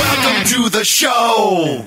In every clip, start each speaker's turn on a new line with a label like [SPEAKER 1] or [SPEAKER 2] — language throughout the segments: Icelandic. [SPEAKER 1] Welcome to the show.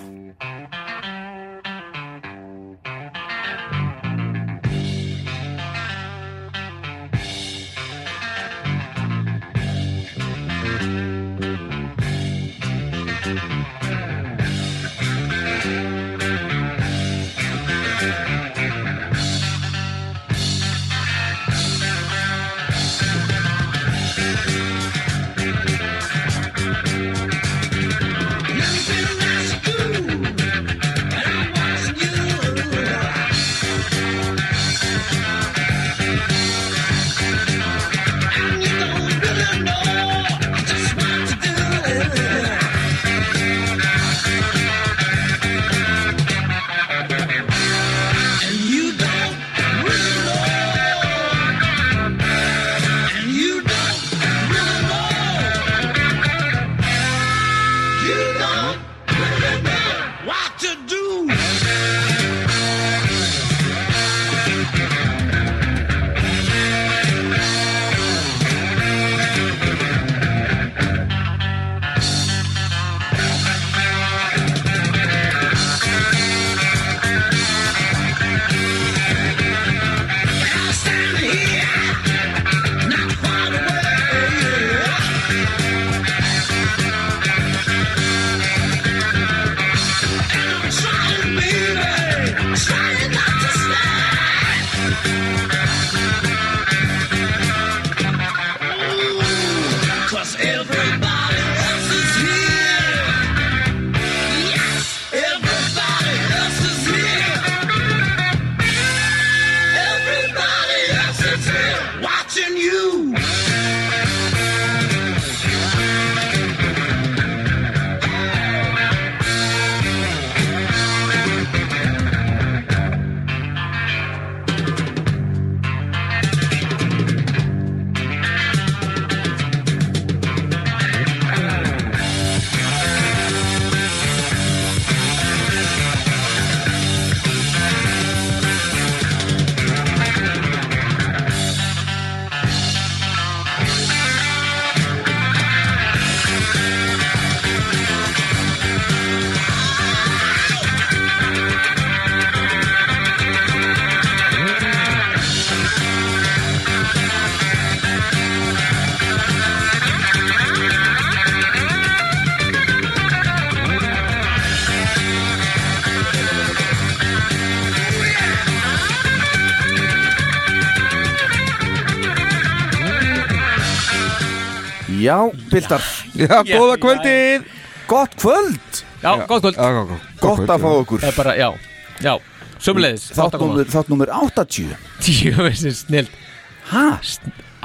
[SPEAKER 2] Já, Piltar Já,
[SPEAKER 3] Já.
[SPEAKER 2] góða kvöldið Gott kvöld
[SPEAKER 3] Já, gott kvöld
[SPEAKER 4] Já, gott, gott,
[SPEAKER 2] Gott að fá okkur
[SPEAKER 3] Það er bara, já, já Sumleðis,
[SPEAKER 2] Þáttnúmer þáttnúmer 80
[SPEAKER 3] Tíu, þessi snill
[SPEAKER 2] Hæ?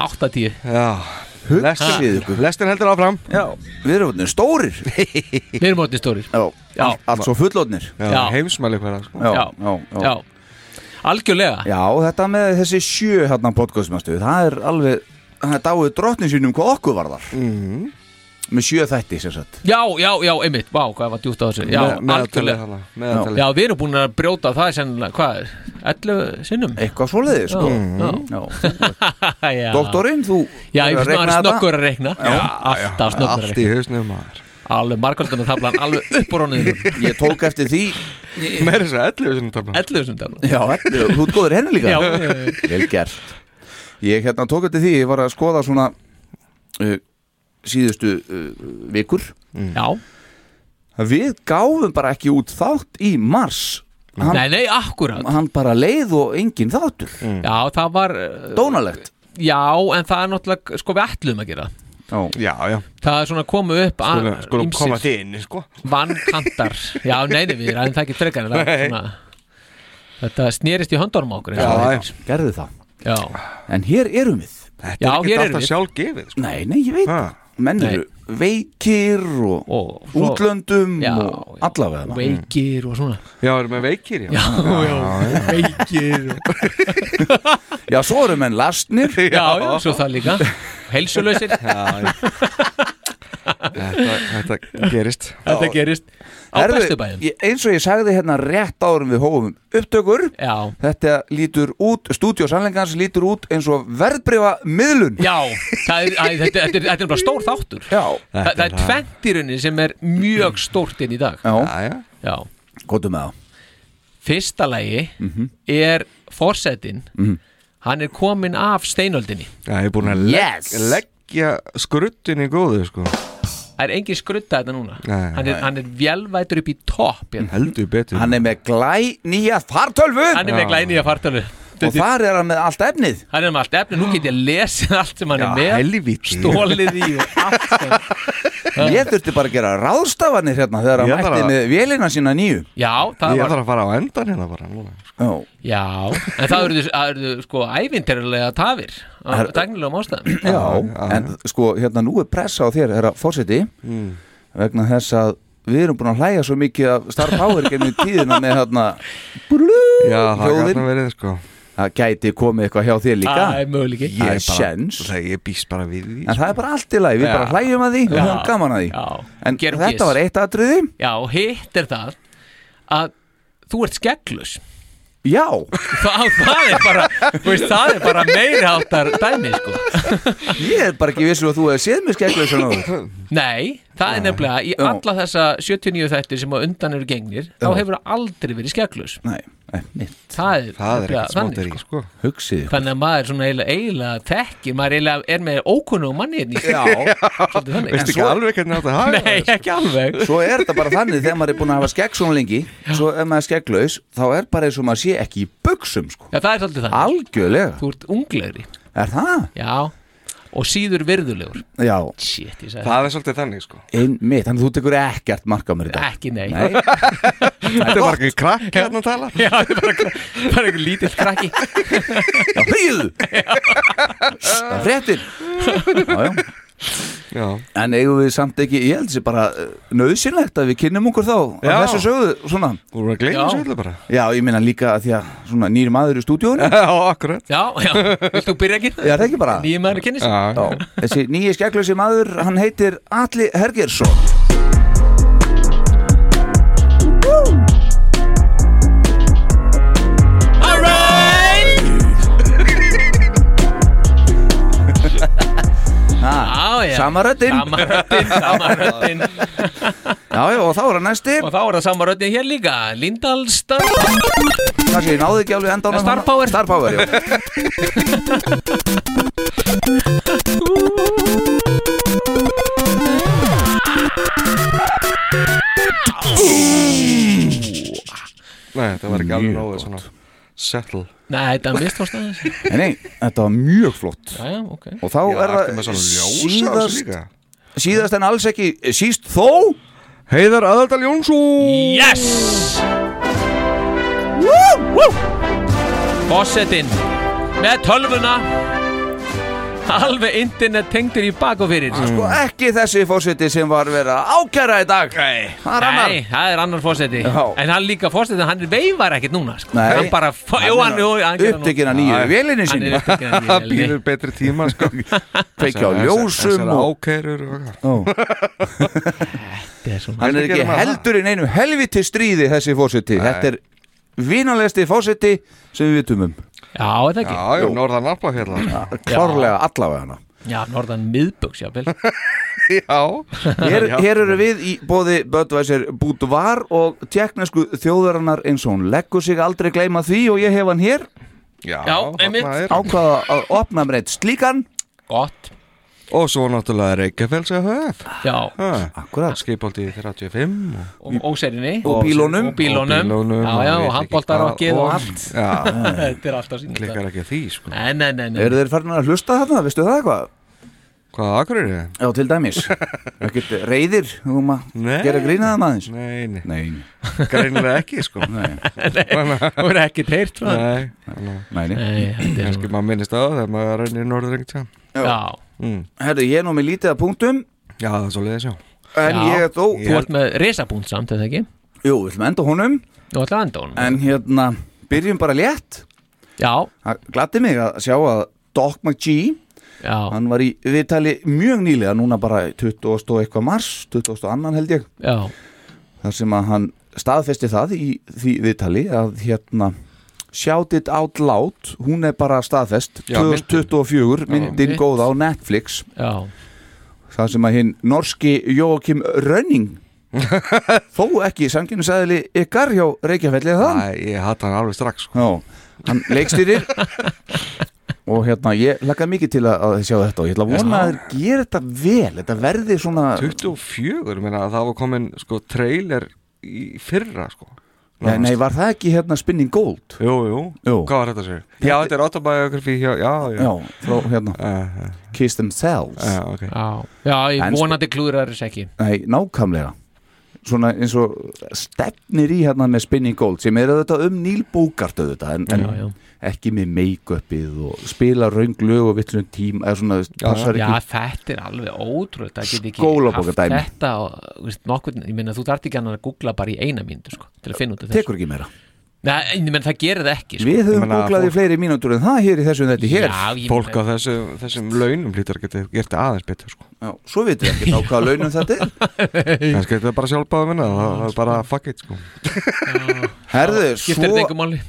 [SPEAKER 3] Áttatíu
[SPEAKER 4] Já, lestin,
[SPEAKER 2] Hugsið ykkur.
[SPEAKER 4] lestin heldur áfram
[SPEAKER 2] Já, við erum orðnir stórir
[SPEAKER 3] Við erum orðin stórir
[SPEAKER 2] Já,
[SPEAKER 3] Já.
[SPEAKER 2] allt svo fullotnir
[SPEAKER 4] Já,
[SPEAKER 3] Já.
[SPEAKER 4] heimsmæli hverja sko.
[SPEAKER 2] já,
[SPEAKER 3] Já.
[SPEAKER 2] já, já.
[SPEAKER 3] Já Algjörlega
[SPEAKER 2] já, þetta með þessi sjö hérna podcastmastu Það er alveg, það er dáið drottnin sínum hvað okkur varðar mm -hmm. Með sjö þætti sem sagt
[SPEAKER 3] Já, já, já, einmitt Vá, hvað var djúpt á þessu Já,
[SPEAKER 4] Me- meðaltalið
[SPEAKER 3] algjörlega
[SPEAKER 4] þarna, meðaltalið.
[SPEAKER 3] Já, við erum búin að brjóta það sennilega, hvað er, 11 sinnum?
[SPEAKER 2] Eitthvað svoleiði sko
[SPEAKER 3] Já,
[SPEAKER 2] Já.
[SPEAKER 3] já. já.
[SPEAKER 2] Doktorinn, þú
[SPEAKER 3] Já, ég
[SPEAKER 2] er
[SPEAKER 3] finnst maður snöggur að reikna
[SPEAKER 2] Já.
[SPEAKER 3] Alltaf snöggur að
[SPEAKER 4] Allt í
[SPEAKER 3] reikna
[SPEAKER 4] hausnum maður
[SPEAKER 3] Alveg margöldan að tafla hann alveg upp úr honum
[SPEAKER 2] Ég tók eftir því
[SPEAKER 4] Meira þess að 11 sinni tafla
[SPEAKER 3] 11 sem tafla
[SPEAKER 2] Já, þú ert góður henni líka
[SPEAKER 3] Já, já, já.
[SPEAKER 2] Vel gert Ég hérna tók eftir því, ég var að skoða svona uh, síðustu uh, vikur
[SPEAKER 4] Mm.
[SPEAKER 3] Já,
[SPEAKER 2] að Við gáfum bara ekki út þátt í mars hann,
[SPEAKER 3] nei, nei, akkurat
[SPEAKER 4] Mm.
[SPEAKER 2] hann bara leið og engin þáttur
[SPEAKER 3] Já, það var uh,
[SPEAKER 2] Dónalegt
[SPEAKER 3] Já, en það er náttúrulega, sko við ætlum að gera það.
[SPEAKER 4] Já, já,
[SPEAKER 3] Það er svona að koma upp að
[SPEAKER 4] skulum, skulum
[SPEAKER 3] ýmsir
[SPEAKER 4] koma þið inn, sko
[SPEAKER 3] Vankantar Já, neini við erum það ekki frekar en það er
[SPEAKER 4] Nei.
[SPEAKER 3] svona, Þetta snerist í höndunum á okkur eins
[SPEAKER 4] Já,
[SPEAKER 3] og það
[SPEAKER 4] já.
[SPEAKER 3] heitir.
[SPEAKER 2] gerðu það
[SPEAKER 3] já,
[SPEAKER 2] En hér erum við
[SPEAKER 4] Þetta
[SPEAKER 3] Já,
[SPEAKER 4] er
[SPEAKER 3] hér
[SPEAKER 4] ekkert
[SPEAKER 3] erum
[SPEAKER 4] alltaf
[SPEAKER 3] við.
[SPEAKER 4] sjálfgefið, sko
[SPEAKER 2] Nei, nei, ég veit
[SPEAKER 4] Ha.
[SPEAKER 2] það Menn
[SPEAKER 3] Nei.
[SPEAKER 2] eru veikir og,
[SPEAKER 3] Og svo-
[SPEAKER 2] útlöndum
[SPEAKER 3] já,
[SPEAKER 2] og allavega
[SPEAKER 3] Veikir og svona
[SPEAKER 4] Já, erum við veikir, já,
[SPEAKER 3] Já, já, veikir og,
[SPEAKER 2] Já, svo eru menn lastnir
[SPEAKER 3] Já, já, svo það líka Heilsulausir,
[SPEAKER 4] Þetta, þetta gerist
[SPEAKER 3] þetta gerist Á
[SPEAKER 2] Herðu,
[SPEAKER 3] Vesturbæjum
[SPEAKER 2] ég- Eins og ég sagði hérna rétt árum við hófum upptökur
[SPEAKER 3] Já,
[SPEAKER 2] Þetta lítur út, stúdíó sannleikans lítur út eins og verðbrifa miðlun
[SPEAKER 3] já, það er, æ, þetta, þetta, er, þetta er bara stór þáttur
[SPEAKER 2] Já,
[SPEAKER 3] Þa, Það er tvent í rauninni sem er mjög stórt inn í dag
[SPEAKER 2] já,
[SPEAKER 4] Já, já,
[SPEAKER 3] Já,
[SPEAKER 2] gotum með Mhm. það
[SPEAKER 3] fyrsta lagi er forsetin
[SPEAKER 2] Mhm.
[SPEAKER 3] hann er komin af steinöldinni
[SPEAKER 4] já, ég er búin að legg,
[SPEAKER 2] Yes.
[SPEAKER 4] leggja skruttin í góðu, sko
[SPEAKER 3] það er engin skrutta þetta núna
[SPEAKER 4] Nei,
[SPEAKER 3] hann, er, hann er velvætur upp í topp hérna.
[SPEAKER 4] Heldur betur
[SPEAKER 2] Hann er með glæ nýja fartölvu
[SPEAKER 3] hann er
[SPEAKER 4] Já.
[SPEAKER 3] með glæni í að fartalu
[SPEAKER 2] Og þar er hann með allt efnið
[SPEAKER 3] hann er með allt efni, nú get ég lesið allt sem hann er með
[SPEAKER 4] helvíti
[SPEAKER 3] stólið í og allt sem-
[SPEAKER 2] Ég þurfti bara að gera ráðstafanir hérna þegar hann
[SPEAKER 4] Ég þarf
[SPEAKER 2] mætti
[SPEAKER 4] að-
[SPEAKER 2] með vélina sína nýju
[SPEAKER 3] já, það
[SPEAKER 4] Ég
[SPEAKER 3] var
[SPEAKER 4] þarf að fara á endan hérna bara núna
[SPEAKER 2] Já,
[SPEAKER 3] já, en það eru, það eru sko ævinterlega tafir á
[SPEAKER 2] Her-
[SPEAKER 3] dagnilegum ástæðum
[SPEAKER 2] já, en sko hérna nú er pressa á þér, herra fórseti
[SPEAKER 4] Mm.
[SPEAKER 2] vegna þess að við erum búin að hlæja svo mikið af Star Power gennum tíðina með hérna blú,
[SPEAKER 4] Já, það
[SPEAKER 2] hljóðin
[SPEAKER 4] gætna verið, sko
[SPEAKER 2] Það gæti komið eitthvað hjá þér líka
[SPEAKER 3] það er möguleiki
[SPEAKER 2] Það er sjens.
[SPEAKER 4] það- Ég býst bara við því sko.
[SPEAKER 2] En það er bara allt í lagi, við
[SPEAKER 4] Já.
[SPEAKER 2] bara hlæjum að því og
[SPEAKER 3] Já.
[SPEAKER 2] höfum gaman að því
[SPEAKER 3] Já.
[SPEAKER 2] En
[SPEAKER 3] Gerum
[SPEAKER 2] þetta
[SPEAKER 3] gys.
[SPEAKER 2] var eitt atriði
[SPEAKER 3] já, og hitt er það að þú ert skegglus
[SPEAKER 2] Já,
[SPEAKER 3] það, það er bara þú veist, það er bara meirháttar dæmi sko.
[SPEAKER 2] ég er bara ekki vissu að þú hefði séð mér skegglega svo náður
[SPEAKER 3] nei, það er nefnilega í
[SPEAKER 2] Já.
[SPEAKER 3] alla þessa 79 þættir sem á undan eru gengnir þá
[SPEAKER 2] Já.
[SPEAKER 3] hefur það aldrei verið skegglus
[SPEAKER 2] Nei, einmitt,
[SPEAKER 3] það er,
[SPEAKER 4] Það er
[SPEAKER 3] nefnilega
[SPEAKER 4] ekkert smóttir í,
[SPEAKER 3] sko.
[SPEAKER 4] sko
[SPEAKER 2] hugsið
[SPEAKER 3] þannig að maður svona eiginlega, eiginlega tekki maður eiginlega er með ókunnum manni hérna í-
[SPEAKER 2] Já,
[SPEAKER 3] svolítið þannig.
[SPEAKER 4] Veistu ekki alveg hvernig þetta hafa
[SPEAKER 3] nei, ekki alveg
[SPEAKER 2] svo er þetta bara þannig þegar maður er búin að hafa skegg svona lengi Svo ef maður er skegglaus, þá er bara eins og maður sé ekki í buksum sko
[SPEAKER 3] já, það er svolítið þannig
[SPEAKER 2] Algjörlega,
[SPEAKER 3] þú ert unglegri
[SPEAKER 2] er það?
[SPEAKER 3] já og síður virðulegur
[SPEAKER 2] Já,
[SPEAKER 3] shit, ég sagði það
[SPEAKER 4] Það er svolítið þannig, sko
[SPEAKER 2] einmitt, þannig að þú tekur ekkert marka mér þetta
[SPEAKER 3] ekki nei,
[SPEAKER 2] Nei,
[SPEAKER 4] Þetta er bara ekki krakk hérna að tala
[SPEAKER 3] Já, það er bara, bara einhver lítill krakki
[SPEAKER 2] já, hríðu Það fréttir Já, já
[SPEAKER 4] Já,
[SPEAKER 2] En eigum við samt ekki, ég held sér bara uh, nöðsynlegt að við kynnum okkur þá að
[SPEAKER 4] Já.
[SPEAKER 2] þessu sögðu, svona
[SPEAKER 4] þú voru að gleyma
[SPEAKER 3] Já.
[SPEAKER 4] þessu öllu bara
[SPEAKER 2] Já, ég meina líka að því að svona nýri maður í stúdíónu
[SPEAKER 4] Já, akkurat
[SPEAKER 3] já, já, vilt þú byrja ekki?
[SPEAKER 2] Já, það er ekki bara
[SPEAKER 3] nýjum maður að kynna sig
[SPEAKER 4] Já,
[SPEAKER 2] Já, þessi nýji skeglösi maður, hann heitir Atli Hergersson
[SPEAKER 3] Já, já.
[SPEAKER 2] Sama röddin
[SPEAKER 3] Sama röddin, sama röddin
[SPEAKER 2] Já, já, og þá er hann næsti
[SPEAKER 3] Og þá er það sama röddin hér líka Lindalstar Já,
[SPEAKER 2] Kanski ég náði ekki alveg endan á
[SPEAKER 3] Star
[SPEAKER 2] hana.
[SPEAKER 3] Power.
[SPEAKER 2] Star Power, já
[SPEAKER 4] nei, það var ekki alveg
[SPEAKER 2] Mjög
[SPEAKER 4] nógu
[SPEAKER 2] gott.
[SPEAKER 4] svona Settle
[SPEAKER 3] Nei, þetta er mistóst aðeins Já,
[SPEAKER 2] Nei, nei, þetta var mjög flott
[SPEAKER 3] já, ok
[SPEAKER 2] Og þá
[SPEAKER 4] Já,
[SPEAKER 2] er
[SPEAKER 4] ertu
[SPEAKER 2] það
[SPEAKER 4] með svona ljós á þessu
[SPEAKER 2] síðast,
[SPEAKER 4] líka?
[SPEAKER 2] síðast en alls ekki eh, síst þó
[SPEAKER 4] Heiðar Aðaldal Jónsson
[SPEAKER 3] Yes Fossettinn Með tölvuna Alveg internet tengdur í bak og fyrir
[SPEAKER 2] Sko ekki þessi fórseti sem var verið að ákæra í dag Nei, það er annar
[SPEAKER 3] Nei, það er annar fósetti
[SPEAKER 2] Já.
[SPEAKER 3] En hann líka fósetti, hann veifar ekkert núna sko.
[SPEAKER 2] Nei.
[SPEAKER 3] Hann bara, fó- jú, hann, jú, hann gerir nú-
[SPEAKER 2] upptekina nýju vélinni
[SPEAKER 3] Hann
[SPEAKER 2] sinni
[SPEAKER 3] er upptekinn af
[SPEAKER 4] Það
[SPEAKER 3] vélinni.
[SPEAKER 4] býður betri tíma, sko
[SPEAKER 2] kveikja á
[SPEAKER 4] Þessar-
[SPEAKER 2] ljósum
[SPEAKER 4] Þessar
[SPEAKER 2] og
[SPEAKER 4] ákærur og eitthvað
[SPEAKER 2] Ó,
[SPEAKER 3] Þetta er
[SPEAKER 2] hann er
[SPEAKER 3] svona-
[SPEAKER 4] Kannski
[SPEAKER 2] ekki
[SPEAKER 4] gerir maður
[SPEAKER 2] heldur inn einu helviti stríði þessi fósiti þetta er vinalegsti fósiti sem við vitum um
[SPEAKER 3] Já, er það ekki
[SPEAKER 4] Já, já, norðan aflafjalla
[SPEAKER 2] klárlega allavega hana
[SPEAKER 3] Já, norðan miðböks, já, vel
[SPEAKER 4] Já
[SPEAKER 2] hér,
[SPEAKER 4] Já.
[SPEAKER 2] hér eru við í bóði Böttvæsir Búdvar og tjekknesku þjóðarinnar eins og hún leggur sig aldrei gleyma því og ég hef hann hér
[SPEAKER 4] Já,
[SPEAKER 3] Já, einmitt.
[SPEAKER 4] þarna er
[SPEAKER 2] ákvaða að opna mér eitt slíkan
[SPEAKER 3] Gott
[SPEAKER 4] Og svo náttúrulega Reykjafells AHF
[SPEAKER 3] Já,
[SPEAKER 2] Akkurat
[SPEAKER 4] Skipaldi 35 og
[SPEAKER 3] og óserinni
[SPEAKER 2] Og bílunum.
[SPEAKER 3] Og bílunum,
[SPEAKER 4] Og bílunum,
[SPEAKER 3] Já,
[SPEAKER 4] og
[SPEAKER 3] já,
[SPEAKER 4] ég veit
[SPEAKER 3] og
[SPEAKER 4] ekki
[SPEAKER 3] handbóltarokkið
[SPEAKER 4] hvað
[SPEAKER 3] og
[SPEAKER 4] og
[SPEAKER 3] allt
[SPEAKER 4] Já,
[SPEAKER 3] Þetta er alltaf sínast
[SPEAKER 4] klikkar ekki að því sko
[SPEAKER 3] Nei, nei, nei, nei.
[SPEAKER 2] Eru þeir farin að hlusta þarna, veistu það eitthvað?
[SPEAKER 4] Hvað akkur er þið?
[SPEAKER 2] Já, til dæmis Ekkert reyðir, þú maður
[SPEAKER 4] Nei.
[SPEAKER 2] gera grína það maður
[SPEAKER 4] Nei, nei,
[SPEAKER 2] Nei,
[SPEAKER 4] greinilega ekki sko Nei,
[SPEAKER 3] Þú er ekki teirt frá það
[SPEAKER 4] nei, nei.
[SPEAKER 2] nei, nei.
[SPEAKER 3] Nei, þetta er
[SPEAKER 4] kannski maður minnist á það þegar maður reynir norðrengt já.
[SPEAKER 3] Já,
[SPEAKER 4] Mm.
[SPEAKER 2] Herðu, ég er nú með lítið að punktum
[SPEAKER 4] já, það er svo leiðis já
[SPEAKER 2] En
[SPEAKER 3] Já.
[SPEAKER 2] ég er þó
[SPEAKER 3] þú ert með risabúnt samt, eða ekki?
[SPEAKER 2] Jú, við ætlum að enda honum
[SPEAKER 3] Þú ætlaði að enda honum
[SPEAKER 2] En hérna, byrjum bara létt
[SPEAKER 3] Já,
[SPEAKER 2] Það glatti mig að sjá að Doc McGee,
[SPEAKER 3] já,
[SPEAKER 2] hann var í viðtali mjög nýlega, núna bara 20. og eitthvað mars, 22. held ég
[SPEAKER 3] já
[SPEAKER 2] þar sem að hann staðfesti það í því viðtali að hérna Shout It Out Loud, hún er bara staðfest
[SPEAKER 4] Já,
[SPEAKER 2] 2024, myndin
[SPEAKER 3] mitt.
[SPEAKER 2] góð á Netflix
[SPEAKER 3] Já,
[SPEAKER 2] þar sem að hinn norski Jókim Rönning þó ekki sanginsæðili ykkar hjá Reykjafelli er það
[SPEAKER 4] Æ, ég hatt hann alveg strax sko
[SPEAKER 2] Já, hann leikstýrir og hérna ég lakka mikið til að, að sjá þetta og ég ætla að vona að þeir gera þetta vel þetta verði svona
[SPEAKER 4] 24, menna það var komin sko trailer í fyrra sko
[SPEAKER 2] nei, nei, var það ekki hérna Spinning Gold?
[SPEAKER 4] Jú, jú,
[SPEAKER 2] Jú.
[SPEAKER 4] hvað var þetta sér? Já, þetta er autobiography hjá, já, já
[SPEAKER 2] Já, frá hérna
[SPEAKER 4] Uh, uh,
[SPEAKER 2] Kiss Themselves
[SPEAKER 4] uh, okay.
[SPEAKER 3] já, já,
[SPEAKER 2] En
[SPEAKER 3] ég
[SPEAKER 2] sko-
[SPEAKER 3] vonandi klúðrar þess ekki
[SPEAKER 2] Nei, nákvæmlega Svona eins og stefnir í hérna með Spinning Gold sem er auðvitað um Neil Bogart auðvitað en,
[SPEAKER 3] Já, já.
[SPEAKER 2] en ekki með make-upið og spila röng lög og villum tím eða svona,
[SPEAKER 4] já.
[SPEAKER 2] passar
[SPEAKER 3] Já,
[SPEAKER 2] ekki
[SPEAKER 3] þetta er alveg ótrúð Það get ekki
[SPEAKER 2] Skólabókardæmi.
[SPEAKER 3] þetta og, þú veist, nokkur, Ég meina, þú þarft ekki annað að googla bara í eina mínútu sko, til að finna út af þessu
[SPEAKER 2] Tekur ekki meira
[SPEAKER 3] Nei, ég meina, það gerir það ekki sko.
[SPEAKER 2] Við höfum
[SPEAKER 4] meina,
[SPEAKER 2] googlað í
[SPEAKER 4] fólk-
[SPEAKER 2] fleiri mínútur en það hér í þessum þetta hér
[SPEAKER 3] Já, ég
[SPEAKER 4] Fólk á
[SPEAKER 3] meina,
[SPEAKER 4] þessu, þessum launum hlýtur að geta gert aðeins betur sko
[SPEAKER 2] Já, svo veitum við ekki á hvaða launum þetta er
[SPEAKER 4] Kannski þetta er bara sjálfbáða minna, það það er bara fuck it sko
[SPEAKER 2] Herðu,
[SPEAKER 3] skiptir þetta
[SPEAKER 2] svo
[SPEAKER 3] engum máli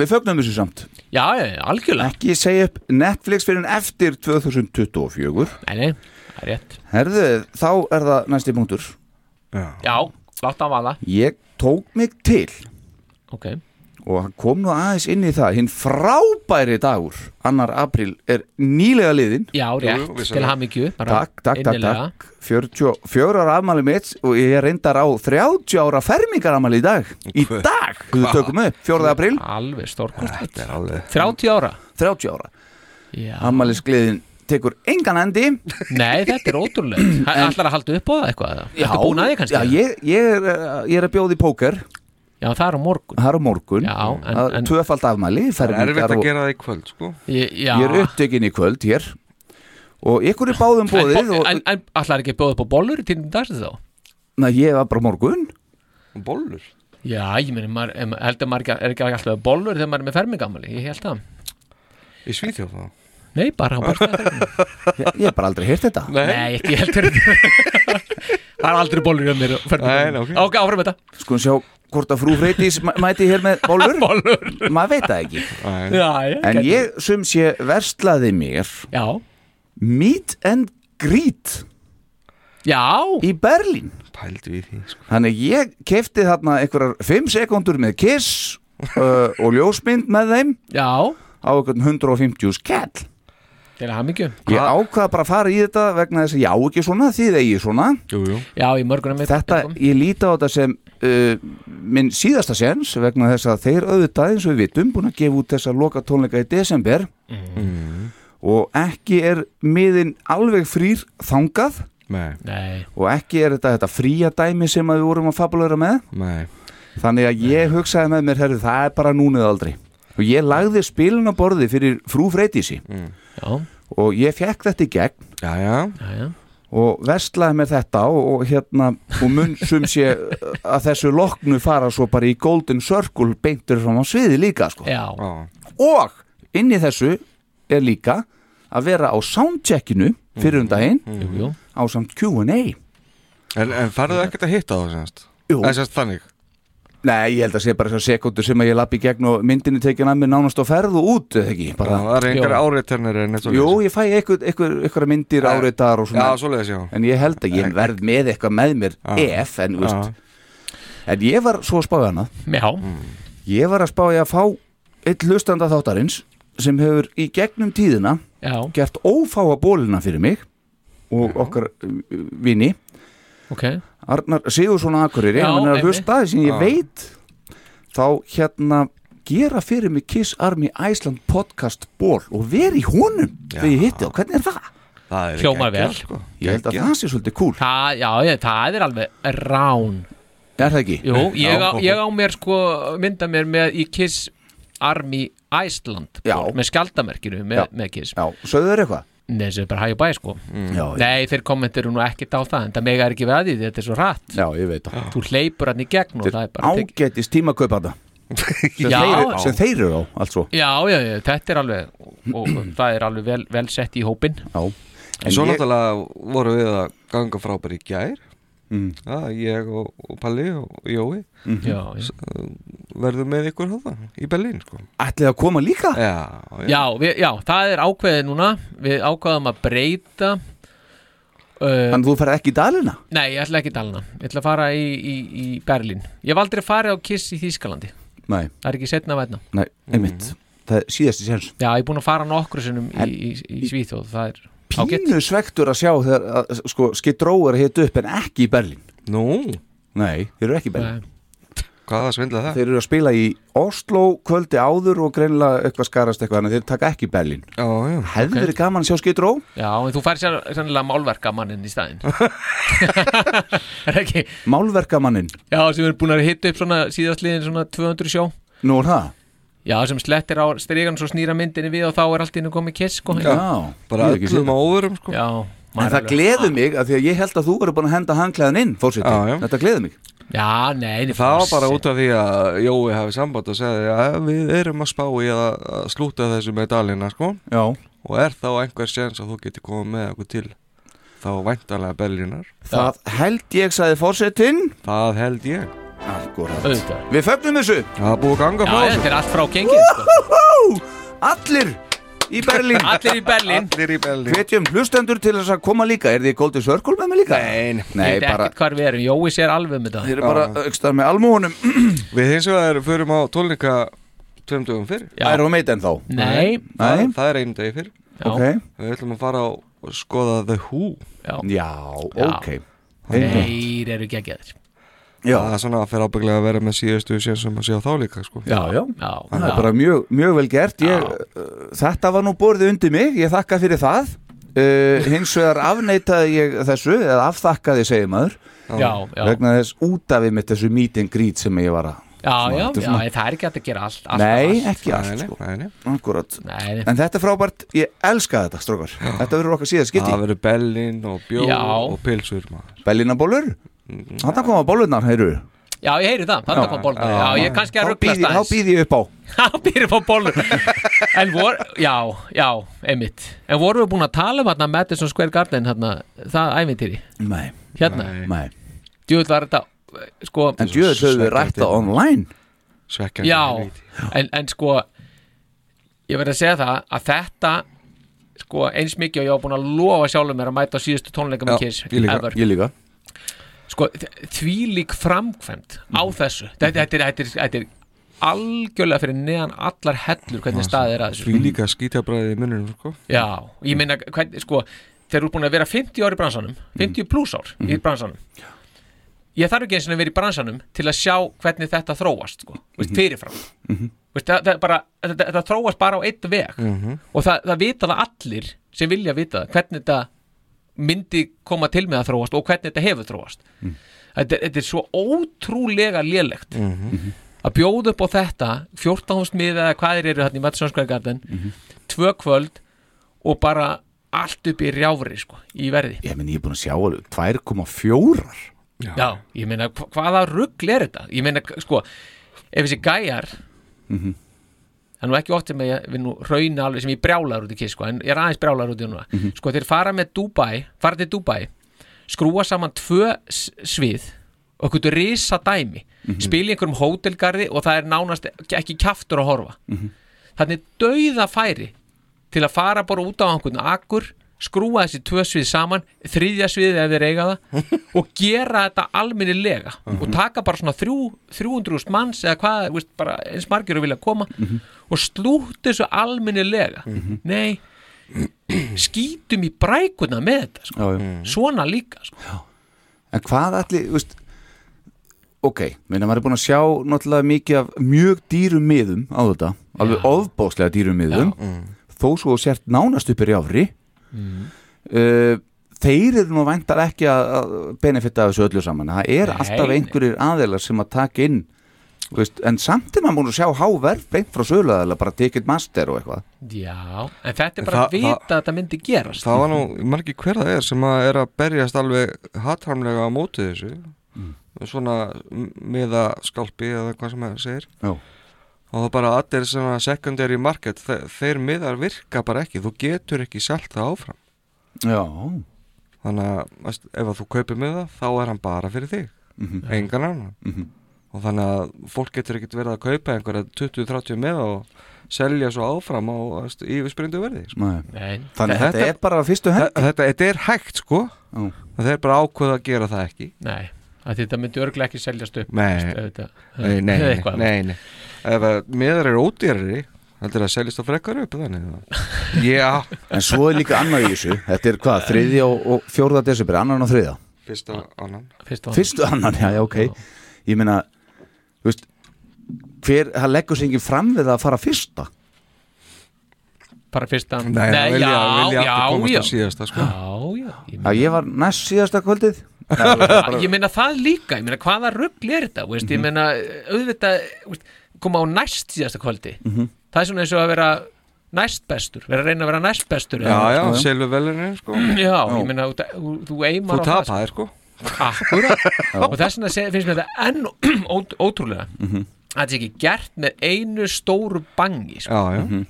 [SPEAKER 2] við fögnum þessu samt
[SPEAKER 3] Já, já, já, algjörlega
[SPEAKER 2] Ekki segja upp Netflix fyrir en eftir 2024
[SPEAKER 3] Nei, nei, það er rétt
[SPEAKER 2] Herðu, þá er það næsti punktur
[SPEAKER 3] Já, láta að vaða
[SPEAKER 2] Ég tók mig til
[SPEAKER 3] Ok,
[SPEAKER 2] og hann kom nú aðeins inn í það hinn frábæri dagur, annar april er nýlega liðin
[SPEAKER 3] já, rétt,
[SPEAKER 4] jú, vissulega.
[SPEAKER 3] til hamingju bara
[SPEAKER 2] takk, takk, takk,
[SPEAKER 3] innilega.
[SPEAKER 2] takk 44 ára afmæli mitt og ég reyndar á 30 ára fermingar afmæli í dag í
[SPEAKER 4] Hva-
[SPEAKER 2] dag, við tökum upp, 4. april
[SPEAKER 3] Alveg stórkost
[SPEAKER 4] Þetta er alveg
[SPEAKER 3] 30 ára
[SPEAKER 2] 30 ára,
[SPEAKER 3] já.
[SPEAKER 2] afmælisgliðin tekur engan endi
[SPEAKER 3] Nei, þetta er ótrúlegt Ætlar að halda upp á það eitthvað Þetta búin að því kannski
[SPEAKER 2] já ég, ég, er, eh, ég er að bjóði póker,
[SPEAKER 3] já, það er á morgun
[SPEAKER 2] það er á morgun
[SPEAKER 3] Já, en-
[SPEAKER 2] Það er
[SPEAKER 3] en-
[SPEAKER 2] tvöfald afmæli,
[SPEAKER 4] Það er
[SPEAKER 2] fermingar
[SPEAKER 4] erfitt
[SPEAKER 2] og
[SPEAKER 4] að gera það í kvöld sko
[SPEAKER 3] Ég, já.
[SPEAKER 2] ég er upptökin í kvöld hér og ykkur er báðum
[SPEAKER 3] En,
[SPEAKER 2] bóðið
[SPEAKER 3] en,
[SPEAKER 2] og,
[SPEAKER 3] en, en allar ekki að bjóða upp á bollur í tímum dagsins þá?
[SPEAKER 2] na, ég var bara á morgun
[SPEAKER 4] Bollur
[SPEAKER 3] Já, ég meni, maður, em- heldur maður ekki, er ekki alltaf bollur þegar maður er með fermingamali, ég held það
[SPEAKER 4] Í Svíþjóð þá
[SPEAKER 3] Nei, bara á börnstæðarferðinu
[SPEAKER 2] ég, ég hef bara aldrei heyrt þetta
[SPEAKER 3] Nei, ekki heldur Það er aldrei bollur hjá mér á fermingamali.
[SPEAKER 4] Nei, ok.
[SPEAKER 3] ok, áfram með þetta
[SPEAKER 2] Skoðum Sko, sjá hvort að frú Freydís mæ- mæti hér með bólur
[SPEAKER 3] Bollur
[SPEAKER 2] Maður veit það ekki
[SPEAKER 4] Nei,
[SPEAKER 3] Já, já,
[SPEAKER 2] En
[SPEAKER 3] gæti-
[SPEAKER 2] ég sum sé verslaði mér
[SPEAKER 3] Já,
[SPEAKER 2] Meet and Greet
[SPEAKER 3] já
[SPEAKER 2] í Berlín
[SPEAKER 4] pældu í því sko
[SPEAKER 2] Þannig ég kefti þarna einhverjar 5 sekundur með kiss uh, og ljósmynd með þeim
[SPEAKER 3] Já,
[SPEAKER 2] á einhvern 150 skell
[SPEAKER 3] til hamingju
[SPEAKER 2] Ég ákvaða bara að fara í þetta vegna þess að já ekki svona þið eigi svona
[SPEAKER 4] Jú, jú
[SPEAKER 3] Já, í morgunum mitt
[SPEAKER 2] Þetta, ég líti á þetta sem uh, minn síðasta séns vegna þess að þeir auðvitað eins og við vitum búin að gefa út þessa loka tónleika í desember og ekki er miðin alveg frýr þangað
[SPEAKER 4] Nei,
[SPEAKER 3] Nei,
[SPEAKER 2] og ekki er þetta þetta fría dæmi sem að við vorum að fabulera með
[SPEAKER 4] nei
[SPEAKER 2] þannig að ég hugsaði með mér, herru, það er bara núnið aldrei og ég lagði spilin á borði fyrir frú Freytísi
[SPEAKER 3] já,
[SPEAKER 2] og ég fekk þetta í gegn
[SPEAKER 4] Já, já
[SPEAKER 3] já, já
[SPEAKER 2] og vestlaði mér þetta og, og hérna og mun sum sé að þessu loknu fara svo bara í Golden Circle beintur fram á sviði líka sko.
[SPEAKER 3] Já,
[SPEAKER 4] Já,
[SPEAKER 2] og inn í þessu er líka að vera á soundcheckinu fyrir um daginn
[SPEAKER 3] jú, jú
[SPEAKER 2] á samt Q&A
[SPEAKER 4] En, en farðu ekkert að hitta þá semast
[SPEAKER 2] Jú.
[SPEAKER 4] En semast þannig
[SPEAKER 2] Nei, ég held að sé bara þessar sekundur sem að ég lappi gegn og myndinni tekin að mér nánast á ferð og út eða ekki,
[SPEAKER 4] Já,
[SPEAKER 2] bara,
[SPEAKER 4] Það er einhver áreiternir en eitt
[SPEAKER 2] jú, ég fæ eitthvað, eitthvað, eitthvað myndir áreitar og
[SPEAKER 4] Já,
[SPEAKER 2] svona
[SPEAKER 4] svoleiðis, já
[SPEAKER 2] en ég held að ég verð með eitthvað með mér ef, en, þú veist en ég var svo að spáði hana
[SPEAKER 3] Já,
[SPEAKER 2] Ég var að spá ég að fá eitt hlustanda þáttarins sem hefur í gegnum tíðina
[SPEAKER 3] já,
[SPEAKER 2] gert ófáa bólina fyrir mig og okkar uh, vini
[SPEAKER 3] ok
[SPEAKER 2] Arnar Sigursson á Akureyri
[SPEAKER 3] Já,
[SPEAKER 2] hann er að
[SPEAKER 3] einmitt.
[SPEAKER 2] hlusta aðeins sem ég
[SPEAKER 4] Já.
[SPEAKER 2] veit þá hérna gera fyrir mig Kiss Army Iceland podcast ból og veri í honum þegar ég hitti á, hvernig er það?
[SPEAKER 4] Það er
[SPEAKER 3] Hljómar
[SPEAKER 4] geggjað,
[SPEAKER 3] vel.
[SPEAKER 4] sko.
[SPEAKER 2] Ég held að
[SPEAKER 4] Geggjað.
[SPEAKER 2] það sé svolítið cool
[SPEAKER 3] Það, já, ég, það er alveg rán
[SPEAKER 2] Er það ekki?
[SPEAKER 3] Jú, ég, á,
[SPEAKER 4] Já.
[SPEAKER 3] ég á mér sko mynda mér með í Kiss Army Iceland
[SPEAKER 2] Já.
[SPEAKER 3] ból, með skjaldamerkinu með,
[SPEAKER 2] Já.
[SPEAKER 3] með Kiss
[SPEAKER 2] Já, Mm. sögðu þér eitthvað?
[SPEAKER 3] Nei, þessu er bara hægjubæ sko
[SPEAKER 2] Já,
[SPEAKER 3] Nei, þeir kommentir nú ekkert á það en það mega er ekki við að því, þetta er svo rætt
[SPEAKER 2] já, ég veit það
[SPEAKER 3] Þú hleypur hann í gegn og það er bara tekið-
[SPEAKER 2] Ágætis tímakaupada sem,
[SPEAKER 3] Já.
[SPEAKER 2] þeir- sem þeir eru á, altså
[SPEAKER 3] Já, já, já, þetta er alveg og það er alveg vel, vel sett í hópin
[SPEAKER 2] Já
[SPEAKER 4] En svo náttúrulega voru við að ganga frábæri í gær Já, ég og, og Palli og Jói
[SPEAKER 2] Mhm.
[SPEAKER 3] Já, já.
[SPEAKER 4] verðum með ykkur hóða í Berlín sko.
[SPEAKER 2] Ætlið að koma líka?
[SPEAKER 4] Já,
[SPEAKER 3] já, við, já, það er ákveðið núna Við ákveðum að breyta uh,
[SPEAKER 2] Þannig að þú ferð ekki í dalina?
[SPEAKER 3] Nei, ég ætla ekki að dalna Ég ætla að fara í, í, í Berlín Ég hef aldrei farið á Kiss í Þýskalandi
[SPEAKER 2] Nei,
[SPEAKER 3] Það er ekki setna að væna
[SPEAKER 2] nei, einmitt Það er síðasti séns
[SPEAKER 3] Já, ég er búin að fara nokkru sinnum
[SPEAKER 2] En-
[SPEAKER 3] í, í, í Svíþjóð Það er ágætt
[SPEAKER 2] Pínu svektur að sjá þegar að, sko, skittró er hitt upp en ekki í Berlín
[SPEAKER 4] Nú,
[SPEAKER 2] Nei, þeir eru ekki í Berlín
[SPEAKER 3] Nei.
[SPEAKER 4] hvað var svindlað það?
[SPEAKER 2] Þeir eru að spila í Oslo kvöldi áður og greinilega eitthvað skarast eitthvað þannig að þeir taka ekki í Berlín
[SPEAKER 4] Já, já,
[SPEAKER 2] Hefði verið gaman að sjá skittró?
[SPEAKER 3] Já, en þú fær sér sannlega málverka mannin í staðinn Er ekki
[SPEAKER 2] Málverkamanninn,
[SPEAKER 3] Já, sem er búin að hitta upp svona síðastliðin svona 200 sjó
[SPEAKER 2] nú er það?
[SPEAKER 3] Já, sem slettir á strígan svo snýra myndinni við og þá er allt innu komið kiss sko.
[SPEAKER 2] Já, ég
[SPEAKER 4] bara
[SPEAKER 2] hef ekki séð
[SPEAKER 4] öllum á óverum sko.
[SPEAKER 3] Já,
[SPEAKER 2] En
[SPEAKER 3] maður
[SPEAKER 2] það
[SPEAKER 3] alveg-
[SPEAKER 2] gleður mig að því að ég held að þú verður búin að henda handklæðan inn, fórseti,
[SPEAKER 4] Já, já.
[SPEAKER 2] þetta gleður mig
[SPEAKER 3] Já, nei, nei,
[SPEAKER 4] Það var bara
[SPEAKER 3] forseti.
[SPEAKER 4] út af því að Jói hafi samband og segði að við erum að spá í að, að slúta þessu með dalina sko.
[SPEAKER 2] Já,
[SPEAKER 4] og er þá einhver séns að þú getur komið með okkur til þá væntalega Berlínar
[SPEAKER 2] það held ég sagði fórsetin
[SPEAKER 4] Það held ég
[SPEAKER 2] Akkurat
[SPEAKER 3] Auðvitað.
[SPEAKER 2] Við fögnum þessu
[SPEAKER 4] Það er búið að ganga
[SPEAKER 3] Já,
[SPEAKER 4] frá
[SPEAKER 3] þetta
[SPEAKER 4] þessu
[SPEAKER 3] er allt frá gengið sko.
[SPEAKER 2] Hú! Allir í Berlín
[SPEAKER 3] Allir í Berlín
[SPEAKER 4] Allir í Berlín
[SPEAKER 2] Hvetjum hlustendur til þess að koma líka Er þið í Golden Circle með mig líka? Nei,
[SPEAKER 3] Ég
[SPEAKER 2] Nei
[SPEAKER 3] veit
[SPEAKER 2] bara,
[SPEAKER 3] ekkert hvar við erum, Jói sér alveg um þetta
[SPEAKER 2] þeir eru bara aukstar með almúhunum
[SPEAKER 4] Við hins vegar förum á tónleika tveim dögum fyrr
[SPEAKER 3] Já.
[SPEAKER 2] Iron Maiden þá
[SPEAKER 3] Nei,
[SPEAKER 4] það,
[SPEAKER 2] Nei,
[SPEAKER 4] það er einu degi fyrr
[SPEAKER 3] já,
[SPEAKER 2] ok
[SPEAKER 4] Við ætlum að fara á og skoða The Who
[SPEAKER 3] já.
[SPEAKER 2] Já,
[SPEAKER 3] Já.
[SPEAKER 2] ok Einmitt.
[SPEAKER 3] Þeir eru geggjaðir
[SPEAKER 2] Já,
[SPEAKER 4] Það er svona að fyrir ábygglega að vera með síðustu sénsum að sjá þá líka sko.
[SPEAKER 2] já, já
[SPEAKER 3] Já,
[SPEAKER 2] Það er
[SPEAKER 3] já.
[SPEAKER 2] bara mjög, mjög vel gert ég, uh, Þetta var nú borðið undir mig, ég þakka fyrir það uh, Hins vegar afneitaði ég þessu Eða afþakkaði, segir maður
[SPEAKER 3] Já, já, já,
[SPEAKER 2] Vegna þess út af mitt þessu meet and greet sem ég var að
[SPEAKER 3] já,
[SPEAKER 2] þetta er
[SPEAKER 3] já,
[SPEAKER 2] svona-
[SPEAKER 3] það er ekki hægt að gera allt, allt
[SPEAKER 2] Nei,
[SPEAKER 3] allt.
[SPEAKER 2] ekki allt
[SPEAKER 4] Nei,
[SPEAKER 2] sko
[SPEAKER 4] nei, nei.
[SPEAKER 2] Akkurat
[SPEAKER 3] Nei, nei.
[SPEAKER 2] En þetta er frábært, ég elska þetta strókar Þetta verður okkar síðan
[SPEAKER 4] Það
[SPEAKER 2] skipti
[SPEAKER 4] verður Berlín og bjóð
[SPEAKER 3] Já.
[SPEAKER 4] og pilsur maður.
[SPEAKER 2] Bellinabólur, hann koma bólurnar, heyrðu
[SPEAKER 3] Já, ég heyri það, þannig að fá bólur Já, ég er kannski að
[SPEAKER 2] Þá
[SPEAKER 3] ruggla
[SPEAKER 2] býð ég- þá
[SPEAKER 3] staðins
[SPEAKER 2] býð ég upp á
[SPEAKER 3] Þá býðir fá bólur En vor, já, já, einmitt En vorum við búin að tala um hérna Madison Square Garden, hérna, það ævintýri
[SPEAKER 2] Nei,
[SPEAKER 3] Hérna,
[SPEAKER 2] nei
[SPEAKER 3] djúið var þetta eh, Sko,
[SPEAKER 2] En djöður höfum við rætt það online
[SPEAKER 4] Svekkjandi
[SPEAKER 3] já
[SPEAKER 4] helvíti.
[SPEAKER 3] en, en sko, ég verð að segja það að þetta sko, eins mikið og ég var búin að lofa sjálfum mér að mæta á síðustu tónleika með
[SPEAKER 4] Já,
[SPEAKER 3] Kiss
[SPEAKER 4] ég líka.
[SPEAKER 3] ever.
[SPEAKER 2] Ég líka
[SPEAKER 3] sko, þvílík framkvæmt á
[SPEAKER 4] Mm.
[SPEAKER 3] þessu þetta, þetta, er, þetta, er, þetta er algjörlega fyrir neðan allar hellur hvernig staðið er að þessu sko.
[SPEAKER 4] Því líka skítabræði í mununum sko.
[SPEAKER 3] já, ég meina, hvernig, sko þeir eru búin að vera 50 ár í bransanum 50 pluss ár í bransanum ég þarf ekki eins og að vera í bransanum til að sjá hvernig þetta þróast, sko, veist, fyrirfram veist, það, það er bara, þetta, þetta þróast bara á eitt veg og það, það vita það allir sem vilja vita það hvernig þetta myndi koma til með að þróast og hvernig þetta hefur þróast þetta, þetta er svo ótrúlega lélegt Mhm. að bjóða upp á þetta 14.000 miða eða hvað þeir eru hérna í Matsonskrargarden mm -hmm. tvö kvöld og bara allt upp í rjáfri sko, í verði
[SPEAKER 2] Ég meni, ég er búin að sjá alveg 2,4
[SPEAKER 3] Já, ég meina, hva- hvaða rugl er þetta? Ég meina, sko, ef þessi gæjar Það er nú ekki oft sem ég við nú rauna alveg sem ég brjálar út í kiss, sko, en ég er aðeins brjálar út í núna Sko, þeir fara með Dubai, fara til Dubai skrúa saman tvö s- svið og eitthvað risa dæmi spila í einhverjum hótelgarði og það er nánast ekki kjaftur að horfa Þannig dauða færi til að fara bara út á einhvern akkur skrúa þessi tvö svið saman þriðja sviðið ef þeir eiga það og gera þetta alminnilega og taka bara svona þrjú, 300.000 manns eða hvað, þú veist, bara eins margir að vilja koma og slútt þessu alminnilega nei, skítum í brækuna með þetta sko.
[SPEAKER 2] já, já.
[SPEAKER 4] Mhm.
[SPEAKER 3] svona líka sko.
[SPEAKER 2] En hvað allir, þú veist Ok, minna maður er búin að sjá náttúrulega mikið af mjög dýrum miðum á þetta, alveg ofbóðslega dýrum miðum, þó svo þú sért nánast uppir í áfri mm. Þeir eru nú væntar ekki að að benefita af þessu öllu saman það er
[SPEAKER 3] Nei,
[SPEAKER 2] alltaf
[SPEAKER 3] nei.
[SPEAKER 2] einhverjir aðeilar sem að taka inn þú veist, en samt er maður búin að sjá háverf beint frá söluðaðilega, bara ticket master og eitthvað
[SPEAKER 3] já, en þetta er
[SPEAKER 4] En
[SPEAKER 3] bara
[SPEAKER 4] það-
[SPEAKER 3] að vita
[SPEAKER 4] það-
[SPEAKER 3] að þetta myndi gerast
[SPEAKER 4] Það var nú, ég man ekki hver það er sem að er að berjast alveg hattramlega á móti þessu svona miða skálpi eða hvað sem það segir
[SPEAKER 2] Já.
[SPEAKER 4] og það er bara allir sem að secondary market þe þeir miðar virka bara ekki, þú getur ekki selt það áfram
[SPEAKER 2] Já,
[SPEAKER 4] þannig að veist, ef að þú kaupir miða þá er hann bara fyrir þig engan annan og þannig að fólk getur ekkert verið að kaupa einhverja 20-30 miða og selja svo áfram á veist, yfirsprindu verði sko.
[SPEAKER 2] nei
[SPEAKER 3] Nei,
[SPEAKER 2] Þannig að þetta
[SPEAKER 4] Þetta-
[SPEAKER 2] er bara á fyrstu
[SPEAKER 4] Þa-
[SPEAKER 2] hendi
[SPEAKER 4] þetta, þetta er hægt sko
[SPEAKER 2] Já.
[SPEAKER 4] Það er bara ákveð að gera það ekki
[SPEAKER 3] nei, að þetta myndi örglega ekki seljast upp
[SPEAKER 4] Nei.
[SPEAKER 3] veist, auðvitað.
[SPEAKER 4] Nei, nei, nei,
[SPEAKER 3] Eitthvað.
[SPEAKER 4] nei, nei. Ef að miðar eru ódýrari heldur það að seljast á frekar upp þannig að- Já,
[SPEAKER 2] En svo er líka annað í þessu Þetta er hvað, þriðja og, og fjórða desember, annan og þriðja
[SPEAKER 4] fyrst á annan
[SPEAKER 3] Fyrst og-
[SPEAKER 2] Fyrstu annan, já, já, ok Ég meina, þú veist Hver, það leggur sér enginn fram við að fara fyrsta
[SPEAKER 3] bara fyrsta
[SPEAKER 4] Nei, það vilja, vilja allir komast
[SPEAKER 3] já, já,
[SPEAKER 4] á síðasta sko.
[SPEAKER 3] já, já, ég meina-
[SPEAKER 2] Að ég var næst síðasta kvöldið
[SPEAKER 3] Þa- ég meina það líka, ég meina hvaða rugg er þetta, veist,
[SPEAKER 4] Mhm.
[SPEAKER 3] ég meina auðvitað, veist, koma á næst síðasta kvöldi,
[SPEAKER 4] Mhm.
[SPEAKER 3] það er svona eins og að vera næst bestur, vera að reyna að vera næst bestur
[SPEAKER 4] Já, já,
[SPEAKER 2] já.
[SPEAKER 4] selju velinu sko.
[SPEAKER 3] já, ég meina þú, þú, þú
[SPEAKER 4] Þú
[SPEAKER 3] eimar á það,
[SPEAKER 4] tapaðir sko
[SPEAKER 3] akkurat og þess vegna seg- finnst mér þetta enn ó- ótrúlega
[SPEAKER 2] Mhm.
[SPEAKER 3] að þetta sé ekki gert með einu stóru bangi sko.
[SPEAKER 4] Já, já,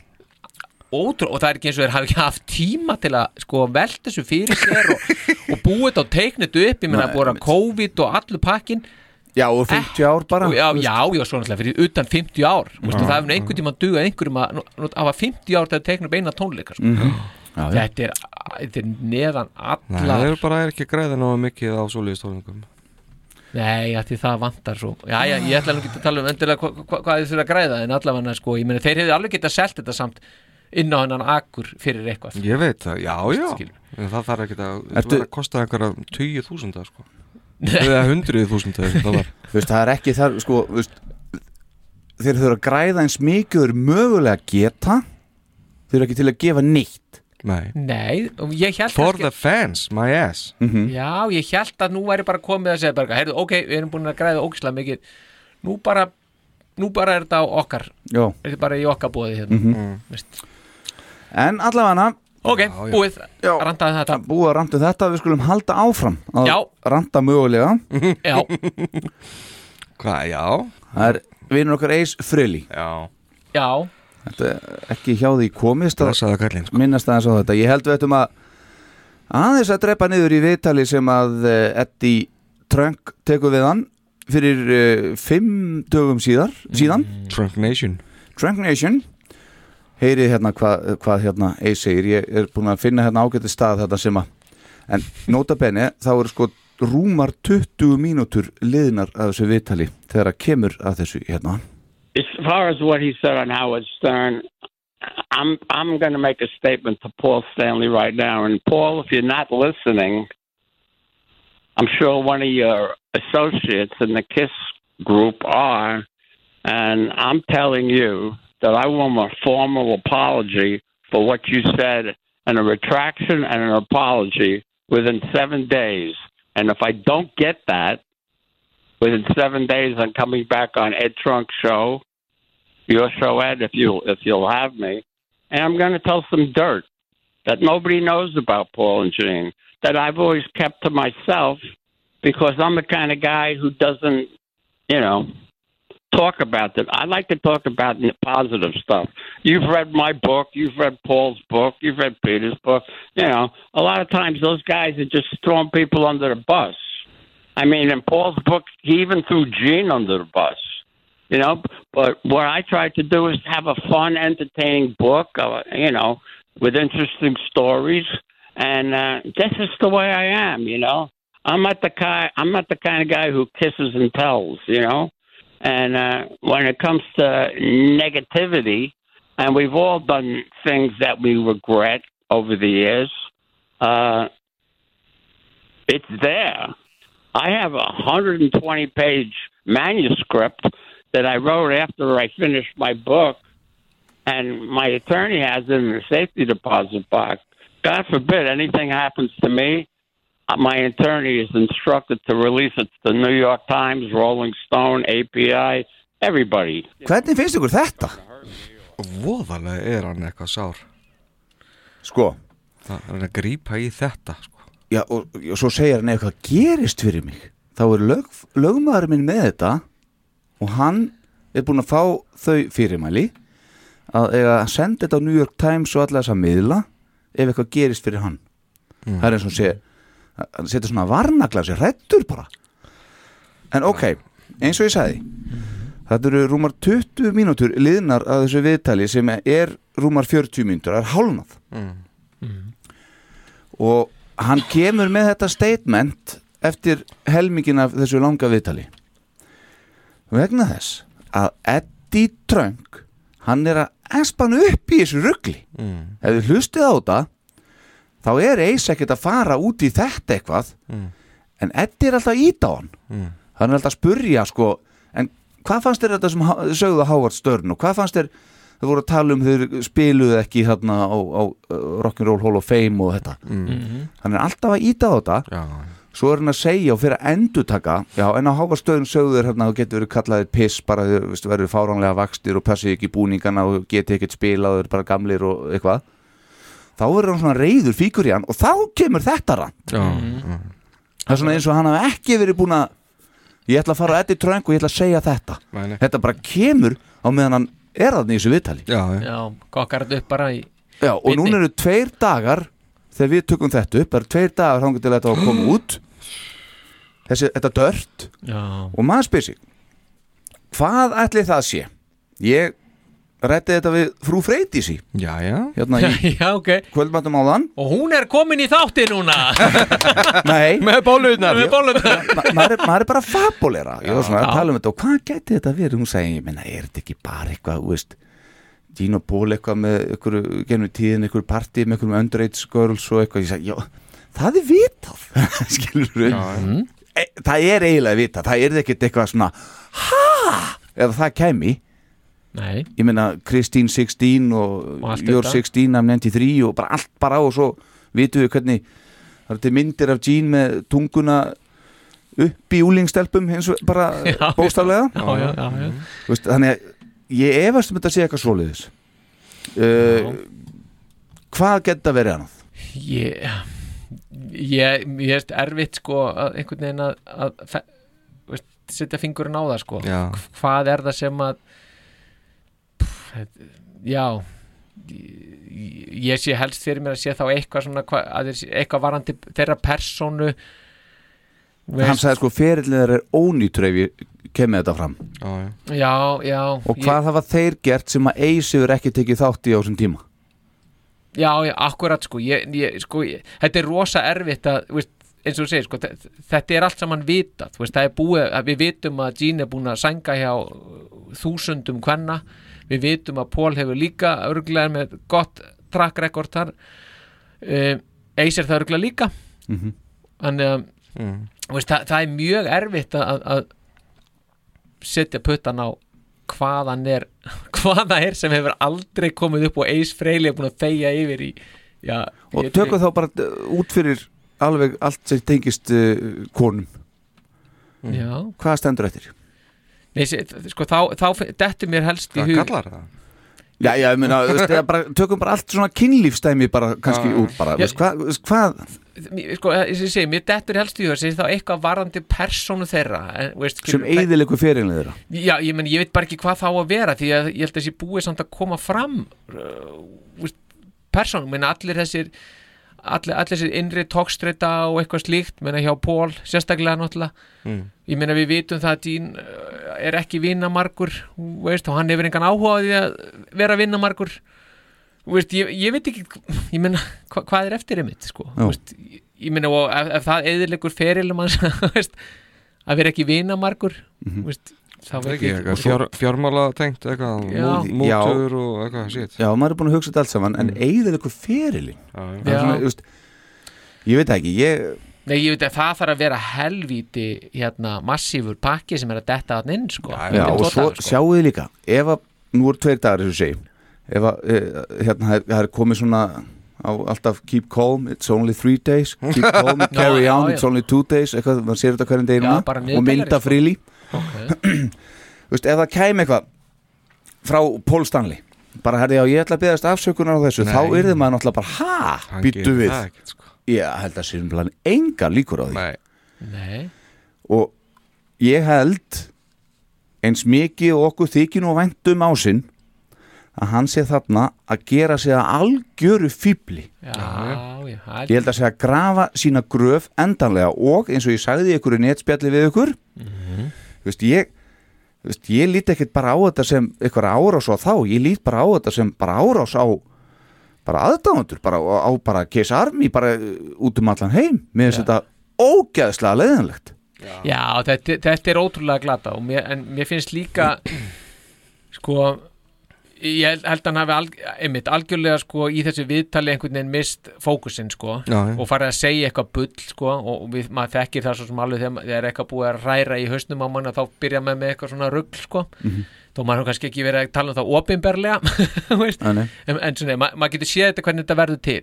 [SPEAKER 3] ótrú, og það er ekki eins og þeir hafi ekki haft tíma til að sko velta þessu fyrir sér og, og búið þetta og teiknit upp ég meina að búið að COVID og allur pakkin
[SPEAKER 2] Já, og 50 ár bara
[SPEAKER 3] já, já, já, svona alltaf, fyrir utan 50 ár Vistu, það hefur nú einhvern tíma að duga einhverjum að nú- nú- hafa 50 ár til að teikna upp eina tónleika sko.
[SPEAKER 2] Mhm. Já, já.
[SPEAKER 3] þetta, er, þetta er neðan
[SPEAKER 4] Nei, það
[SPEAKER 3] allar
[SPEAKER 4] eru bara ekki græða nógu mikið á svoleiðistólingum
[SPEAKER 3] nei, að því það vantar svo já, já, ég ætla nú ekki að tala um endilega hva, hva, hvað þið þurfa að græða en allavega, sko, ég meina, þeir hefði alveg getað selt þetta samt inn á hennan akkur fyrir eitthvað
[SPEAKER 4] Ég veit það, já, já
[SPEAKER 3] Skilur.
[SPEAKER 4] En það þarf ekki að,
[SPEAKER 2] Ertu-
[SPEAKER 4] Ertu... að kosta einhverja 20.000 sko. eða 100.000 eða það var
[SPEAKER 2] Þú veist, það er ekki þar, sko þú veist, Þeir þurfa að græða eins mikið Þeir eru mögulega að geta Þeir eru ekki til að gefa neitt
[SPEAKER 4] Nei
[SPEAKER 3] nei, og ég held
[SPEAKER 4] For
[SPEAKER 3] kannski-
[SPEAKER 4] the fans, my ass
[SPEAKER 3] Já, ég held að nú væri bara komið að segja bara, heyrðu, ok, við erum búin að græða ógislega mikið nú bara, nú bara er þetta á okkar
[SPEAKER 2] Já,
[SPEAKER 3] er þetta bara í okkar bóði hérna mm
[SPEAKER 2] en allavega
[SPEAKER 3] Ok, búið,
[SPEAKER 2] Já.
[SPEAKER 3] randaði þetta
[SPEAKER 2] Búið að ranta um þetta, við skulum halda áfram að
[SPEAKER 3] Já.
[SPEAKER 2] Ranta mögulega
[SPEAKER 3] Já,
[SPEAKER 4] Hvað, já,
[SPEAKER 2] Það er vinur okkar Eis Frili
[SPEAKER 4] já
[SPEAKER 3] já,
[SPEAKER 2] Þetta er ekki hjá því komist að
[SPEAKER 4] Blessaðu kallinn sko.
[SPEAKER 2] minnast aðeins á þetta Ég held við ættum að aðeins að drepa niður í viðtali sem að eh, Eddie Trunk tekur við hann fyrir uh, fimm dögum síðar, síðan
[SPEAKER 4] Trunk Nation
[SPEAKER 2] Trunk Nation heyrið hérna hvað hva, hérna Ace segir, ég er búin að finna hérna ágæti stað þetta sem að en nota bene þá eru sko rúmar 20 mínútur liðnar af þessu viðtali þegar að kemur að þessu hérna
[SPEAKER 5] As far as what he said on Howard Stern, I'm I'm going to make a statement to Paul Stanley right now. And Paul, if you're not listening, I'm sure one of your associates in the Kiss group are, and I'm telling you that I want a formal apology for what you said and a retraction and an apology within seven days. And if I don't get that, within seven days I'm coming back on Ed Trunk's show, your show Ed, if you if you'll have me, and I'm going to tell some dirt that nobody knows about Paul and Jean that I've always kept to myself because I'm the kind of guy who doesn't, you know, talk about that. I like to talk about the positive stuff. You've read my book, you've read Paul's book, you've read Peter's book. You know, a lot of times those guys are just throwing people under the bus. I mean, in Paul's book, he even threw Gene under the bus. You know, but what I tried to do is have a fun, entertaining book, uh, you know, with interesting stories, and uh, this is the way I am. You know, I'm not the guy. I'm not the kind of guy who kisses and tells. You know, and uh, when it comes to negativity, and we've all done things that we regret over the years. Uh, it's there. I have a 120 page manuscript that I wrote after I finished my book, and my attorney has it in the safety deposit box. God forbid anything happens to me, uh, my attorney is instructed to release it to the New York Times, Rolling Stone, API, everybody.
[SPEAKER 2] Hvernig finnst ykkur þetta?
[SPEAKER 4] Voðalega er hann eitthvað sár
[SPEAKER 2] Sko,
[SPEAKER 4] Það er hann að grípa í þetta sko.
[SPEAKER 2] já, og, og svo segir hann eitthvað gerist fyrir mig Þá er lög, lögmaður minn með þetta og hann er búin að fá þau fyrirmæli að eiga að senda þetta á New York Times og alla þessa miðla ef eitthvað gerist fyrir hann Það er eins og hann sé hann setur svona varnagla sér hrættur bara En ok, eins og ég sagði Þetta eru rúmar 20 mínútur liðnar að þessu viðtali sem er rúmar 40 mínútur, það er hálnað og hann kemur með þetta statement eftir helmingin af þessu langa viðtali vegna þess að Eddie Trunk hann er að espan upp í þessu ruggli
[SPEAKER 4] mm.
[SPEAKER 2] ef þið hlustið á þetta þá er Ace ekkert að fara út í þetta eitthvað
[SPEAKER 4] Mm.
[SPEAKER 2] en Eddie er alltaf að íta á hann
[SPEAKER 4] Mm.
[SPEAKER 2] hann er alltaf að spurja sko en hvað fannst þér þetta sem há- sögðu á Howard Stern og hvað fannst þér þau voru að tala um þau spiluðu ekki þarna á, á uh, Rock'n'Roll Hall of Fame og þetta hann er alltaf að íta á þetta
[SPEAKER 4] Mm. Já,
[SPEAKER 2] svo er hann að segja og fyrir að endutaka já, en á háfastöðun sögðu þér hérna þú getur verið kallaðir piss, bara þér veist, verður fáránlega vakstir og passið ekki í búningana og geti ekkert spilað, þau eru bara gamlir og eitthvað þá verður hann svona reyður fíkur í hann og þá kemur þetta rann
[SPEAKER 4] já Mm.
[SPEAKER 2] það er svona eins og hann hafi ekki verið búin að ég ætla að fara á Eddie Trunk og ég ætla að segja þetta
[SPEAKER 4] Nei, nei.
[SPEAKER 2] þetta bara kemur á meðan hann er þarna í þessu viðtali
[SPEAKER 4] Já, já.
[SPEAKER 3] Já, kokkar þetta upp bara í
[SPEAKER 2] já, og
[SPEAKER 3] Beinni.
[SPEAKER 2] núna eru tveir dagar þegar við tökum þetta upp, það eru tveir dagar hann getur þetta að koma út þessi, þetta dört
[SPEAKER 3] Já,
[SPEAKER 2] og maður spyr sig hvað ætli það sé ég rætti þetta við frú Freydísi
[SPEAKER 4] já, já.
[SPEAKER 2] hérna í
[SPEAKER 3] já ok
[SPEAKER 2] kvöldmættum áðan
[SPEAKER 3] Og hún er komin í þátti núna
[SPEAKER 2] nei,
[SPEAKER 4] Með bólutnar
[SPEAKER 3] Með bólum
[SPEAKER 2] ma- maður er, maður er bara að fabulera ég var svona að tala um þetta og hvað gæti þetta verið hún sagði, ég meina, er þetta ekki bara eitthvað þú veist, Dino Ból eitthvað með ykkur, genum tíðin, ykkur partí með ykkur underage girls og eitthvað ég sagði, já, það er vitað skilur við e, það er eiginlega vitað, það er ekkert eitthvað svona ha, ef það kæmi
[SPEAKER 3] Nei,
[SPEAKER 2] ég meina Christine 16 og,
[SPEAKER 3] Og allt
[SPEAKER 2] Your
[SPEAKER 3] þetta.
[SPEAKER 2] 16 I'm 93 og bara allt bara á og svo vitum við hvernig það eru til myndir af Jean með tunguna upp í úlingstelpum eins og bara
[SPEAKER 3] Já,
[SPEAKER 2] bóstaflega
[SPEAKER 3] já, já, já, já.
[SPEAKER 2] Vist, þannig að ég efast um þetta sé eitthvað svoleiðis uh, hvað geta verið annað?
[SPEAKER 3] Ég, ég, ég er erfitt sko að einhvern veginn að, að fe- veist, setja fingurinn á það sko
[SPEAKER 4] Já.
[SPEAKER 3] hvað er það sem að pff, já ég, ég sé helst fyrir mér að sé þá eitthvað svona hva, að þeir sé- eitthvað varandi þeirra persónu
[SPEAKER 2] hann sagði sko ferillir er ónýtur ef ég kem með þetta fram
[SPEAKER 4] Já, já.
[SPEAKER 3] já, já
[SPEAKER 2] og hvað hafa þeir gert sem að Eisi verið ekki tekið þátt í á þessum tíma
[SPEAKER 3] Já, já, akkurat sko, ég, ég, sko ég, þetta er rosa erfitt að, þú veist, eins og þú segir sko, þe- þetta er allt saman vitað þú veist, það er búið, að við vitum að Jean er búin að sænga hjá uh, þúsundum kvenna, við vitum að Paul hefur líka örglega með gott track record þar um, Ace er það örglega líka
[SPEAKER 2] Mhm.
[SPEAKER 3] þannig að
[SPEAKER 4] Mm.
[SPEAKER 3] þú veist, það, það er mjög erfitt að, að setja puttan á hvaðan er hvaða er sem hefur aldrei komið upp og Ace Freyli er búin að þegja yfir í já,
[SPEAKER 2] og tökum þá bara uh, út fyrir alveg allt sem tengist uh, konum
[SPEAKER 3] það já,
[SPEAKER 2] hvað stendur eftir?
[SPEAKER 3] Nei, sé, þ- sko, þá, þá dettur mér helst í
[SPEAKER 4] Hvað
[SPEAKER 3] hug
[SPEAKER 4] kallar það?
[SPEAKER 2] Já, já, ég meina, þú veist, eða bara, tökum bara allt svona kynlífstæmi bara kannski
[SPEAKER 4] Já.
[SPEAKER 2] út bara,
[SPEAKER 3] Já.
[SPEAKER 2] veist, hvað, veist, hvað
[SPEAKER 3] mér- sko, eins og ég segi, mér dettur helst í hug sé, þá eitthvað varandi persónu þeirra en, veist,
[SPEAKER 2] sem
[SPEAKER 3] skilur-
[SPEAKER 2] eigðilegu fyrirlega þeirra
[SPEAKER 3] Já, ég, meni, ég veit bara ekki hvað þá að vera því að ég held að þessi búið samt að koma fram uh, úst, persónum, menn allir þessir allir, allir þessir innri tókstreita og eitthvað slíkt, menna hjá Pól sérstaklega náttúrulega,
[SPEAKER 4] Mm.
[SPEAKER 3] ég meina við vitum það að Dín uh, er ekki vinnamargur þú veist, og hann hefur engan áhuga á því að vera vinnamargur Þú veist, ég, ég veit ekki, ég meina hva, hvað er eftir einmitt, sko
[SPEAKER 2] Já.
[SPEAKER 3] Þú veist, ég, ég meina, og
[SPEAKER 2] Mhm.
[SPEAKER 3] ef, ef það eðilegur ferilum hans, þú veist, að vera ekki vinnamargur, mm -hmm. veist þá veit
[SPEAKER 4] ekki,
[SPEAKER 3] ég
[SPEAKER 4] eitthvað,
[SPEAKER 3] sko,
[SPEAKER 4] fjár, fjármála tengt eitthvað,
[SPEAKER 3] Já.
[SPEAKER 4] mú- mútur og eitthvað shit
[SPEAKER 2] Já, maður er búin að hugsa þetta allt saman en eigðir eitthvað ferilinn
[SPEAKER 4] já,
[SPEAKER 2] Það er
[SPEAKER 3] Já.
[SPEAKER 2] svona, þú veist, Ég veit það ekki, ég
[SPEAKER 3] Nei, ég veit að það þarf að vera helvíti hérna, massífur pakki sem er að detta hann inn sko.
[SPEAKER 4] Já,
[SPEAKER 3] Þetta
[SPEAKER 2] Já,
[SPEAKER 3] er
[SPEAKER 2] og
[SPEAKER 3] tvo
[SPEAKER 2] svo
[SPEAKER 3] dagar, sko.
[SPEAKER 2] sjáu þið líka ef að, nú eru tveir dagar þessu segi ef að, e, hérna, það er- það er komið svona á alltaf keep calm, it's only three days keep calm, carry
[SPEAKER 3] Já, já,
[SPEAKER 2] on,
[SPEAKER 3] já.
[SPEAKER 2] it's only two days eitthvað, maður sér þetta hverjum
[SPEAKER 3] Já,
[SPEAKER 2] deginu
[SPEAKER 3] bara
[SPEAKER 2] og
[SPEAKER 3] niðurdælir,
[SPEAKER 2] mynda
[SPEAKER 3] sko.
[SPEAKER 2] fríli
[SPEAKER 3] Ok.
[SPEAKER 2] Vist, ef það kæmi eitthvað frá Paul Stanley bara herði á, ég ætla að beðast afsökunar á þessu þá yrði maður náttúrulega bara, ha,
[SPEAKER 4] hann
[SPEAKER 2] býttu
[SPEAKER 4] gerir
[SPEAKER 2] við
[SPEAKER 4] það ekkert, sko.
[SPEAKER 2] ég held að sérum plan engar líkur á því
[SPEAKER 4] Nei,
[SPEAKER 3] Nei,
[SPEAKER 2] og ég held eins mikið og okkur þykir nú vænt um ásinn að hann sé þarna að gera sig að algjöru fýbli
[SPEAKER 3] já, já, það
[SPEAKER 2] ég
[SPEAKER 3] er-
[SPEAKER 2] held að segja að grafa sína gröf endanlega og eins og ég sagði ykkur í netspjalli við ykkur mm veist, ég þú veist, ég lít ekkert bara á þetta sem eitthvað árás á þá, ég lít bara á þetta sem bara árás á bara aðdáðandur, bara á, á bara Case Army bara uh, út um allan heim með þess að þetta ógæðslega leiðanlegt
[SPEAKER 3] já þetta, þetta er ótrúlega glata og mér, en mér finnst líka sko ég held, held að hann hafi alg, einmitt, algjörlega sko í þessu viðtali einhvern veginn mist fókusinn sko
[SPEAKER 4] Já,
[SPEAKER 2] Mhm.
[SPEAKER 4] já.
[SPEAKER 3] og farið að segja eitthvað bull sko og við, maður þekkir það svo sem alveg þegar ma- þegar er eitthvað búið að ræra í hausnum á manna þá byrja maður með eitthvað svona rugl sko
[SPEAKER 2] Mhm.
[SPEAKER 3] þó maður hefur kannski ekki verið að tala um það opinberlega þú veist,
[SPEAKER 2] Nei, Mhm. nei.
[SPEAKER 3] en, en svona, ma maður getur séð þetta hvernig þetta verður til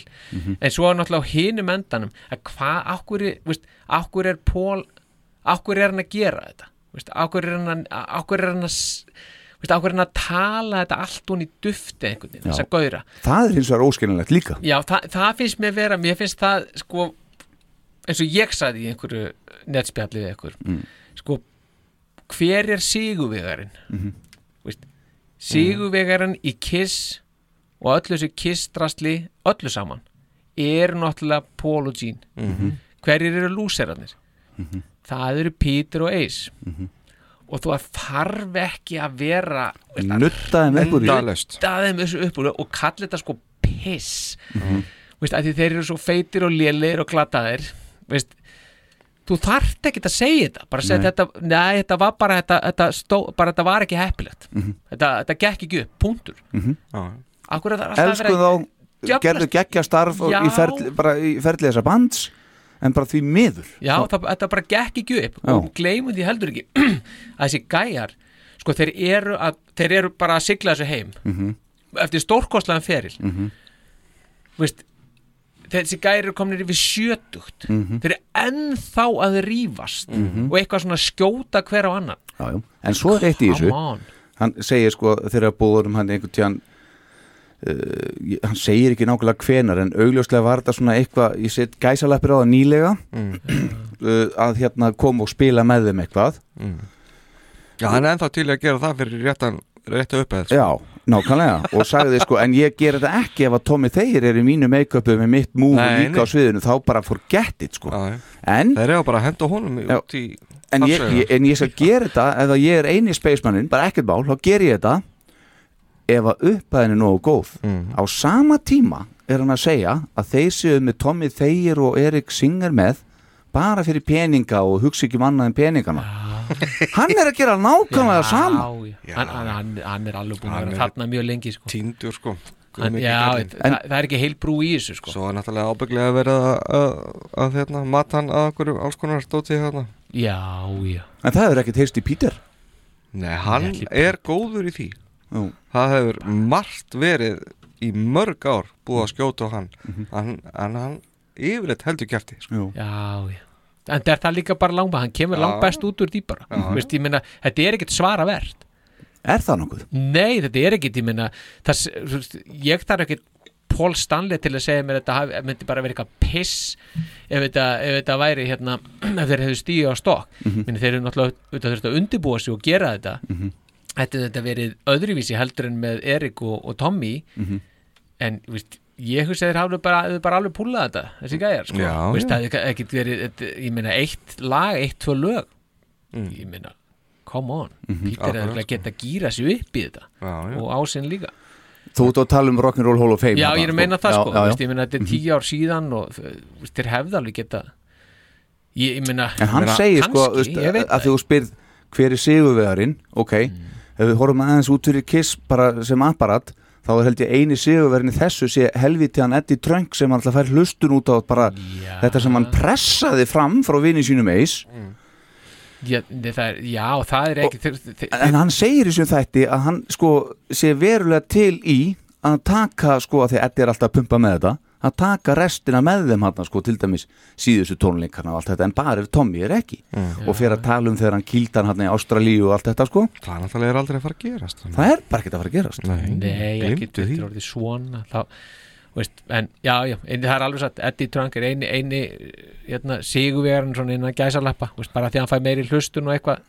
[SPEAKER 3] en svo er náttúrulega á hinum endanum að hvað, akkur, veist, akkur er Pól akkur er hann að gera þetta veist, akkur er hann að akkur er hann að s- veist, akkur er hann að tala þetta allt hún í dufti einhvern veginn, þess að gauðra
[SPEAKER 2] það er hins vegar óskilinlegt líka
[SPEAKER 3] Já, það, það finnst mér vera, mér finnst það sko, eins og ég sagði í einhverju netspjalli við einhver sko, hver er síguvegarinn mm -hmm. síguvegarinn í kiss og öllu þessu kissdrasli öllu saman, er náttúrulega Paul og Jean hverjir eru lúserarnir það eru Peter og Ace og þú þarf ekki að vera veist, að
[SPEAKER 2] nuttaði með ykkur í
[SPEAKER 4] endalaust
[SPEAKER 3] daðið með þessu uppúr og kallið þetta sko piss veist, að því þeir eru svo feitir og lélegir og glataðir veist, þú þarft ekki að segja þetta bara að segja þetta, nei, þetta var bara þetta, þetta, stó, bara þetta var ekki heppilegt
[SPEAKER 2] Mhm.
[SPEAKER 3] þetta, þetta gekk ekki upp, punktur
[SPEAKER 4] Já.
[SPEAKER 3] Akkur er það alltaf að
[SPEAKER 2] elsku
[SPEAKER 3] vera-
[SPEAKER 2] þá,
[SPEAKER 3] Djöflast-
[SPEAKER 2] gerðu geggja starf og
[SPEAKER 3] Já.
[SPEAKER 2] í ferli, bara í ferli þessa bands en bara því miður
[SPEAKER 3] Já, það, þetta bara gekk ekki upp
[SPEAKER 2] Já.
[SPEAKER 3] og gleymum því heldur ekki að þessi gæjar, sko þeir eru, að, þeir eru bara að sigla þessu heim eftir stórkostlegan feril veist þessi gæjar eru komnir yfir sjötugt þeir eru ennþá að rífast og eitthvað svona skjóta hver á annan
[SPEAKER 2] já, já. en svo er eitt í þessu
[SPEAKER 3] Come on.
[SPEAKER 2] hann segir sko þegar búðurum hann einhvern tíðan uh, hann segir ekki nákvæmlega hvenar en augljóslega var þetta svona eitthvað ég set gæsalappir á það nýlega
[SPEAKER 4] Mm.
[SPEAKER 2] uh, að hérna koma og spila með þeim eitthvað
[SPEAKER 4] Já, hann er ennþá til í að gera það fyrir réttan réttu uppeð sko.
[SPEAKER 2] já, nákvæmlega og sagði sko en ég ger þetta ekki ef að Tommy Thayer er í mínu make-upu með mitt múl
[SPEAKER 4] Nei,
[SPEAKER 2] líka
[SPEAKER 4] nei.
[SPEAKER 2] á sviðinu þá bara forget it sko
[SPEAKER 4] Já, já.
[SPEAKER 2] en
[SPEAKER 4] Þeir eru bara að henda honum í-
[SPEAKER 2] Já.
[SPEAKER 4] út í
[SPEAKER 2] en ég,
[SPEAKER 4] farsegar.
[SPEAKER 2] ég, en ég skal gera þetta ef að ég er eini spacemannin, bara ekkert mál þá ger ég þetta ef að upphæðin er nógu góð
[SPEAKER 3] Mhm.
[SPEAKER 2] á sama tíma er hann að segja að þeir séu með Tommy Thayer og Erik Singer með bara fyrir peninga og hugsa ekki um annað en peningana hann er að gera nákvæmlega sama
[SPEAKER 3] já, já. Hann, hann, hann, hann er alveg búin að
[SPEAKER 4] Hann
[SPEAKER 3] vera
[SPEAKER 4] er-
[SPEAKER 3] þarna mjög lengi sko.
[SPEAKER 4] Týndur sko Guð
[SPEAKER 3] hann,
[SPEAKER 4] mikið
[SPEAKER 3] já,
[SPEAKER 4] kallinn.
[SPEAKER 3] það, það er ekki heil brú í þessu sko.
[SPEAKER 4] Svo er náttúrulega ábygglega verið að, að, að hérna, mata hann að einhverju alls konar stóti hérna.
[SPEAKER 3] já, já
[SPEAKER 2] en það hefur ekkert heyrst í Peter
[SPEAKER 4] Nei, hann
[SPEAKER 3] Ég ætli-
[SPEAKER 4] er góður í því.
[SPEAKER 2] Jú.
[SPEAKER 4] Það hefur margt verið í mörg ár búið að skjóta á hann.
[SPEAKER 2] Mhm.
[SPEAKER 4] hann, hann, hann yfirleitt heldur kæfti. Sko.
[SPEAKER 2] Jú.
[SPEAKER 3] Já, já En það er það líka bara langbæst, hann kemur
[SPEAKER 4] Já.
[SPEAKER 3] langbæst út úr því bara Veist, ég meina, þetta er ekkert svaravert
[SPEAKER 2] er það nokkuð?
[SPEAKER 3] Nei, þetta er ekkert, ég meina það, s- þú veist, Ég þarf ekkert Paul Stanley til að segja mér að þetta hafi- myndi bara vera eitthvað piss ef þetta, ef þetta væri hérna ef þeir hefðu stíu á stokk mm
[SPEAKER 4] Mhm.
[SPEAKER 3] þeir eru náttúrulega auðvitað þurft að undirbúa sig og gera þetta Þetta er þetta verið öðruvísi heldur en með Erik og, og Tommy
[SPEAKER 4] Mhm.
[SPEAKER 3] en þú veist, ég hugsa þeir hafðu bara, þeir bara alveg púlað þetta þessi gæjar sko.
[SPEAKER 4] Já,
[SPEAKER 3] Þú veist,
[SPEAKER 4] já.
[SPEAKER 3] það hefði ekki verið þetta- ég meina eitt lag, eitt, tvö lög ég meina, come on Peter er
[SPEAKER 4] Mm. Mhm, Akkurat,
[SPEAKER 3] að geta að gýra sig upp í þetta
[SPEAKER 4] Já, já.
[SPEAKER 3] og ásinn líka
[SPEAKER 2] þú ert að tala um Rock'n'Roll Hall of Fame
[SPEAKER 3] Já,
[SPEAKER 2] þarna,
[SPEAKER 3] ég er að meina það sko,
[SPEAKER 2] Já, já, já.
[SPEAKER 3] Veist, ég meina þetta er tíu ár síðan og þú veist, þeir hefði alveg geta ég, ég meina
[SPEAKER 2] en hann
[SPEAKER 4] Meina,
[SPEAKER 2] segir sko
[SPEAKER 3] kannski,
[SPEAKER 2] veist,
[SPEAKER 3] ég veit
[SPEAKER 2] að
[SPEAKER 3] það Mm.
[SPEAKER 2] því þú spyrð hver er sigurvegarinn ok, ef við horfum aðeins út fyrir kiss bara sem apparat þá er held ég eini sigurvegarinn í þessu sé helviti hann Eddie Trunk sem hann alltaf fær hlustun út á bara
[SPEAKER 3] Já.
[SPEAKER 2] þetta sem hann pressaði fram frá vinni sínum eis
[SPEAKER 3] Já, nei, það er, já, það er ekki þeir, þeir,
[SPEAKER 2] en hann segir í þessum þætti að hann sko sé verulega til í að taka sko að því að Eddi er alltaf að pumpa með þetta að taka restina með þeim hann sko til dæmis síðustu tónleikana og allt þetta en bara ef Tommy er ekki og fyrir að tala um þegar hann kýldar hann í Ástralíu og allt þetta sko
[SPEAKER 4] Það er náttúrulega aldrei að fara að gerast þannig.
[SPEAKER 2] það er bara ekkert að fara að gerast
[SPEAKER 4] Nei,
[SPEAKER 3] Nei, ekki,
[SPEAKER 4] gleymdu
[SPEAKER 3] þetta er orðið svona þá, veist, en já, já en það er alveg satt, Eddie Trunk er eini, eini hérna, sigurverðan svona innan gæsalappa, veist, bara því að hann fæ meiri hlustun og eitthvað,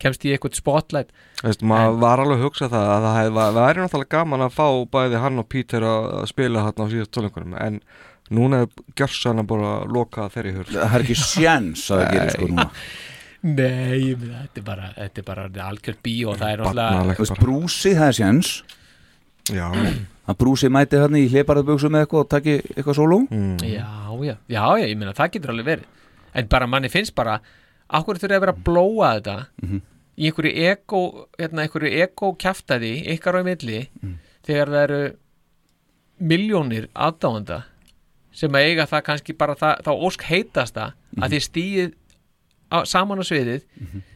[SPEAKER 3] kemst í eitthvað spotlight
[SPEAKER 4] Veist, maður var alveg að hugsa það að það hef, var, væri náttúrulega gaman að fá bæði hann og Peter að að spila þarna á síðast tónleikunum en núna er gjörsann að bara loka þeirri hurð
[SPEAKER 2] það er ekki sjens að það gerir sko núna
[SPEAKER 3] Nei, ég meina, þetta er bara, þetta er bara orðið algjört bíó og það er náttúrulega
[SPEAKER 4] Barnalegt
[SPEAKER 2] Þú veist,
[SPEAKER 4] bara.
[SPEAKER 2] brúsi það er sjens
[SPEAKER 4] Já,
[SPEAKER 2] að brúsi mæti hann í hleparaðböksum eða eitthvað og taki eitthvað sóló
[SPEAKER 3] Já, já, já, já, ég meina, það getur alveg verið en bara manni finnst bara akkur þurfið að vera að blóa þetta í einhverju ego hérna, einhverju ego kjaftaði, ykkar á í milli þegar það eru miljónir aðdáanda sem að eiga það kannski bara það, þá ósk heitasta að þið stíð á, saman á sviðið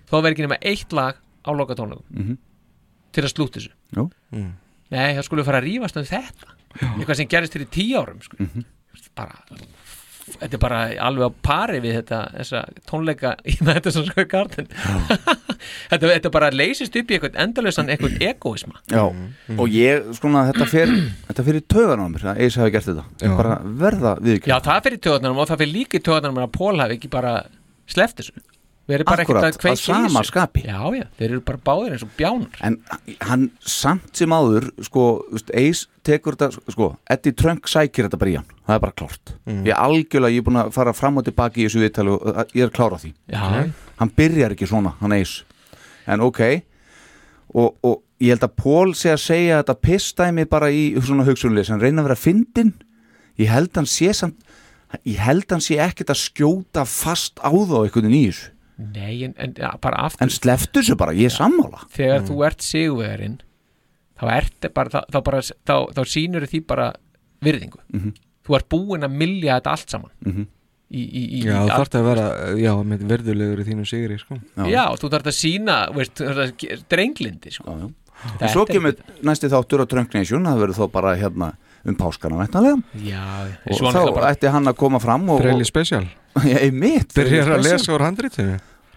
[SPEAKER 3] þó verður ekki nema eitt lag á lokatónleikum til að slúta þessu
[SPEAKER 2] Jú.
[SPEAKER 4] Mm.
[SPEAKER 3] Nei, það skulle fara að rífast um þetta eitthvað sem gerist fyrir tíu árum sko. bara þetta er bara alveg á pari við þetta þessa tónleika í þetta sem sko garden þetta, þetta bara leysist upp í eitthvað endalösan eitthvað egoisma
[SPEAKER 2] Já, og ég, svona, þetta fer þetta fer í taugan á mér, að Eis hafi gert þetta Já. bara verða viðkjönd
[SPEAKER 3] já það fyrir töðunum og það fyrir líka í töðunum að Pól hafi ekki bara sleft þessu við erum bara
[SPEAKER 2] Akkúrat,
[SPEAKER 3] ekkert að kveiki
[SPEAKER 2] að sama
[SPEAKER 3] í þessu
[SPEAKER 2] skapi.
[SPEAKER 3] já já, þeir eru bara báðir eins og bjánar
[SPEAKER 2] En hann samt sem áður sko, veist, Ace tekur þetta sko, Eddie Trunk sækir þetta bara í hann það er bara klárt ég algjörlega, ég er búin að fara fram og tilbaki í þessu viðtali og uh, ég er klár á því
[SPEAKER 3] já,
[SPEAKER 2] hann byrjar ekki svona, hann Ace en ok og, og ég held að Paul sé að segja þetta pistæmi bara í svona hugsunleis hann reyna að vera fyndin ég held hann sé samt ég held hann sé ekkert að skjóta fast á þá einhvern veginn í þessu
[SPEAKER 3] nei en, en ja, bara aftur
[SPEAKER 2] en sleftu þessu bara, ég er sammála
[SPEAKER 3] þegar þú ert sigurvegarinn þá ert bara, þá, þá, bara þá, þá sýnur því bara virðingu
[SPEAKER 2] Mhm.
[SPEAKER 3] þú ert búinn að milja þetta allt saman í, í, í, í
[SPEAKER 4] já það þarf að vera já, með verðulegur í þínu sigri sko.
[SPEAKER 2] Já.
[SPEAKER 3] já, þú þarf að sína veist, þú þarf að ge- drenglindi sko.
[SPEAKER 2] já.
[SPEAKER 3] Þetta
[SPEAKER 2] En svo
[SPEAKER 3] er
[SPEAKER 2] kemur
[SPEAKER 3] ekki-
[SPEAKER 2] næsti þáttur á Trunk Nation, það verður þó bara hérna um páskana veitnalega
[SPEAKER 3] já, já.
[SPEAKER 2] og
[SPEAKER 3] Svo
[SPEAKER 2] þá
[SPEAKER 3] náttúrulega bara,
[SPEAKER 2] ætti hann að koma fram og,
[SPEAKER 4] Freyli
[SPEAKER 2] og,
[SPEAKER 4] Special,
[SPEAKER 2] já, einmitt,
[SPEAKER 4] byrjar að
[SPEAKER 2] Special.
[SPEAKER 4] lesa úr handritinu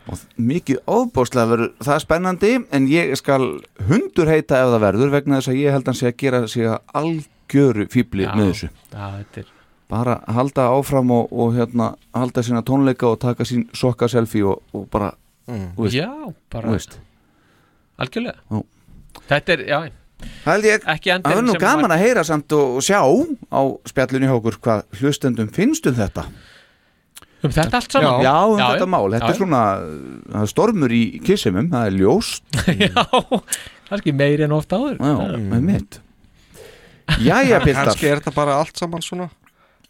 [SPEAKER 2] og mikið ofbóðslega verður það spennandi en ég skal hundur heita ef það verður vegna þess að ég held hann sé að gera sig að algjöru fýbli
[SPEAKER 3] Já.
[SPEAKER 2] með þessu
[SPEAKER 3] já, þetta er,
[SPEAKER 2] bara halda áfram og, og hérna, halda sína tónleika og taka sín sokka selfie og, og bara, þú veist,
[SPEAKER 3] já, bara
[SPEAKER 2] þú veist
[SPEAKER 3] algjörlega
[SPEAKER 2] Já.
[SPEAKER 3] þetta er, já,
[SPEAKER 2] Það held ég,
[SPEAKER 3] Ekki endirinn
[SPEAKER 2] það verður nú
[SPEAKER 3] sem
[SPEAKER 2] gaman
[SPEAKER 3] var-
[SPEAKER 2] að heyra samt og og sjá á spjallunni hjá okkur hvað hlustendum finnst um þetta
[SPEAKER 3] um þetta allt saman
[SPEAKER 2] Já, um
[SPEAKER 3] já,
[SPEAKER 2] þetta
[SPEAKER 3] já,
[SPEAKER 2] mál, þetta
[SPEAKER 3] já,
[SPEAKER 2] er svona það er stormur í kissimum, það er ljóst
[SPEAKER 3] já, kannski meiri en ofta áður
[SPEAKER 2] Já, með mitt Jæja,
[SPEAKER 4] kannski
[SPEAKER 2] Piltar
[SPEAKER 4] er þetta bara allt saman svona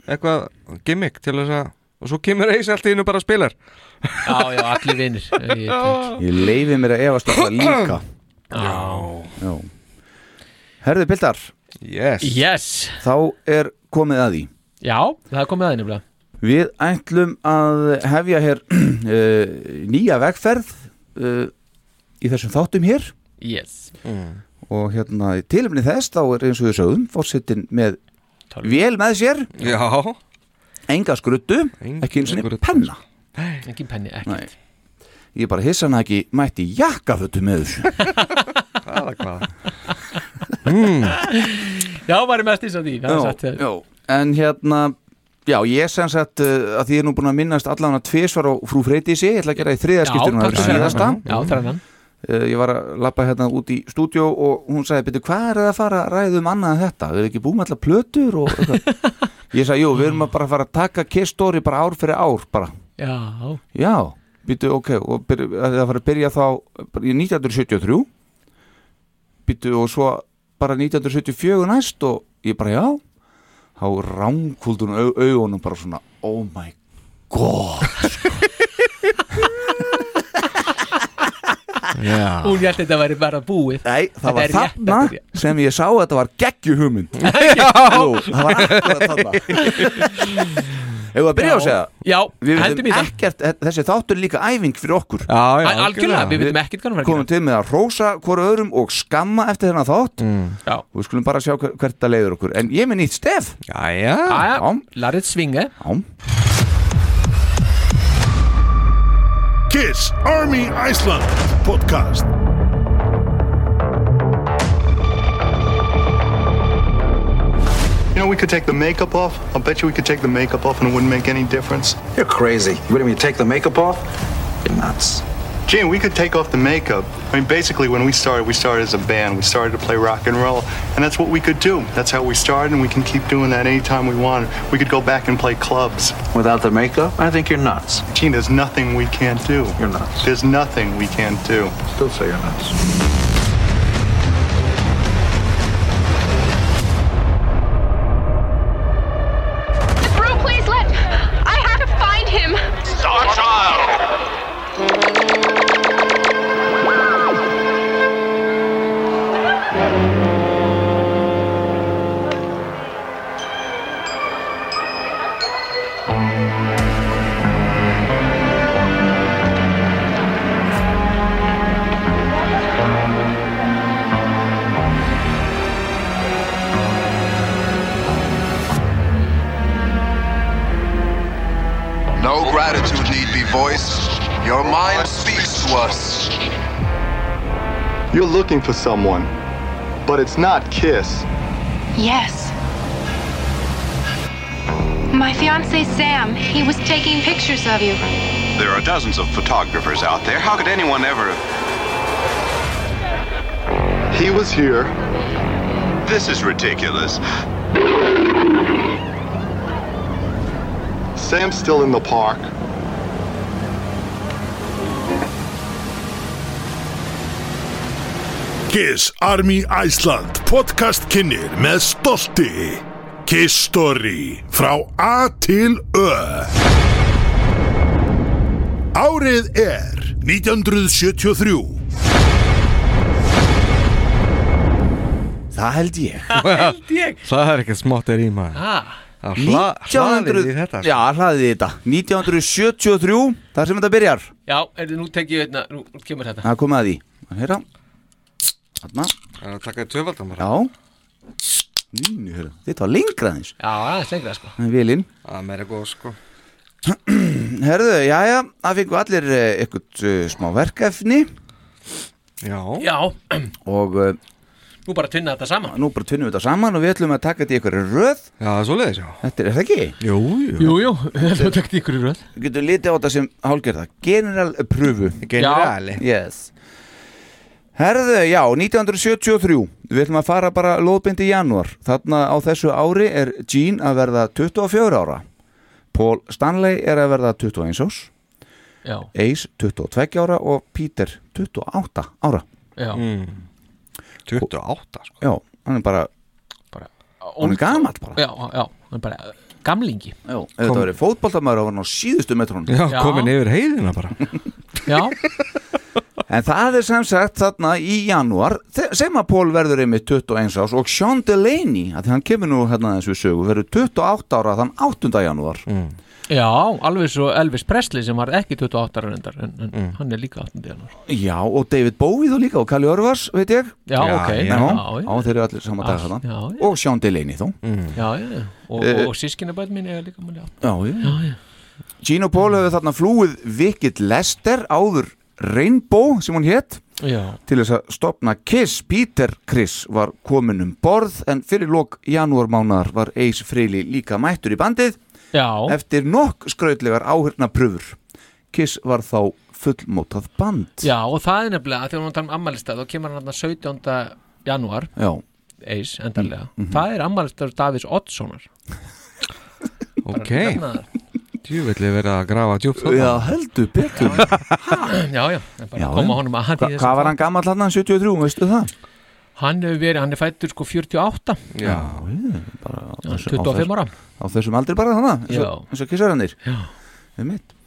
[SPEAKER 4] eitthvað gimmick til þess að og svo kemur Eis allt í innu bara að spilar
[SPEAKER 3] já, já, allir vinnir já,
[SPEAKER 2] Ég leifi mér að efast alltaf líka Já Herðu, Piltar,
[SPEAKER 4] yes,
[SPEAKER 3] yes,
[SPEAKER 2] þá er komið að því
[SPEAKER 3] já, það er komið aðeins nefnilega
[SPEAKER 2] Við ætlum að hefja hér uh, nýja vegferð uh, í þessum þáttum hér
[SPEAKER 3] yes,
[SPEAKER 2] og hérna í tilumni þess þá er eins og við sögum fórsetin með
[SPEAKER 3] Tölvu.
[SPEAKER 2] vél með sér,
[SPEAKER 4] já,
[SPEAKER 2] enga skruttu
[SPEAKER 4] Enga
[SPEAKER 2] ekki eins og
[SPEAKER 4] skruddu.
[SPEAKER 2] penna
[SPEAKER 3] ekki penni, ekki
[SPEAKER 2] Nei. Ég bara hissa hann ekki mætti jakkafötu með þessu
[SPEAKER 4] hvaða hvaða
[SPEAKER 3] Já, væri mest eins af því það er satt,
[SPEAKER 2] já, já. En hérna Já, ég sem sagt uh, að því ég er nú búin að minnast allan að tvisvar á frú Freytísi, ég ætla að gera í
[SPEAKER 3] Já,
[SPEAKER 2] þriðaskiptunum
[SPEAKER 3] takk
[SPEAKER 2] að
[SPEAKER 3] fyrir Mhm.
[SPEAKER 2] síðasta.
[SPEAKER 3] það. Já, þrannan
[SPEAKER 2] Uh, Ég var að lappa hérna út í stúdjó og hún sagði, betur, hvað er það að fara að ræða um annað en þetta? Við erum ekki búin allar plötur og eitthvað. Ég sagði, jú, við erum að bara að fara að taka kistóri bara ár fyrir ár bara.
[SPEAKER 3] Já,
[SPEAKER 2] Já, býtu, ok, og byrju, að það var að byrja þá bara í 1973 býtu og svo bara 1974 næst og ég bara já þá rámkúldun au, augunum bara svona, oh my god
[SPEAKER 1] Já.
[SPEAKER 3] hún held þetta væri bara búið
[SPEAKER 2] Ah. Nei, það
[SPEAKER 3] Þetta
[SPEAKER 2] var
[SPEAKER 3] er rétt
[SPEAKER 2] þarna
[SPEAKER 3] að byrja.
[SPEAKER 2] sem ég sá að þetta var geggjuhumund Jú, það var akkurat þarna Hefur við að byrja á að segja
[SPEAKER 3] Já,
[SPEAKER 2] Við
[SPEAKER 3] hendum í
[SPEAKER 2] veitum
[SPEAKER 3] það
[SPEAKER 2] ekkert, þessi þáttur er líka æfing fyrir okkur
[SPEAKER 4] Já, já,
[SPEAKER 3] Al- Algjörlega, við veitum
[SPEAKER 2] Við
[SPEAKER 3] ekkert hvað hún var að
[SPEAKER 2] Komum til með að rósa hvora öðrum og skamma eftir þennan þátt
[SPEAKER 3] Já.
[SPEAKER 2] Við skulum bara sjá hver- hvert það leiður okkur En ég er með nýtt stef
[SPEAKER 4] Já, já
[SPEAKER 3] gera
[SPEAKER 2] Já.
[SPEAKER 3] Aja, larrið svinga
[SPEAKER 2] Já,
[SPEAKER 6] Kiss Army Iceland podcast.
[SPEAKER 7] You know, we could take the makeup off. I'll bet you we could take the makeup off and it wouldn't make any difference.
[SPEAKER 8] You're crazy. What do you mean? Take the makeup off? You're nuts.
[SPEAKER 7] Gene, we could take off the makeup. I mean, basically, when we started, we started as a band. We started to play rock and roll, and that's what we could do. That's how we started, and we can keep doing that anytime we want. We could go back and play clubs.
[SPEAKER 8] Without the makeup? I think you're nuts.
[SPEAKER 7] Gene, there's nothing we can't do.
[SPEAKER 8] You're nuts.
[SPEAKER 7] There's nothing we can't do.
[SPEAKER 8] Still say you're nuts.
[SPEAKER 9] Drew, please let. I have to find him.
[SPEAKER 1] No gratitude need be voiced. Your mind speaks to us.
[SPEAKER 7] You're looking for someone, but it's not Kiss.
[SPEAKER 9] Yes. My fiance Sam, he was taking pictures of you.
[SPEAKER 1] There are dozens of photographers out there. How could anyone ever?
[SPEAKER 7] He was here.
[SPEAKER 1] This is ridiculous.
[SPEAKER 7] Sam's still in the park.
[SPEAKER 6] Kiss Army Iceland podcast kynir með stolti Kiss Story frá A til Ö Árið er 1973
[SPEAKER 2] það held ég
[SPEAKER 3] Held ég
[SPEAKER 4] Það er ekkert smátt er í maður
[SPEAKER 3] ah,
[SPEAKER 4] Það hla, hlaðið
[SPEAKER 2] 1900
[SPEAKER 4] í þetta sko.
[SPEAKER 2] Já, hlaðið í þetta 1973, það er sem þetta byrjar
[SPEAKER 3] Já, er, nú tek ég veitna, nú kemur þetta
[SPEAKER 2] Það er komið að því Að heyra Þarna,
[SPEAKER 4] Það er að taka tvöfaldan bara
[SPEAKER 2] já Línu, heyra Þetta var lengra aðeins
[SPEAKER 3] Já, aðeins lengra sko
[SPEAKER 2] Það er Vélinn
[SPEAKER 4] Það meira góð sko
[SPEAKER 2] Herðu, jæja, það fengu allir eh, eitthvað eh, smá verkefni
[SPEAKER 4] Já
[SPEAKER 3] Já,
[SPEAKER 2] og uh,
[SPEAKER 3] nú bara tvinna þetta saman
[SPEAKER 2] nú bara tvinnum við þetta saman og við ætlum að taka þetta í einhverju röð
[SPEAKER 4] Já, það er svoleiðis já
[SPEAKER 2] Þetta er, er það ekki?
[SPEAKER 4] Jú, jú
[SPEAKER 3] Jú, jú, þetta tekti ykkur í röð
[SPEAKER 2] Við getum litið á þetta sem hálgerða General pröfu
[SPEAKER 4] Generali
[SPEAKER 2] Yes Herðu, já, 1973 Við ætlum að fara bara lóðbind í janúar Þarna á þessu ári er Gene að verða 24 ára Paul Stanley er að verða 21 árs
[SPEAKER 3] Já,
[SPEAKER 2] Ace 22 ára og Peter 28 ára
[SPEAKER 3] já,
[SPEAKER 4] mm. 28 sko
[SPEAKER 2] Já, hann er bara,
[SPEAKER 3] bara
[SPEAKER 2] hann er gamall bara
[SPEAKER 3] Já, já, hann er bara gamlingi
[SPEAKER 2] Já, ef þetta verið fótboltamæður og var hann á síðustu metrónum
[SPEAKER 4] Já,
[SPEAKER 3] Já.
[SPEAKER 4] komin yfir heiðina bara
[SPEAKER 3] Já,
[SPEAKER 2] En það er sem sagt þarna í janúar þe- sem að Pól verður einmitt 21 árs og Sean Delaney, að því hann kemur nú hérna þessu sögu, verður 28 ára þann 8. janúar
[SPEAKER 3] já, alveg svo Elvis Presley sem var ekki 28 ára reyndar en, en
[SPEAKER 2] Mm.
[SPEAKER 3] hann er líka 18 januar
[SPEAKER 2] Já, og David Bowie þá líka og Kali Örvars, veit ég
[SPEAKER 3] Já,
[SPEAKER 4] Já,
[SPEAKER 3] ok,
[SPEAKER 4] já.
[SPEAKER 3] já,
[SPEAKER 2] á þeir eru allir sama dag
[SPEAKER 3] Allt,
[SPEAKER 2] þarna
[SPEAKER 3] já, já.
[SPEAKER 2] Og Sean Delaney þó
[SPEAKER 3] já, já. Og,
[SPEAKER 2] Eh,
[SPEAKER 3] og, og sískinabæð mín er líka mjög
[SPEAKER 2] Já, já Gene og Pól hefur þarna flúið Vikit Lester áður Rainbow sem hún hétt
[SPEAKER 3] Já,
[SPEAKER 2] til þess að stopna Kiss Peter Chris var komin um borð en fyrir lok janúarmánar var Ace Frehley líka mættur í bandið
[SPEAKER 3] já,
[SPEAKER 2] eftir nokk skrautlegar áhyrna pröfur Kiss var þá fullmótað band
[SPEAKER 3] já og það er nefnilega að þegar hún tala um ammælistað þá kemur hann þarna 17. janúar
[SPEAKER 2] Já,
[SPEAKER 3] eis endanlega
[SPEAKER 2] Mm, mhm.
[SPEAKER 3] það er ammælistað Davís Oddssonar Hérna-
[SPEAKER 4] Ok, djúvillig verið að grafa djúpt
[SPEAKER 2] Já, heldur betur
[SPEAKER 3] Já, já, en bara
[SPEAKER 2] Já,
[SPEAKER 3] koma
[SPEAKER 2] já.
[SPEAKER 3] honum að hann
[SPEAKER 2] Hva, Hvað var hann gammal hann 73, veistu það?
[SPEAKER 3] Hann hefur verið, hann er fættur sko 48
[SPEAKER 4] Já,
[SPEAKER 3] hann er 25 ára
[SPEAKER 2] Á þessum aldrei bara þannig, eins
[SPEAKER 3] Já.
[SPEAKER 2] og, eins og Kiss er hannir
[SPEAKER 3] Já.
[SPEAKER 2] Við mitt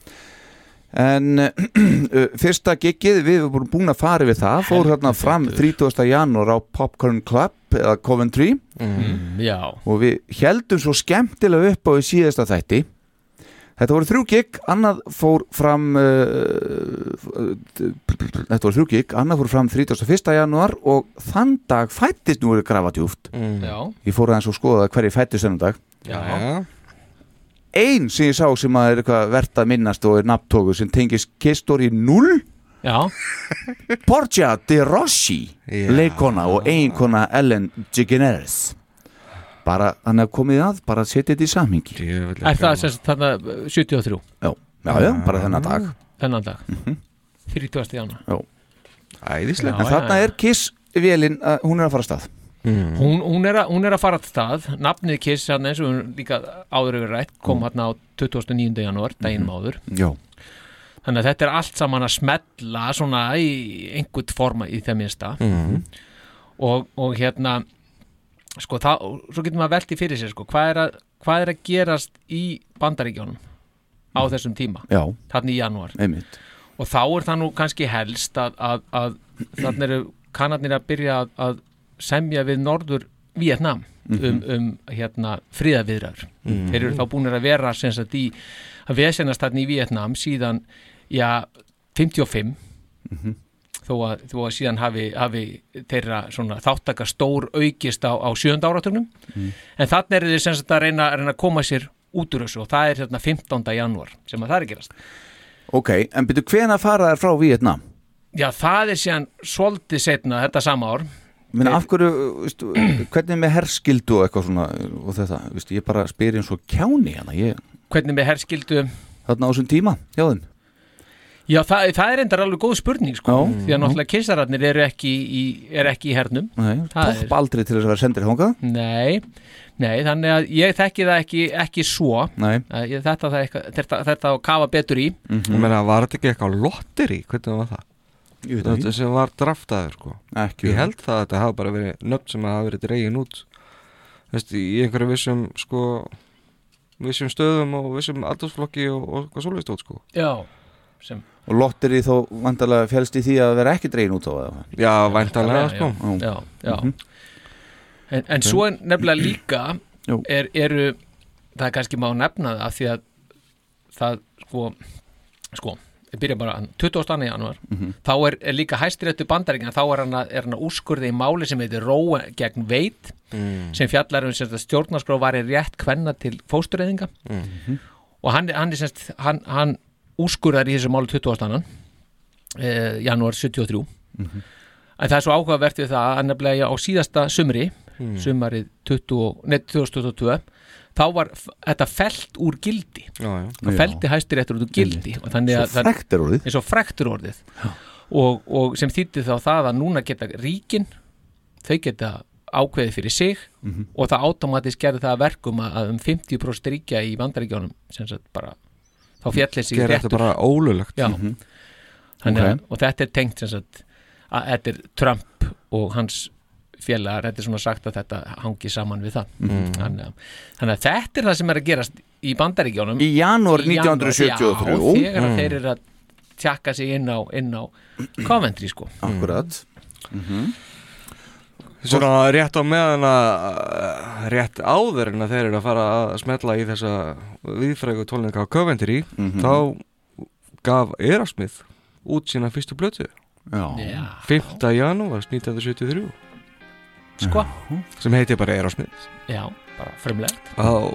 [SPEAKER 2] En uh, fyrsta giggið, við erum búin að fara við það, fór hérna fram 30. janúar á Popcorn Club eða Coventry
[SPEAKER 3] Mm.
[SPEAKER 2] Mm.
[SPEAKER 3] Já,
[SPEAKER 2] og við heldum svo skemmtilega upp á í síðasta þætti. Þetta voru þrjú gig, annað fór fram, uh, þetta voru þrjú gig, annað fór fram 31. janúar og þann dag fættist nú eru grafatjúft.
[SPEAKER 3] já,
[SPEAKER 2] Ég fór aðeins og skoða hverju fættist þennan dag.
[SPEAKER 3] já,
[SPEAKER 2] Einn sem ég sá sem að er eitthvað verðt að minnast og er nafntóku sem tengist kistor í null
[SPEAKER 3] já.
[SPEAKER 2] Portia de Rossi leikona og eiginkona Ellen DeGeneres bara hann hef komið að, bara setja þetta í samhengi
[SPEAKER 3] Er það sem sagt þarna uh, 73
[SPEAKER 2] já, já, já, bara þennan dag
[SPEAKER 3] þennan dag
[SPEAKER 2] Mhm.
[SPEAKER 3] 30. januar
[SPEAKER 2] já.
[SPEAKER 4] Æðislega.
[SPEAKER 2] en
[SPEAKER 3] Já,
[SPEAKER 2] þarna
[SPEAKER 3] já, já.
[SPEAKER 2] er Kiss vélin, að- hún er að fara af stað
[SPEAKER 3] hún, hún, er að, hún er að fara til stað nafnið Kiss hann eins og hún líka áður yfir rætt kom hann á 29. janúar daginum áður
[SPEAKER 2] já,
[SPEAKER 3] þannig að þetta er allt saman að smella svona í einhvern forma í þeim minnsta
[SPEAKER 4] Mhm.
[SPEAKER 3] og, og hérna sko það, svo getur maður velti fyrir sér sko, hvað er að, hvað er að gerast í bandaríkjónum á þessum tíma
[SPEAKER 2] já,
[SPEAKER 3] þarna í janúar
[SPEAKER 2] einmitt
[SPEAKER 3] og þá er það nú kannski helst að, að, að þarna eru kannarnir að byrja að, að semja við norður Vietnam um, um hérna friðaviðrar
[SPEAKER 4] Mhm.
[SPEAKER 3] þeir eru þá búinir að vera sem sagt í að vesennast þarna í Vietnam síðan já 55 þó, að, þó að síðan hafi, hafi þeirra svona þáttaka stór aukist á, á sjönda áratunum en þarna eru þeir sem sagt að reyna, reyna að koma sér út úr þessu og það er hérna 15. janúar sem að það er að gerast
[SPEAKER 2] ok, en byrju hvena fara þær frá Vietnam?
[SPEAKER 3] Já, það er síðan svolítið setna þetta sama ár.
[SPEAKER 2] Minna, af hverju, uh, veistu, hvernig er með herskildu og eitthvað svona uh, og þetta, veistu, ég bara spyr eins og kjáni hana, ég,
[SPEAKER 3] Hvernig með herskildu?
[SPEAKER 2] þarna á þessum tíma, hjá þeim
[SPEAKER 3] Já, það, það er endar alveg góð spurning, sko.
[SPEAKER 2] Já.
[SPEAKER 3] Því að náttúrulega kissararnir eru ekki í, er ekki í hernum.
[SPEAKER 2] Nei,
[SPEAKER 3] Það
[SPEAKER 2] topp aldrei til þess að vera sendir þangað
[SPEAKER 3] Nei, nei, þannig að ég þekki það ekki, ekki svo.
[SPEAKER 2] Nei,
[SPEAKER 3] Að ég- Þetta, það eitthvað, þetta, þetta á kafa betur í.
[SPEAKER 4] Ég meina, var þetta ekki eitthvað lotteri? Hvernig var það?
[SPEAKER 2] ég veit það
[SPEAKER 4] Þetta
[SPEAKER 2] ekki
[SPEAKER 4] sem var draftaður, sko.
[SPEAKER 2] Ekki
[SPEAKER 4] Ég held það að þetta hafa bara verið nöfn sem hafa verið dregin út. Veist, í einhverju vissum, sko, vissum stöðum og vissum aldursflokki og, og hvað svo leist út, sko.
[SPEAKER 3] Já, sem,
[SPEAKER 2] Og lotteri þó vandalega fjælst í því að vera ekki dregin út á það
[SPEAKER 4] Já, væntalega,
[SPEAKER 3] Já,
[SPEAKER 4] sko.
[SPEAKER 2] Jú.
[SPEAKER 3] já, já. En, en svo er nefnilega líka
[SPEAKER 2] Jú.
[SPEAKER 3] er, eru, það er kannski má nefna það af því að það sko, sko ég byrja bara, 22. januar þá er, er líka hæstiréttu bandaríkina þá er hann, að, er hann að úrskurði í máli sem heitir Róa gegn veit sem fjallar um sem sagt að stjórnarskrá var í rétt kvenna til fóstureyðinga og hann, hann, er sem sagt, hann, hann úrskurðar í þessu máli 22. Eh, januar 73 en það er svo áhugavert við það að nefnilega á síðasta sumri
[SPEAKER 4] Hmm.
[SPEAKER 3] sumarið 20, nei, 2022 þá var f- þetta felt úr gildi
[SPEAKER 4] Já, já.
[SPEAKER 3] það felti hæstir réttur út úr gildi og þannig að
[SPEAKER 2] Svo frekt er orðið
[SPEAKER 3] eins og frektur orðið og, og sem þýtti þá það að núna geta ríkin þau geta ákveðið fyrir sig og það automatist gerði það að verkum að- að um 50% ríkja í vandaríkjónum sem sagt bara þá fjallið sig
[SPEAKER 4] Gerði þetta
[SPEAKER 3] réttur
[SPEAKER 4] bara ólulegt.
[SPEAKER 3] Já, þannig að,
[SPEAKER 2] Mhm. Ok.
[SPEAKER 3] og þetta er tengt sem sagt að þetta er Trump og hans félagar, þetta er svona sagt að þetta hangi saman við það
[SPEAKER 2] Mhm.
[SPEAKER 3] þannig, að, þannig að þetta er það sem er að gerast í bandaríkjónum
[SPEAKER 2] Í janúar Mhm.
[SPEAKER 3] Í janúar,
[SPEAKER 2] 1973
[SPEAKER 3] já, þegar að þeir eru að tjaka sig inn á, inn á Coventry sko
[SPEAKER 2] Akkurat
[SPEAKER 4] Svona rétt á meðan að rétt áður en að þeir eru að fara að smetla í þessa viðfrægu tónleika á Coventry
[SPEAKER 3] Mhm.
[SPEAKER 2] Mhm.
[SPEAKER 4] þá gaf Erasmith út sína fyrstu blötu
[SPEAKER 2] Já,
[SPEAKER 4] 5. janúar 1973
[SPEAKER 3] sko,
[SPEAKER 2] Mhm.
[SPEAKER 4] sem heitir bara Erasmith
[SPEAKER 3] já, bara frumlegt
[SPEAKER 4] og, og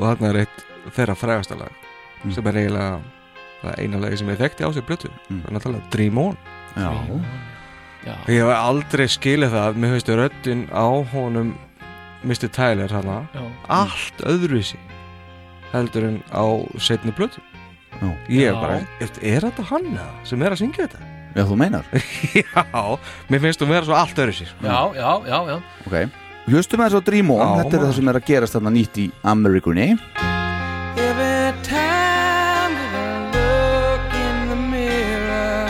[SPEAKER 4] þarna er eitt þeirra frægasta lag sem er eiginlega það eina lagi sem ég þekkti á sér blötu
[SPEAKER 2] Mm.
[SPEAKER 4] það er náttúrulega Dream On
[SPEAKER 2] já
[SPEAKER 3] já,
[SPEAKER 4] Ég hef aldrei skilið það mér höfstu röddin á honum Mr. Tyler hana
[SPEAKER 3] já,
[SPEAKER 4] allt öðruvísi heldur en á setni blötu
[SPEAKER 2] Já.
[SPEAKER 4] ég
[SPEAKER 3] Já.
[SPEAKER 4] er bara, er, er þetta hann eða sem er að syngja þetta?
[SPEAKER 2] Já, þú meinar
[SPEAKER 4] já, mér finnst hún vera svo allt öðruvísi sko.
[SPEAKER 3] já, já, já, já.
[SPEAKER 2] Ok Hlustum að þess að Dream On
[SPEAKER 4] Já,
[SPEAKER 2] Þetta er
[SPEAKER 4] maður.
[SPEAKER 2] það sem er að gerast þarna nýtt í Amerikunni
[SPEAKER 10] Every time that I look in the mirror,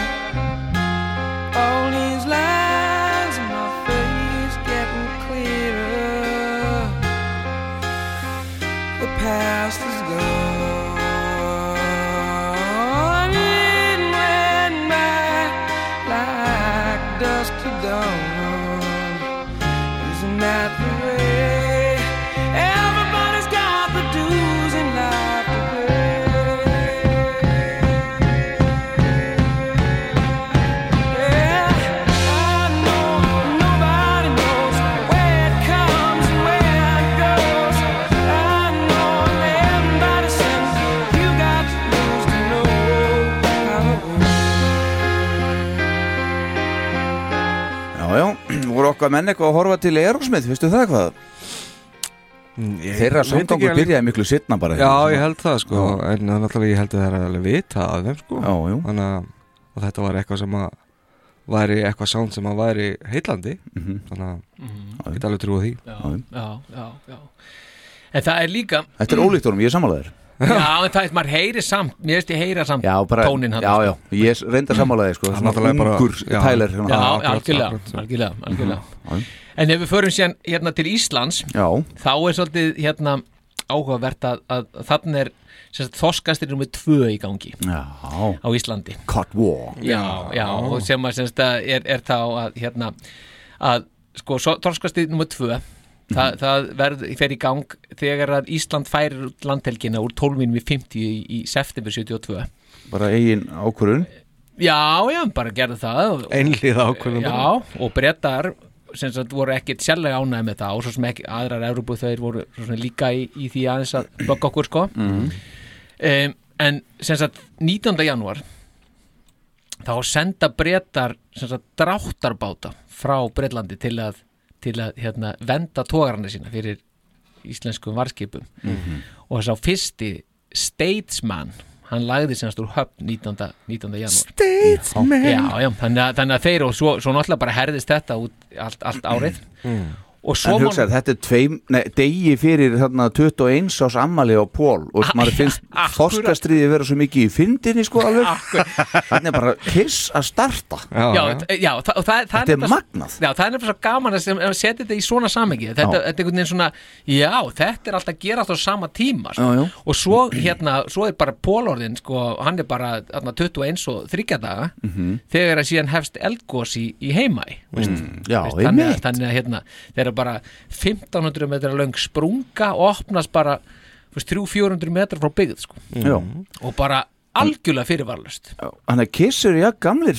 [SPEAKER 10] all these lines in my face getting clearer. The past is gone. don't know. Isn't that the way? Everybody's got the dues in life to pay. Yeah, I know nobody knows where it comes and where it goes. I know everybody says you got the dues to know how it works.
[SPEAKER 2] Já, já, voru okkar menn eitthvað að horfa til Erosmith, veistu það hvað?
[SPEAKER 4] Mm, Ég
[SPEAKER 2] Þeirra
[SPEAKER 4] veit ekki
[SPEAKER 2] samgangur
[SPEAKER 4] alveg-
[SPEAKER 2] byrjaði miklu sitna bara
[SPEAKER 4] Já, ég held það sko En náttúrulega ég held að það er alveg vita af þeim sko já, já. Þannig að og þetta var eitthvað sem að væri eitthvað sound sem að væri heillandi
[SPEAKER 2] Mhm.
[SPEAKER 4] Þannig að ég get alveg trúið því
[SPEAKER 3] Mhm. já, já, já En það er líka
[SPEAKER 2] Þetta er ólíkt honum, ég er samanlegaður
[SPEAKER 3] Já, en það er, maður heyri samt, mér veist ég heyra samt
[SPEAKER 2] Já, bara,
[SPEAKER 3] tónin hann
[SPEAKER 2] já, já, ég reynda samanlegaði sko,
[SPEAKER 4] sko. Hann
[SPEAKER 2] svona
[SPEAKER 4] náttúrulega bara-
[SPEAKER 2] ungur hérna.
[SPEAKER 4] já.
[SPEAKER 2] tæler
[SPEAKER 3] Já, já, algjörlega, algjörlega, algjörlega. En ef við förum síðan hérna til Íslands
[SPEAKER 2] Já,
[SPEAKER 3] þá er svolítið hérna áhugavert að, að þannig er sem sagt, þorskastir nummer tvö í gangi
[SPEAKER 2] já
[SPEAKER 3] á Íslandi
[SPEAKER 2] Cod War
[SPEAKER 3] já, já, og sem að sem þetta er, er þá að hérna að sko þorskastíð nummer tvö það, það verð, fer í gang þegar að Ísland færir út landhelgina úr 12.50 í, í september 72
[SPEAKER 2] bara eigin ákvörun
[SPEAKER 3] já, já, bara gerðu það og-
[SPEAKER 4] Einlið ákvörðum
[SPEAKER 3] Já, og brettar sem sagt voru ekkit sérlega ánægð með það og svo sem ekki aðrar Európu þeir voru svo sem líka í, í því aðeins að blokka okkur sko
[SPEAKER 2] Mhm.
[SPEAKER 3] um, en sem sagt 19. janúar þá senda brettar sem sagt dráttarbáta frá Bretlandi til að, til að hérna, venda tógarana sína fyrir íslenskum varskipum
[SPEAKER 10] Mhm.
[SPEAKER 3] og þess að fyrsti statesman hann lagði semast úr höfn 19. 19. janúar
[SPEAKER 10] Statesman.
[SPEAKER 2] Mm.
[SPEAKER 3] já, já, þannig, að, þannig að þeir og svo, svo náttúrulega bara herðist þetta út allt, allt árið og svo
[SPEAKER 2] Mm. En hugsaði, þetta er tveim, nei, degi fyrir þarna 21 ás ammali á Pól og maður finnst þorskastriði vera svo mikið í fyndinni sko alveg Þannig er bara kiss að starta
[SPEAKER 3] Já, já, já og það, og það, það
[SPEAKER 2] Þetta er
[SPEAKER 3] nefnilega svo-
[SPEAKER 2] magnað.
[SPEAKER 3] Já, það er nefnilega svo gaman að, sem, að setja þetta í svona samengi þetta, þetta
[SPEAKER 2] Já.
[SPEAKER 3] er einhvern veginn svona, já, þetta er alltaf að gera á sama tíma sko.
[SPEAKER 2] Já, já.
[SPEAKER 3] og svo hérna, svo er bara pólorðin sko, hann er bara þarna, 21 og 30 daga
[SPEAKER 2] Mhm.
[SPEAKER 3] þegar að síðan hefst eldgós í, í heimæ
[SPEAKER 2] Mm, Já,
[SPEAKER 3] Veist,
[SPEAKER 2] ég
[SPEAKER 3] þannig, að, þannig að hérna, þeir eru bara 1500 metra löng sprunga og opnast bara 300-400 metra frá byggð sko.
[SPEAKER 2] Já.
[SPEAKER 3] og bara algjörlega fyrirvarlust
[SPEAKER 2] Þannig að kiss eru já gamlir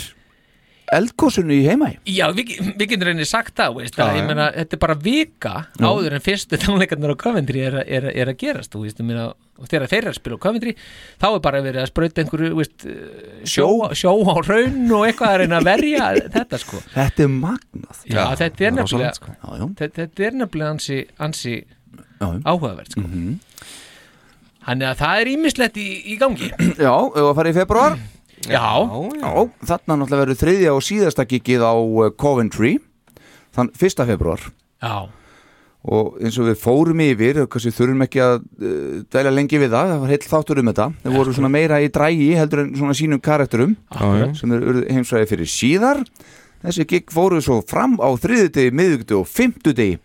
[SPEAKER 2] eldkosunni í heimæ
[SPEAKER 3] Já, við, við getum reynir sagt það, veist,
[SPEAKER 2] Já,
[SPEAKER 3] að, ég
[SPEAKER 2] já.
[SPEAKER 3] meina, þetta er bara vika
[SPEAKER 2] Já.
[SPEAKER 3] áður en fyrstu tónleikarnir á Coventry er, að- er, að- er að gerast þú veist, ég meina, og þegar þeir eru að spila á Coventry þá er bara verið að sprauta einhverju veist, eh, sjó, sjó á raun og eitthvað að reyna að verja þetta sko
[SPEAKER 2] Þetta er magnað
[SPEAKER 3] Já, þetta er nefnilega
[SPEAKER 2] rosalegt, sko. Já, já.
[SPEAKER 3] þetta, þetta er nefnilega ansi, ansi
[SPEAKER 2] Já, Mhm. já.
[SPEAKER 3] áhugavert sko. Þannig að það er ímislegt í, í gangi
[SPEAKER 2] Já, ef að fara í februar
[SPEAKER 3] Já,
[SPEAKER 2] já Þarna náttúrulega verður þriðja og síðasta gigið á eh, Coventry Þann fyrsta februar
[SPEAKER 3] Já
[SPEAKER 2] Og eins og við fórum yfir og kannski þurfum ekki að uh, dælja lengi við það Það var heill þáttur um þetta Þeir voru svona meira í drægi heldur en svona sínum karakterum
[SPEAKER 4] Akkurat.
[SPEAKER 2] Sem þeir eru heimsvæði fyrir síðar Þessi gig fóru svo fram á þriðudegi, miðugdegi og fimmtudegi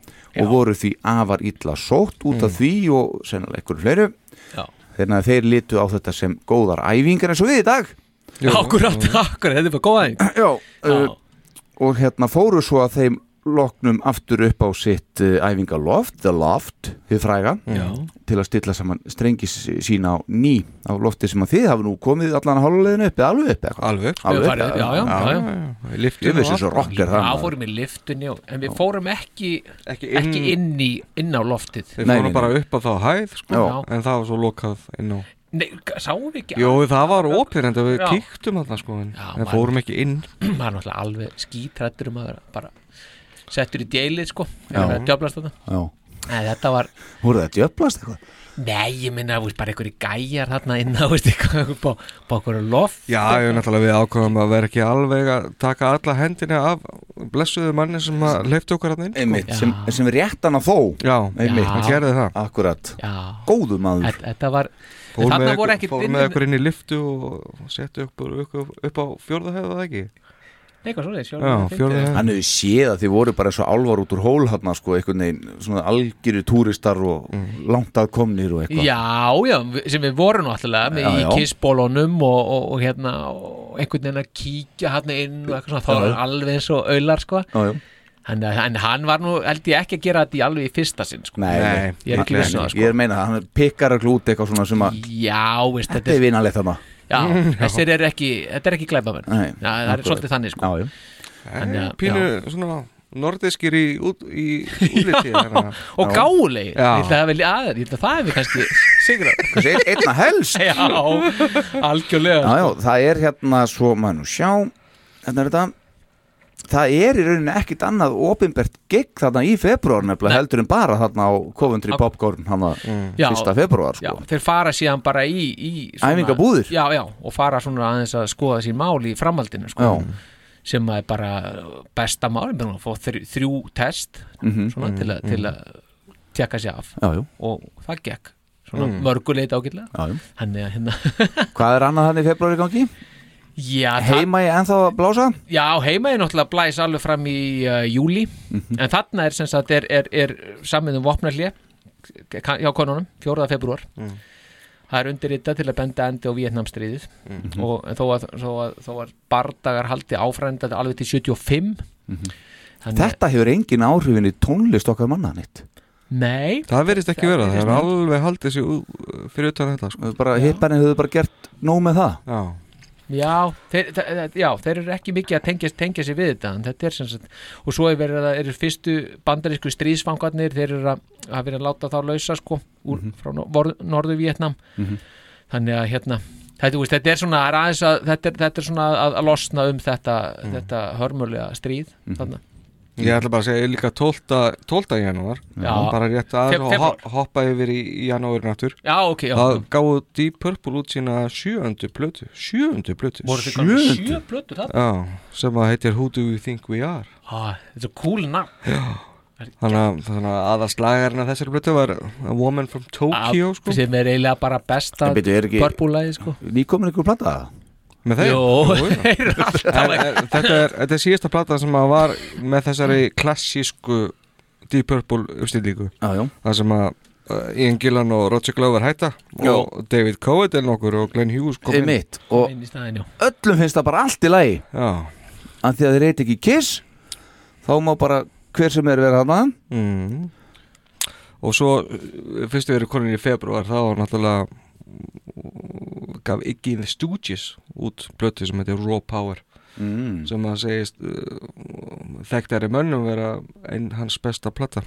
[SPEAKER 2] Og voru því afar illa sótt út af því og sennilega einhverju fleiru
[SPEAKER 3] Já.
[SPEAKER 2] Þannig að þeir litu á þetta sem góðar æfingar eins og við í dag
[SPEAKER 3] Akkurat, akkurat, þetta er bara góða þing
[SPEAKER 2] Já,
[SPEAKER 3] eh,
[SPEAKER 2] uh, og hérna fóru svo að þeim loknum aftur upp á sitt uh, æfingaloft, the loft, þið fræga
[SPEAKER 3] Já.
[SPEAKER 2] til að stilla saman strengi s- sína á ný á lofti sem að þið hafa nú komið allan hálflegin uppi, alveg uppi eitthvað.
[SPEAKER 4] Alveg uppi,
[SPEAKER 2] alveg
[SPEAKER 3] Farið- já, já, já, já.
[SPEAKER 2] já. Ég vissi svo rocker það
[SPEAKER 3] Já,
[SPEAKER 2] maður.
[SPEAKER 3] fórum í liftunni og, en við fórum ekki ekki
[SPEAKER 4] inn-
[SPEAKER 3] inn, í, inn á loftið
[SPEAKER 4] Við fórum bara upp að þá hæð sko,
[SPEAKER 3] Já.
[SPEAKER 4] En það var svo lokað inn á
[SPEAKER 3] Nei, g- sáum við ekki
[SPEAKER 4] Jó, það var opið En við
[SPEAKER 3] Já.
[SPEAKER 4] kíktum alltaf sko En
[SPEAKER 3] Já,
[SPEAKER 4] en
[SPEAKER 3] maður-
[SPEAKER 4] fórum ekki inn
[SPEAKER 3] maður er náttúrulega alveg skítrættur um að vera bara settur í djælið sko
[SPEAKER 2] Já.
[SPEAKER 3] eða djöflast þetta
[SPEAKER 2] Já.
[SPEAKER 3] Nei, þetta var
[SPEAKER 2] Voru það djöflast eitthvað?
[SPEAKER 3] Nei, ég minna, veist, bara einhverju gæjar þarna inn á, veist, eitthvað bá, bá einhverju loft
[SPEAKER 4] Já, ég er náttúrulega við ákveðum að vera ekki alveg að taka alla hendina af blessuðu manni sem að leifta okkur hann inn sko.
[SPEAKER 2] Einmitt, sem, sem rétt hann að þó
[SPEAKER 4] Já,
[SPEAKER 2] einmitt,
[SPEAKER 4] hann gerði það
[SPEAKER 2] Akkurat,
[SPEAKER 3] Já.
[SPEAKER 2] góðu maður
[SPEAKER 3] Þetta- Þetta var
[SPEAKER 4] Fór
[SPEAKER 3] Þarna
[SPEAKER 4] með,
[SPEAKER 3] voru
[SPEAKER 4] ykkur,
[SPEAKER 3] ekkit
[SPEAKER 4] fór
[SPEAKER 3] inn-
[SPEAKER 4] með ykkur inn í liftu og settu ykkur, ykkur upp á fjórða hefðu það ekki
[SPEAKER 3] Nei, eitthvað svoleiðis, fjórða
[SPEAKER 4] Já,
[SPEAKER 3] eða fimmta
[SPEAKER 4] fjórða hefðu
[SPEAKER 2] Hann hefur séð að þið voru bara svo álvar út úr hól hann sko, einhvern veginn, svona algjöri túristar og
[SPEAKER 3] Mm.
[SPEAKER 2] langt að komnir og eitthvað
[SPEAKER 3] Já, já, við- sem við vorum náttúrulega með
[SPEAKER 2] Já,
[SPEAKER 3] í
[SPEAKER 2] já.
[SPEAKER 3] kissbólunum og, og, og hérna og, einhvern veginn að kíkja hann inn og eitthvað svona, þá
[SPEAKER 2] Já,
[SPEAKER 3] var
[SPEAKER 2] já.
[SPEAKER 3] hann alveg eins og aular sko
[SPEAKER 2] Já, já.
[SPEAKER 3] Hann, hann, hann var nú, held ég ekki að gera þetta í alveg í fyrsta sinn sko. ég er ekki viss um það sko.
[SPEAKER 2] Ég er að meina það, hann pikkar að glúti eitthvað svona sem að
[SPEAKER 3] Já, veist,
[SPEAKER 2] Þetta er vinalegt þarna
[SPEAKER 3] Já, þessir er ekki, þetta er ekki glæpamenn
[SPEAKER 2] Nei,
[SPEAKER 3] Já, það er
[SPEAKER 2] akkurat.
[SPEAKER 3] svolítið þannig sko
[SPEAKER 2] Já,
[SPEAKER 3] Þannig að-
[SPEAKER 4] Pínu
[SPEAKER 3] já.
[SPEAKER 4] svona nordiskir í, út, í útliti hérna.
[SPEAKER 3] og
[SPEAKER 4] Já.
[SPEAKER 3] gáulegi, ég
[SPEAKER 4] Já.
[SPEAKER 3] ætla að velja aður ég ætla að það hefur kannski
[SPEAKER 2] Kannski ein-
[SPEAKER 3] sigrað
[SPEAKER 2] einna helst
[SPEAKER 3] Já, algjörlega
[SPEAKER 2] Já, já, það er hérna svo maður nú sjá Hérna er þetta Það er í rauninni ekkit annað opinbert gig þarna í februar nefnilega heldur en bara þarna á Coventry
[SPEAKER 3] Á- Mm.
[SPEAKER 2] Popcorn hann að
[SPEAKER 3] Já.
[SPEAKER 2] fyrsta februar sko.
[SPEAKER 3] Þeir fara síðan bara í, í
[SPEAKER 2] Æfingabúðir.
[SPEAKER 3] Já, já, og fara svona aðeins að skoða sín mál í framhaldinu sko
[SPEAKER 2] Já.
[SPEAKER 3] sem að er bara besta mál ég meina, að fá þrjú, þrjú test
[SPEAKER 2] Mhm,
[SPEAKER 3] svona,
[SPEAKER 2] mhm,
[SPEAKER 3] til, að,
[SPEAKER 2] mhm.
[SPEAKER 3] til að tjekka sér af
[SPEAKER 2] Já, já.
[SPEAKER 3] og það gekk svona
[SPEAKER 2] Mm.
[SPEAKER 3] mm. mörguleita ágætlega
[SPEAKER 2] Já, já.
[SPEAKER 3] Þannig að hérna
[SPEAKER 2] Hvað er annað hann í februar í gangi?
[SPEAKER 3] Já,
[SPEAKER 2] Heima ég ennþá að blása?
[SPEAKER 3] Já, heima er náttúrulega blæs alveg fram í uh, júli,
[SPEAKER 4] Mhm.
[SPEAKER 3] en þarna er sem sagt er, er, er samið um vopnarlið hjá konunum, 4. februar
[SPEAKER 4] Mm.
[SPEAKER 3] það er undirritað til að benda endi á Vietnamstríðið
[SPEAKER 4] Mhm.
[SPEAKER 3] og en þó að, þó að, þó að bardagar haldi áfrænda alveg til 75
[SPEAKER 4] Mhm.
[SPEAKER 3] Þannig-
[SPEAKER 2] Þetta hefur engin áhrifin í tónlist okkar manna nýtt
[SPEAKER 3] Nei
[SPEAKER 4] Það verðist ekki vera, það er
[SPEAKER 2] virðist-
[SPEAKER 4] alveg haldið sér ú- fyrir utan þetta sko.
[SPEAKER 2] Bara hipparinn hefur bara gert nóg með það
[SPEAKER 4] Já,
[SPEAKER 3] Já, þeir, þe- þe- já, þeir eru ekki mikið að tengja, tengja sér við þetta en þetta er sem sagt, og svo er verið að eru fyrstu bandarísku stríðsfangarnir þeir eru að, að verið að láta þá lausa sko, úr,
[SPEAKER 4] Mhm.
[SPEAKER 3] frá nor norðu Vietnam
[SPEAKER 2] Mhm.
[SPEAKER 3] þannig að hérna þetta, þú veist, þetta er svona það er aðeins að, þetta, er, þetta er svona að, að losna um þetta,
[SPEAKER 4] Mhm.
[SPEAKER 3] þetta hörmulega stríð þarna
[SPEAKER 4] Ég ætla bara að segja líka 12. 12. janúar
[SPEAKER 3] Já.
[SPEAKER 4] bara rétt
[SPEAKER 3] Fe-
[SPEAKER 4] aðeins og
[SPEAKER 3] febrúar.
[SPEAKER 4] ho- hoppa yfir í, í janúar náttúr
[SPEAKER 3] Já, ok, já.
[SPEAKER 4] Það gáðu Deep Purple út sína sjööndu plötu Sjööndu plötu
[SPEAKER 3] Voru þið komin með sjö plötur þarna?
[SPEAKER 4] Já, sem að heitir Who Do You Think We Are
[SPEAKER 3] ah, þetta er cool nafn
[SPEAKER 4] Þannig að, þannig að aðaslagarinn að þessari plötu var A Woman From Tokyo
[SPEAKER 3] Að-
[SPEAKER 4] sko.
[SPEAKER 3] sem er eiginlega bara besta
[SPEAKER 4] En byrju, er ekki-
[SPEAKER 3] pörpúlaði sko
[SPEAKER 2] Nýkomin ykkur plata
[SPEAKER 4] Með þeim?
[SPEAKER 3] Jó,
[SPEAKER 4] Jú, jú.
[SPEAKER 3] þeir eru alltaf
[SPEAKER 4] En, en, þetta, er, þetta er síðasta plata sem að var með þessari klassísku Deep Purple uppstillingu
[SPEAKER 2] ah,
[SPEAKER 4] Það sem að uh, Ian Gillan og Roger Glover hætta
[SPEAKER 2] Já.
[SPEAKER 4] og David Coverdale nokkur og Glenn Hughes kom inn
[SPEAKER 2] Einmitt, og
[SPEAKER 3] Inn í staðinn, já.
[SPEAKER 2] öllum finnst það bara allt í lagi
[SPEAKER 4] Já.
[SPEAKER 2] en því að þeir reyti ekki kiss þá má bara hver sem er vera hana
[SPEAKER 4] mm. Og svo uh, fyrst við erum konin í februar þá var náttúrulega uh, gaf Iggy and the Stooges út blötu sem heitir Raw Power
[SPEAKER 2] Mm.
[SPEAKER 4] sem að segist uh, þekktari mönnum vera einn hans besta platta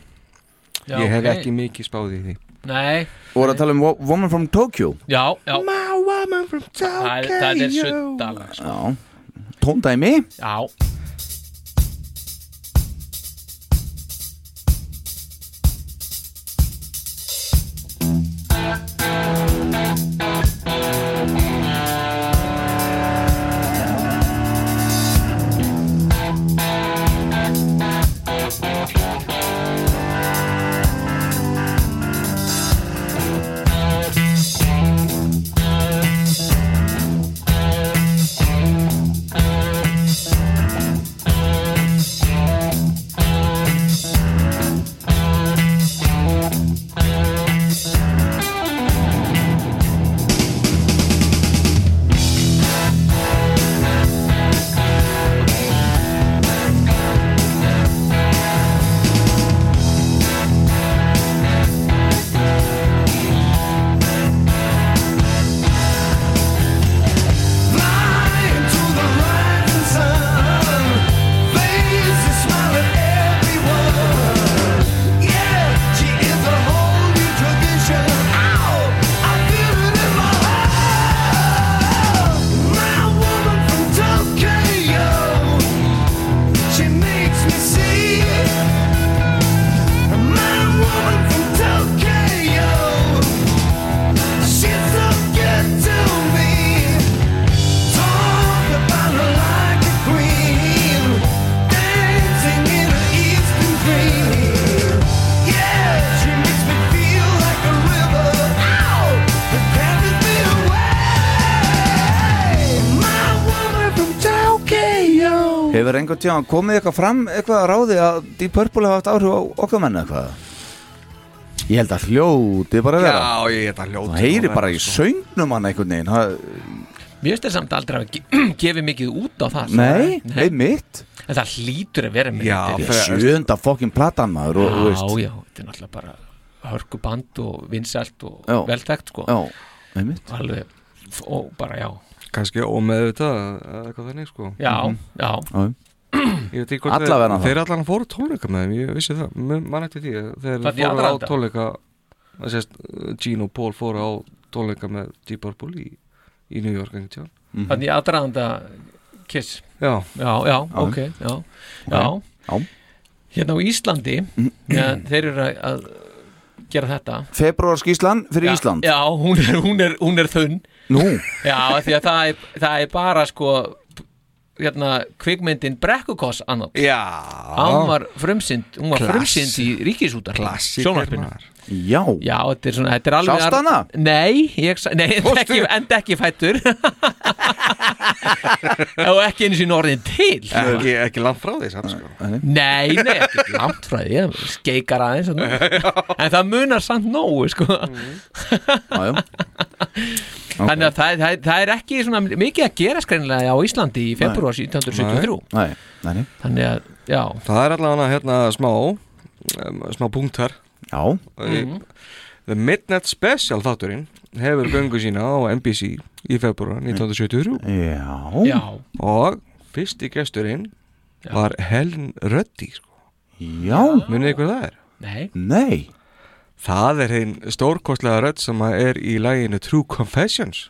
[SPEAKER 3] Já,
[SPEAKER 4] Ég hef
[SPEAKER 3] ok.
[SPEAKER 4] ekki mikið spáð í því
[SPEAKER 3] Nei,
[SPEAKER 2] og voru að tala um Wo- Woman from Tokyo
[SPEAKER 3] já, já
[SPEAKER 4] My woman from
[SPEAKER 3] Það, það er suttalag sko.
[SPEAKER 2] já, tóndæmi
[SPEAKER 3] Já
[SPEAKER 10] She's so good to me. Talk about her like a queen, dancing in her eastern dream. Yeah, she makes me feel like a river. Ow, that carries me away. My woman from Tokyo.
[SPEAKER 2] hefur einhvern tíðan komið eitthvað fram eitthvað að ráði að Deep Purple hafa haft áhrif á okkar menna eitthvað ég held að hljóti bara að vera
[SPEAKER 4] Já, ég held að hljóti
[SPEAKER 2] það heyri
[SPEAKER 4] nú
[SPEAKER 2] bara
[SPEAKER 4] vera,
[SPEAKER 2] í söngnum hann einhvern veginn það
[SPEAKER 3] Mér finnst þér samt aldrei að ge gefið mikið út á það sko.
[SPEAKER 2] Nei, einmitt
[SPEAKER 3] En það hlýtur að vera með
[SPEAKER 2] Þetta er sjönda fokkin platan maður og,
[SPEAKER 3] Já,
[SPEAKER 2] og veist,
[SPEAKER 3] já, þetta er náttúrulega bara hörku band og vinsælt og
[SPEAKER 2] Já.
[SPEAKER 3] veltækt sko
[SPEAKER 2] Já, einmitt
[SPEAKER 3] Alveg, f- og bara já
[SPEAKER 4] kannski ómeðvitað eða eitthvað þannig sko
[SPEAKER 3] Já,
[SPEAKER 2] Mhm.
[SPEAKER 3] já
[SPEAKER 4] Ég veit ekki hvort þeir-
[SPEAKER 2] Allavega það.
[SPEAKER 4] Þeir allan fóru á tónleika með þeim, ég vissi það Mér- Man eftir því, þeir
[SPEAKER 3] Þarna í
[SPEAKER 4] fóru á
[SPEAKER 3] aðdraganda?
[SPEAKER 4] tónleika það sést, uh, Gene og Paul fóru á tónleika með Deep Purple í, í New York einhvern tíðan
[SPEAKER 2] Mhm.
[SPEAKER 3] Þannig ég aðdraðanda Kiss
[SPEAKER 4] Já.
[SPEAKER 3] já, já, ok Já, já. Hérna á Íslandi
[SPEAKER 2] Mhm.
[SPEAKER 3] ja, Þeir eru að- að gera þetta
[SPEAKER 2] Februarskíslan fyrir
[SPEAKER 3] Já,
[SPEAKER 2] Ísland
[SPEAKER 3] Já, hún er, hún er, hún er þunn
[SPEAKER 2] Nú,
[SPEAKER 3] Já, því að það er, það er bara sko hérna, kvikmyndin Brekkukoss annan
[SPEAKER 4] Já
[SPEAKER 3] Hann var frumsynd, hún var
[SPEAKER 2] Klass-
[SPEAKER 3] frumsynd í ríkisútar
[SPEAKER 4] Klassiker,
[SPEAKER 3] Sjónvarpinu
[SPEAKER 2] já
[SPEAKER 3] Já, þetta er svona, þetta er alveg
[SPEAKER 2] hérna. Sástu hana?
[SPEAKER 3] Nei, ég, sa- nei en, ekki, en ekki fættur Og ekki einu sinni orðin til
[SPEAKER 4] Ekki, ekki langt frá því samt sko
[SPEAKER 3] Nei, nei, ekki langt frá því ég Skeikar aðeins þarna. En það munar samt nógu sko.
[SPEAKER 2] Mm, já, já.
[SPEAKER 3] Þannig að það, það, það er ekki svona mikið að gera skreinlega á Íslandi í februar 1973
[SPEAKER 2] Nei, nei, nei.
[SPEAKER 3] Þannig að, já
[SPEAKER 4] Það er allavega hérna smá um, smá punktar
[SPEAKER 2] Já
[SPEAKER 3] Mhm.
[SPEAKER 4] The Midnight Special þátturinn hefur göngu sína á NBC í februar 1973
[SPEAKER 2] Já
[SPEAKER 3] Já,
[SPEAKER 4] og fyrsti gesturinn var Helen Ruddy sko.
[SPEAKER 2] Já
[SPEAKER 4] Munið ykkur það er?
[SPEAKER 3] nei,
[SPEAKER 2] Nei
[SPEAKER 4] Það er einn stórkostlega rödd sem að er í læginu True Confessions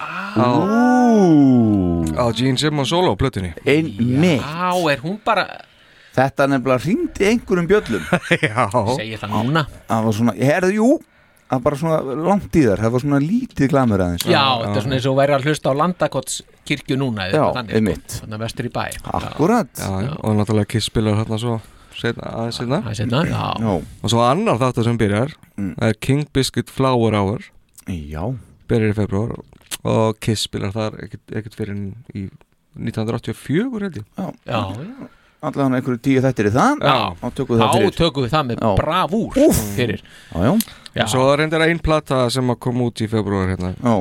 [SPEAKER 4] á,
[SPEAKER 2] Ú
[SPEAKER 4] á Gene Simmons solo plötunni
[SPEAKER 2] Einmitt
[SPEAKER 3] á, er hún bara
[SPEAKER 2] Þetta nefnilega hringdi einhverjum bjöllum
[SPEAKER 4] Já,
[SPEAKER 3] Segir það núna
[SPEAKER 2] Það var svona, herðu, jú Það var bara svona langt í þar Það var svona lítið glamur aðeins
[SPEAKER 3] Já, þetta er svona eins og væri að hlusta á Landakotskirkju núna eða
[SPEAKER 2] Já,
[SPEAKER 3] eitthvað þannig, sko.
[SPEAKER 2] einmitt.
[SPEAKER 3] Þannig að vestur í bæ
[SPEAKER 2] Akkurat
[SPEAKER 4] já, já, og náttúrulega Kiss spilar hérna svo setna, aðeins setna
[SPEAKER 3] Það er setna, já
[SPEAKER 2] Já
[SPEAKER 4] og svo annar þáttur sem byrjar það er King Biscuit Flower Hour
[SPEAKER 2] Já
[SPEAKER 4] byrjar í februar og Kiss spilar þar ekkert, ekkert fyrir en í 1984 held ég
[SPEAKER 3] Já,
[SPEAKER 2] Allan einhverju tíu þættir í það
[SPEAKER 3] já
[SPEAKER 2] Þá tökum við það
[SPEAKER 3] Þá
[SPEAKER 2] fyrir
[SPEAKER 3] tökum við það með
[SPEAKER 2] Já.
[SPEAKER 3] bravúr fyrir
[SPEAKER 2] Já, já
[SPEAKER 3] Já,
[SPEAKER 4] Svo er reyndar einn plata sem að koma út í februar hérna
[SPEAKER 2] Já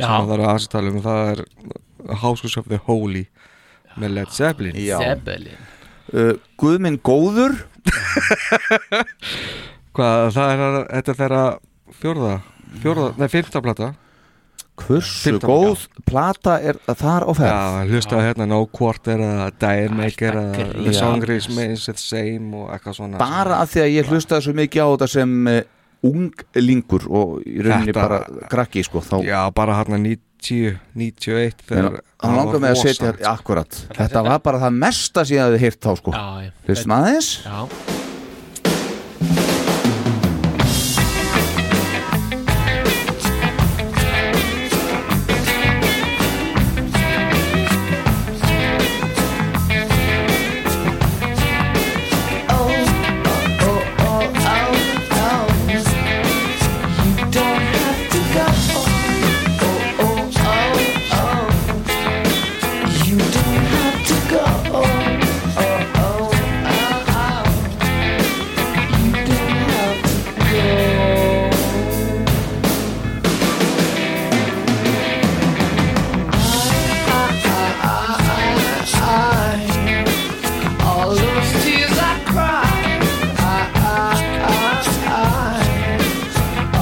[SPEAKER 4] sem að það
[SPEAKER 3] já
[SPEAKER 4] er aðeins að tala um það er House of the Holy með Led Zeppelin
[SPEAKER 3] Zeppelin
[SPEAKER 2] uh, Guðminn góður
[SPEAKER 4] Hvað, það er að- þetta er þeirra fjórða, fjórða, nei, fymta plata
[SPEAKER 2] Hversu
[SPEAKER 4] Fimmtán,
[SPEAKER 2] góð plata er þar á ferð
[SPEAKER 4] Já, hlustaði hérna No Quarter eða Dire Maker eða
[SPEAKER 3] Alltaf
[SPEAKER 4] The
[SPEAKER 2] grín.
[SPEAKER 4] Song Remains the Same og eitthvað svona
[SPEAKER 2] Bara af því að ég hlustaði svo mikið á þetta sem uh, unglingur og í rauninni
[SPEAKER 4] Þetta-
[SPEAKER 2] bara krakki sko þá
[SPEAKER 4] Já, bara hérna 90, 91
[SPEAKER 2] Þannig
[SPEAKER 4] þegar
[SPEAKER 2] að langar mig að
[SPEAKER 4] rosa,
[SPEAKER 2] setja
[SPEAKER 4] sko.
[SPEAKER 2] akkurat Þetta var bara það mesta síðan að þið hýrt þá sko
[SPEAKER 3] Já, já.
[SPEAKER 2] Hlustum aðeins
[SPEAKER 3] já
[SPEAKER 10] All those tears I cried, I, I, I, I.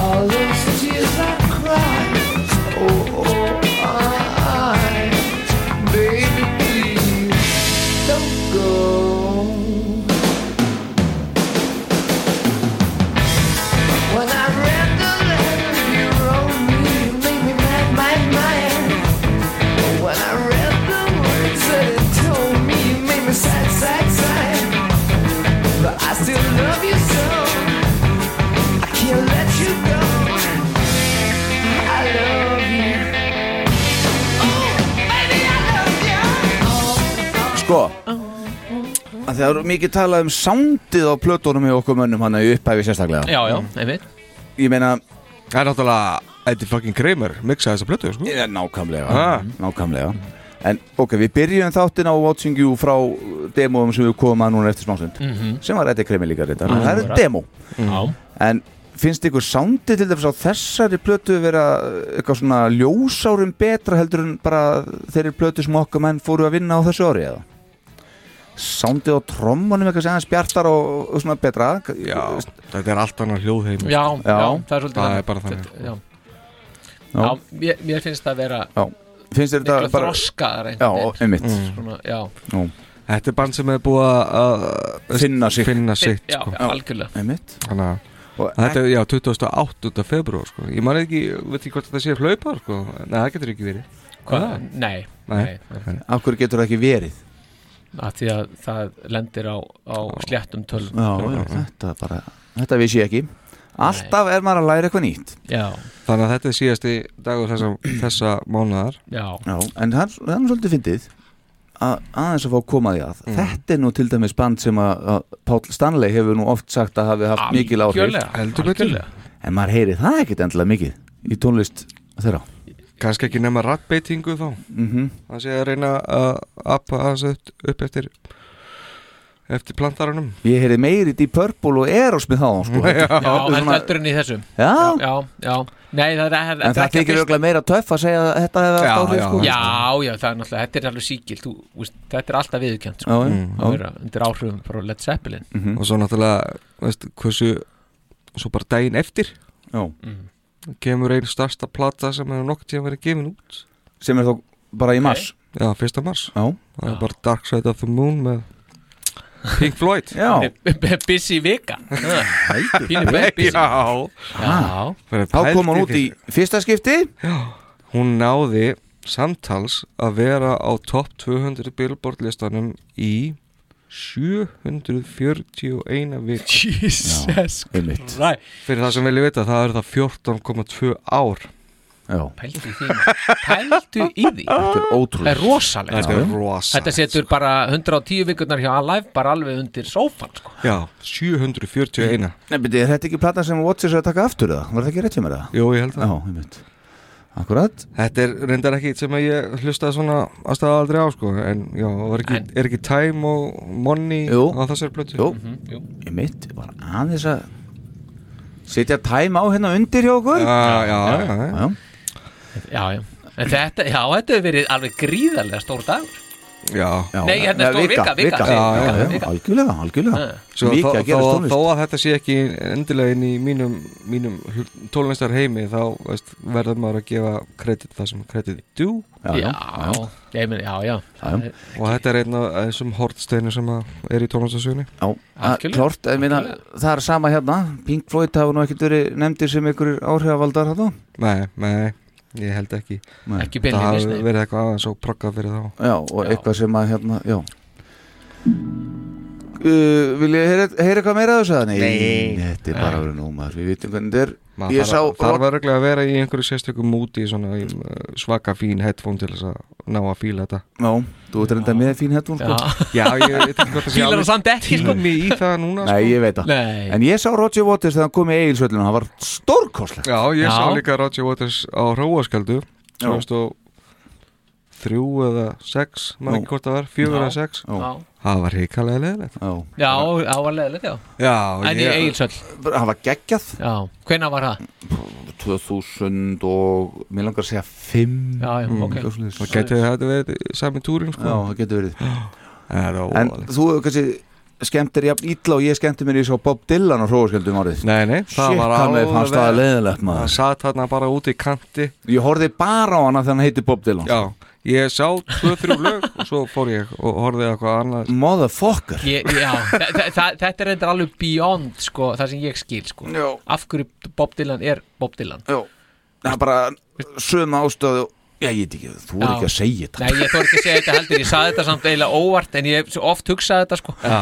[SPEAKER 10] All those tears I cried, oh, oh, I, baby, please don't go. When I read the letter you wrote me, you made me mad, mad, mad. When I read the words that it told me, you made me sad, sad, sad. But I still love you so. I can't let you go. I love you. Oh, baby, I love you.
[SPEAKER 2] Sko að Það eru mikið talað um sándið á plötunum í okkur mönnum hann í upphæfi sérstaklega
[SPEAKER 3] Já, já, einmitt
[SPEAKER 2] Ég meina,
[SPEAKER 4] Það er náttúrulega Eddie fucking Kramer miksaði þessa plötu, sko
[SPEAKER 2] ég er nákvæmlega
[SPEAKER 4] Ha.
[SPEAKER 2] Nákvæmlega En ok, við byrjum þáttin á Watching You frá demóum sem við komum að núna eftir smásund sem var Eddie Kremi líka reynda, en það er demo
[SPEAKER 3] Mhm. Já,
[SPEAKER 2] en finnst ykkur sándi til dæmis á þessari plötu vera eitthvað svona ljósárum betra heldur en bara þeirri plötu sem okkar menn fóru að vinna á þessu ári eða? Sándið á trommunum eitthvað sem aðeins bjartar og, og svona betra Já,
[SPEAKER 4] þetta er allt annar hljóðheim
[SPEAKER 3] já, já, það er svolítið þannig.
[SPEAKER 4] bara þannig
[SPEAKER 3] Þetta- já. Já, mér, mér finnst það vera
[SPEAKER 2] Já, finnst þér
[SPEAKER 3] miklu
[SPEAKER 2] þetta bara
[SPEAKER 3] þroskaðar einhvern
[SPEAKER 2] Já,
[SPEAKER 3] veginn.
[SPEAKER 2] einmitt
[SPEAKER 4] Mm.
[SPEAKER 3] Svona, já.
[SPEAKER 2] Nú.
[SPEAKER 4] Þetta er band sem er búið að að-
[SPEAKER 2] Finna sig.
[SPEAKER 4] finna sitt
[SPEAKER 3] Já,
[SPEAKER 4] sko.
[SPEAKER 3] já, algjörlega.
[SPEAKER 2] Einmitt.
[SPEAKER 4] Þannig að
[SPEAKER 2] Og
[SPEAKER 4] Þetta er, já, 28. februar sko. Ég man ekki, veit ekki hvort þetta sé hlaupar sko. Nei, það getur ekki verið
[SPEAKER 3] Hvað?
[SPEAKER 4] Er það?
[SPEAKER 3] Nei,
[SPEAKER 4] Nei.
[SPEAKER 3] nei.
[SPEAKER 2] Af hverju getur það ekki verið?
[SPEAKER 3] að því að það lendir á, á sléttum tölum
[SPEAKER 2] Já, já, þetta bara Þetta vissi ég ekki Alltaf er maður að læra eitthvað nýtt
[SPEAKER 3] Já.
[SPEAKER 4] Þannig að þetta er síðasti dagur þessa, þessa mánuðar
[SPEAKER 3] Já.
[SPEAKER 2] Já, en það það er nú svolítið fyndið að aðeins að fá að koma því að þetta er nú til dæmis band sem að, að Páll Stanley hefur nú oft sagt að hafi haft mikil áhrif
[SPEAKER 3] Algjörlega, Heldur betur. algjörlega.
[SPEAKER 2] en maður heyri það ekkit endilega mikið í tónlist þeirra
[SPEAKER 4] Kannski ekki nema rattbeitingu þá
[SPEAKER 2] Mhm.
[SPEAKER 4] Það sé að reyna að appa aðeins upp, upp eftir eftir plantarunum
[SPEAKER 2] ég heyri meiri Deep Purple og Aerosmith þá sko.
[SPEAKER 4] Já,
[SPEAKER 3] Já,
[SPEAKER 2] Þetta er
[SPEAKER 3] heldur
[SPEAKER 2] svona-
[SPEAKER 3] heldur en í þessum
[SPEAKER 2] Já.
[SPEAKER 3] já, já. Nei, það er, er,
[SPEAKER 2] en það þykir auðvitað meira töff að segja að þetta hefði haft áhrif sko.
[SPEAKER 3] já, já, það er náttúrulega, þetta er alveg síkilt þú, úst, Þetta er alltaf
[SPEAKER 2] Já,
[SPEAKER 3] viðurkjönd sko.
[SPEAKER 2] já, já.
[SPEAKER 3] Það er undir áhrifum frá Led Zeppelin
[SPEAKER 2] Mhm.
[SPEAKER 4] Og svo náttúrulega, veist, hversu svo bara daginn eftir
[SPEAKER 2] Já.
[SPEAKER 4] kemur einn starsta plata sem hefur nokkuð tíma verið gefin út
[SPEAKER 2] sem er þá bara í mars
[SPEAKER 4] Já, fyrsta mars
[SPEAKER 2] Já.
[SPEAKER 4] Það er bara Dark Side of the Moon með Pink Floyd
[SPEAKER 2] Já
[SPEAKER 3] Busy vika Pínu
[SPEAKER 4] Nei,
[SPEAKER 3] busy.
[SPEAKER 4] já.
[SPEAKER 3] Já.
[SPEAKER 4] Fyrir
[SPEAKER 2] Þá
[SPEAKER 4] pældi
[SPEAKER 2] kom hann út í fyrsta skipti
[SPEAKER 4] Hún náði samtals að vera á topp 200 Billboard listanum í 741 vik
[SPEAKER 3] Jesus
[SPEAKER 2] Christ
[SPEAKER 4] Fyrir það sem vilja vita, það eru það 14,2 ár
[SPEAKER 2] Já
[SPEAKER 3] Pældu í því Pældu í því Þetta
[SPEAKER 2] er ótrúlegt.
[SPEAKER 3] Það er rosalegt
[SPEAKER 4] Þetta er
[SPEAKER 3] sko.
[SPEAKER 4] rosalegt,
[SPEAKER 3] Þetta setur bara 110 vikurnar hjá Alive bara alveg undir sófan sko.
[SPEAKER 4] Já, 741
[SPEAKER 2] Nei, beti, er þetta ekki platan sem Watchers er að taka aftur það? Var það ekki rétt hjá mér það?
[SPEAKER 4] Jó, ég held
[SPEAKER 2] það Já, ég mynd Akkurat
[SPEAKER 4] Þetta er reyndar ekki sem að ég hlustaði svona aðstæða aldrei á sko en já, var ekki, er ekki time og money
[SPEAKER 2] Jú.
[SPEAKER 4] á þessari plötu
[SPEAKER 2] Mhm, Jú. Ég mynd, ég var aðeins að Setja time á hérna undir hjá okkur
[SPEAKER 4] Já, já, já, já.
[SPEAKER 3] Já, já En Þetta, já, þetta hefur verið alveg gríðarlega stór dagur
[SPEAKER 4] Já,
[SPEAKER 2] já
[SPEAKER 3] Nei, hérna er stór vika, vika,
[SPEAKER 2] vika.
[SPEAKER 3] segir
[SPEAKER 2] Já,
[SPEAKER 3] vika,
[SPEAKER 2] já, já,
[SPEAKER 3] vika.
[SPEAKER 2] algjörlega, algjörlega
[SPEAKER 3] Já.
[SPEAKER 4] Svo
[SPEAKER 2] Mikið
[SPEAKER 4] þó,
[SPEAKER 2] að
[SPEAKER 4] þó,
[SPEAKER 2] gerast tónlist.
[SPEAKER 4] þó að þetta sé ekki endilega inn í mínum, mínum tónlistar heimi þá veist, verður maður að gefa kredit það sem kredit dú
[SPEAKER 3] Já, já, já. Ég meina, já, já. Það er-
[SPEAKER 4] og þetta er einn af þessum hortsteinu sem að er í tónlistarsögunni
[SPEAKER 2] Að Klart, ég meina, það er sama hérna Pink Floyd hafa nú ekkert verið nefndir sem ykkur áhrifavaldar hérna
[SPEAKER 4] Nei, nei, ég held ekki
[SPEAKER 2] Nei. Ekki
[SPEAKER 4] Það
[SPEAKER 2] beinlínis,
[SPEAKER 4] hafi
[SPEAKER 2] nei.
[SPEAKER 4] verið eitthvað aðeins og proggað fyrir þá
[SPEAKER 2] Já, og eitthvað sem að hérna, já uh, Vil ég heyra, heyra eitthvað meira af þessu? að?
[SPEAKER 4] Nei.
[SPEAKER 2] Þetta er bara að vera nú maður, við vitum hvernig þetta er
[SPEAKER 4] Maður
[SPEAKER 2] Ég sá
[SPEAKER 4] þarf, þarf
[SPEAKER 2] Rod-
[SPEAKER 4] örugglega að vera í einhverju sérstökum múti svona í, uh, svaka fín headphone til þess að ná að fíla þetta
[SPEAKER 2] Já, þú ert reynda með fín headphone sko.
[SPEAKER 4] Já, ég veit ekki hvort það sé
[SPEAKER 3] Fílar
[SPEAKER 4] alveg
[SPEAKER 3] þú samt ekki, sko?
[SPEAKER 4] tími í það núna sko.
[SPEAKER 2] Nei, ég veit það
[SPEAKER 3] Nei.
[SPEAKER 2] En ég sá Roger Waters þegar hann kom í Egilsvöllinu Hann var stórkoslegt
[SPEAKER 4] Já, ég
[SPEAKER 2] Já.
[SPEAKER 4] sá líka Roger Waters á Hróaskjöldu 2003 eða 6, maður ekki hvort það var 4 eða
[SPEAKER 3] Já.
[SPEAKER 4] 6
[SPEAKER 3] Já.
[SPEAKER 4] Það var hrikalega leðilegt
[SPEAKER 3] Já, það var leðilegt, já
[SPEAKER 4] Já,
[SPEAKER 3] En í
[SPEAKER 4] ég-
[SPEAKER 3] Egilsöll
[SPEAKER 2] Hann var geggjað
[SPEAKER 3] Já, hvenær var það?
[SPEAKER 2] 2000 og Mér langar að segja 5
[SPEAKER 3] Já, já,
[SPEAKER 4] Mm.
[SPEAKER 3] ok.
[SPEAKER 4] Það geti þetta verið sami túrin sko
[SPEAKER 2] Já, það getur verið
[SPEAKER 4] Það er
[SPEAKER 2] En þú hefur kannski skemmt þér jafn ítla og ég skemmti mér í svo Bob Dylan á hróaskjöldum árið
[SPEAKER 4] Nei, nei, það
[SPEAKER 2] Shit,
[SPEAKER 4] var
[SPEAKER 2] hvað mér fannst það leiðilegt maður
[SPEAKER 4] Það satt hann bara úti í kanti
[SPEAKER 2] Ég horfði bara á hana þegar hann heiti Bob Dylan
[SPEAKER 4] Já, ég sá 2-3 lög og svo fór ég og horfði á eitthvað annað
[SPEAKER 2] Motherfucker
[SPEAKER 3] Ég, já, þa þa þa þetta er reyndar alveg beyond sko, það sem ég skil sko. af hverju Bob Dylan er Bob Dylan
[SPEAKER 2] Já. Það er bara sömu ástöðu Já, ég veit ekki, þú er
[SPEAKER 3] Já.
[SPEAKER 2] ekki að segja þetta
[SPEAKER 3] Nei, ég þór ekki að segja þetta heldur, ég saði þetta samt eiginlega óvart en ég hef svo oft hugsaði þetta sko.
[SPEAKER 4] Já,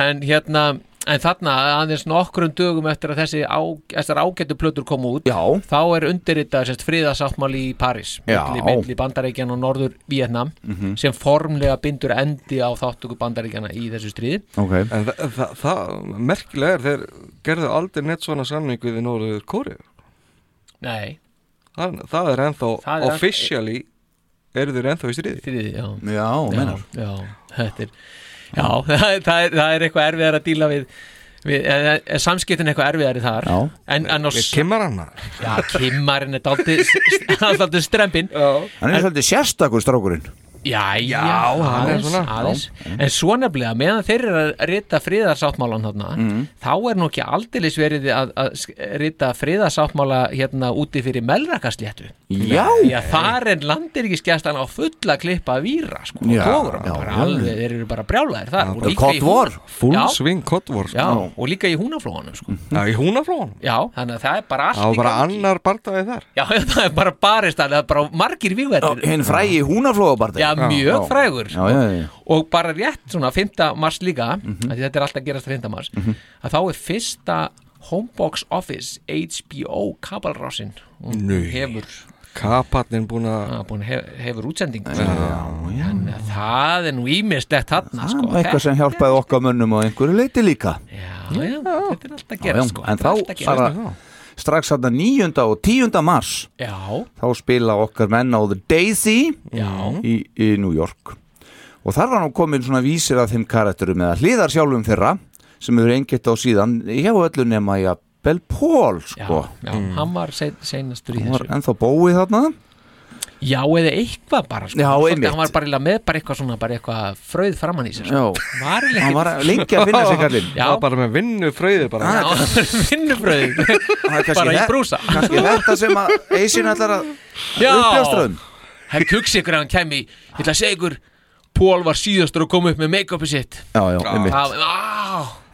[SPEAKER 3] en hérna, en þarna aðeins nokkrum dögum eftir að þessi á, þessar ágættu plötur komu út
[SPEAKER 2] Já.
[SPEAKER 3] þá er undirritað sérst friðasáttmáli í París
[SPEAKER 2] Já.
[SPEAKER 3] milli, milli bandaríkjan og norður Vietnam
[SPEAKER 2] Mhm.
[SPEAKER 3] sem formlega bindur endi á þáttöku bandaríkjana í þessu stríði
[SPEAKER 2] okay.
[SPEAKER 4] En þa þa það merkilega er þeir gerðu aldrei neitt svona samning við Nóruður Kóriður
[SPEAKER 3] Nei,
[SPEAKER 4] það, það er ennþá
[SPEAKER 3] Það er enn-
[SPEAKER 4] officially eru þeir ennþá í stríði
[SPEAKER 3] stríði, já
[SPEAKER 2] Já,
[SPEAKER 3] já,
[SPEAKER 2] meinar
[SPEAKER 3] já, þetta er já, það, er, það er eitthvað erfiðar að díla við Við- en- en- en Samskiptin er eitthvað erfiðari þar
[SPEAKER 2] Já.
[SPEAKER 3] En annars
[SPEAKER 4] Við kimmarann
[SPEAKER 3] Já, kimmarinn er daldið Daldið strempin
[SPEAKER 2] Hann er svolítið sérstakur strákurinn
[SPEAKER 3] Já, já,
[SPEAKER 2] Já, hann er
[SPEAKER 3] aðeins,
[SPEAKER 2] svona,
[SPEAKER 3] aðeins.
[SPEAKER 2] já.
[SPEAKER 4] mm.
[SPEAKER 3] En svo nefnilega, meðan þeir eru að rita friðarsáttmálan þarna
[SPEAKER 4] Mm.
[SPEAKER 3] þá er nú ekki aldeilis verið að, að sk- rita friðarsáttmála hérna úti fyrir melrakasléttu
[SPEAKER 2] Já.
[SPEAKER 3] Já, þar er landiríkiskestan á fulla klippa víra sko,
[SPEAKER 4] Já,
[SPEAKER 3] og tóra,
[SPEAKER 4] já,
[SPEAKER 3] bara
[SPEAKER 4] já.
[SPEAKER 3] alveg, þeir eru bara brjálæðir þar og líka í
[SPEAKER 4] Cold War,
[SPEAKER 3] Húna-
[SPEAKER 4] full
[SPEAKER 3] Já,
[SPEAKER 4] swing Cold War
[SPEAKER 3] Já, og líka í húnaflóanum sko.
[SPEAKER 4] Já, í húnaflóanum
[SPEAKER 3] Já, þannig að það er bara allt
[SPEAKER 4] Það var
[SPEAKER 3] í
[SPEAKER 4] bara
[SPEAKER 3] gangi.
[SPEAKER 4] annar barndagi þar
[SPEAKER 3] Já, það er bara barist það er bara margir vígverðir
[SPEAKER 2] Hinn frægi húnaflóðabardi
[SPEAKER 3] Já, mjög frægur
[SPEAKER 2] Já, já, já Mhm.
[SPEAKER 3] og bara rétt svona 5. mars líka mm því þetta er alltaf að gerast 5. mars að þá er fyrsta Homebox Office HBO kabalrásin hún
[SPEAKER 4] Nei.
[SPEAKER 3] hefur,
[SPEAKER 4] Kapatnin búin að
[SPEAKER 3] búin hef, hefur útsending
[SPEAKER 2] Já, já
[SPEAKER 3] Þannig að það er nú ímislegt þarna sko.
[SPEAKER 2] Ah, Eitthvað sem hjálpaði okkar mönnum á einhverju leiti líka
[SPEAKER 3] já, já, þetta er
[SPEAKER 2] Já,
[SPEAKER 3] alltaf að
[SPEAKER 2] já.
[SPEAKER 3] gerast sko.
[SPEAKER 2] En
[SPEAKER 3] Þetta er
[SPEAKER 2] þá
[SPEAKER 3] allt að gerast.
[SPEAKER 2] bara strax þarna 9. og 10. mars
[SPEAKER 3] Já,
[SPEAKER 2] þá spila okkar menn á The Daisy
[SPEAKER 3] Já.
[SPEAKER 2] í, í New York og þar var nú komin svona vísir af þeim karakterum eða hliðar sjálfum þeirra sem hefur engett á síðan hjá öllu nema í að Bell Paul sko
[SPEAKER 3] já, hann var sein- seinastur í
[SPEAKER 2] Hún var
[SPEAKER 3] þessu
[SPEAKER 2] ennþá bóið þarna
[SPEAKER 3] Já, eða eitthvað bara sko.
[SPEAKER 2] Já,
[SPEAKER 3] Svolítið,
[SPEAKER 2] einmitt.
[SPEAKER 3] Hann var bara eiginlega með bara eitthvað svona bara eitthvað fröð framann í sér sko.
[SPEAKER 2] Já.
[SPEAKER 3] Var eiginlega
[SPEAKER 2] Hann
[SPEAKER 3] ekkert-
[SPEAKER 2] var lengi að finna sig kallinn
[SPEAKER 3] Já,
[SPEAKER 4] Það var bara með vinnu fröði bara
[SPEAKER 2] Ah,
[SPEAKER 3] vinnufröði
[SPEAKER 2] Það er kannski
[SPEAKER 3] Bara í
[SPEAKER 2] þe-
[SPEAKER 3] brúsa.
[SPEAKER 2] Kannski þetta sem að Eisin ætlar að
[SPEAKER 3] Já.
[SPEAKER 2] uppljóstraðum
[SPEAKER 3] Hann hugsi ykkur að hann kæmi Ég ætla að segja ykkur Pól var síðastur að koma upp með make-upið sitt
[SPEAKER 2] Já, já, einmitt
[SPEAKER 3] Það- Á,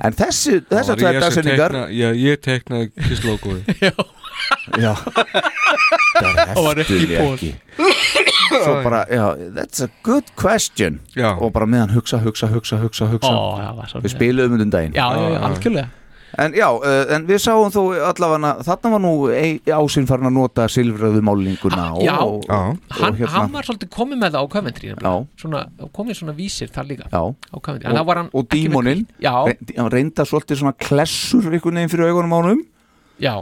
[SPEAKER 2] En þessi,
[SPEAKER 4] Það
[SPEAKER 2] þessar
[SPEAKER 4] var
[SPEAKER 2] tvær
[SPEAKER 4] ég sem
[SPEAKER 2] dagsetningar
[SPEAKER 4] tekna- Já, ég teknaði kisslókuði
[SPEAKER 2] Já Það
[SPEAKER 3] var ekki Paul.
[SPEAKER 2] Svo bara, já, that's a good question
[SPEAKER 4] Já.
[SPEAKER 2] Og bara meðan hugsa, hugsa, hugsa, hugsa, hugsa
[SPEAKER 3] Ó, já, var svolítið.
[SPEAKER 2] Við spiluðum um daginn
[SPEAKER 3] Já, já, já, algjörlega
[SPEAKER 2] En já, eh, en við sáum þó allavega Þarna var nú ei- ásinn farin að nota silfröðu málninguna og,
[SPEAKER 3] Já.
[SPEAKER 2] og,
[SPEAKER 4] Já.
[SPEAKER 3] Hann,
[SPEAKER 2] hérna-
[SPEAKER 3] hann var svolítið komið með það á Coventry nefnilega.
[SPEAKER 2] Já.
[SPEAKER 3] svona, komið svona vísir þar líka
[SPEAKER 2] Já.
[SPEAKER 3] á Coventry, en það
[SPEAKER 2] og,
[SPEAKER 3] var hann
[SPEAKER 2] og
[SPEAKER 3] ekki með-
[SPEAKER 2] dímoninn
[SPEAKER 3] Já,
[SPEAKER 2] reyndi- hann reynda svolítið svona klessur einhvern veginn fyrir augunum ánum
[SPEAKER 3] já,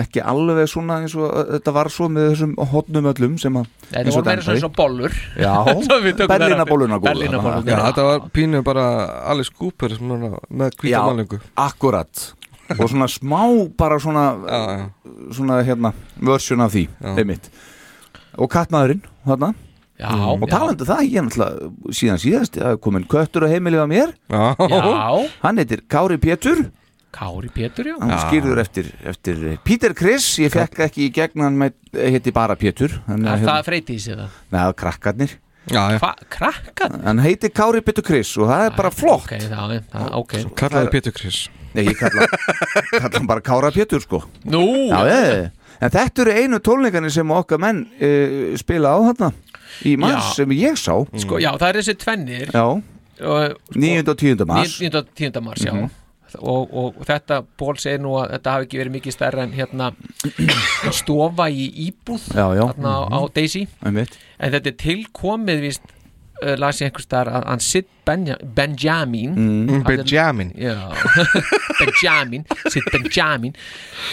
[SPEAKER 2] ekki alveg svona eins og eh, þetta var svo með þessum hotnum öllum sem að
[SPEAKER 3] þetta voru meira svona eins og bollur Svo við
[SPEAKER 2] já,
[SPEAKER 3] tökum þær
[SPEAKER 2] Berlina
[SPEAKER 3] aftur.
[SPEAKER 2] bóluna
[SPEAKER 3] Berlínarbólurnar.
[SPEAKER 4] Já, þetta var pínu bara Alice Cooper sem núna með
[SPEAKER 2] já,
[SPEAKER 4] kvítamálingu
[SPEAKER 2] akkurat og svona smá bara svona
[SPEAKER 4] Já, já,
[SPEAKER 2] svona hérna, versjón af því
[SPEAKER 4] Já.
[SPEAKER 2] einmitt og kattmaðurinn þarna
[SPEAKER 3] Já,
[SPEAKER 2] og
[SPEAKER 3] já,
[SPEAKER 2] talandi um það, ég er náttúrulega síðan síðast, það er komin köttur á heimilið á mér
[SPEAKER 4] já
[SPEAKER 3] já,
[SPEAKER 2] hann heitir Kári Pétur
[SPEAKER 3] Kári Pétur, já
[SPEAKER 2] hann
[SPEAKER 4] Já.
[SPEAKER 2] skýrður eftir, eftir Peter Chris, ég fekk ekki í gegn hann með, eh, heiti bara Pétur hann,
[SPEAKER 3] Það,
[SPEAKER 2] hérna,
[SPEAKER 3] það freyti í sig það
[SPEAKER 2] neða krakkarnir
[SPEAKER 4] Já, já
[SPEAKER 3] Hva, krakkan?
[SPEAKER 2] hann heiti Kári Pétur Chris og það er bara flott
[SPEAKER 3] Ah, Ok, það, það, ok
[SPEAKER 4] Kallaði Pétur Chris
[SPEAKER 2] nei, ég kalla, kalla hann bara Kára Pétur sko
[SPEAKER 3] Nú,
[SPEAKER 2] já, ég En þetta eru einu tónleikarnir sem okkar menn uh, spila á þarna í mars
[SPEAKER 3] Já.
[SPEAKER 2] sem ég sá
[SPEAKER 3] sko, já, það er þessi tvennir
[SPEAKER 2] Já,
[SPEAKER 3] og, sko,
[SPEAKER 2] 9. og 10. mars Mhm.
[SPEAKER 3] 9. og 10. mars, já og, og þetta, Ból segir nú að þetta hafi ekki verið mikið stærra en hérna stofa í íbúð
[SPEAKER 2] Já, já. Mhm.
[SPEAKER 3] þarna á, á Daisy
[SPEAKER 2] Einmitt.
[SPEAKER 3] en þetta er tilkomið víst uh, las ég einhvers þar að hann sitt Benja, Benjamin
[SPEAKER 2] Mhm.
[SPEAKER 4] Mm,
[SPEAKER 3] hafði-
[SPEAKER 4] Benjamin.
[SPEAKER 3] já, Benjamin sitt Benjamin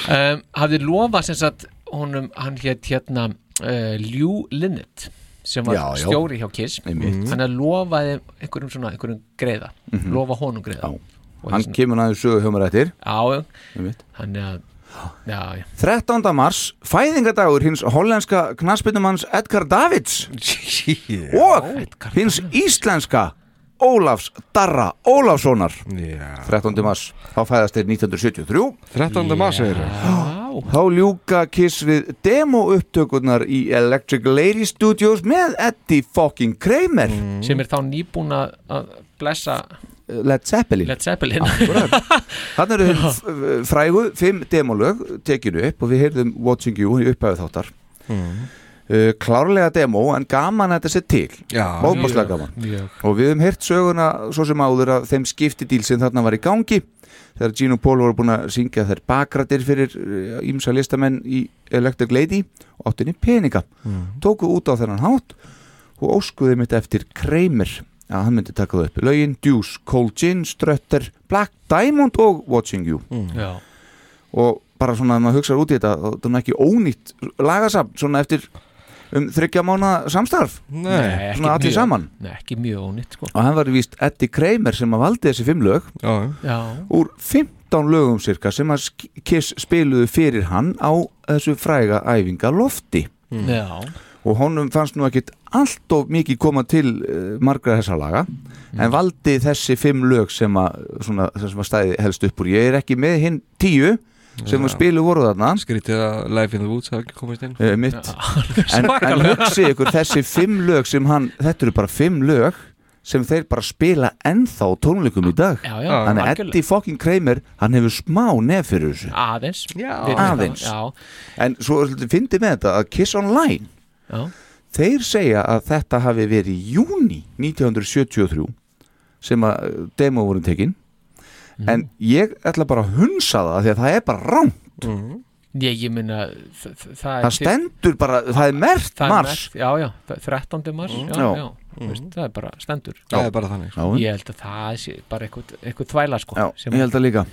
[SPEAKER 3] um, hafði lofað sem sagt honum, hann hétt hérna uh, Ljú Linnet sem var
[SPEAKER 2] Já, já.
[SPEAKER 3] stjóri hjá Kiss
[SPEAKER 2] Einmitt. Mhm.
[SPEAKER 3] hann að lofaði einhverjum svona einhverjum greiða, lofa honum greiða
[SPEAKER 2] Já.
[SPEAKER 3] Og hérna-
[SPEAKER 2] Hann
[SPEAKER 3] þessi-
[SPEAKER 2] kemur aðeins sögu hjá mér eftir
[SPEAKER 3] já,
[SPEAKER 2] Einmitt.
[SPEAKER 3] hann er að já, já.
[SPEAKER 2] 13. mars, fæðingadagur hins hollenska knaspinnumanns Edgar Davids
[SPEAKER 4] Yeah.
[SPEAKER 2] og hins íslenska Ólafs Darra Ólafssonar 13. mars, þá fæðast þeir 1973
[SPEAKER 4] 13. mars er
[SPEAKER 3] Já.
[SPEAKER 2] Þá ljúka Kiss við demo upptökurnar í Electric Lady Studios með Eddie fucking Kramer
[SPEAKER 3] sem er þá nýbúin að- að blessa
[SPEAKER 2] Led Zeppelin
[SPEAKER 3] Led Zeppelin
[SPEAKER 2] Þannig eru hin f- f- frægu fimm demolög tekinu upp og við heyrðum Watching You í upphæðu þáttar uh, klárlega demo en gaman að þetta sé til
[SPEAKER 4] Já.
[SPEAKER 2] ofbáslega gaman og við höfum heyrt söguna svo sem áður að þeim skiptidíl sem þarna var í gangi þegar Gene og Paul voru búin að syngja þær bakratir fyrir ímsa listamenn í Electric Lady og áttinni peninga tóku út á þennan hátt og óskuði mitt eftir Kramer að hann myndi taka það upp lögin, Deuce, Cold Gin, Strutter Black Diamond og Watching You
[SPEAKER 3] já,
[SPEAKER 2] og bara svona að maður hugsaður út í þetta og það er nú ekki ónýtt lagasafn svona eftir um þryggja mána samstarf
[SPEAKER 3] Nei, ekki
[SPEAKER 2] svona allir
[SPEAKER 3] mjög.
[SPEAKER 2] saman
[SPEAKER 3] Nei, ekki mjög ónýtt sko
[SPEAKER 2] og hann var víst Eddie Kramer sem að valdi þessi fimm lög
[SPEAKER 4] já.
[SPEAKER 3] Já.
[SPEAKER 2] úr 15 lögum cirka sem að Sk- Kiss spiluðu fyrir hann á þessu fræga æfinga lofti
[SPEAKER 3] Mm. Já.
[SPEAKER 2] og honum fannst nú ekkit allt of mikið koma til uh, margra þessa laga
[SPEAKER 4] Mm.
[SPEAKER 2] en valdi þessi fimm lög sem að, svona, það sem að stæði helst upp úr ég er ekki með hinn tíu sem
[SPEAKER 4] Já.
[SPEAKER 2] að spilu voru þarna
[SPEAKER 4] skrítið að Life in the Woods hafa ekki komist inn
[SPEAKER 2] Eh, mitt en, en
[SPEAKER 4] Svakalega.
[SPEAKER 2] hugsi ykkur þessi fimm lög sem hann, þetta eru bara fimm lög sem þeir bara spila ennþá á tónleikum í dag
[SPEAKER 3] Já, já,
[SPEAKER 2] þannig að
[SPEAKER 3] algjörlega.
[SPEAKER 2] Eddie fucking Kramer hann hefur smá nef fyrir þessu
[SPEAKER 3] Aðeins Já,
[SPEAKER 2] aðeins en svo fyndi með þetta að Kiss Online
[SPEAKER 3] já.
[SPEAKER 2] þeir segja að þetta hafi verið í júni 1973 sem að eh, demo voru tekin
[SPEAKER 3] Mhm.
[SPEAKER 2] en ég ætla bara að hunsa það af því að það er bara rám
[SPEAKER 3] Ég, ég minna það,
[SPEAKER 2] það stendur bara, það er mert
[SPEAKER 3] það er
[SPEAKER 2] mars
[SPEAKER 3] merkt, Já, já, þ- 13. mars
[SPEAKER 2] Mm.
[SPEAKER 3] Já,
[SPEAKER 2] Já.
[SPEAKER 3] já,
[SPEAKER 2] Mm.
[SPEAKER 3] mm. Veist, það er bara stendur
[SPEAKER 2] Það Já. er bara þannig, sko. Já.
[SPEAKER 3] Ég held að það sé bara eitthvað, eitthvað þvæla sko
[SPEAKER 2] Já, ég held að líka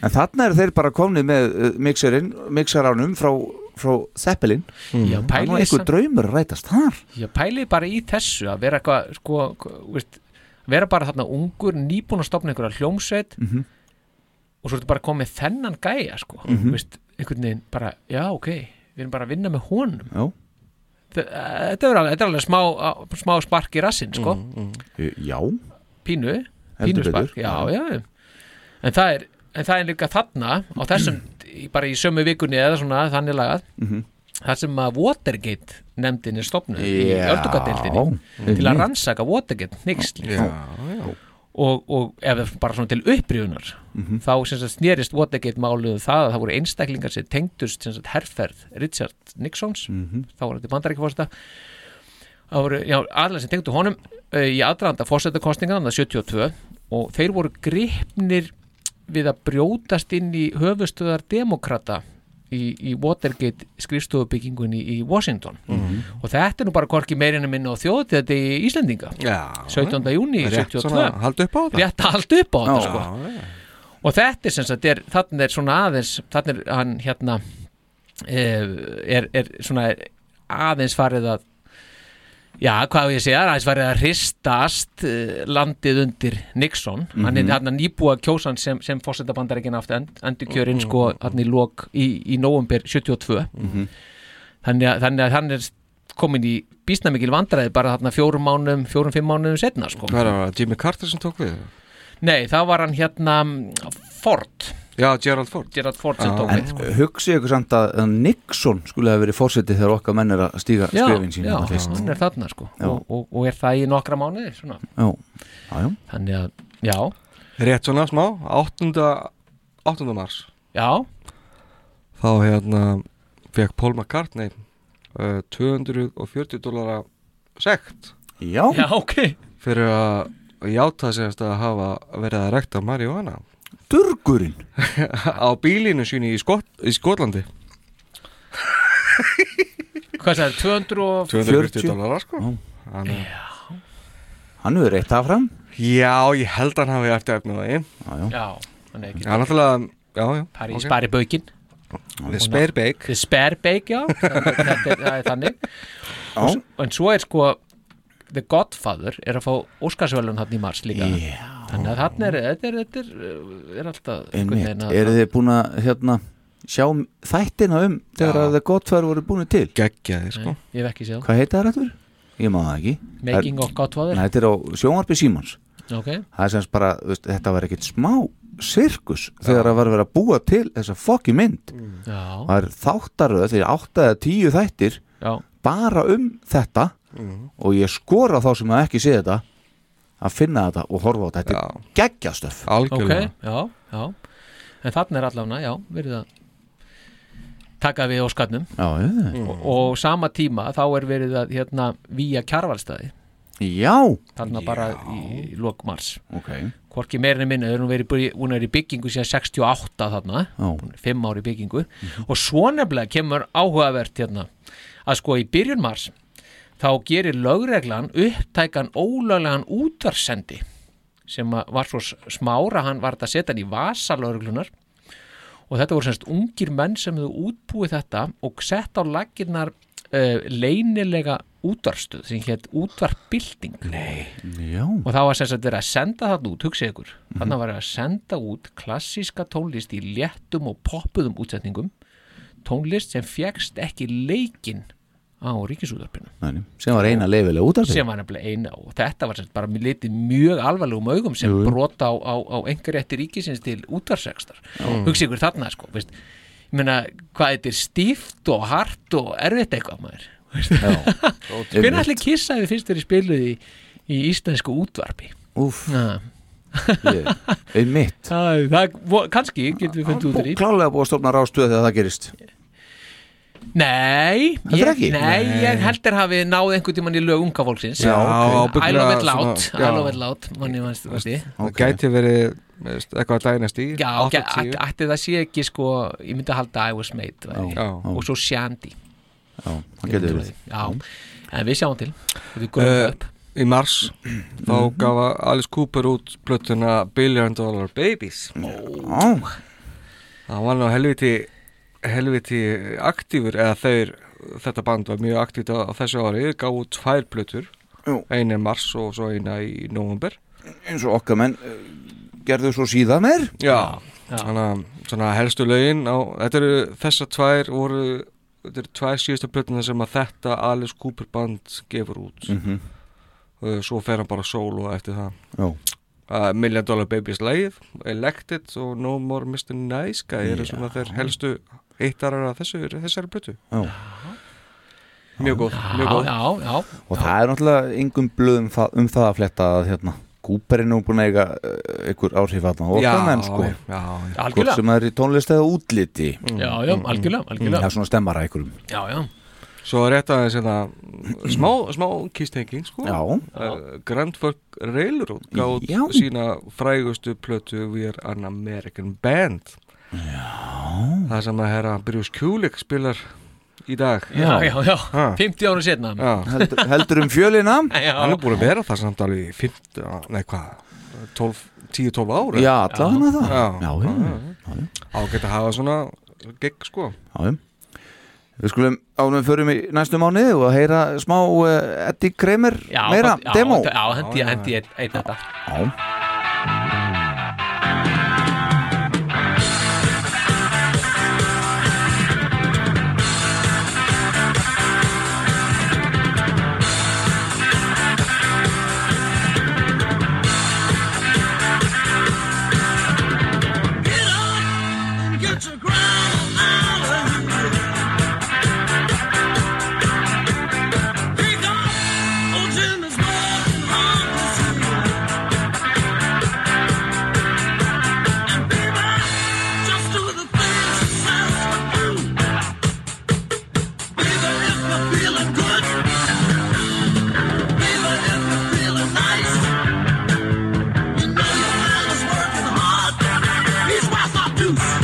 [SPEAKER 2] En þarna eru þeir bara komnið með uh, mixerinn, mixaránum frá, frá Zeppelin
[SPEAKER 3] Mm. Já,
[SPEAKER 2] Það er nú
[SPEAKER 3] pælið
[SPEAKER 2] einhver
[SPEAKER 3] samt-
[SPEAKER 2] draumur að rætast þar
[SPEAKER 3] Ég pæli bara í þessu að vera eitthvað sko, hva- veist, vera bara þarna ungur nýbúin að stopna einhverja hljómsveit
[SPEAKER 2] Mhm.
[SPEAKER 3] og svo ertu bara komið þennan gæja sko,
[SPEAKER 2] Mhm.
[SPEAKER 3] veist, einhvern veginn bara, já, ok, við erum bara að vinna með honum
[SPEAKER 2] Já.
[SPEAKER 3] Þe- Þetta er alveg, þetta er alveg smá, á- smá spark í rassinn sko
[SPEAKER 2] Uh, Já,
[SPEAKER 3] pínu,
[SPEAKER 2] Heldur
[SPEAKER 3] pínu spark
[SPEAKER 2] betur,
[SPEAKER 3] já,
[SPEAKER 2] já.
[SPEAKER 3] já. En, það er, en það er líka þarna á þessum, í- bara í sömu vikunni eða svona þannig lagað
[SPEAKER 2] Mhm.
[SPEAKER 3] þar sem að Watergate nefndin er stopnuð í
[SPEAKER 2] Já, Mhm.
[SPEAKER 3] öldugadeildinni til að
[SPEAKER 2] einmitt.
[SPEAKER 3] rannsaka Watergate nýksl
[SPEAKER 2] Já,
[SPEAKER 4] já.
[SPEAKER 3] Og, og ef bara svona til upprifunar
[SPEAKER 2] Mhm.
[SPEAKER 3] þá sem sagt snerist Watergate málið um það að það voru einstaklingar sem tengdust sem sagt herferð Richard Nixons
[SPEAKER 2] Mhm.
[SPEAKER 3] þá var þetta bandarækjafórseta það voru, já, aðlega sem tengdu honum uh, í aðranda fórsetakostningan, þannig 72 og þeir voru gripnir við að brjótast inn í höfustöðar demokrata í, í Watergate skrifstofubyggingunni í Washington
[SPEAKER 4] Mhm.
[SPEAKER 3] og þetta er nú bara korki meirinu minna á þjóð þetta í Íslendinga
[SPEAKER 4] Já.
[SPEAKER 3] 17. júni
[SPEAKER 4] Rétt
[SPEAKER 3] 72
[SPEAKER 4] svona, halda upp á þetta.
[SPEAKER 3] Rétt að halda upp á þetta
[SPEAKER 4] sko. Já,
[SPEAKER 3] sko og þetta er sem sagt er, þannig er svona aðeins þannig er hann hérna eh, er, er svona aðeins farið að já, hvað á ég að segja, aðeins farið að hristast eh, landið undir Nixon, hann
[SPEAKER 2] Mhm.
[SPEAKER 3] er hérna nýbúa kjósan sem, sem fórsetabandarækina aftur end, endurkjörinn sko
[SPEAKER 4] Mhm.
[SPEAKER 3] hann í lok í, í november 72
[SPEAKER 2] Mhm.
[SPEAKER 3] þannig, að, þannig að hann er komin í býstna mikil vandræði bara þarna fjórum mánum, fjórum, fimm mánum setna sko.
[SPEAKER 4] Hvað er það, Jimmy Carter sem tók við?
[SPEAKER 3] Nei, þá var hann hérna mm, Ford
[SPEAKER 4] Já, Gerald Ford
[SPEAKER 3] Gerald Ford sem tók
[SPEAKER 2] En
[SPEAKER 3] við sko.
[SPEAKER 2] hugsi ykkur samt að að Nixon skulle hafa verið fórsetið þegar okkar menn er að stíga
[SPEAKER 3] Já,
[SPEAKER 2] skrifin sín
[SPEAKER 3] já,
[SPEAKER 2] þarna fyrst.
[SPEAKER 3] hann er þarna sko
[SPEAKER 2] Já.
[SPEAKER 3] og, og, og er það í nokkra mánuði svona.
[SPEAKER 2] Já, já, já.
[SPEAKER 3] Þannig að, já
[SPEAKER 4] Rétt svona smá, 8. 8. mars
[SPEAKER 3] Já
[SPEAKER 4] Þá hérna fekk Paul McCartney uh, 240 dólara sekt
[SPEAKER 2] Já,
[SPEAKER 3] Já, ok
[SPEAKER 4] Fyrir að játa segjast að hafa verið að rekta Marihuana
[SPEAKER 2] Durgurinn
[SPEAKER 4] Á bílinu sínu í, Skot í Skotlandi
[SPEAKER 3] Hvað sagði, 200 og
[SPEAKER 4] 240 dólarar sko
[SPEAKER 2] Já.
[SPEAKER 4] Hann,
[SPEAKER 2] Hann hefur reitt það fram
[SPEAKER 4] Já, ég held hann hafi eftir efnið það í
[SPEAKER 3] Já, hann er ekki
[SPEAKER 4] Já, náttúrulega, já, já
[SPEAKER 3] Pari
[SPEAKER 4] ok.
[SPEAKER 3] okay. spari baukinn
[SPEAKER 4] The spare bake
[SPEAKER 3] The spare bake, já Þannig að Þetta er, það er þannig
[SPEAKER 2] Já.
[SPEAKER 3] og, s- En svo er sko The Godfather er að fá Óskarsvölun hann í mars líka
[SPEAKER 2] Já.
[SPEAKER 3] Þannig að þarna er, þetta er, þetta er, uh, er alltaf einhvern veginn
[SPEAKER 2] Einmitt,
[SPEAKER 3] að-
[SPEAKER 2] eru þið búin að hérna sjá þættina um þegar að það gott fær voru búin til
[SPEAKER 4] Geggjaði sko
[SPEAKER 3] Ég hef ekki séð
[SPEAKER 2] Hvað heita það rættur? Ég maður það ekki
[SPEAKER 3] Making of Godfather?
[SPEAKER 2] Nei, Þetta er á sjónvarpi Símans
[SPEAKER 3] Ok
[SPEAKER 2] Það er sem sagt bara, þú veist, þetta var ekkit smá sirkus þegar það var verið að búa til þessa fokki mynd
[SPEAKER 3] Mm. Já.
[SPEAKER 2] Það er þáttaröð þegar átta eða tíu þættir
[SPEAKER 3] Já.
[SPEAKER 2] bara um þetta
[SPEAKER 4] Mhm.
[SPEAKER 2] og ég skora á þá sem hafa ekki séð þetta að finna þetta og horfa á þetta Þetta er geggjastöf
[SPEAKER 3] ok, já, já en þarna er allavega, já, verið að taka við óskarnum
[SPEAKER 2] Já, já.
[SPEAKER 4] Mm.
[SPEAKER 3] og, og sama tíma þá er verið að hérna vía kjarvalstæði
[SPEAKER 2] Já,
[SPEAKER 3] þarna bara í lok mars
[SPEAKER 2] ok
[SPEAKER 3] hvorki meirinni minna, hún, verið, búin- hún er í byggingu síðan 68 þarna
[SPEAKER 2] Já.
[SPEAKER 3] Hún er fimm ári í byggingu og svo nefnilega kemur áhugavert hérna að sko í byrjun mars þá gerir lögreglan upptækan ólöglegan útvarsendi sem að var svo s- smára hann var þetta að setja hann í vasa lögreglunar og þetta voru semst ungir menn sem hefðu útbúið þetta og sett á laginnar uh, leynilega útvarstuð sem hétt útvarpbylting Nei.
[SPEAKER 2] Já.
[SPEAKER 3] og þá var sem sagt verið að senda þarna út, hugsið ykkur
[SPEAKER 2] Mhm.
[SPEAKER 3] þannig var verið að senda út klassíska tónlist í léttum og poppuðum útsetningum tónlist sem fjekst ekki leikin á ríkisútvarpinu
[SPEAKER 2] Næni, sem var eina leifilega útarpið
[SPEAKER 3] sem var nefnilega eina og þetta var sem sagt bara litið mjög alvarlegum augum sem
[SPEAKER 2] Jú, jú.
[SPEAKER 3] brota á, á, á einhverjætti ríkisins til útvarsextar
[SPEAKER 2] Já.
[SPEAKER 3] hugsa ykkur þarna sko veist, ég meina hvað þetta er stíft og hart og erfitt eitthvað maður hvernig ætli kissaði fyrst þeirri spiluð í, í íslensku útvarpi
[SPEAKER 2] Úf,
[SPEAKER 3] yeah.
[SPEAKER 2] einmitt
[SPEAKER 3] það, það, vo- kannski getum við fundið út úr í
[SPEAKER 2] Klálega búið að stofna ráðstöð þegar það gerist
[SPEAKER 3] Nei,
[SPEAKER 2] Heldur
[SPEAKER 3] ég,
[SPEAKER 2] ekki?
[SPEAKER 3] nei,
[SPEAKER 2] Nei.
[SPEAKER 3] ég heldur hafið náð einhvern tímann í lög unga fólksins
[SPEAKER 4] Já, ok.
[SPEAKER 3] I love it
[SPEAKER 4] Ábyggilega
[SPEAKER 3] loud
[SPEAKER 4] svona-
[SPEAKER 3] I
[SPEAKER 4] já.
[SPEAKER 3] love it loud, manni mannst okay.
[SPEAKER 4] Það gæti verið veist, eitthvað að dænast í
[SPEAKER 3] Já, ok, ætti ætti það sé ekki sko ég myndi að halda I was made væri.
[SPEAKER 4] Já.
[SPEAKER 3] og svo Shandy
[SPEAKER 2] Já, það
[SPEAKER 3] Ég
[SPEAKER 2] getur
[SPEAKER 3] myndi
[SPEAKER 2] verið.
[SPEAKER 3] trúa því. Já, en við sjáum til Við gröfum það
[SPEAKER 4] Uh,
[SPEAKER 3] upp
[SPEAKER 4] í mars þá gaf Alice Cooper út plötuna Billion Dollar Babies
[SPEAKER 2] oh.
[SPEAKER 4] það var nú helviti helviti aktífur eða þeir, þetta band var mjög aktíft á, á þessu ári, gaf út tvær plötur eina í mars og svo eina í november
[SPEAKER 2] eins og okkar menn eh, gerðu svo síðan meir
[SPEAKER 4] Já, þannig að svona helstu lögin á, þetta eru þessar tvær voru, þetta eru tvær síðustu plötuna sem að þetta Alice Cooper band gefur út
[SPEAKER 2] Mhm.
[SPEAKER 4] og svo fer hann bara solo eftir það
[SPEAKER 2] Já.
[SPEAKER 4] Uh, Million Dollar Babies lagið, Elected og No More Mr. Nice Guy eru
[SPEAKER 2] Já.
[SPEAKER 4] svona þeir helstu eittarar að þessu, þessari plötu
[SPEAKER 2] Já.
[SPEAKER 4] Mjög góð, mjög góð
[SPEAKER 3] já, já.
[SPEAKER 2] og það er náttúrulega engum blöð um það, um það að fletta að hérna Kúperinn er nú búin að eiga eh, einhver áhrif að það
[SPEAKER 4] Já,
[SPEAKER 2] okkar menn sko
[SPEAKER 4] já, já.
[SPEAKER 2] Hvort sem það er í tónlist eða útliti
[SPEAKER 3] Já, já, algjörlega, algjörlega.
[SPEAKER 2] Það er svona stemmara einhverjum
[SPEAKER 3] Já, já
[SPEAKER 4] Svo rétt aðeins hérna, smá, smá kýstenging sko.
[SPEAKER 2] Já.
[SPEAKER 4] uh, Grand Fork Railroad gátt
[SPEAKER 2] Já.
[SPEAKER 4] sína frægustu plötu We are an American Band Já Það sem að herra Bruce Kulik spilar í dag
[SPEAKER 3] Já, já, já,
[SPEAKER 4] Ha.
[SPEAKER 3] 50 ára setna
[SPEAKER 4] Já.
[SPEAKER 2] Heldur- heldur um fjölina
[SPEAKER 3] Já.
[SPEAKER 4] Hann er búin að vera það samt alveg í 15, nei hvað 12, 10-12 ára
[SPEAKER 2] Já, allavega það.
[SPEAKER 4] Já,
[SPEAKER 2] Já, já, já.
[SPEAKER 4] Ágætt að hafa svona gig sko
[SPEAKER 2] Já, já. Við skulum ánum við förum í næstu mánuði og að heyra smá uh, Eddie Kramer
[SPEAKER 3] Já,
[SPEAKER 2] meira,
[SPEAKER 3] já,
[SPEAKER 2] demo
[SPEAKER 3] Já, hendi, hendi, einn- einn þetta
[SPEAKER 2] Já.
[SPEAKER 10] Get your grandma out of here. Pick up old Jimmy's broken Honda Civic. And baby, just do the things you said to do. Baby, if you're feeling good. Baby, if you're feeling nice. You know your man is working hard. He's worth a deuce.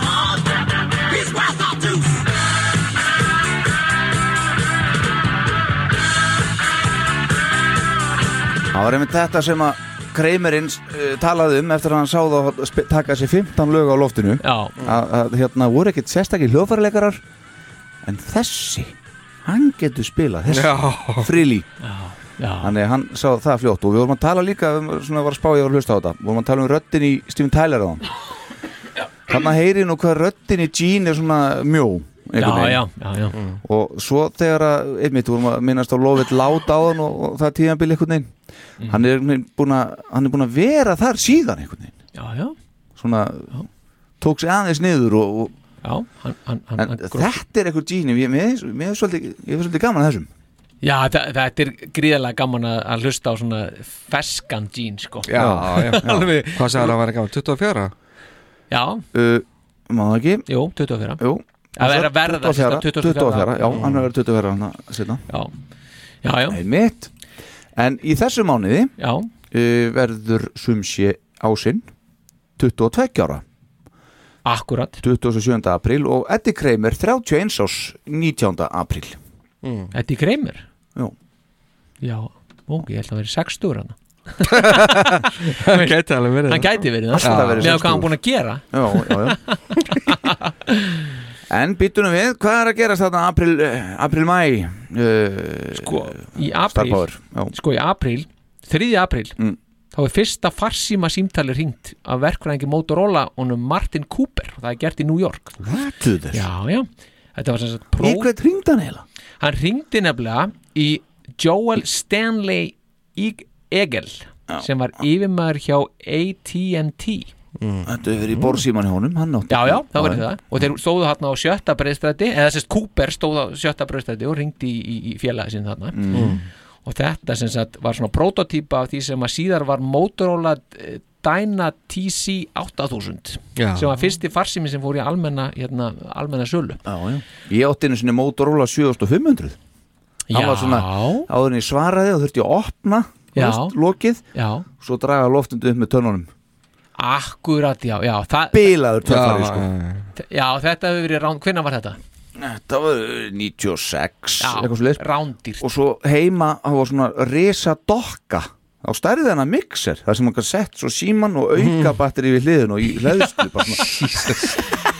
[SPEAKER 10] He's worth a deuce.
[SPEAKER 2] Það var einmitt þetta sem að Kramerinn uh, talaði um eftir að hann sá þá sp- taka sér 15 lög á loftinu
[SPEAKER 3] Já.
[SPEAKER 2] að, að hérna voru ekkit sérstakir hljóðfæraleikarar en þessi hann getur spilað þessi
[SPEAKER 4] Já.
[SPEAKER 2] frilí
[SPEAKER 3] já.
[SPEAKER 2] þannig að hann sá það fljótt og við vorum að tala líka um, svona var að spá ég var að hlusta á þetta vorum að tala um röddin í Steven Tyler á hann þannig að heyri nú hvað röddin í Gene er svona mjó einhvern
[SPEAKER 3] Já,
[SPEAKER 2] veginn.
[SPEAKER 3] já, já, já.
[SPEAKER 2] og svo þegar að, einmitt vorum að minnast á lofið lát á hann og, og það tíðanbili einhvern veginn
[SPEAKER 3] Mm.
[SPEAKER 2] hann, er einhvern veginn búinn að, hann er búin að vera þar síðan einhvern veginn
[SPEAKER 3] Já, já,
[SPEAKER 2] svona tók sig aðeins niður og, og
[SPEAKER 3] já, hann, hann,
[SPEAKER 2] en þetta er einhver Gene mér mér er svolítið, ég er svolítið gaman að þessum
[SPEAKER 3] Já, þa þetta er gríðarlega gaman að- að hlusta á svona feskan djín, sko
[SPEAKER 4] Já, já, já.
[SPEAKER 3] Alveg.
[SPEAKER 4] Hvað sagði hann að vera gaman? 24?
[SPEAKER 3] Já,
[SPEAKER 2] uh, Má það ekki?
[SPEAKER 3] Jú, 24
[SPEAKER 2] Jú
[SPEAKER 3] Að vera verða,
[SPEAKER 2] 24,
[SPEAKER 3] sem sagt,
[SPEAKER 2] 24, já,
[SPEAKER 3] Mm.
[SPEAKER 2] hann er verið 24 hann að setja
[SPEAKER 3] Já, já, já
[SPEAKER 2] Einmitt En í þessu mánuði uh,
[SPEAKER 3] já.
[SPEAKER 2] verður sumsi ásinn 22 ára
[SPEAKER 3] Akkurat
[SPEAKER 2] 27. apríl og Eddie Kramer 31 ás 19. apríl
[SPEAKER 3] Þetta er greimur
[SPEAKER 2] Já
[SPEAKER 3] Já, ó, ég held að vera 60 hann
[SPEAKER 4] Hann gæti alveg verið
[SPEAKER 3] Hann
[SPEAKER 4] það.
[SPEAKER 3] gæti verið
[SPEAKER 2] Alltaf
[SPEAKER 3] það sko.
[SPEAKER 2] verið
[SPEAKER 3] Með á
[SPEAKER 2] 60.
[SPEAKER 3] hvað hann búin að gera
[SPEAKER 2] Já, já, já En býtunum við, hvað er að gerast þarna april, eh, april-mæ uh,
[SPEAKER 3] Sko, í apríl Sko, í apríl, 3. apríl
[SPEAKER 2] Mm.
[SPEAKER 3] Þá er fyrsta farsíma símtali ringt af verkfræðingi Motorola honum Martin Cooper og það er gert í New York
[SPEAKER 2] Hættuður
[SPEAKER 3] Já, já Þetta var sem sagt próf
[SPEAKER 2] Í hvert ringd hann heila?
[SPEAKER 3] Hann ringdi nefnilega í Joel Stanley Ig- Egel sem var yfirmaður hjá AT&T
[SPEAKER 2] Þetta er verið í borsíman hjá honum hann átti-
[SPEAKER 3] Mm. Já, já, það var
[SPEAKER 2] Já,
[SPEAKER 3] þetta og þeir stóðu þarna á sjötta breyðstræti eða sérst Cooper stóð á sjötta breyðstræti og ringdi í, í, í félagi sinni þarna
[SPEAKER 2] Mm.
[SPEAKER 3] og þetta sem sagt var svona prototýpa af því sem að síðar var Motorola eh, Dyna TC 8000
[SPEAKER 2] Já.
[SPEAKER 3] sem var fyrsti farsími sem fór í almenna, hérna, almenna sölu
[SPEAKER 2] já, já. Ég átti einu sinni Motorola 7500
[SPEAKER 3] Já.
[SPEAKER 2] Hann var svona áður en ég svaraði og þurfti ég að opna þú
[SPEAKER 3] Já.
[SPEAKER 2] veist, lokið
[SPEAKER 3] Já.
[SPEAKER 2] Svo draga loftundu upp með tönnunum
[SPEAKER 3] Akkurat, já, já það,
[SPEAKER 2] Bilaður tönnfari
[SPEAKER 3] Já,
[SPEAKER 2] sko.
[SPEAKER 3] já, þetta hefur verið rán, hvenær var þetta?
[SPEAKER 2] Þetta var uh, 96
[SPEAKER 3] Já,
[SPEAKER 2] eitthvað svoleiðis.
[SPEAKER 3] rándýrt
[SPEAKER 2] Og svo heima það var svona resa dokka á stærðið hennar mixer þar sem hann gæti sett svo síman og auka batteri við hliðin og í hlæðstu bara svona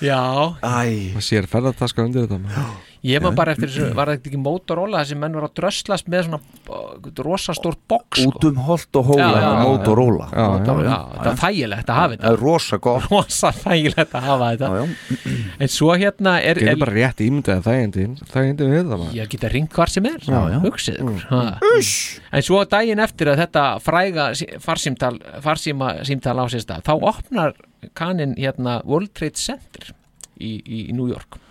[SPEAKER 3] Já
[SPEAKER 2] Æ
[SPEAKER 4] Það sér ferðartaska undir þetta maður.
[SPEAKER 3] Ég maður bara eftir þessu, var þetta ekki Motorola þessi menn var að dröslast með svona uh, rosastór box
[SPEAKER 2] Út um holt og hóla
[SPEAKER 3] Já, já,
[SPEAKER 2] hennar
[SPEAKER 3] já.
[SPEAKER 2] Motorola
[SPEAKER 3] Já, já, já, það er þægilegt að hafa þetta
[SPEAKER 2] Það er rosa gott
[SPEAKER 3] Rosa þægilegt að hafa þetta
[SPEAKER 2] já,
[SPEAKER 3] já. En svo hérna er,
[SPEAKER 4] Getur
[SPEAKER 3] er
[SPEAKER 4] bara rétt ímyndaði þægindi Þægindi við það maður
[SPEAKER 3] Ég geta ringt hvar sem er,
[SPEAKER 4] Já, já.
[SPEAKER 3] hugsið ykkur mm. En svo daginn eftir að þetta fræga sí- farsímtal, farsíma símtal á sér stað Þá opnar kaninn hérna World Trade Center í, í, í New York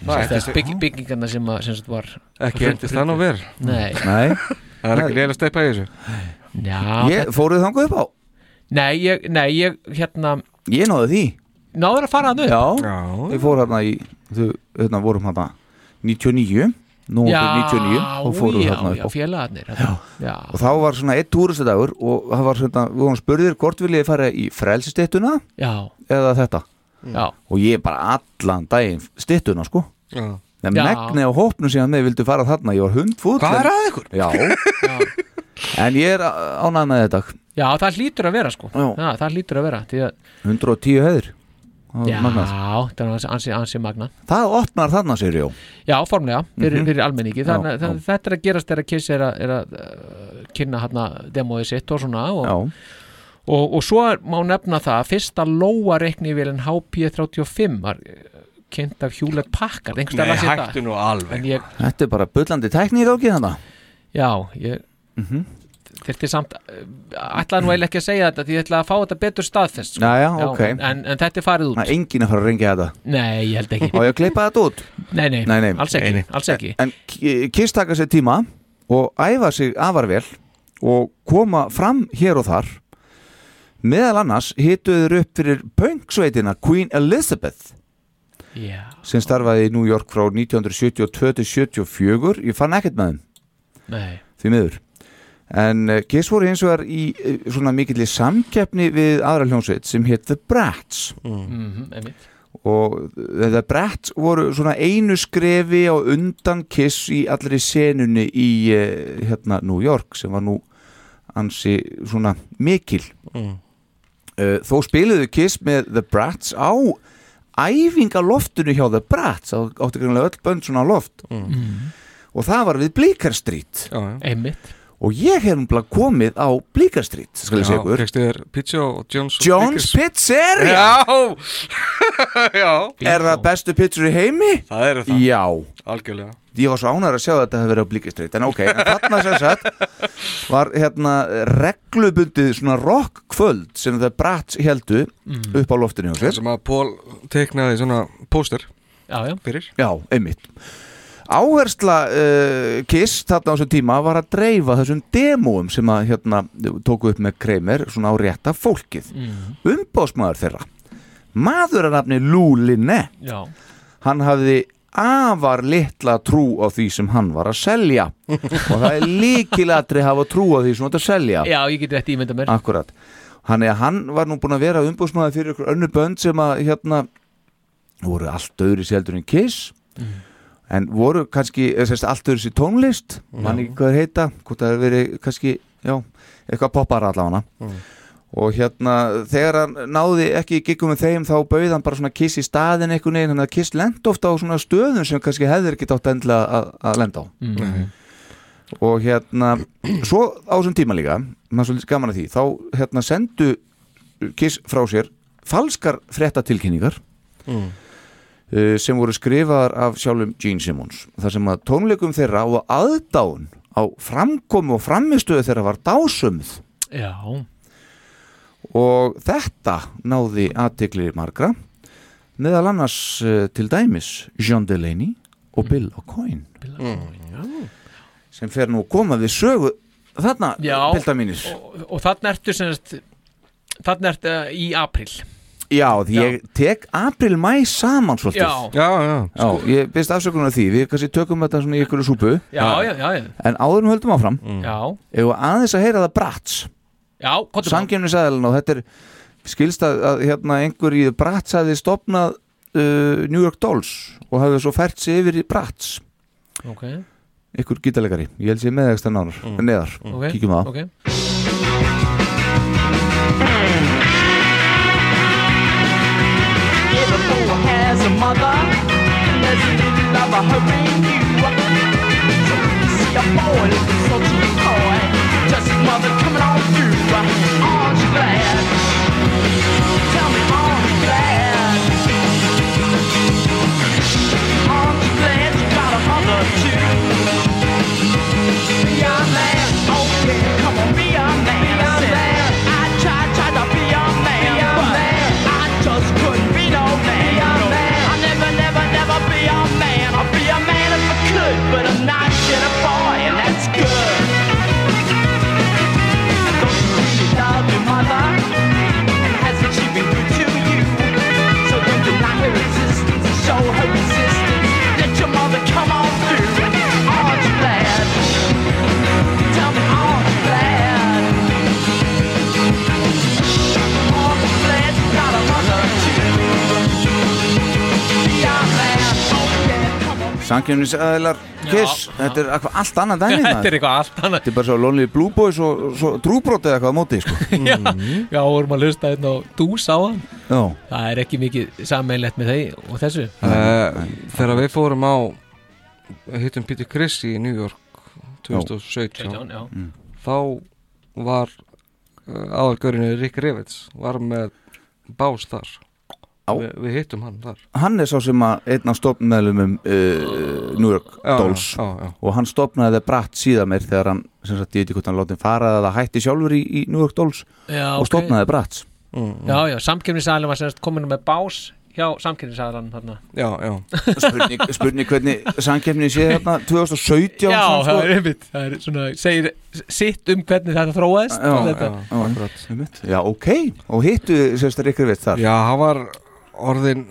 [SPEAKER 4] Það er
[SPEAKER 3] Sem sagt,
[SPEAKER 4] ekki-
[SPEAKER 3] bygg, Byggingarna sem, að, sem sagt var
[SPEAKER 4] Ekki endist það nú verð
[SPEAKER 3] Nei
[SPEAKER 4] Það er ekki reyla steipa í þessu
[SPEAKER 3] Já,
[SPEAKER 2] Ég-
[SPEAKER 3] þetta-
[SPEAKER 2] Fóruð þangað upp á?
[SPEAKER 3] Nei, ég, nei, ég hérna
[SPEAKER 2] Ég náði því
[SPEAKER 3] Náður að fara að upp?
[SPEAKER 2] Já, ég fór hérna í Þau hérna, vorum hérna 99 Nú
[SPEAKER 3] já,
[SPEAKER 2] 99 og fórum
[SPEAKER 3] já,
[SPEAKER 2] hérna
[SPEAKER 3] já,
[SPEAKER 2] upp á
[SPEAKER 3] félagarnir já. já,
[SPEAKER 2] Og þá var svona eitt túristadagur og það var svona, við vorum spurðir hvort viljið þið fara í frelsistittuna
[SPEAKER 3] já,
[SPEAKER 2] eða þetta
[SPEAKER 3] já,
[SPEAKER 2] og ég bara allan daginn stittuna sko
[SPEAKER 4] Já.
[SPEAKER 2] en
[SPEAKER 3] Já.
[SPEAKER 2] megnið á hópnum síðan þeir vildu fara þarna ég var hundfúll
[SPEAKER 3] Hvað er
[SPEAKER 2] en-
[SPEAKER 3] að ykkur?
[SPEAKER 2] Já. en ég er ánægð með þetta
[SPEAKER 3] já, það hlýtur að vera sko já. það hlýtur að vera því að,
[SPEAKER 2] 110 hefur
[SPEAKER 3] Já, það er ansi, ansi, ansi magna
[SPEAKER 2] það opnar þarna sér Jó
[SPEAKER 3] Já, formlega, fyrir,
[SPEAKER 2] Mhm.
[SPEAKER 3] fyrir almenningi
[SPEAKER 2] Já,
[SPEAKER 3] þannig að
[SPEAKER 2] já.
[SPEAKER 3] þetta er að gerast þegar Kiss er að, er að uh, kynna hérna demóið sitt og svona og,
[SPEAKER 2] og,
[SPEAKER 3] og, svo er- má nefna það að fyrsta lóa reikni vel en HP35 var uh, kynnt af Hewlett Packard einhvers staðar las ég það.
[SPEAKER 4] nú alveg
[SPEAKER 3] En ég,
[SPEAKER 2] þetta er bara bullandi tækni í gangi þarna
[SPEAKER 3] Já, ég
[SPEAKER 2] Mhm.
[SPEAKER 3] þyrfti samt, eh, ætlaði nú eiginlega ekki að segja þetta því ég ætlaði að fá þetta betur staðfest sko.
[SPEAKER 2] Já, já, ok.
[SPEAKER 3] en, en þetta er farið út
[SPEAKER 2] það er enginn að fara að ringja þetta
[SPEAKER 3] Nei, ég held ekki
[SPEAKER 2] og ég að klippa þetta út
[SPEAKER 3] Nei, nei, alls ekki, alls ekki.
[SPEAKER 2] en K- Kiss taka sér tíma og æfa sig afar vel og koma fram hér og þar meðal annars hituður upp fyrir pöngsveitina Queen Elizabeth
[SPEAKER 3] Já,
[SPEAKER 2] sem starfaði í New York frá 1972 til 74 ég fann ekkert með þeim
[SPEAKER 3] nei
[SPEAKER 2] því miður en eh, Kiss voru hins vegar í eh, svona mikilli samkeppni við aðra hljómsveit sem hétt The Brats
[SPEAKER 3] Mhm, einmitt.
[SPEAKER 2] og eh, The Brats voru svona einu skrefi á undan Kiss í allri senunni í eh, hérna New York sem var nú ansi svona mikil
[SPEAKER 4] Mm.
[SPEAKER 2] Eh, þó spiluðu Kiss með The Brats á æfingaloftinu hjá The Brats þá átti greinlega öll bönd svona á loft og það var við Bleaker Street
[SPEAKER 3] Einmitt
[SPEAKER 2] og ég hef umlað komið á Bleaker Street skal ég segja ykkur
[SPEAKER 4] Fekstu þér Pizzo og Jones og
[SPEAKER 2] Jones
[SPEAKER 4] Pickers?
[SPEAKER 2] Pizzeria
[SPEAKER 4] Já Já
[SPEAKER 2] Er það bestu pizzur í heimi?
[SPEAKER 4] Það eru það
[SPEAKER 2] Já
[SPEAKER 4] Algjörlega
[SPEAKER 2] Ég var svo ánæður að sjá að þetta hefur verið á Bleaker Street En ok, en þarna sem sagt Var hérna reglubundið svona rock kvöld Sem það bratt heldu
[SPEAKER 4] Mm.
[SPEAKER 2] upp á loftinu hjá
[SPEAKER 4] Það
[SPEAKER 2] sér
[SPEAKER 4] sem að Pól teiknaði svona póster
[SPEAKER 3] Já, já
[SPEAKER 4] Fyrir
[SPEAKER 2] Já, einmitt Áhersla uh, Kiss þarna á þessum tíma var að dreifa þessum demóum sem að hérna tóku upp með Kramer svona á rétta fólkið
[SPEAKER 10] Mhm.
[SPEAKER 2] umbóðsmaður þeirra maður að nafni Lou Linné
[SPEAKER 3] Já.
[SPEAKER 2] hann hafði afar litla trú á því sem hann var að selja og það er líkilatri hafa trú á því sem hann var að selja
[SPEAKER 3] Já, ég get rétt ímynda mér
[SPEAKER 2] Akkurat Hann, hann var nú búin að vera umbúsmaður fyrir ykkur önnu bönd sem að hérna voru allt öðru sér heldur en Kiss en voru kannski eða sérst, allt öðru sér tónlist
[SPEAKER 11] Já.
[SPEAKER 2] mann ekki hvað þeir heita, hvort það er verið kannski, já, eitthvað poppar allavega
[SPEAKER 11] Mm.
[SPEAKER 2] og hérna þegar hann náði ekki í giggum með þeim þá bauð hann bara svona Kiss í staðin einhvern veginn, hann að Kiss lend ofta á svona stöðum sem kannski hefðir ekki átt endla að, að lenda á
[SPEAKER 3] Mhm.
[SPEAKER 2] og hérna svo á þessum tíma líka maður er svolítið gaman að því þá hérna sendu Kiss frá sér falskar frettatilkynningar
[SPEAKER 10] Mm.
[SPEAKER 2] uh, sem voru skrifaðar af sjálfum Gene Simmons þar sem að tónleikum þeirra og aðdáun á framkomu og framistöðu þeirra var dásumð
[SPEAKER 3] Já,
[SPEAKER 2] og þetta náði aðtikli margra meðal annars uh, til dæmis John Delaney
[SPEAKER 3] Mm.
[SPEAKER 2] og Bill O'Coin sem fer nú að koma við sögu þarna,
[SPEAKER 3] já
[SPEAKER 2] pilda mínir
[SPEAKER 3] og, og þarna ertu sem sagt Þarna ertu uh, í april
[SPEAKER 2] Já, því ég tek april-mæ saman svolítið
[SPEAKER 3] Já. sko.
[SPEAKER 4] já, já.
[SPEAKER 2] Ég byrst afsökunar því, við kannski tökum þetta svona í ykkur súpu
[SPEAKER 3] Já, Mm. já, já, já.
[SPEAKER 2] En áður en höldum áfram
[SPEAKER 3] Já,
[SPEAKER 2] Ef við aðeins að heyra það bratts
[SPEAKER 3] já, komdu bara.
[SPEAKER 2] Sangjumnisæðalinn og þetta er skilst að, að hérna, einhver í Bratz hafi stopnað uh, New York Dolls og hafi svo fært sig yfir í Bratz
[SPEAKER 3] Ok,
[SPEAKER 2] einhver gítalegari, ég held sér meðegst að nánar
[SPEAKER 4] Mm.
[SPEAKER 2] neðar,
[SPEAKER 3] ok,
[SPEAKER 2] kíkjum á það
[SPEAKER 3] okay.
[SPEAKER 10] Every boy has a mother, and there's a little lover hurrying you. So when you see a boy looking so decoy, just his mother coming on through. Aren't you glad? Tell me, aren't you glad? Aren't you glad you got a mother too? Be a man, okay, come on, be a man. Be a man. I tried, tried to be a man, be a but man. I just couldn't be no man. Be a man. I'll never, never, never be a man. I'll be a man if I could, but I'm not shit a boy, and that's good. Don't you really love your mother? And hasn't she been good to you? So when you deny her existence, show her resistance. Let your mother come on through. Aren't you glad? Tell me, aren't you glad? Aren't you glad you got a mother too? Be a man, oh yeah.
[SPEAKER 2] Sangjumnisæðalar Kiss,
[SPEAKER 3] Já.
[SPEAKER 2] þetta er eitthvað allt annað dæmi
[SPEAKER 3] Þetta
[SPEAKER 2] maður.
[SPEAKER 3] er eitthvað allt annað
[SPEAKER 2] Þetta er bara svo Lonely Blue Boys og, og svo Drúbrot eða eitthvað á móti sko.
[SPEAKER 3] Já, já, vorum að hlusta hérna og þú sá hann
[SPEAKER 2] Já.
[SPEAKER 3] Það er ekki mikið sameinlegt með þeir og þessu
[SPEAKER 4] Eh, Þegar við fórum á hittum Peter Criss í New York 2017
[SPEAKER 3] 17, já. Mm.
[SPEAKER 4] þá var aðalgörinu Rick Rivets var með bás þar Vi, við hittum hann þar
[SPEAKER 2] Hann er sá sem að einn af stofnmeðlumum uh, New York
[SPEAKER 4] Já,
[SPEAKER 2] Dolls
[SPEAKER 4] já, já, já.
[SPEAKER 2] og hann stofnaði það bratt síðan mér þegar hann, sem sagt, ég veit ekki hvort hann látið fara eða hætti sjálfur í, í New York Dolls
[SPEAKER 3] Já,
[SPEAKER 2] og
[SPEAKER 3] ok.
[SPEAKER 2] stofnaði okay. bratt
[SPEAKER 4] Mm,
[SPEAKER 3] Já, já, samkjöfnisæðalinn var semst komin með bás hjá samkjöfnisæðalinn þarna
[SPEAKER 4] Já, já
[SPEAKER 2] spurning, spurning hvernig samkeppni sé hérna 2017
[SPEAKER 3] Já,
[SPEAKER 2] svona,
[SPEAKER 3] það er einmitt Það er svona, segir sitt um hvernig þetta þróaðist
[SPEAKER 2] Já,
[SPEAKER 3] og þetta.
[SPEAKER 2] já, akkurat. Einmitt. já, ok, og hittu sérst að Rick Rivets þar
[SPEAKER 4] Já, hann var orðin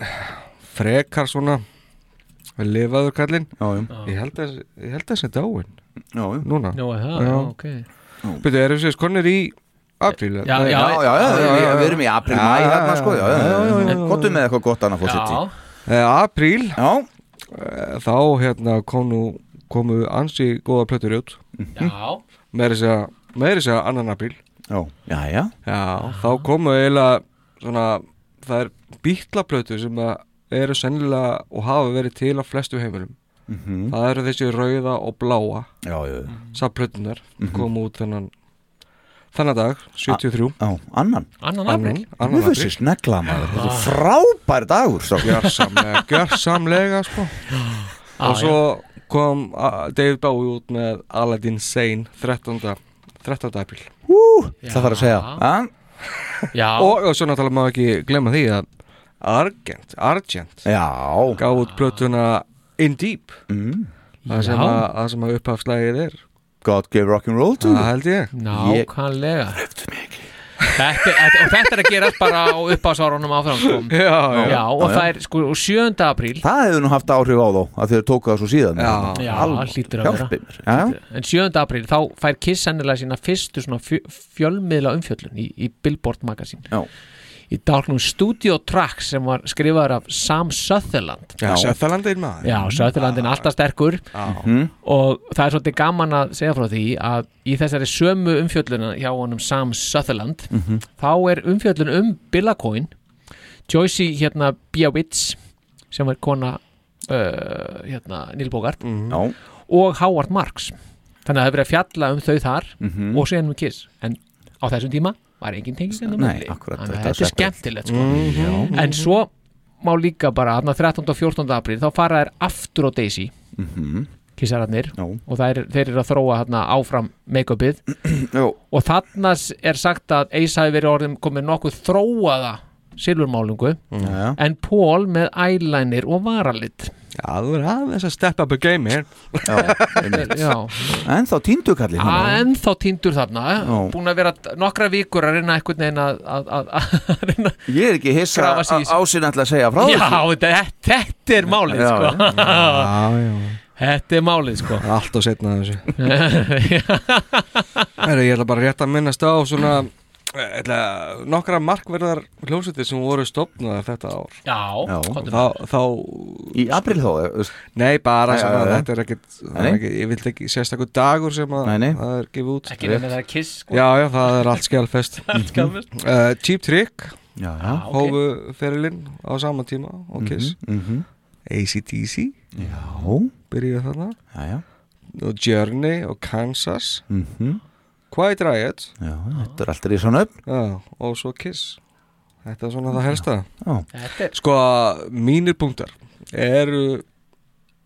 [SPEAKER 4] frekar svona við lifaður kallinn ég held að ég held að þessi dáin
[SPEAKER 2] já, já.
[SPEAKER 4] núna
[SPEAKER 3] Nú, er það, já, ok.
[SPEAKER 4] Byrju, erum við skonnir í apríl?
[SPEAKER 3] Já, já, já, já,
[SPEAKER 2] við- við erum í apríl, maí hérna, sko, já, já, já, já, já. Komdu með eitthvað gott annað forseti. Já.
[SPEAKER 4] Eh, apríl
[SPEAKER 2] Já
[SPEAKER 4] Þá hérna kom nú, komu ansi góða plötur út
[SPEAKER 3] Já.
[SPEAKER 4] Meiri segja, meiri segja annan apríl
[SPEAKER 2] Já, já, já
[SPEAKER 4] þá komu eiginlega svona það er bítlaplötur sem að eru sennilega og hafa verið til á flestu heimilum
[SPEAKER 2] Mhm.
[SPEAKER 4] Það eru þessi rauða og bláa
[SPEAKER 2] Já, já, já.
[SPEAKER 4] Sapplötunar
[SPEAKER 2] Mhm.
[SPEAKER 4] komu út þennan Þannig dag, 73
[SPEAKER 2] Já, annan
[SPEAKER 3] Annan
[SPEAKER 4] apríl
[SPEAKER 2] Mér finnst þessi snegla maður, þetta er frábær dagur strákar.
[SPEAKER 4] Gjörsamlega, gjörsamlega sko.
[SPEAKER 2] Ah,
[SPEAKER 4] Og svo kom uh, David Bowie út með Aladdin Sane 13. 13. apríl
[SPEAKER 2] Það þarf að segja ah?
[SPEAKER 4] og, og svo náttúrulega má ekki glemma því að Argent, Argent
[SPEAKER 2] Já.
[SPEAKER 4] gaf út plötuna In Deep
[SPEAKER 2] mm.
[SPEAKER 4] það sem,
[SPEAKER 3] Já.
[SPEAKER 4] að, að sem að upphafslægið er
[SPEAKER 2] God gave rock'n'roll to
[SPEAKER 4] Það held ég
[SPEAKER 3] Nákvæmlega þetta, er- þetta, Og þetta er að gera bara á uppásárunum áfram sko.
[SPEAKER 4] Já,
[SPEAKER 3] já. og það er sko, og 7. apríl
[SPEAKER 2] Það hefur nú haft áhrif á þá að þeir tóku það svo síðan
[SPEAKER 3] Já, það hlýtur að vera.
[SPEAKER 2] Hjálpi mér já.
[SPEAKER 3] En 7. apríl þá fær Kiss sennilega sína fyrstu svona fjö- fjölmiðla umfjöllun í, í Billboard magasín
[SPEAKER 2] Já.
[SPEAKER 3] Í dálknum Studio Tracks sem var skrifaður af Sam Sutherland
[SPEAKER 4] Já, Söðalandin maður
[SPEAKER 3] Já, Söðurlandin er alltaf sterkur
[SPEAKER 4] Já.
[SPEAKER 3] og það er svolítið gaman að segja frá því að í þessari sömu umfjölluna hjá honum Sam Sutherland
[SPEAKER 10] Mhm.
[SPEAKER 3] þá er umfjöllun um Billa Coyne Joyce hérna Biawitz sem er kona uh, hérna Neil Bogart
[SPEAKER 2] Já.
[SPEAKER 3] og Howard Marks þannig að það hefur verið að fjalla um þau þar
[SPEAKER 2] Mhm.
[SPEAKER 3] og síðan um Kiss en á þessum tíma var engin tengist inn á
[SPEAKER 2] Nei,
[SPEAKER 3] milli.
[SPEAKER 2] akkurat, þetta er
[SPEAKER 3] Þannig að þetta er
[SPEAKER 2] separate.
[SPEAKER 3] skemmtilegt sko.
[SPEAKER 2] Mhm. Já.
[SPEAKER 3] en svo má líka bara þarna 13. og 14. apríl þá fara þær aftur á Daisy
[SPEAKER 2] Mhm.
[SPEAKER 3] kissararnir og það er, þeir eru að þróa þarna áfram make-upið og þarna s- er sagt að Ace hafi verið orðin komið nokkuð þróaða silfurmálungu
[SPEAKER 2] Já.
[SPEAKER 3] en Paul með eyeliner og varalit
[SPEAKER 4] Já, þú er aðeins að step up a game hér
[SPEAKER 3] Já.
[SPEAKER 2] En þá týndu kallið
[SPEAKER 3] en þá týndur þarna
[SPEAKER 2] Já.
[SPEAKER 3] búin að vera nokkra vikur að reyna einhvern veginn að, að, að, að
[SPEAKER 2] Ég er ekki hissa
[SPEAKER 3] Grafa
[SPEAKER 2] að
[SPEAKER 3] sig í þessu.
[SPEAKER 2] ásinn ætla að segja frá
[SPEAKER 3] já,
[SPEAKER 2] þessu
[SPEAKER 3] þetta, þetta er málið
[SPEAKER 2] Já,
[SPEAKER 3] sko.
[SPEAKER 4] Já, já
[SPEAKER 3] Þetta er málið sko
[SPEAKER 4] Allt og setna þessu Herra, Ég ætla bara rétt að minnast á svona eh, ætla, nokkra markverðar hljómsveitir sem voru stopnaðar þetta ár
[SPEAKER 3] Já, Já. komdu
[SPEAKER 4] Þá, þá
[SPEAKER 2] Í april þá? eh,
[SPEAKER 4] Nei, bara
[SPEAKER 2] Nei,
[SPEAKER 4] sem
[SPEAKER 2] já,
[SPEAKER 4] að
[SPEAKER 2] já.
[SPEAKER 4] þetta er ekkit, það
[SPEAKER 2] Nei,
[SPEAKER 4] er
[SPEAKER 2] nei.
[SPEAKER 4] ekkit ég vildi ekki sérstakur dagur sem að
[SPEAKER 2] Nei, nei.
[SPEAKER 4] það er gefið út
[SPEAKER 3] Ekki nema það er Kiss, sko.
[SPEAKER 4] Já, já, það er allt skjálfest
[SPEAKER 3] Allt skjalfest.
[SPEAKER 4] uh, Cheap Trick
[SPEAKER 2] já,
[SPEAKER 3] já.
[SPEAKER 4] Hófu ferilinn á sama tíma og Kiss
[SPEAKER 2] Mhm,
[SPEAKER 4] ACDC
[SPEAKER 2] Já
[SPEAKER 4] Byrjuðu þarna
[SPEAKER 2] Já, já
[SPEAKER 4] og Journey og Kansas
[SPEAKER 2] Mhm.
[SPEAKER 4] Quiet Riot
[SPEAKER 2] Já, þetta er alltaf í svona upp
[SPEAKER 4] Já, og svo Kiss Þetta er svona það helsta
[SPEAKER 2] Já.
[SPEAKER 3] Þetta er-
[SPEAKER 4] Sko, mínir punktar eru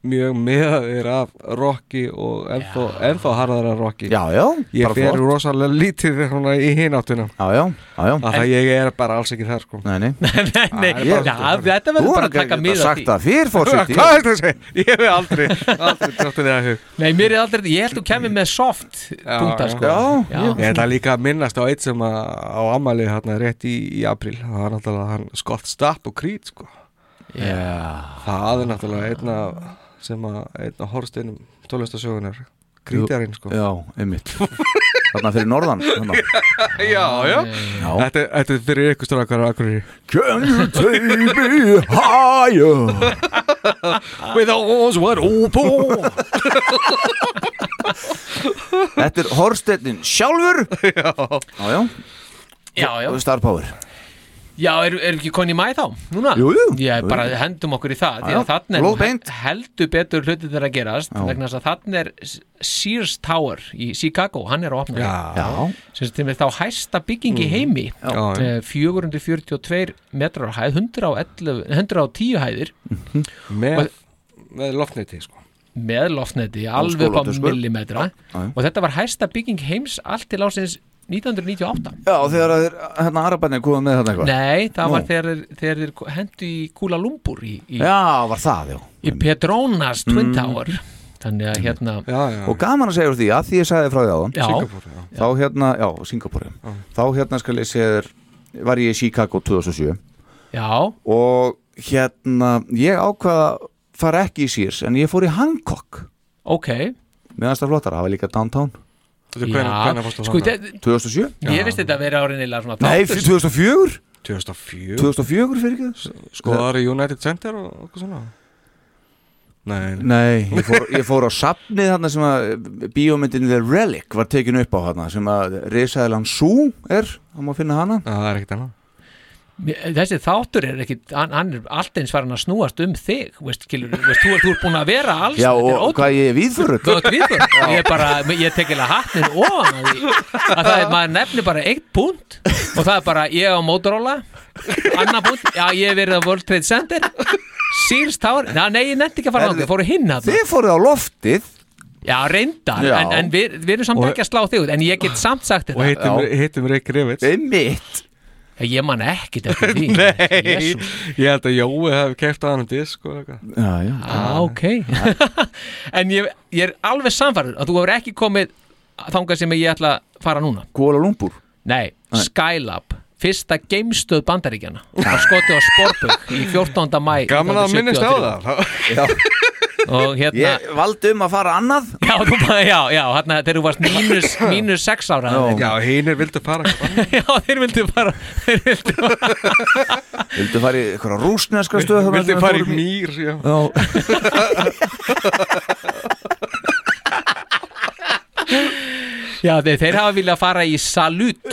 [SPEAKER 4] mjög meðaðir af rocki og ennþá, ennþá harðara rocki
[SPEAKER 2] Já, já,
[SPEAKER 4] Ég
[SPEAKER 2] bara
[SPEAKER 4] fer
[SPEAKER 2] flott.
[SPEAKER 4] rosalega lítið svona í hináttuna
[SPEAKER 2] Já, já, já, já.
[SPEAKER 4] Að það ég er bara alls ekki þar sko
[SPEAKER 2] Nei, nei
[SPEAKER 3] Nei, já, þetta verður bara að taka mið af
[SPEAKER 2] sagt það fyrr, forseti
[SPEAKER 4] Hvað er þetta að segja? Ég hef aldrei, aldrei dráttið það hug
[SPEAKER 3] Nei, mér er aldrei, ég held þú kemur með soft
[SPEAKER 4] Já,
[SPEAKER 3] punktar
[SPEAKER 4] já.
[SPEAKER 3] sko Já.
[SPEAKER 4] Ég ætla líka að minnast á eitt sem að, á amalið hérna rétt í, í apríl það var náttúrulega hann Scott Stapp og Creed sko.
[SPEAKER 3] Já.
[SPEAKER 4] það er náttúrulega einna sem að einna horsteinum tólustasögunar Creedarinn sko
[SPEAKER 2] Já, einmitt Þarna fyrir norðan þarna.
[SPEAKER 4] já, já. Þetta, er- þetta er fyrir ykkur strákar á Akureyri
[SPEAKER 2] Can you take me higher
[SPEAKER 4] Ah. With those were open
[SPEAKER 2] Þetta er Horstednin sjálfur
[SPEAKER 4] Já,
[SPEAKER 2] já, já.
[SPEAKER 3] Já, já.
[SPEAKER 2] Og Star Power
[SPEAKER 3] Já, erum er ekki konni í mæ þá? Núna?
[SPEAKER 2] Jú, jú.
[SPEAKER 3] Ég bara
[SPEAKER 2] Jú, jú.
[SPEAKER 3] hendum okkur í það því
[SPEAKER 2] Já,
[SPEAKER 3] að Þannig er
[SPEAKER 2] blóð
[SPEAKER 3] nú he- heldur betur hluti þeirra að gerast
[SPEAKER 2] Já.
[SPEAKER 3] vegna þess að þannig er S- Sears Tower í Chicago, hann er að opna
[SPEAKER 2] Já.
[SPEAKER 3] sem sem er þá hæsta bygging í
[SPEAKER 2] Mm.
[SPEAKER 3] heimi
[SPEAKER 2] Já.
[SPEAKER 3] Eh, 442 metrar á hæð 111, 110 hæðir
[SPEAKER 4] með,
[SPEAKER 3] Og-
[SPEAKER 4] með loftniti sko
[SPEAKER 3] með loftneti
[SPEAKER 4] Og
[SPEAKER 3] alveg upp á
[SPEAKER 4] skólatösku.
[SPEAKER 3] millimetra
[SPEAKER 4] Já, já.
[SPEAKER 3] og þetta var hæsta bygging heims allt til ásins 1998
[SPEAKER 2] Já, þegar að þeir, hérna Arabarnir komið með þarna eitthvað
[SPEAKER 3] Nei, það
[SPEAKER 2] Nú.
[SPEAKER 3] var þegar, þeir- þegar þeir hendu í Kúla Lumpur í, í,
[SPEAKER 2] Já, var það, já
[SPEAKER 3] í Petronas Twin
[SPEAKER 2] Mm.
[SPEAKER 3] Tower þannig að hérna
[SPEAKER 4] já, já.
[SPEAKER 2] Og gaman að segja úr því að því ég sagði frá því áðan
[SPEAKER 3] Já. Singapúr,
[SPEAKER 2] já. Þá hérna, já, Singapúr já. Þá hérna skal ég segja þér Var ég í Chicago 2007
[SPEAKER 3] Já
[SPEAKER 2] Og hérna, ég ákvaða fara ekki í Sears En ég fór í Hancock
[SPEAKER 3] Ok
[SPEAKER 2] Meðan það flottar, það var líka downtown
[SPEAKER 4] Þú
[SPEAKER 3] sko, þetta-
[SPEAKER 2] 2007
[SPEAKER 3] Ég veist þetta að vera árin eða svona
[SPEAKER 2] Nei,
[SPEAKER 3] þáttur.
[SPEAKER 2] fyrir 2004
[SPEAKER 4] 2004
[SPEAKER 2] 2004 fyrir ekki
[SPEAKER 4] Skoðar í Sko, United Center og okkur svona Nei,
[SPEAKER 2] Nei, ég fór, ég fór á safnið þarna sem að eh, bíómyndin The Relic var tekin upp á þarna sem að Risaðilan Sú er, það má finna hana
[SPEAKER 4] Já, það er ekkert hana
[SPEAKER 3] Mér- Þessi þáttur er ekki hann, hann er allt eins farin að snúast um þig veist, kilur, veist, þú, er, þú er búin að vera alls
[SPEAKER 2] Já,
[SPEAKER 3] þetta er
[SPEAKER 2] og hvað ég er viðförut
[SPEAKER 3] Þú ert viðbúin, ég er bara, ég tek eða hattnin ofan að því að það er, maður nefnir bara eitt punkt og það er bara ég á Motorola annar punkt, já ég hef verið á World Trade Center Sears Tower, já nei ég nefndi ekki að fara
[SPEAKER 2] Herðu,
[SPEAKER 3] náttúrulega, fóru hinn að
[SPEAKER 2] Þið fóruð á loftið
[SPEAKER 3] Já reyndar,
[SPEAKER 2] Já.
[SPEAKER 3] en, en við, við erum samt
[SPEAKER 4] Og-
[SPEAKER 3] ekki að slá þig út en ég get samt sagt
[SPEAKER 4] Og
[SPEAKER 3] þetta
[SPEAKER 4] hittum, hittum Rick Rivits
[SPEAKER 2] Einmitt
[SPEAKER 3] Ég man ekkit eftir því
[SPEAKER 4] Nei,
[SPEAKER 3] Jesús.
[SPEAKER 4] ég held að Jói hafi keft að hann um disk og eitthvað
[SPEAKER 2] Já, já
[SPEAKER 3] ah, ok En ég, ég er alveg samfærður að þú hefur ekki komið þangað sem ég ætla að fara núna
[SPEAKER 2] Kuala Lumpur?
[SPEAKER 3] Nei, Skylab fyrsta geimstöð bandaríkjana var skotið á Sporbuk í 14. mæ
[SPEAKER 4] Gaman að minnist á það.
[SPEAKER 3] og hérna
[SPEAKER 2] Ég valdi um að fara annað
[SPEAKER 3] Já, þú bara, já, já, hérna þegar þú varst mínus, mínus 6 ára
[SPEAKER 2] Já.
[SPEAKER 4] Já, hinir vildu fara
[SPEAKER 3] já, þeir vildu fara þeir vildu
[SPEAKER 2] Vildu fara í eitthvað rúsneska stöð þarna
[SPEAKER 4] Vildu
[SPEAKER 2] sem við
[SPEAKER 4] fara í
[SPEAKER 2] fórum
[SPEAKER 4] mýr, já
[SPEAKER 2] Já,
[SPEAKER 3] Já, þeir, þeir hafa viljað fara í Salut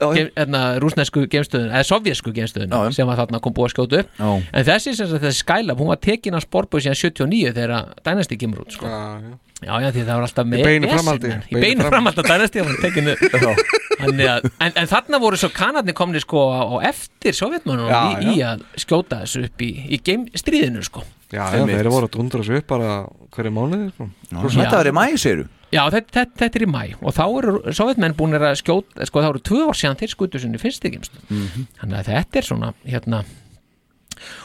[SPEAKER 3] gem, hérna, rúsnesku geimstöðun eða sovjesku geimstöðun sem að þarna kom búið að skjóta upp
[SPEAKER 2] Já.
[SPEAKER 3] en þessi sem sagt, þessi Skylab, hún var tekin af Sporbjörn síðan 79 þegar að Dynasty kemur út sko.
[SPEAKER 4] já.
[SPEAKER 3] já, já, því það var alltaf með
[SPEAKER 4] beinu
[SPEAKER 3] vesen, en-
[SPEAKER 4] framhaldi,
[SPEAKER 3] í
[SPEAKER 4] beinu
[SPEAKER 3] beinu
[SPEAKER 4] framhaldi.
[SPEAKER 3] framhaldi að Dynasty var tekin upp. Þannig að- en, en þarna voru svo kanarnir komni sko á á eftir sovjetmönnum
[SPEAKER 4] Já,
[SPEAKER 3] í, í að skjóta þessu upp í, í geim, stríðinu sko
[SPEAKER 4] Já, já,
[SPEAKER 2] Einmitt.
[SPEAKER 4] þeir voru að dundra svo upp bara hverju mánuði sko.
[SPEAKER 3] Já.
[SPEAKER 2] þetta var í mæ, segiru
[SPEAKER 3] Já, þetta, þetta, þetta er í mæ og þá eru sovjetmenn búin að skjóta sko, þá eru tvö ár síðan þeir skutu sinni fyrst ekki þannig að þetta er svona hérna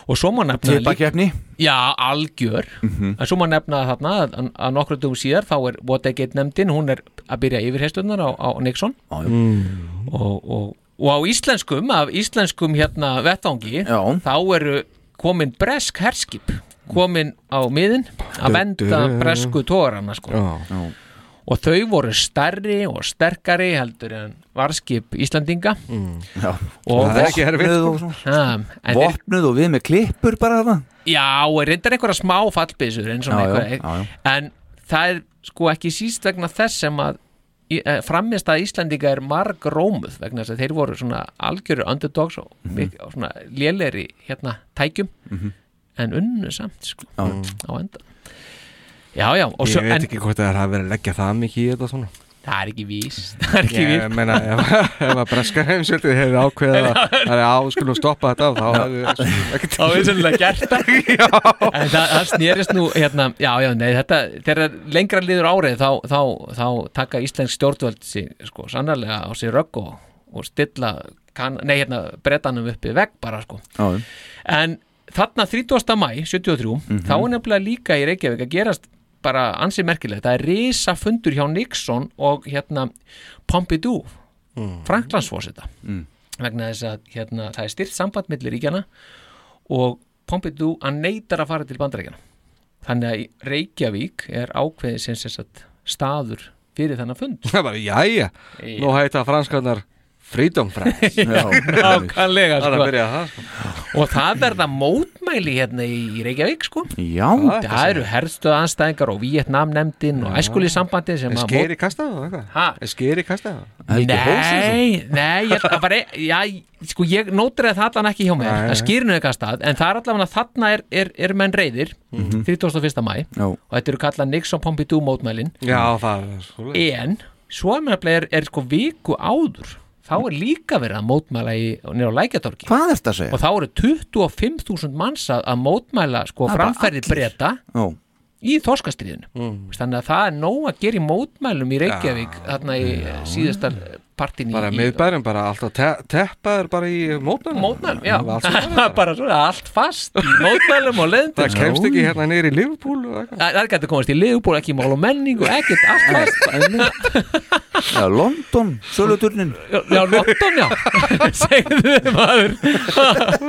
[SPEAKER 3] og svo má nefna líka-
[SPEAKER 2] Tippakeppni
[SPEAKER 3] Já, algjör en svo má nefna þarna að, að- að nokkru dugum síðar þá er Watergate nefndin, hún er að byrja yfirheyslunar á, á Nixon
[SPEAKER 2] Já, já.
[SPEAKER 3] og, og, og á íslenskum af íslenskum hérna vettvangi
[SPEAKER 2] Já.
[SPEAKER 3] þá eru komin bresk herskip komin á miðin að venda bresku tógarana sko
[SPEAKER 4] Já,
[SPEAKER 3] og þau voru stærri og sterkari heldur en varskip Íslandinga
[SPEAKER 2] Já.
[SPEAKER 3] og
[SPEAKER 4] það er ekki erfitt
[SPEAKER 2] Vopnuð og
[SPEAKER 4] sko.
[SPEAKER 2] svona.
[SPEAKER 3] Ha, Um, en þeir,
[SPEAKER 2] Vopnuð og við með klippur bara þarna
[SPEAKER 3] já, og reyndar einhverja smá fallbysur eins og
[SPEAKER 2] Já, já,
[SPEAKER 3] einhverja-
[SPEAKER 2] já, já.
[SPEAKER 3] en það er sko ekki síst vegna þess sem að framist að Íslandinga er marg rómuð vegna þess að þeir voru svona algjörur underdogs og,
[SPEAKER 2] Mhm.
[SPEAKER 3] mm og svona lélegri hérna tækjum en unnu samt sko á enda já já og svo,
[SPEAKER 4] Ég veit
[SPEAKER 3] en
[SPEAKER 4] ekki hvort það er að vera að leggja það mikið í þetta svona
[SPEAKER 3] það er ekki víst það er ekki
[SPEAKER 4] Ég
[SPEAKER 3] víst
[SPEAKER 4] meina, ef, ef að breska heimsjöldið hefði ákveðið að það er áskulum stoppa þetta af, þá hefði það ekki
[SPEAKER 3] þá er sennilega gert það en það, það snýrist nú hérna, já, já, nei, þetta, þegar lengra liður árið þá, þá, þá taka Íslensk stjórnvöld sig, sko, sannarlega á sig rögg og, og stilla kan, nei, hérna, brettanum uppi vegg bara, sko
[SPEAKER 2] Já, Mhm.
[SPEAKER 3] en þarna 30. mæ 73, þá er nefnilega líka í Reykjavík að gerast bara ansið merkilegt það er risa fundur hjá Nixon og hérna Pompidou mm. Franklandsfósita
[SPEAKER 2] Mm.
[SPEAKER 3] vegna þess að hérna, það er styrt samband millir ríkjana og Pompidou hann neytar að fara til bandaríkjana þannig að í Reykjavík er ákveðið sem sem sagt staður fyrir þennan fund
[SPEAKER 4] Það er bara, jæja, nú hætta franskarnar Freedom Friends
[SPEAKER 2] já,
[SPEAKER 3] Nákvæmlega
[SPEAKER 4] Það er að
[SPEAKER 3] sko.
[SPEAKER 4] byrja það sko.
[SPEAKER 3] og það verða mótmæli hérna í Reykjavík sko
[SPEAKER 2] já.
[SPEAKER 3] Það eru herrstöðanstæðingar og Vietnamnemndin og æskuli sambandin sem
[SPEAKER 4] Er
[SPEAKER 3] að
[SPEAKER 4] skeri kastað það eitthvað?
[SPEAKER 3] Ha?
[SPEAKER 4] Er skeri kastað það?
[SPEAKER 2] Helgi Hólsson.
[SPEAKER 3] Nei, nei, ég, held að bara, já, sko ég nótrið það allan ekki hjá mér
[SPEAKER 4] Nei, nei.
[SPEAKER 3] að skýrinu eitthvað stað, en það er allan að þarna er, er, er menn reyðir 31. mæ
[SPEAKER 2] Já.
[SPEAKER 3] og þetta eru kallað Nixon Pompidou mótmælin
[SPEAKER 4] Já, það er svo leið
[SPEAKER 3] en svo er mér að er, er sko viku áður þá er líka verið að mótmæla í, nýra á lækjatorki
[SPEAKER 2] Hvað er þetta að segja?
[SPEAKER 3] og þá eru 25.000 manns að, að mótmæla
[SPEAKER 2] Það
[SPEAKER 3] sko
[SPEAKER 2] er bara
[SPEAKER 3] framferði
[SPEAKER 2] allir.
[SPEAKER 3] breyta
[SPEAKER 2] Já,
[SPEAKER 3] í þorskastriðinu þannig að það er nóg að gera í mótmælum í Reykjavík þarna í já. síðasta partin
[SPEAKER 4] Bara
[SPEAKER 3] í, í
[SPEAKER 4] miðbærum, bara alltaf te teppaður bara í mótmælum
[SPEAKER 3] mótmælum, já,
[SPEAKER 4] Það var allt
[SPEAKER 3] það
[SPEAKER 4] svona.
[SPEAKER 3] er bara svona allt fast í mótmælum og leðndum
[SPEAKER 4] Það kemst ekki hérna niður í Liverpool og eitthvað
[SPEAKER 3] það er gæti að komast í liðbúr, ekki í mál og menningu ekkert, allt fast
[SPEAKER 2] já London, söluturnin
[SPEAKER 3] já, London, já segðu maður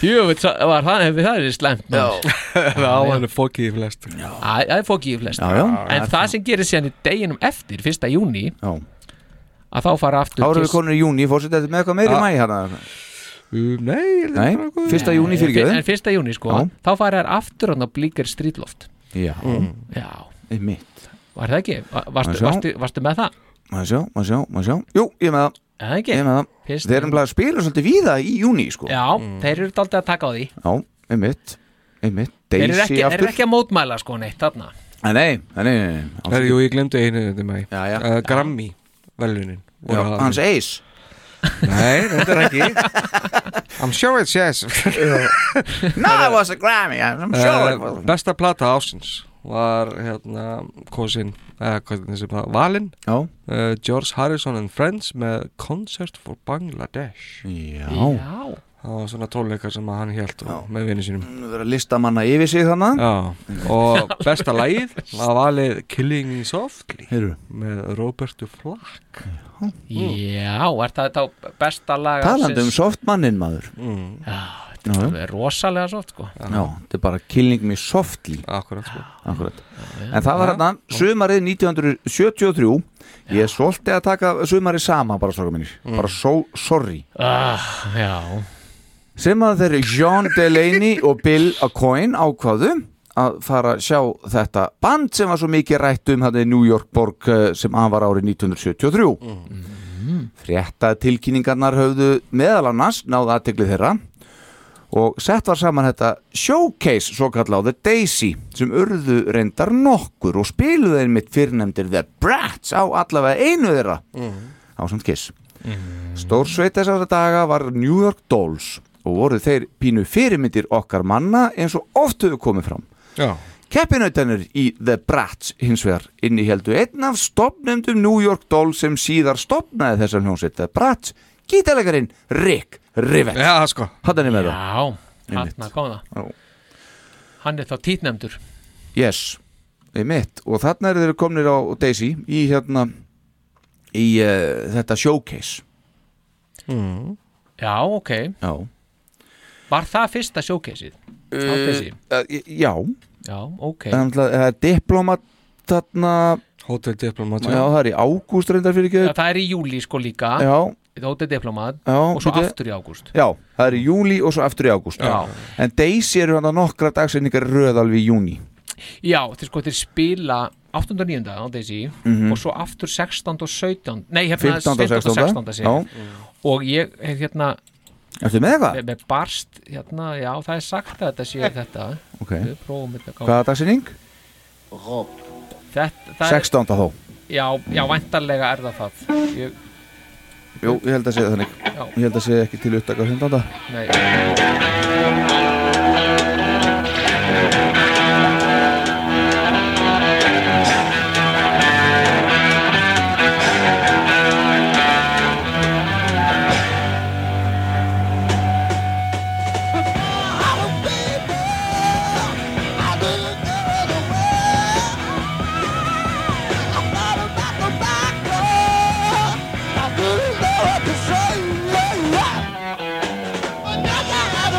[SPEAKER 3] tjófitt, var það ef það er slæmt maður.
[SPEAKER 4] Það á henni fókið í flest
[SPEAKER 3] Æ, það er fókið í flest
[SPEAKER 2] Já, já,
[SPEAKER 3] en það sem gerir síðan í deginum eftir, 1. júni
[SPEAKER 2] já.
[SPEAKER 3] að þá fara aftur
[SPEAKER 2] Þá erum við
[SPEAKER 3] til-
[SPEAKER 2] konur í júni, fórsetið þetta með eitthvað meiri mæ hérna
[SPEAKER 4] Um, Nei, er þetta
[SPEAKER 2] Nei,
[SPEAKER 4] bara góð?
[SPEAKER 2] fyrsta júni fyrir
[SPEAKER 3] En fyrsta júni sko,
[SPEAKER 2] Já.
[SPEAKER 3] þá fara þær aftur hann á blíkir strítloft
[SPEAKER 2] Já,
[SPEAKER 3] Mm. Já,
[SPEAKER 2] mitt
[SPEAKER 3] var það ekki? Va- Varstu,
[SPEAKER 2] Má sjá.
[SPEAKER 3] varstu, varstu með það?
[SPEAKER 2] Má sjá, má sjá, má sjá Jú, ég er með það,
[SPEAKER 3] Er Það ekki?
[SPEAKER 2] ég er með það
[SPEAKER 3] Fyrsta
[SPEAKER 2] Þeir eru um
[SPEAKER 3] júní.
[SPEAKER 2] bara að spila svolítið víða í júni sko.
[SPEAKER 3] Já, þeir eru daldið að taka á því
[SPEAKER 2] Já, einmitt, einmitt
[SPEAKER 3] Þeir eru
[SPEAKER 2] Daisy
[SPEAKER 3] ekki, þeir
[SPEAKER 2] aftur
[SPEAKER 3] eru ekki að mótmæla sko neitt þarna
[SPEAKER 2] Nei, nei, nei, nei, nei, nei.
[SPEAKER 4] Það er, jú, ég glemdi einu þetta mæ
[SPEAKER 2] Já, já.
[SPEAKER 4] Uh, Grammy velunin
[SPEAKER 2] Já, Hans Ace
[SPEAKER 4] Nei, þetta er ekki I'm sure it's yes
[SPEAKER 2] No, it was a Grammy, I'm
[SPEAKER 4] Eh, Besta plata ásins var hérna eh, kosin, eða hvernig sem það, valinn
[SPEAKER 3] Eh,
[SPEAKER 2] uh,
[SPEAKER 4] eh, George Harrison and Friends með Concert for Bangladesh
[SPEAKER 2] Já,
[SPEAKER 3] Já.
[SPEAKER 4] það var svona tónleika sem að hann hélt og, með vinni sínum
[SPEAKER 2] Það er að lista manna yfir sig þannig
[SPEAKER 4] Já, og besta lagið var valið Killing Me Softly
[SPEAKER 2] Heyrðu.
[SPEAKER 4] með Robertu Flack
[SPEAKER 3] Já, er það þá besta lag
[SPEAKER 2] Talandi um
[SPEAKER 3] ársins?
[SPEAKER 2] softmannin maður
[SPEAKER 4] mm.
[SPEAKER 3] Já,
[SPEAKER 2] Já, já.
[SPEAKER 3] þetta er rosalega soft sko
[SPEAKER 2] Já, þetta er bara killing me softly
[SPEAKER 4] Akkurat, sko.
[SPEAKER 2] Akkurat. En það var hérna sumarið 1973 Ég svolti að taka sumarið sama bara stráka mínir Bara so sorry
[SPEAKER 3] ah, Já
[SPEAKER 2] Sem að þeir John Delaney og Bill Acoin ákváðu að fara að sjá þetta band sem var svo mikið rætt um þetta í New York borg eh, sem hann var árið 1973 frétta tilkynningarnar höfðu meðal annars náðu aðtegli þeirra og sett var saman þetta showcase svo kalláðu Daisy sem urðu reyndar nokkur og spiluðu einmitt fyrrnefndir The Brats á allavega einu þeirra á samt kiss Stórsveit þessara daga var New York Dolls og voru þeir pínu fyrirmyndir okkar manna eins og oft höfðu komið fram
[SPEAKER 4] Já.
[SPEAKER 2] Keppinautanir í The Brats hins vegar inniheldu einn af stopnendum New York Dolls sem síðar stopnaði þessar hljómsveit The Brats, gítalegarinn Rick Rivett
[SPEAKER 4] Já, sko
[SPEAKER 2] Hattan er með það
[SPEAKER 3] Já,
[SPEAKER 2] Einmitt.
[SPEAKER 3] hann kom það
[SPEAKER 2] Já.
[SPEAKER 3] Hann er þá títnefndur
[SPEAKER 2] Yes, einmitt og þarna eru þeir komnir á Daisy í hérna í uh, þetta showcase
[SPEAKER 4] mm.
[SPEAKER 3] Já, ok
[SPEAKER 2] Já,
[SPEAKER 3] Var það fyrsta showcaseið? Á Daisy?
[SPEAKER 2] uh, já.
[SPEAKER 3] Já, ok
[SPEAKER 2] En Það er diplomat þarna
[SPEAKER 4] Hotel Diplomat
[SPEAKER 2] Já, það er í ágúst reyndar fyrir
[SPEAKER 3] Já,
[SPEAKER 2] ekki
[SPEAKER 3] Það er í júli sko líka
[SPEAKER 2] Já,
[SPEAKER 3] Hótið diplomat
[SPEAKER 2] já
[SPEAKER 3] Og svo
[SPEAKER 2] bíddu.
[SPEAKER 3] aftur í ágúst
[SPEAKER 2] Já, það er í júli og svo aftur í ágúst
[SPEAKER 3] Já.
[SPEAKER 2] En Daisy eru hann að nokkra dagsendingar röð alveg í júni
[SPEAKER 3] Já, þeir sko þeir spila 8. og 9. á Daisy
[SPEAKER 2] Mhm.
[SPEAKER 3] og svo aftur 16. og 17. Nei,
[SPEAKER 2] 15.
[SPEAKER 3] hérna
[SPEAKER 2] og 16.
[SPEAKER 3] 16. sé ég.
[SPEAKER 2] Já.
[SPEAKER 3] Og ég hef hérna
[SPEAKER 2] Ertu með það?
[SPEAKER 3] með, með barst, hérna, já, það er sagt að þetta
[SPEAKER 2] Eh.
[SPEAKER 3] sé þetta
[SPEAKER 2] Ok.
[SPEAKER 3] Við prófum þetta gáð
[SPEAKER 2] Hvaða dagsending?
[SPEAKER 3] Þetta, það
[SPEAKER 2] 16. þó
[SPEAKER 3] er Já, já, væntarlega er það það ég,
[SPEAKER 2] Jú, ég held að segja þannig
[SPEAKER 3] Já.
[SPEAKER 2] Ég held að segja ekki til upptaka 15.
[SPEAKER 3] Nei
[SPEAKER 10] I didn't know what to say. Yeah, yeah. But now I have a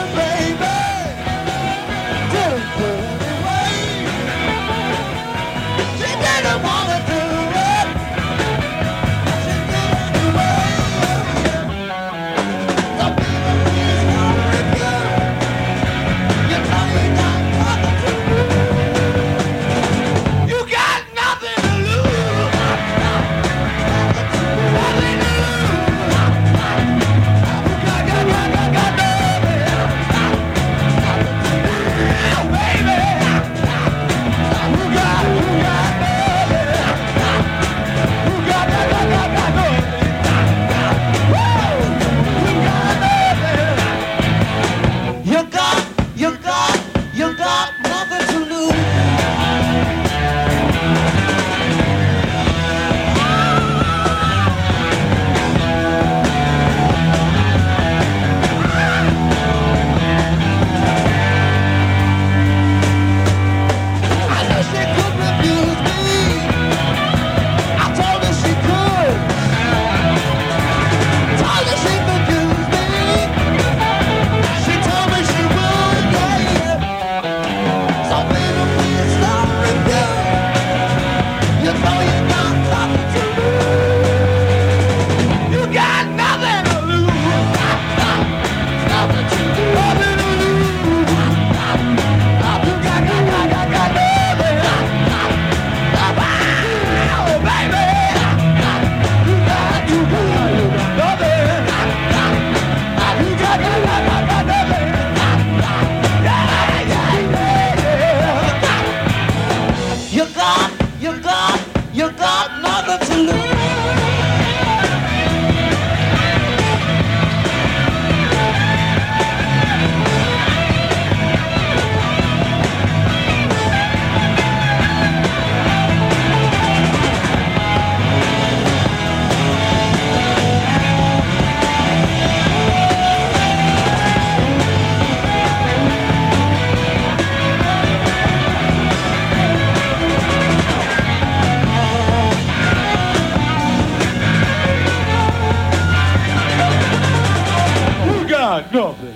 [SPEAKER 10] got nothing.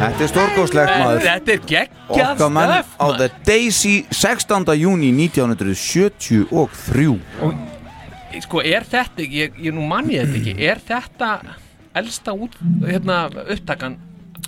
[SPEAKER 2] Þetta er stórgóðslegt maður
[SPEAKER 3] Þetta er geggjað
[SPEAKER 2] Okkar mann
[SPEAKER 3] stöf
[SPEAKER 2] á The Daisy 16. júni 1973
[SPEAKER 3] Sko, er þetta, ekki- ég, ég nú manni þetta ekki Er þetta elsta út, hérna, upptakan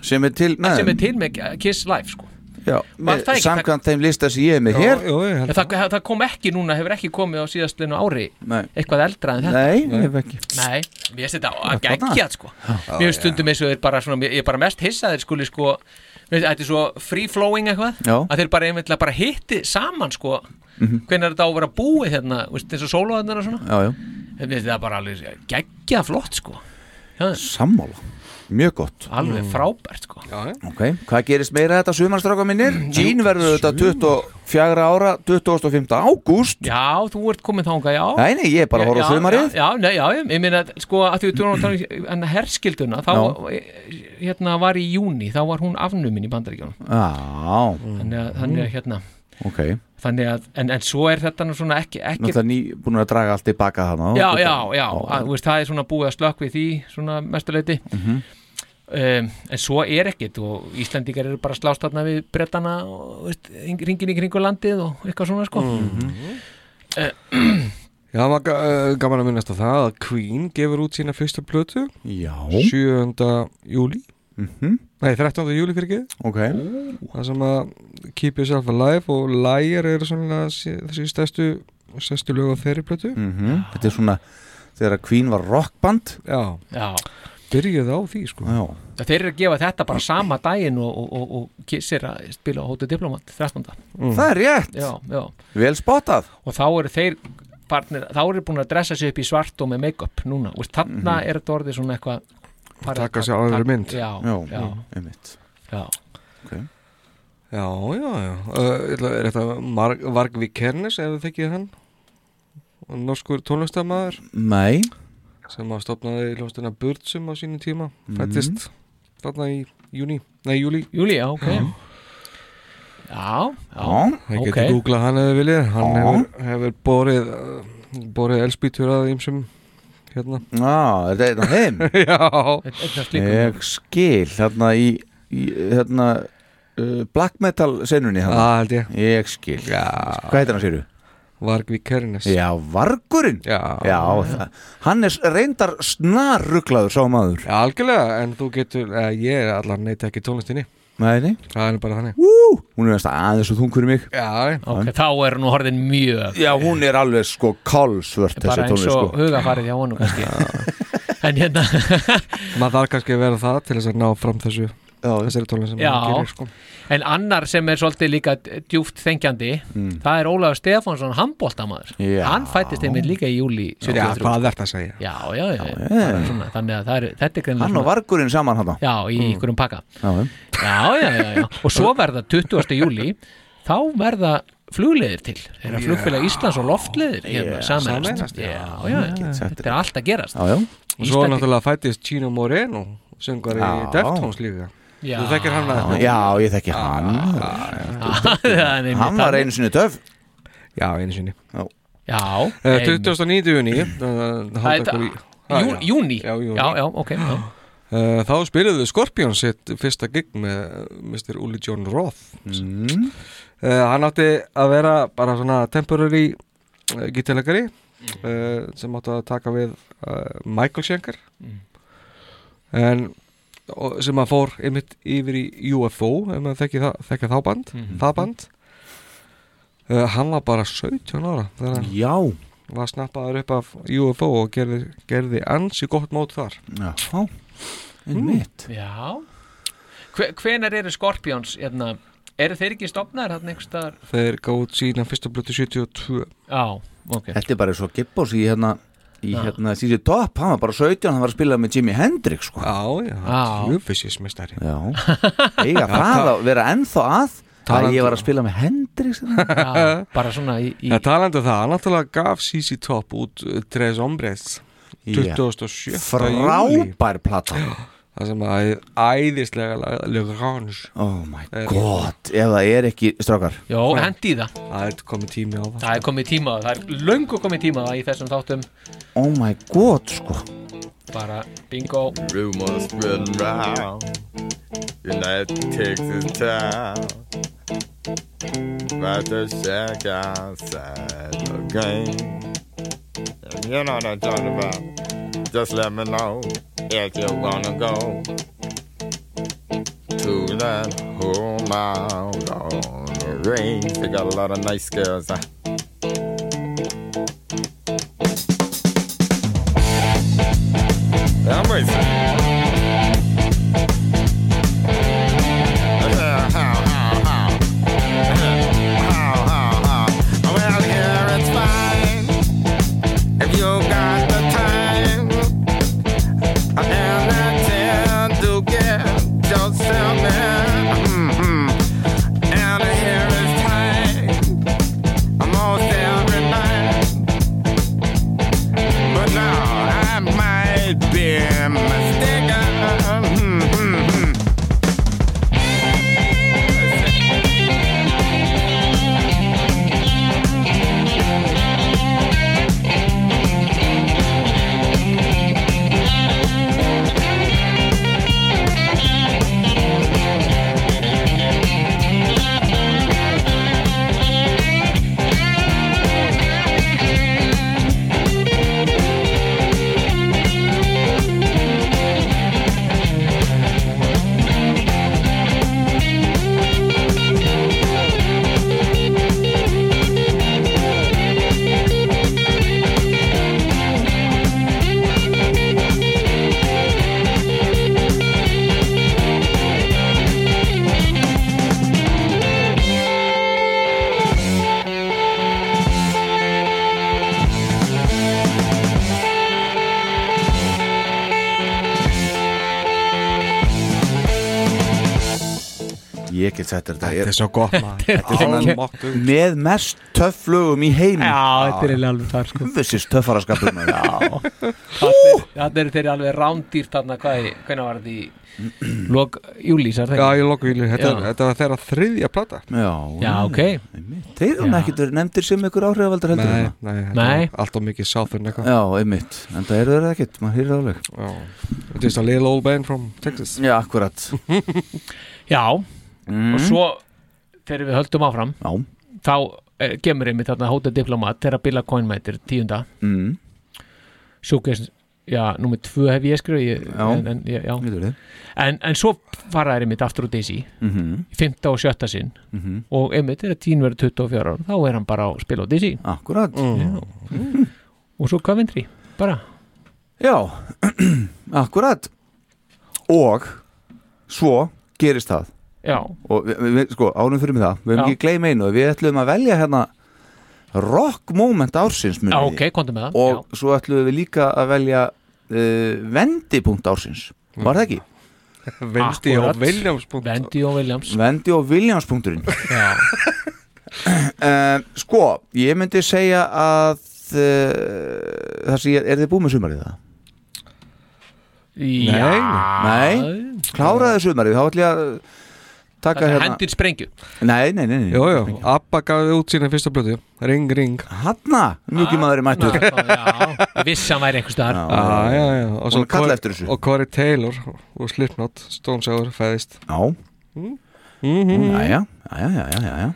[SPEAKER 2] sem er til með
[SPEAKER 3] sem er
[SPEAKER 2] þeim.
[SPEAKER 3] til með Kiss Live, sko
[SPEAKER 2] Já,
[SPEAKER 3] Var
[SPEAKER 2] með
[SPEAKER 3] það ekki-
[SPEAKER 2] samkvæmt þeim lista sem ég er með hér
[SPEAKER 3] En það, það kom ekki núna, hefur ekki komið á síðastlinu ári
[SPEAKER 2] Nei.
[SPEAKER 3] eitthvað eldra en þetta
[SPEAKER 2] Nei, ég hef ekki
[SPEAKER 3] Nei, mér finnst þetta
[SPEAKER 2] Já, þarna.
[SPEAKER 3] að geggjað sko
[SPEAKER 2] Já,
[SPEAKER 3] Mér finnst stundum eins og þeir bara svona, ég er bara mest hissaðir skuli sko mér finnst Þetta er svo free flowing eitthvað
[SPEAKER 2] Já. Mhm.
[SPEAKER 3] að þeir bara einmittlega bara hitti saman sko hvernig er þetta á að vera búið hérna veist, eins og sólaðarnar og svona
[SPEAKER 2] Já, já.
[SPEAKER 3] Mér finnst þetta bara alveg geggjað flott sko
[SPEAKER 2] Sammála, mjög gott
[SPEAKER 3] Alveg frábært sko
[SPEAKER 4] Já,
[SPEAKER 2] Ok, hvað gerist meira þetta sumarstráka minnir? Jean verður þetta 24 ára 25. ágúst
[SPEAKER 3] Já, þú ert komin þangað, já
[SPEAKER 2] Nei, nei, ég er bara að horfa á
[SPEAKER 3] Já,
[SPEAKER 2] sumarið.
[SPEAKER 3] Já, já, nei, já, ég meina, sko, að því við tjóðum að tala um hérna herskilduna, þá, hérna, var í júni, þá var hún afnumin í bandaríkjónum.
[SPEAKER 2] Já,
[SPEAKER 3] Þannig að, þannig að, hérna,
[SPEAKER 2] ok
[SPEAKER 3] þannig að, en, en svo er þetta nú svona ekki, ekki,
[SPEAKER 2] Náttúrulega ný búin að draga allt tilbaka hana
[SPEAKER 3] já, já, já, að, þú veist, það er svona búið að slökk við því, svona mestuleiti.
[SPEAKER 2] Mhm.
[SPEAKER 3] Um, en svo er ekkit og Íslandingar eru bara að slást þarna við brettana og veist, ringin í kringu landið og eitthvað svona sko
[SPEAKER 4] Já, það var ga- eh, gaman að minnast á það að Queen gefur út sína fyrsta plötu
[SPEAKER 2] Já
[SPEAKER 4] 7. júli
[SPEAKER 2] Mhm.
[SPEAKER 4] Nei, 13. júli fyrir ekki
[SPEAKER 2] Ok
[SPEAKER 4] Það sem að Keep Yourself Alive og Liar eru svona sí- þessi stærstu stærstu lög á þeirri plötu
[SPEAKER 2] Mhm. Þetta er svona þegar að Queen var rockband
[SPEAKER 4] Já,
[SPEAKER 3] Já.
[SPEAKER 4] byrjuð á því sko
[SPEAKER 2] Já,
[SPEAKER 3] Það þeir eru að gefa þetta bara sama daginn og, og, og, og kissir að spila á Hotel Diplomat 13.
[SPEAKER 2] það er rétt
[SPEAKER 3] Mm. Já, já.
[SPEAKER 2] Vel spottað
[SPEAKER 3] Og þá eru þeir partnir, þá eru búin að dressa sig upp í svart og með make-up núna. Og þarna er þetta orðið svona eitthvað farið að
[SPEAKER 4] Taka
[SPEAKER 3] taka-
[SPEAKER 4] sig á aðra
[SPEAKER 3] taka-
[SPEAKER 4] mynd.
[SPEAKER 3] Já,
[SPEAKER 2] Já,
[SPEAKER 3] já,
[SPEAKER 2] einmitt
[SPEAKER 3] já.
[SPEAKER 2] okay.
[SPEAKER 4] Já, já, já uh, ætla- Er þetta Marg, Varg Vikernes ef þið þekkið hann Norskur tónlistamæður
[SPEAKER 2] Nei,
[SPEAKER 4] sem að stopnaði hljómsdana Burtsum á sínum tíma
[SPEAKER 2] Mhm.
[SPEAKER 4] fættist þarna í júni, nei júli
[SPEAKER 3] Júli, já, ok. Já, já,
[SPEAKER 2] Já,
[SPEAKER 4] Það
[SPEAKER 3] ok.
[SPEAKER 4] getur googlað hann ef þið viljið hann
[SPEAKER 2] Já.
[SPEAKER 4] hefur, hefur borið uh, borið elspítur að ýmsum hérna
[SPEAKER 2] já, Ah, er þetta einn af þeim?
[SPEAKER 4] Já,
[SPEAKER 3] Þetta slíkum.
[SPEAKER 2] Ég skil, þarna í, í þarna, uh, black metal senunni
[SPEAKER 4] það
[SPEAKER 2] þarna.
[SPEAKER 4] held ég
[SPEAKER 2] Ég skil, hvað
[SPEAKER 4] Já.
[SPEAKER 2] heitir hann séru?
[SPEAKER 4] Varg Vikernes
[SPEAKER 2] Já, Vargurinn
[SPEAKER 4] Já.
[SPEAKER 2] Já, það- hann er reyndar snarruglaður sá maður
[SPEAKER 4] Já, algjörlega, en þú getur, uh, ég allan neyta ekki tónlistinni,
[SPEAKER 2] Nei, nei,
[SPEAKER 4] það er nú bara þannig
[SPEAKER 2] Ú, hún er veist aðeins og þungur í mig
[SPEAKER 4] Já,
[SPEAKER 3] Ok, þá er nú horðin mjög
[SPEAKER 2] Já, hún er alveg sko kálsvört
[SPEAKER 3] bara
[SPEAKER 2] þessi
[SPEAKER 3] eins
[SPEAKER 2] tónlist
[SPEAKER 3] og
[SPEAKER 2] sko
[SPEAKER 3] hugafarið hjá honum kannski. en hérna,
[SPEAKER 4] maður þarf kannski að vera það til þess að ná fram þessu
[SPEAKER 2] Já,
[SPEAKER 4] þessari tónlist sem
[SPEAKER 3] Já.
[SPEAKER 4] maður gerir sko.
[SPEAKER 3] en annar sem er svolítið líka djúft þengjandi, það er Ólafur Stefánsson, handbóltamaður.
[SPEAKER 2] Mm. Já.
[SPEAKER 3] Hann fættist einmitt líka í júli 73.
[SPEAKER 4] Já, hvað er þetta að segja?
[SPEAKER 3] já, já, já,
[SPEAKER 2] já.
[SPEAKER 3] já. Svona, þannig að það er, þetta er
[SPEAKER 2] hann
[SPEAKER 3] greinlega
[SPEAKER 2] og Mm.
[SPEAKER 3] svona-
[SPEAKER 2] Vargurinn saman hann
[SPEAKER 3] já, í ykkurum pakka
[SPEAKER 2] Já,
[SPEAKER 3] já, já, já, já, og svo verða 20. júli þá verða flugleðir til þeirra yeah. flugfélag Íslands og loftleðir
[SPEAKER 2] Já,
[SPEAKER 3] hérna, yeah. sameinast
[SPEAKER 4] sameinast,
[SPEAKER 3] já,
[SPEAKER 4] já.
[SPEAKER 3] já, já, þetta er allt að gerast
[SPEAKER 2] já, já
[SPEAKER 4] Og svo
[SPEAKER 3] Íslandi-
[SPEAKER 4] náttúrulega fættist Chino Moreno, söngar í
[SPEAKER 2] Já.
[SPEAKER 4] Deftones líka.
[SPEAKER 3] Já.
[SPEAKER 4] Þú þekkir hann að
[SPEAKER 2] Já, ég þekki hann
[SPEAKER 3] Það er
[SPEAKER 2] Hann
[SPEAKER 3] einmitt
[SPEAKER 2] var
[SPEAKER 3] þannig.
[SPEAKER 2] einu sinni töf
[SPEAKER 4] Já, einu sinni.
[SPEAKER 3] já,
[SPEAKER 4] Uh,
[SPEAKER 3] einmitt.
[SPEAKER 4] 2009. júni,
[SPEAKER 3] Það er
[SPEAKER 4] halda okkur í...
[SPEAKER 3] þetta- jú, júni,
[SPEAKER 4] Ah, Já, júní.
[SPEAKER 3] já, já, ok já.
[SPEAKER 4] Uh, þá spiluðu Scorpions sitt fyrsta gig með uh, Mr. Uli John Roth
[SPEAKER 2] mm.
[SPEAKER 4] uh, hann átti að vera bara svona temporary uh, gítilegari uh, sem átti að taka við uh, Michael Schenker en og, sem að fór einmitt yfir í UFO ef maður þekki, það, þekki þá band, það band uh, hann var bara 17 ára þegar hann
[SPEAKER 2] Já,
[SPEAKER 4] var snappaður upp af UFO og gerði, gerði ansi gott mót þar
[SPEAKER 2] já, einmitt
[SPEAKER 3] já. Hve- hvenær eru Scorpions hérna, eru þeir ekki stopnaðir hann einhvers staðar
[SPEAKER 4] þeir gátt sína fyrsta blötu 72
[SPEAKER 3] já, ok
[SPEAKER 2] Þetta er bara svo Gibbons í hérna í hérna sísi topp, hann var bara 17 hann var að spila með Jimi Hendrix sko
[SPEAKER 4] Já, já,
[SPEAKER 3] Já.
[SPEAKER 4] hljófisismestari
[SPEAKER 2] Já, eiga það að vera ennþá að að
[SPEAKER 4] Talandi-
[SPEAKER 2] ég var að spila með Hendrix hérna.
[SPEAKER 3] já, bara svona í, í
[SPEAKER 4] Það talandi um það, hann náttúrulega gaf CC Top út uh, Tres Hombres
[SPEAKER 2] Já.
[SPEAKER 4] 27. júlí
[SPEAKER 2] Frábær plata
[SPEAKER 4] Það sem að æðislega lag- Le Grange
[SPEAKER 2] Oh my god, ef það er ekki strákar,
[SPEAKER 3] Jó, hendi í það
[SPEAKER 4] Það er komið tími á það
[SPEAKER 3] Það er komið tíma á það, það er löngu komið tíma á það í þessum þáttum
[SPEAKER 2] oh my god sko
[SPEAKER 3] bara bingo
[SPEAKER 11] Rumors spread around United takes its town About to check outside the game And you know what I'm talking about Just let me know if you wanna go To that home out on the range They got a lot of nice girls huh? I'm Mm-hmm. But now I might be mistaken. Hmm, hmm, hmm.
[SPEAKER 2] Ég get sett þetta Þetta
[SPEAKER 4] er svo gott
[SPEAKER 3] Þetta er
[SPEAKER 2] maður
[SPEAKER 4] mokkuð.
[SPEAKER 2] Með mest töfflugum í heim
[SPEAKER 3] Já, þetta er eiginlega alveg þar sko
[SPEAKER 2] Þessis töffaraskapur maður.
[SPEAKER 3] Þannig eru þeirri alveg rándýrt þarna hvað, í- hvenær var þetta í lok júli, sær þegar
[SPEAKER 4] Já, ég loku júli, þetta,
[SPEAKER 3] Já.
[SPEAKER 4] þetta var þeirra þriðja plata
[SPEAKER 2] Já,
[SPEAKER 3] Já, ok
[SPEAKER 2] Þeir eru ekki nefndir sem ykkur áhrifavaldar heldur hérna.
[SPEAKER 4] Nei,
[SPEAKER 2] en það.
[SPEAKER 4] nei, þetta
[SPEAKER 3] Nei.
[SPEAKER 4] var Allt og mikið sáþurinn eitthvað
[SPEAKER 2] Já, einmitt, en það eru þeir ekkert, maður hýrði áleg
[SPEAKER 4] Þetta er svo little old man from Texas
[SPEAKER 2] Já, akkurat
[SPEAKER 3] Já,
[SPEAKER 2] Mm.
[SPEAKER 3] og svo þegar við höldum áfram
[SPEAKER 2] Já.
[SPEAKER 3] þá eh, kemur einmitt þarna Hotel Diplomat þegar Billa Coyne mætir tíunda
[SPEAKER 2] mm.
[SPEAKER 3] Showcase, já, númer tvö hef ég skrif ég,
[SPEAKER 2] Já,
[SPEAKER 3] en, en, ég- já.
[SPEAKER 2] getur þið.
[SPEAKER 3] En, en svo fara þeir einmitt aftur úr Daisy
[SPEAKER 2] Mhm.
[SPEAKER 3] í fymta og sjötta sinn
[SPEAKER 2] Mhm.
[SPEAKER 3] og einmitt er að tín verður 24 ára þá er hann bara að spila á Daisy
[SPEAKER 2] Akkurat
[SPEAKER 3] Já. og svo Coventry bara
[SPEAKER 2] Já, akkurat Og svo gerist það
[SPEAKER 3] Já.
[SPEAKER 2] Og við, við, sko, ánum fyrir mig það Við hefum
[SPEAKER 3] Já.
[SPEAKER 2] ekki gleyma einu Við ætlum að velja hérna Rock moment ársins muni
[SPEAKER 3] Já, ok, komdu með það
[SPEAKER 2] Og svo ætlum við líka að velja uh, Vendipunkt ársins Var það ekki?
[SPEAKER 4] Vendi og
[SPEAKER 3] Akkurat.
[SPEAKER 4] Williams
[SPEAKER 3] Vendi og Williams
[SPEAKER 2] Vendi og Williams punkturinn
[SPEAKER 3] Já
[SPEAKER 2] um, Sko, ég myndi segja að uh, Það sé, er þið búið með sumarið það?
[SPEAKER 3] Já.
[SPEAKER 2] Nei, kláraði sumarið Þá ætlum ég að taka
[SPEAKER 3] Þarna
[SPEAKER 2] hérna
[SPEAKER 3] hendir sprengju
[SPEAKER 2] Nei, nei, nei, nei.
[SPEAKER 4] Jó, jó, Abba gafði út sína fyrsta blötu Ring, ring
[SPEAKER 2] Hanna, mjúki maður er mættur
[SPEAKER 3] Já, vissi hann væri einhvers staðar
[SPEAKER 4] Já, já, já Og svo
[SPEAKER 2] Hún er kallað
[SPEAKER 4] Corey-
[SPEAKER 2] eftir þessu.
[SPEAKER 4] Og Corey Taylor og Slipknot Stone Sour fæðist
[SPEAKER 2] Já
[SPEAKER 4] Mhm.
[SPEAKER 2] Jæja, jæja, jæja, jæja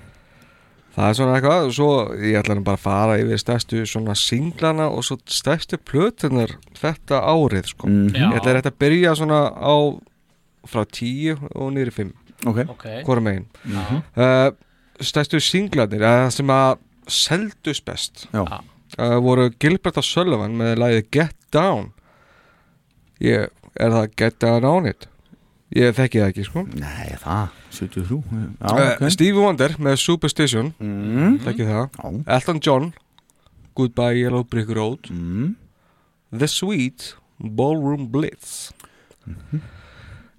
[SPEAKER 4] Það er svona eitthvað og Svo ég ætla nú bara að fara yfir stærstu svona singlana og svo stærstu plötunar þetta árið sko
[SPEAKER 2] Já.
[SPEAKER 4] Ég ætla rétt að byrja svona á frá 10 og niður í 5
[SPEAKER 2] Ok.
[SPEAKER 3] Ok.
[SPEAKER 4] Hvorum megin
[SPEAKER 3] Mhm.
[SPEAKER 4] uh, Stærstu singlanir eða það sem að seldust best
[SPEAKER 2] Já.
[SPEAKER 4] uh, voru Gilbert og Sullivan með lagið Get Down Ég, er það Get Down on it? Ég þekki það ekki sko
[SPEAKER 2] Nei, það, 73 Já,
[SPEAKER 4] Uh,
[SPEAKER 2] ok
[SPEAKER 4] Stevie Wonder með Superstition
[SPEAKER 2] mm.
[SPEAKER 4] Þekki það Elton John Goodbye Yellow Brick Road
[SPEAKER 2] mm.
[SPEAKER 4] The Sweet Ballroom Blitz
[SPEAKER 2] Mhm.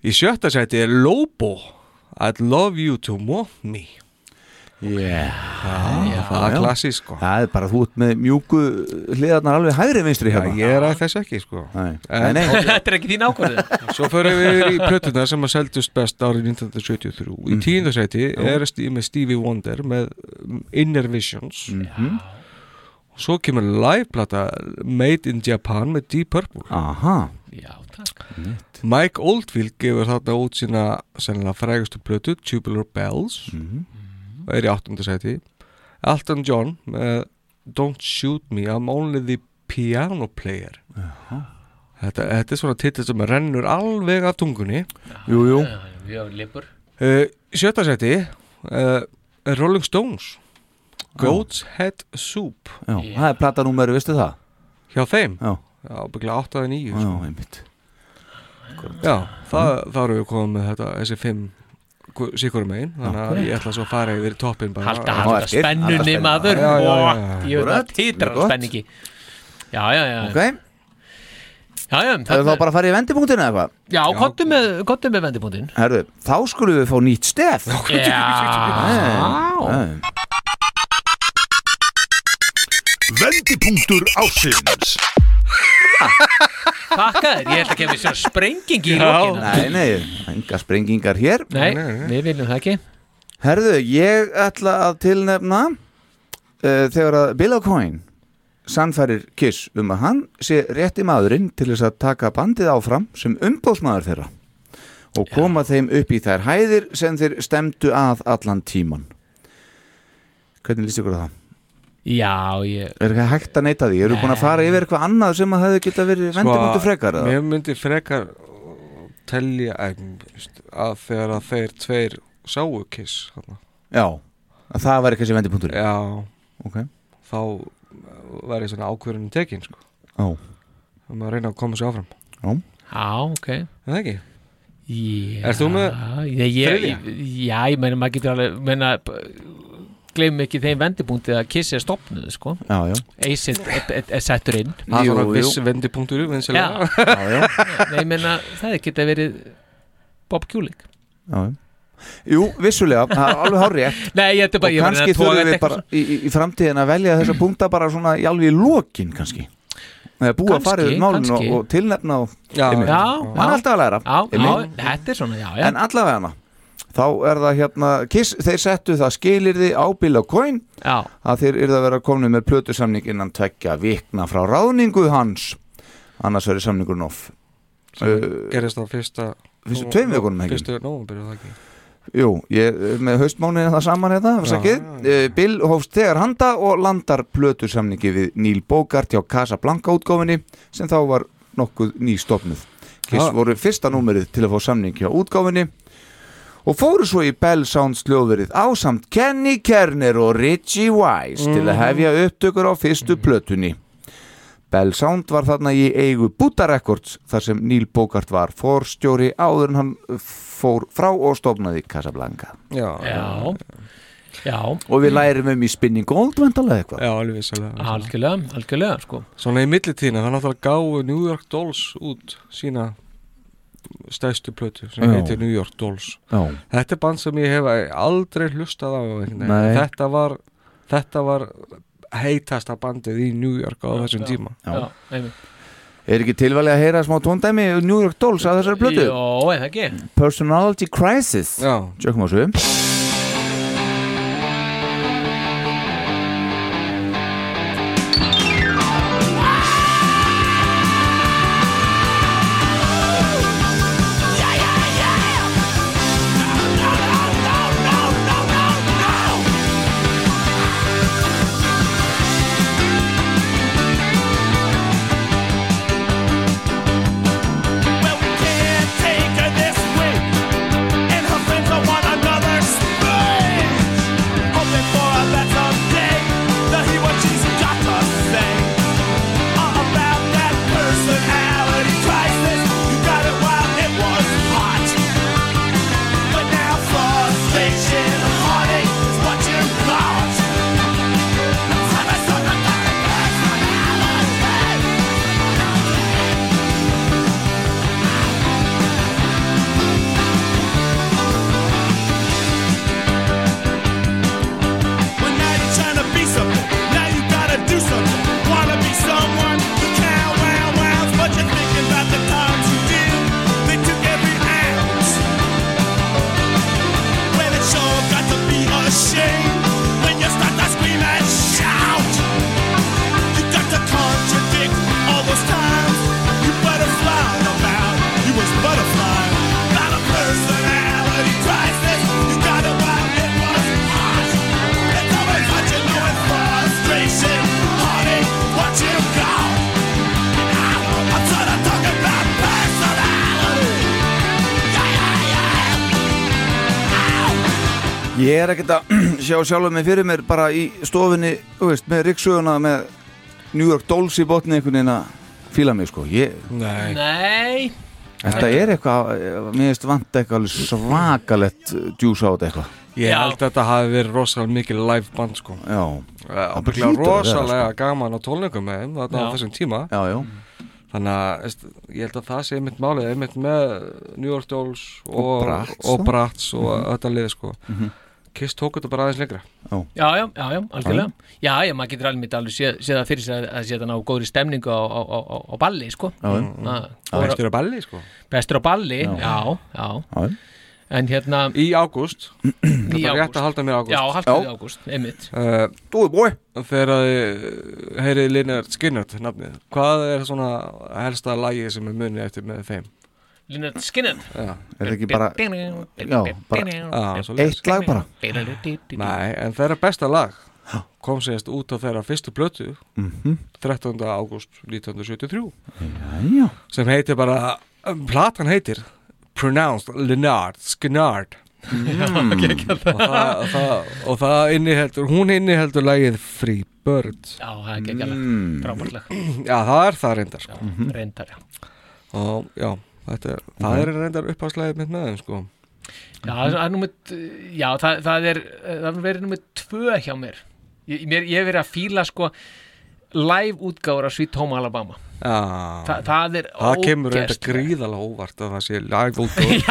[SPEAKER 4] Í sjötta sæti er Lobo I'd love you to want me
[SPEAKER 2] Yeah.
[SPEAKER 4] Já, það er klassísk sko
[SPEAKER 2] Það er bara þú ert með mjúku hliðarnar alveg hægri vinstri hérna
[SPEAKER 4] Ég er að þess ekki sko
[SPEAKER 2] Nei,
[SPEAKER 4] En-
[SPEAKER 2] nei, nei.
[SPEAKER 3] Þetta er ekki þín ákvörðu
[SPEAKER 4] Svo förum við yfir í plötuna sem að seldust best árið 1973 Í tíundasæti
[SPEAKER 2] Já.
[SPEAKER 4] er sti- með Stevie Wonder með um, Inner Visions
[SPEAKER 2] Mhm.
[SPEAKER 4] Svo kemur liveplata Made in Japan með Deep Purple
[SPEAKER 2] Aha
[SPEAKER 3] Já, takk
[SPEAKER 4] Mike Oldfield gefur þarna út sína sennilega frægustu plötu, Tubular Bells
[SPEAKER 2] Mhm.
[SPEAKER 4] og er í 8. seti Elton John með Don't Shoot Me, I'm Only the Piano Player þetta, þetta er svona titill sem rennur alveg af tungunni Jú, jú
[SPEAKER 3] Við erum lipur
[SPEAKER 4] Uh, sjötta seti uh, Rolling Stones Goat's Head Soup
[SPEAKER 2] Já, það er platanúmeru, veistu það?
[SPEAKER 4] Hjá þeim?
[SPEAKER 2] Já
[SPEAKER 4] Já, bygglega 8 að 9
[SPEAKER 2] Já, einmitt
[SPEAKER 4] Já, það,
[SPEAKER 2] mm.
[SPEAKER 4] það eru við komið með þetta þessi 5 sikurum megin þannig að
[SPEAKER 3] Akkurat.
[SPEAKER 4] ég ætla svo að fara yfir toppin bara
[SPEAKER 3] Halda, halda spennunni maður
[SPEAKER 4] Já, já, já,
[SPEAKER 3] Og
[SPEAKER 4] já.
[SPEAKER 3] ég veit
[SPEAKER 4] Akkurat.
[SPEAKER 3] að titrar
[SPEAKER 4] Mjög gott.
[SPEAKER 3] spenningi Já, já, já
[SPEAKER 2] Ok,
[SPEAKER 3] Já, já,
[SPEAKER 2] það er þá bara að fara í vendipunktinu eða eitthvað
[SPEAKER 3] Já, kottu með, kottu með vendipunktin
[SPEAKER 2] Herðu, þá skulum við fá nýtt stef
[SPEAKER 3] Já
[SPEAKER 2] Nei.
[SPEAKER 6] Vendipunktur ásins
[SPEAKER 3] Takk að þér, ég held að kemur sér sprenging í
[SPEAKER 2] Já,
[SPEAKER 3] lokinu
[SPEAKER 2] nei, nei, enga sprengingar hér
[SPEAKER 3] Nei, við viljum það ekki
[SPEAKER 2] Herðu, ég ætla að tilnefna uh, þegar að Bill O'Coin sannfærir Kiss um að hann sé rétti maðurinn til þess að taka bandið áfram sem umbóðsmaður þeirra og koma þeim upp í þær hæðir sem þeir stemdu að allan tíman Hvernig líst ykkur á það?
[SPEAKER 3] Já, ég
[SPEAKER 2] Er ekki hægt að neita því? Eru búin að fara yfir eitthvað annað sem að hefði geta verið sko, vendimundu frekar? eða?
[SPEAKER 4] Mér myndi frekar uh, telja að, að þegar að þeir tveir sáu kiss hana.
[SPEAKER 2] Já, að það var eitthvað sem vendimundur
[SPEAKER 4] Já
[SPEAKER 2] Ok.
[SPEAKER 4] Þá uh, væri svona ákvörðunum tekin sko.
[SPEAKER 2] Já.
[SPEAKER 4] um að reyna að koma sér áfram
[SPEAKER 2] Já.
[SPEAKER 3] Já, ok
[SPEAKER 4] Er það ekki?
[SPEAKER 3] Já,
[SPEAKER 4] Ert þú með
[SPEAKER 3] ég, ég,
[SPEAKER 4] þriðja?
[SPEAKER 3] Já, ég meina maður getur alveg meina, gleymum ekki þeim vendipunkti að kissi er stopnuð sko.
[SPEAKER 2] Já, já.
[SPEAKER 3] Acid er- er er settur inn
[SPEAKER 4] Það er svona viss vendipunktur
[SPEAKER 3] Já.
[SPEAKER 4] vinsilega.
[SPEAKER 3] Nei, ég meina það geta verið Bob Kulik
[SPEAKER 2] Já, já. Jú, vissulega, það er alveg hárið
[SPEAKER 3] Nei, ég ætla bara- ég
[SPEAKER 2] Og
[SPEAKER 3] var að
[SPEAKER 2] kannski
[SPEAKER 3] reyna að toga
[SPEAKER 2] þurfum við
[SPEAKER 3] þetta
[SPEAKER 2] bara í, í- í framtíðin að velja þessa punkta bara svona í alveg í lokin kannski Eða búa að fara yfir
[SPEAKER 3] Kannski,
[SPEAKER 2] málun og,
[SPEAKER 3] kannski.
[SPEAKER 2] og tilnefna og
[SPEAKER 3] Já,
[SPEAKER 2] Einmitt.
[SPEAKER 3] já,
[SPEAKER 2] Hann er
[SPEAKER 3] já.
[SPEAKER 2] alltaf að læra
[SPEAKER 3] Já, já,
[SPEAKER 2] Einmitt.
[SPEAKER 3] þetta er svona, já, já
[SPEAKER 2] En allavega hana Þá er það hérna, kiss, þeir settu það skilirði á bíl og coin
[SPEAKER 3] Já.
[SPEAKER 2] að þeir eru að vera komnið með plötusamning innan tveggja vikna frá ráðningu hans annars verður samningur noff
[SPEAKER 4] Sem gerist á fyrsta
[SPEAKER 2] Uh, Fyrstu tveim vikunum, ekki?
[SPEAKER 4] Fyrstu nóvumbyrðu það ekki
[SPEAKER 2] Jú, ég er með haustmánuðin það saman hérna, afsakið. Eh, Bill hófst þegar handa og landar plötusamningi við Neil Bogart hjá Casablanca útgáfinni sem þá var nokkuð nýstofnuð. Kiss
[SPEAKER 4] Já.
[SPEAKER 2] voru fyrsta númerið til að fá samning hjá útgáfinni og fóru svo í Bell Sounds hljóðverið ásamt Kenny Kerner og Richie Wise til
[SPEAKER 4] Mhm.
[SPEAKER 2] að hefja upptökur á fyrstu plötunni. Bell Sound var þarna í eigu Buddha Records þar sem Neil Bogart var forstjóri áður en hann fór frá og stofnaði Casablanca
[SPEAKER 4] Já,
[SPEAKER 3] Já, já
[SPEAKER 2] og
[SPEAKER 4] Mm.
[SPEAKER 2] við lærum um í Spinning Gold vandalega eitthvað
[SPEAKER 4] Já, alveg vissalega
[SPEAKER 3] Algjörlega, algjörlega, sko
[SPEAKER 4] Svona í millitíðina, það náttúrulega gáðu New York Dolls út sína stæstu plötu sem
[SPEAKER 2] Já.
[SPEAKER 4] heitir New York Dolls
[SPEAKER 2] Já.
[SPEAKER 4] Þetta er band sem ég hef aldrei hlustað á einhvern veginn.
[SPEAKER 2] Nei.
[SPEAKER 4] þetta var, þetta var heitasta bandið í New York á þessum tíma
[SPEAKER 3] Já, einmitt.
[SPEAKER 2] Er ekki tilvalið að heyra smá tóndæmi New York Dolls að þessari blötu?
[SPEAKER 3] Jó, eða ekki
[SPEAKER 2] Personality Crisis
[SPEAKER 4] Já
[SPEAKER 2] Sjökkum á svo
[SPEAKER 10] Well, we can't take her this way, and her friends are one another's.
[SPEAKER 2] Ég er ekkert að sjá sjálfur mig fyrir mér bara í stofunni, þú veist, með ryggsöguna með New York Dolls í botni einhvern veginn að fíla mig, sko. Ég,
[SPEAKER 4] Nei.
[SPEAKER 3] Nei
[SPEAKER 2] Þetta er eitthvað, eh, mér veist vant eitthvað alveg svakalett djús á þetta eitthvað.
[SPEAKER 4] Ég held að þetta hafi verið rosalega mikið live band sko
[SPEAKER 2] Já hlýtur
[SPEAKER 4] Ábygglega
[SPEAKER 2] að vera, sko.
[SPEAKER 4] rosalega gaman á tólningum með þeim þarna á
[SPEAKER 2] Já.
[SPEAKER 4] þessum tíma
[SPEAKER 2] Já, já
[SPEAKER 4] Þannig að veist, ég held að það sé einmitt málið einmitt með New York Dolls og,
[SPEAKER 2] Og Bratz.
[SPEAKER 4] og, Bratz og
[SPEAKER 2] Mhm.
[SPEAKER 4] þetta liði sko
[SPEAKER 2] Mhm.
[SPEAKER 4] Kiss tók þetta bara aðeins lengra
[SPEAKER 3] Já, já, já, já, algjörlega Já, já, maður getur alveg mitt alveg séð, séð það fyrir sér að, að séð hann á góðri stemningu á, á, á, á- á balli, sko
[SPEAKER 4] Já, já.
[SPEAKER 3] Na,
[SPEAKER 4] Já. Bestur á balli, sko.
[SPEAKER 3] Bestur á balli,
[SPEAKER 4] Já.
[SPEAKER 3] já, já,
[SPEAKER 2] já.
[SPEAKER 3] En hérna
[SPEAKER 4] Í ágúst
[SPEAKER 3] Í
[SPEAKER 4] Þetta er rétt
[SPEAKER 3] ágúst
[SPEAKER 4] að halda mér ágúst Eh,
[SPEAKER 3] Já, halda þig ágúst, einmitt
[SPEAKER 2] Dúðu búi
[SPEAKER 4] Þegar þið heyrið Linnard Skinnert nafnið Hvað er svona helsta lagið sem er munið eftir með þeim?
[SPEAKER 3] Línard Skinner
[SPEAKER 4] Já.
[SPEAKER 2] Er það ekki bara- Já, bara-
[SPEAKER 4] Já, svoleiðis.
[SPEAKER 2] Eitt lag bara?
[SPEAKER 4] Nei, en þeirra besta lag kom síðast út á þeirra fyrstu blötu
[SPEAKER 2] Mhm.
[SPEAKER 4] 13. ágúst 1973
[SPEAKER 2] Jæja.
[SPEAKER 4] sem heitir bara um, platan heitir Pronounced Linnard Skinnard
[SPEAKER 3] Mm.
[SPEAKER 4] og, það, og það, og það inniheldur hún inniheldur lagið Free Bird
[SPEAKER 3] Já, það er geggjala,
[SPEAKER 4] Mm.
[SPEAKER 3] frábært lag
[SPEAKER 4] Já, það er það reyndar sko.
[SPEAKER 2] Mm.
[SPEAKER 3] Mhm. Reyndar, já
[SPEAKER 4] Og já, þetta er,
[SPEAKER 2] Mm.
[SPEAKER 4] það er reyndar uppháðslegið mitt með þeim sko
[SPEAKER 3] Já, það er númer, já það, það er það er verið númer tvö hjá mér Ég, mér, ég hef verið að fíla sko live útgáður af Sweet Home Alabama
[SPEAKER 4] Já.
[SPEAKER 3] Þa- það er sko.
[SPEAKER 4] Það kemur reyndar
[SPEAKER 3] ógeðslega.
[SPEAKER 4] gríðalega óvart að það sé lagið út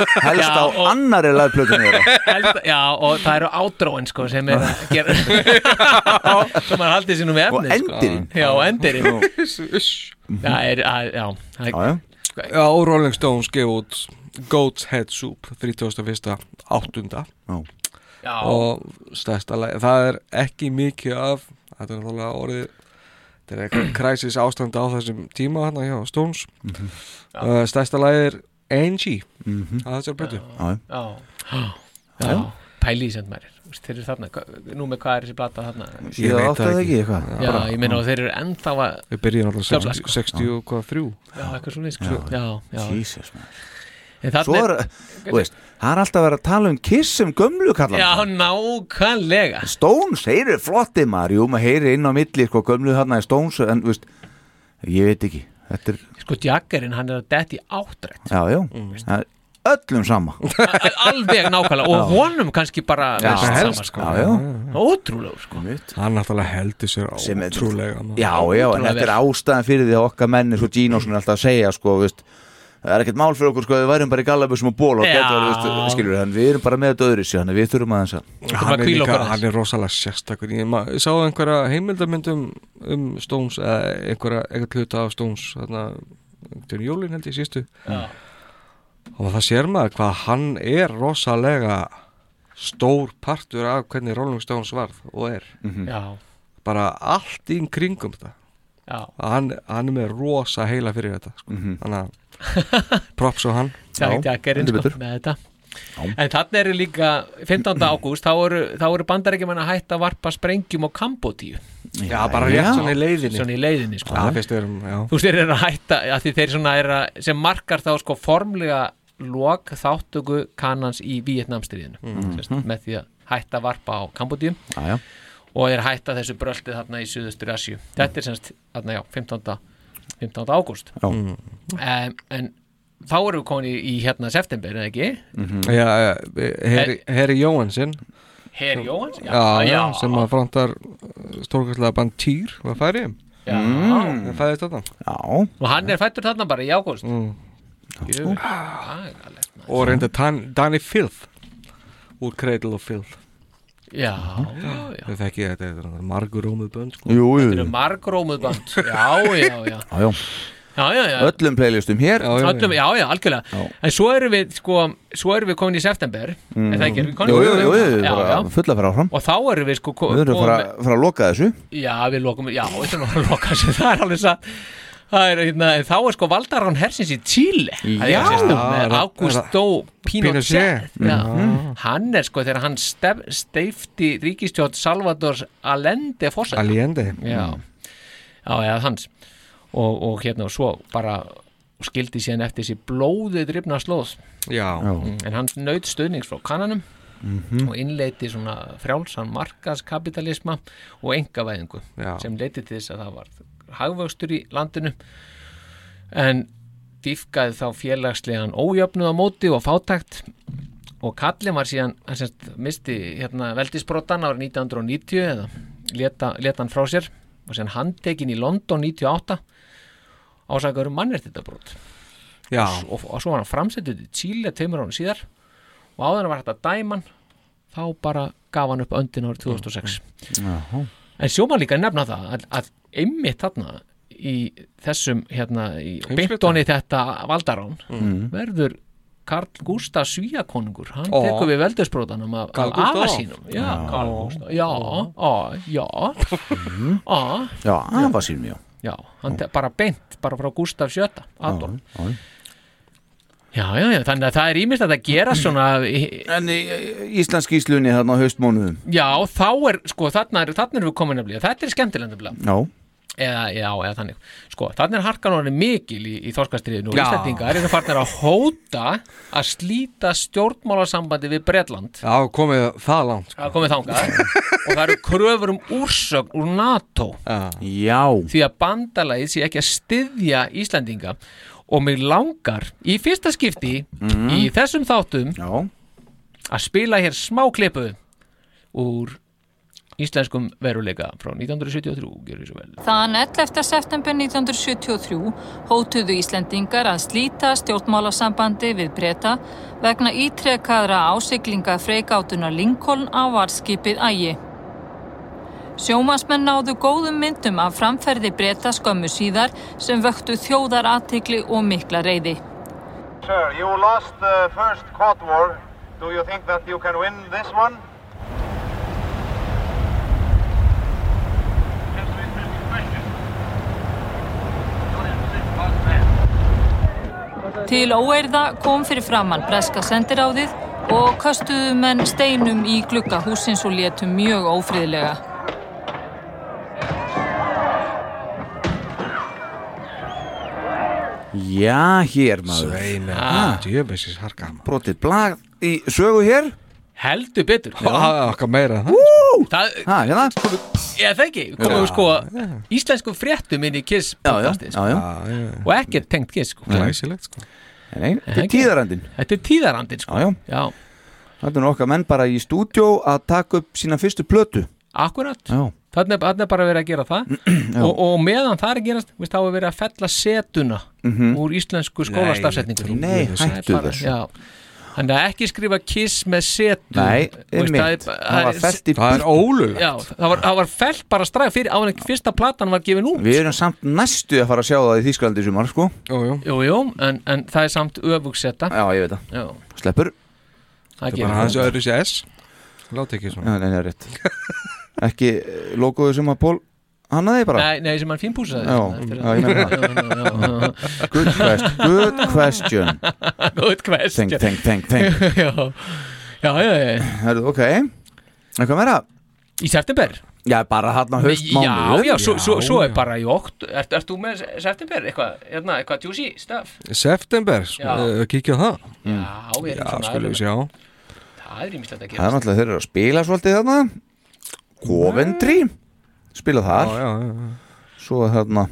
[SPEAKER 2] Helst á annari lagplötunni þeirra.
[SPEAKER 3] Held- Já, og það eru átróin sko sem er að gera sem maður haldið sér nú með
[SPEAKER 4] Og
[SPEAKER 3] efnið sko.
[SPEAKER 4] endirinn.
[SPEAKER 3] Já, og endirinn
[SPEAKER 4] Já. Mhm.
[SPEAKER 3] Það er, að- já það-
[SPEAKER 4] Já, og Rolling Stones gef út Goat's Head Soup 31.8.
[SPEAKER 3] Já.
[SPEAKER 4] Og stærsta lagi, það er ekki mikið af, þetta er náttúrulega orðið, þetta er eitthvað kræsis ástand á þessum tíma hann hjá Stones.
[SPEAKER 2] Mhm.
[SPEAKER 4] uh, stærsta lagi er Angie,
[SPEAKER 2] Mhm.
[SPEAKER 4] að þessar betur.
[SPEAKER 2] Já.
[SPEAKER 3] Já, já. Pæli í sem maður er þú veist, Þeir eru þarna, hva- nú með hvað er þessi blata þarna
[SPEAKER 2] Ég veit það ekki, eitthvað.
[SPEAKER 3] Já,
[SPEAKER 2] Bara-
[SPEAKER 3] ég meina og þeir eru ennþá að
[SPEAKER 4] Við byrjum
[SPEAKER 3] Djöfla,
[SPEAKER 4] alltaf
[SPEAKER 3] sko.
[SPEAKER 4] 63.
[SPEAKER 3] Já, eitthvað svo sko. Já, já
[SPEAKER 2] Jesus,
[SPEAKER 3] En þarna
[SPEAKER 2] Svo er,
[SPEAKER 3] er-
[SPEAKER 2] þú veist, það er alltaf að vera að tala um Kiss sem gömlu kallar.
[SPEAKER 3] Já, nákvæmlega
[SPEAKER 2] Stones, þeir eru flotti maður, jú, maður heyri inn á milli, sko, gömlu þarna í Stones, en, þú veist, ég veit ekki, þetta er,
[SPEAKER 3] Sko, Jaggerinn, hann er að detti áttrætt
[SPEAKER 2] já, já,
[SPEAKER 3] Mm.
[SPEAKER 2] það er öllum sama.
[SPEAKER 3] Alveg nákvæmlega, og
[SPEAKER 2] Já.
[SPEAKER 3] honum kannski bara
[SPEAKER 2] Já,
[SPEAKER 3] verst
[SPEAKER 2] helst,
[SPEAKER 3] saman, sko.
[SPEAKER 2] já, já.
[SPEAKER 3] Ótrúlega, sko
[SPEAKER 4] Hann náttúrulega heldur sér ótrúlega. maður.
[SPEAKER 2] Já, já, en þetta er ástæðan fyrir því að okkar menn eins og Gino svona alltaf að segja, sko, veist Það er ekkert mál fyrir okkur, sko, við værum bara í gallabusum og ból og
[SPEAKER 3] Já.
[SPEAKER 2] getur, veist, skilur við, en við erum bara með þetta öðru sér, þannig að við þurfum aðeins að
[SPEAKER 4] hann er, líka, hann er rosalega sérstakur ég, ma- ég sá einhverja heimildamyndum um Stones eða einhverja eitthvað hluta af Stones þarna til jólin held ég sístu
[SPEAKER 3] Já.
[SPEAKER 4] og það sér maður hvað hann er rosalega stór partur af hvernig Rolling Stones varð og er
[SPEAKER 3] Mhm. Já.
[SPEAKER 4] bara allt í kringum þetta
[SPEAKER 3] Já.
[SPEAKER 4] hann, hann er með rosa heila fyrir þetta sko.
[SPEAKER 3] Mhm.
[SPEAKER 4] þannig að props á hann
[SPEAKER 3] Jack Jaggerinn, sko, með þetta En þarna eru líka 15. ágúst þá eru, þá eru bandarækjumann að hætta að varpa sprengjum á Kambodíu
[SPEAKER 4] Já, bara rétt
[SPEAKER 3] Já.
[SPEAKER 4] svona í leiðinni
[SPEAKER 3] Svona í leiðinni, sko.
[SPEAKER 4] Já, fyrst við erum, já
[SPEAKER 3] Þú veist, þeir eru að hætta að því þeir svona eru að, sem markar þá sko formlega lok þáttöku kannans í Vietnamstríðinu
[SPEAKER 2] Mhm.
[SPEAKER 3] mm. með því að hætta að varpa á Kambodíu
[SPEAKER 2] Jæja.
[SPEAKER 3] og þeir hætta þessu bröldi þarna í suðustur Asju þetta er semst, þarna já, 15. 15. ágúst
[SPEAKER 2] Já.
[SPEAKER 3] um, en þá erum við komin í, í hérna september, eða ekki?
[SPEAKER 4] Já, já, Heri- Heri Jóhansson
[SPEAKER 3] Heri Jóhansson? Já,
[SPEAKER 4] já,
[SPEAKER 3] Ah, já.
[SPEAKER 4] sem að frontar stórkastlega band Týr var færið
[SPEAKER 3] Já.
[SPEAKER 4] mm. fæðist þetta
[SPEAKER 2] já.
[SPEAKER 3] og hann er fættur þarna bara í ágúst
[SPEAKER 4] mm.
[SPEAKER 3] Agalegt.
[SPEAKER 4] og reynda Danny Filth úr Cradle of Filth
[SPEAKER 3] Já, já.
[SPEAKER 4] þau þekki þetta, þetta er náttúrulega margur rómuð bönd sko.
[SPEAKER 2] Jú, jú,
[SPEAKER 3] Þetta eru margrómuð band Já, já, já
[SPEAKER 2] já, já,
[SPEAKER 3] Já, já, já
[SPEAKER 2] öllum playlistum hér
[SPEAKER 3] Öllum, já, já, algjörlega En svo erum við, sko, svo erum við komin í september mm. Er það ekki? Erum við komin í
[SPEAKER 2] Jú, jú, jú, jú,
[SPEAKER 3] já,
[SPEAKER 2] bara
[SPEAKER 3] já.
[SPEAKER 2] fulla að fara áfram
[SPEAKER 3] Og þá erum við, sko, ko-
[SPEAKER 2] Við erum að fara,
[SPEAKER 3] komin-
[SPEAKER 2] fara að loka þessu
[SPEAKER 3] Já, við lokum, já, þetta er nú að loka þessu Það er alveg satt Það er, hérna, en þá er sko Valdarán hersins í Chile Það
[SPEAKER 2] Já.
[SPEAKER 3] er sérstakt með
[SPEAKER 2] Já,
[SPEAKER 3] Augusto Pinochet
[SPEAKER 2] Pinochet.
[SPEAKER 3] Já.
[SPEAKER 2] Mhm.
[SPEAKER 3] Hann er sko þegar hann stef, steifti ríkistjótt Salvador Allende fórsætt
[SPEAKER 4] Allende
[SPEAKER 3] Já, já, já hans og, og hérna og svo bara skildi síðan eftir þessi blóðið drifna slóð
[SPEAKER 4] Já.
[SPEAKER 3] Mm, en hann naut stuðnings frá kannanum
[SPEAKER 2] Mhm.
[SPEAKER 3] og innleiti svona frjálsan markaskapitalisma og engavæðingu
[SPEAKER 4] Já.
[SPEAKER 3] sem leiti til þess að það var hagvöxtur í landinu en dýfkaði þá félagslegan ójöfnuð á móti og fátækt og kallin var síðan hann semst, misti hérna, veldisbrotan árið 1990 eða leta, leta hann frá sér og síðan handtekinn í London 98 ásakaður um mannréttindabrót
[SPEAKER 4] Já.
[SPEAKER 3] og, og svo var hann framsetið í Chile teimur ánum síðar og áður en var hægt að dæma hann þá bara gaf hann upp öndin árið 2006
[SPEAKER 2] Mm, Jaha.
[SPEAKER 3] en sjóman líka að nefna það að, að einmitt þarna í þessum hérna í byndóni þetta valdarán
[SPEAKER 2] Mm.
[SPEAKER 3] verður Karl Gústa Svíakonungur hann
[SPEAKER 2] Ó.
[SPEAKER 3] tekur við veldusbrótanum af,
[SPEAKER 2] Karl
[SPEAKER 3] af
[SPEAKER 2] Gústaf.
[SPEAKER 3] afa sínum já,
[SPEAKER 2] Já.
[SPEAKER 3] Karl Gústa, já, á, já á,
[SPEAKER 2] Já, afa sínum, já
[SPEAKER 3] já, hann te- bara beint bara frá Gústaf Sjöta, Adolf
[SPEAKER 2] Já, já.
[SPEAKER 3] já, já, já, þannig að það er ímist að það gera svona
[SPEAKER 2] en Íslensk íslunni þarna á haustmónuðum
[SPEAKER 3] já, þá er, sko, þarna er þarna erum við komin nefnilega, þetta er skemmtilega nefnilega
[SPEAKER 2] Já,
[SPEAKER 3] eða, já, eða þannig, sko, þarna er harkan orðin mikil í, í þorskastriðinu og
[SPEAKER 4] Já.
[SPEAKER 3] Íslandingar eru farnir að hóta að slíta stjórnmálasambandi við Bretland
[SPEAKER 4] Já, komið það langt
[SPEAKER 3] Það er komið þangað og það eru kröfur um úrsögn úr NATO
[SPEAKER 2] Já
[SPEAKER 3] Því að bandalagið sé ekki að styðja Íslandinga og mig langar í fyrsta skipti
[SPEAKER 2] Mm.
[SPEAKER 3] í þessum þáttum
[SPEAKER 2] Já.
[SPEAKER 3] að spila hér smá klippu úr íslenskum veruleika frá 1973 gerðu svo vel
[SPEAKER 12] Þann 11. september 1973 hótuðu Íslendingar að slíta stjórnmálasambandi við breyta vegna ítrekkaðra ásiglinga freikáttunar Lincoln á varskipið ægi. Sjómasmenn náðu góðum myndum af framferði breyta skömmu síðar sem vöktu þjóðar aðtikli og mikla reyði.
[SPEAKER 13] Sir, you lost the first Quad War. Do you think that you can win this one?
[SPEAKER 12] Til óeirða kom fyrir framann breska sendiráðið og köstuðu menn steinum í glugga húsins og létu mjög ófriðlega.
[SPEAKER 2] já hér maður
[SPEAKER 4] Sveina,
[SPEAKER 2] Ah.
[SPEAKER 4] djöfessis harka
[SPEAKER 2] Brotið blag í sögu hér
[SPEAKER 3] Heldur betur
[SPEAKER 4] Okkar meira en það.
[SPEAKER 2] Ú,
[SPEAKER 3] Það,
[SPEAKER 2] ha, hérna
[SPEAKER 3] Ég það ekki,
[SPEAKER 2] Já.
[SPEAKER 3] komum við sko íslenskum fréttum inn í KISS
[SPEAKER 2] Já, já,
[SPEAKER 3] podcastið,
[SPEAKER 2] já,
[SPEAKER 3] sko.
[SPEAKER 2] já.
[SPEAKER 3] og ekkert tengt KISS sko.
[SPEAKER 4] Glæsilegt sko
[SPEAKER 2] Nei, þetta
[SPEAKER 3] Ekki.
[SPEAKER 2] er tíðarandinn
[SPEAKER 3] Þetta er tíðarandinn sko
[SPEAKER 2] Já, já, Þetta er nú okkar menn bara í stúdjó að taka upp sína fyrstu plötu
[SPEAKER 3] Akkurat
[SPEAKER 2] Já,
[SPEAKER 3] Þarna er, þarna er bara verið að gera það og, og meðan það er að gerast, veist, þá er verið að fella setuna
[SPEAKER 2] Mhm.
[SPEAKER 3] úr íslensku skólastafsetningu
[SPEAKER 2] Nei, Nei, hættu þessu.
[SPEAKER 3] Þannig að ekki skrifa kiss með setu
[SPEAKER 2] Nei, einmitt. Það var fellt í Það er burtu. ólöglegt.
[SPEAKER 3] Já, það var, það var fellt bara stræk fyrir áður en fyrsta platan var gefin út
[SPEAKER 2] við erum samt næstu að fara að sjá það í Þýskalandi í sumar, sko
[SPEAKER 4] Jú, jú,
[SPEAKER 3] jú, en, en það er samt öfugsetta
[SPEAKER 2] Já, ég veit það
[SPEAKER 3] Já,
[SPEAKER 2] Sleppur
[SPEAKER 3] það
[SPEAKER 4] Þetta er bara
[SPEAKER 3] gerir
[SPEAKER 4] aðeins
[SPEAKER 3] það.
[SPEAKER 4] öðru sér S Láti ekki svona
[SPEAKER 2] Já, nei, það er rétt Ekki eh, logoðu sem að Pól hannaði bara
[SPEAKER 3] Nei, nei, sem hann fínpúsaði
[SPEAKER 2] Já,
[SPEAKER 3] eftir
[SPEAKER 2] já,
[SPEAKER 3] að-
[SPEAKER 2] ég meina
[SPEAKER 3] Já, já, já, já.
[SPEAKER 2] það Good question Good question
[SPEAKER 3] Good question
[SPEAKER 2] Think, think, think, think
[SPEAKER 3] Já, já, já, já.
[SPEAKER 2] Herðu, ok Eitthvað meira?
[SPEAKER 3] Í september?
[SPEAKER 2] Já, bara hann á höst
[SPEAKER 3] Já, já, svo, svo, svo er bara í okt Ert, Ert þú með september eitthvað, hérna, eitthvað juicy stuff?
[SPEAKER 4] September,
[SPEAKER 3] Já.
[SPEAKER 4] uh, kíkja á það
[SPEAKER 3] Já, við erum
[SPEAKER 4] Já,
[SPEAKER 3] svona
[SPEAKER 4] skulum
[SPEAKER 3] aðeins.
[SPEAKER 4] við sjá
[SPEAKER 3] Það er ímislegt að
[SPEAKER 2] Það er
[SPEAKER 3] gera
[SPEAKER 2] náttúrulega þeir eru að spila svolítið þarna Coventry Spila þar
[SPEAKER 4] Já, já, já, já.
[SPEAKER 2] Svo er þarna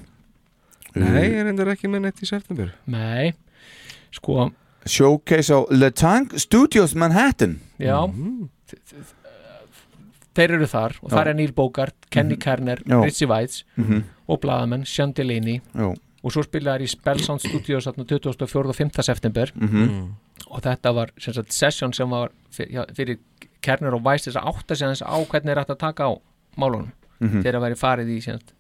[SPEAKER 4] Nei, ég reyndar ekki með neitt í september
[SPEAKER 3] Nei, sko
[SPEAKER 2] Showcase á Le Tank Studios Manhattan
[SPEAKER 3] Já Þ- þ- Þeir eru þar og
[SPEAKER 2] Já.
[SPEAKER 3] þar er Neil Bogart, Kenny Kerner,
[SPEAKER 2] Já.
[SPEAKER 3] Ritchie Weitz
[SPEAKER 2] Mhm.
[SPEAKER 3] og Blaðamenn, Sean Delaney
[SPEAKER 2] Já.
[SPEAKER 3] og svo spilaði þær í Spellsound Studios þarna 24. og 5. september
[SPEAKER 4] Mm.
[SPEAKER 2] Mhm.
[SPEAKER 3] og þetta var sem sagt, session sem var fyr- já, fyrir Kerner og Weiss þess að átta sig aðeins á hvernig er hægt að taka á málunum
[SPEAKER 2] Mhm.
[SPEAKER 3] þegar að væri farið í sem sagt,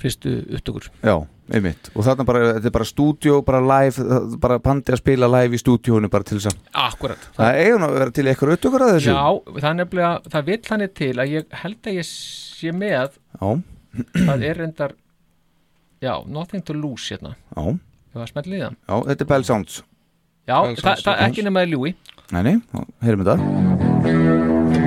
[SPEAKER 3] fyrstu upptökur
[SPEAKER 2] Já, einmitt Og þarna bara, þetta er bara stúdíó, bara live það- Bara pandi að spila live í stúdíónu bara til þess að
[SPEAKER 3] Akkurat
[SPEAKER 2] Það eigur nú að vera til eitthvað auðvitað að þessu
[SPEAKER 3] Já, það er nefnilega, það vill hann til að ég held að ég sé með
[SPEAKER 2] Já,
[SPEAKER 3] það er reyndar já, nothing to lose hérna
[SPEAKER 2] já,
[SPEAKER 3] ég var að smelta í það
[SPEAKER 2] já, þetta er Bell Sounds
[SPEAKER 3] já,
[SPEAKER 2] Vel
[SPEAKER 3] það, það,
[SPEAKER 2] sjálfsagt.
[SPEAKER 3] það ekki nema í ljúi
[SPEAKER 2] Nei, nei, þá heyrum við það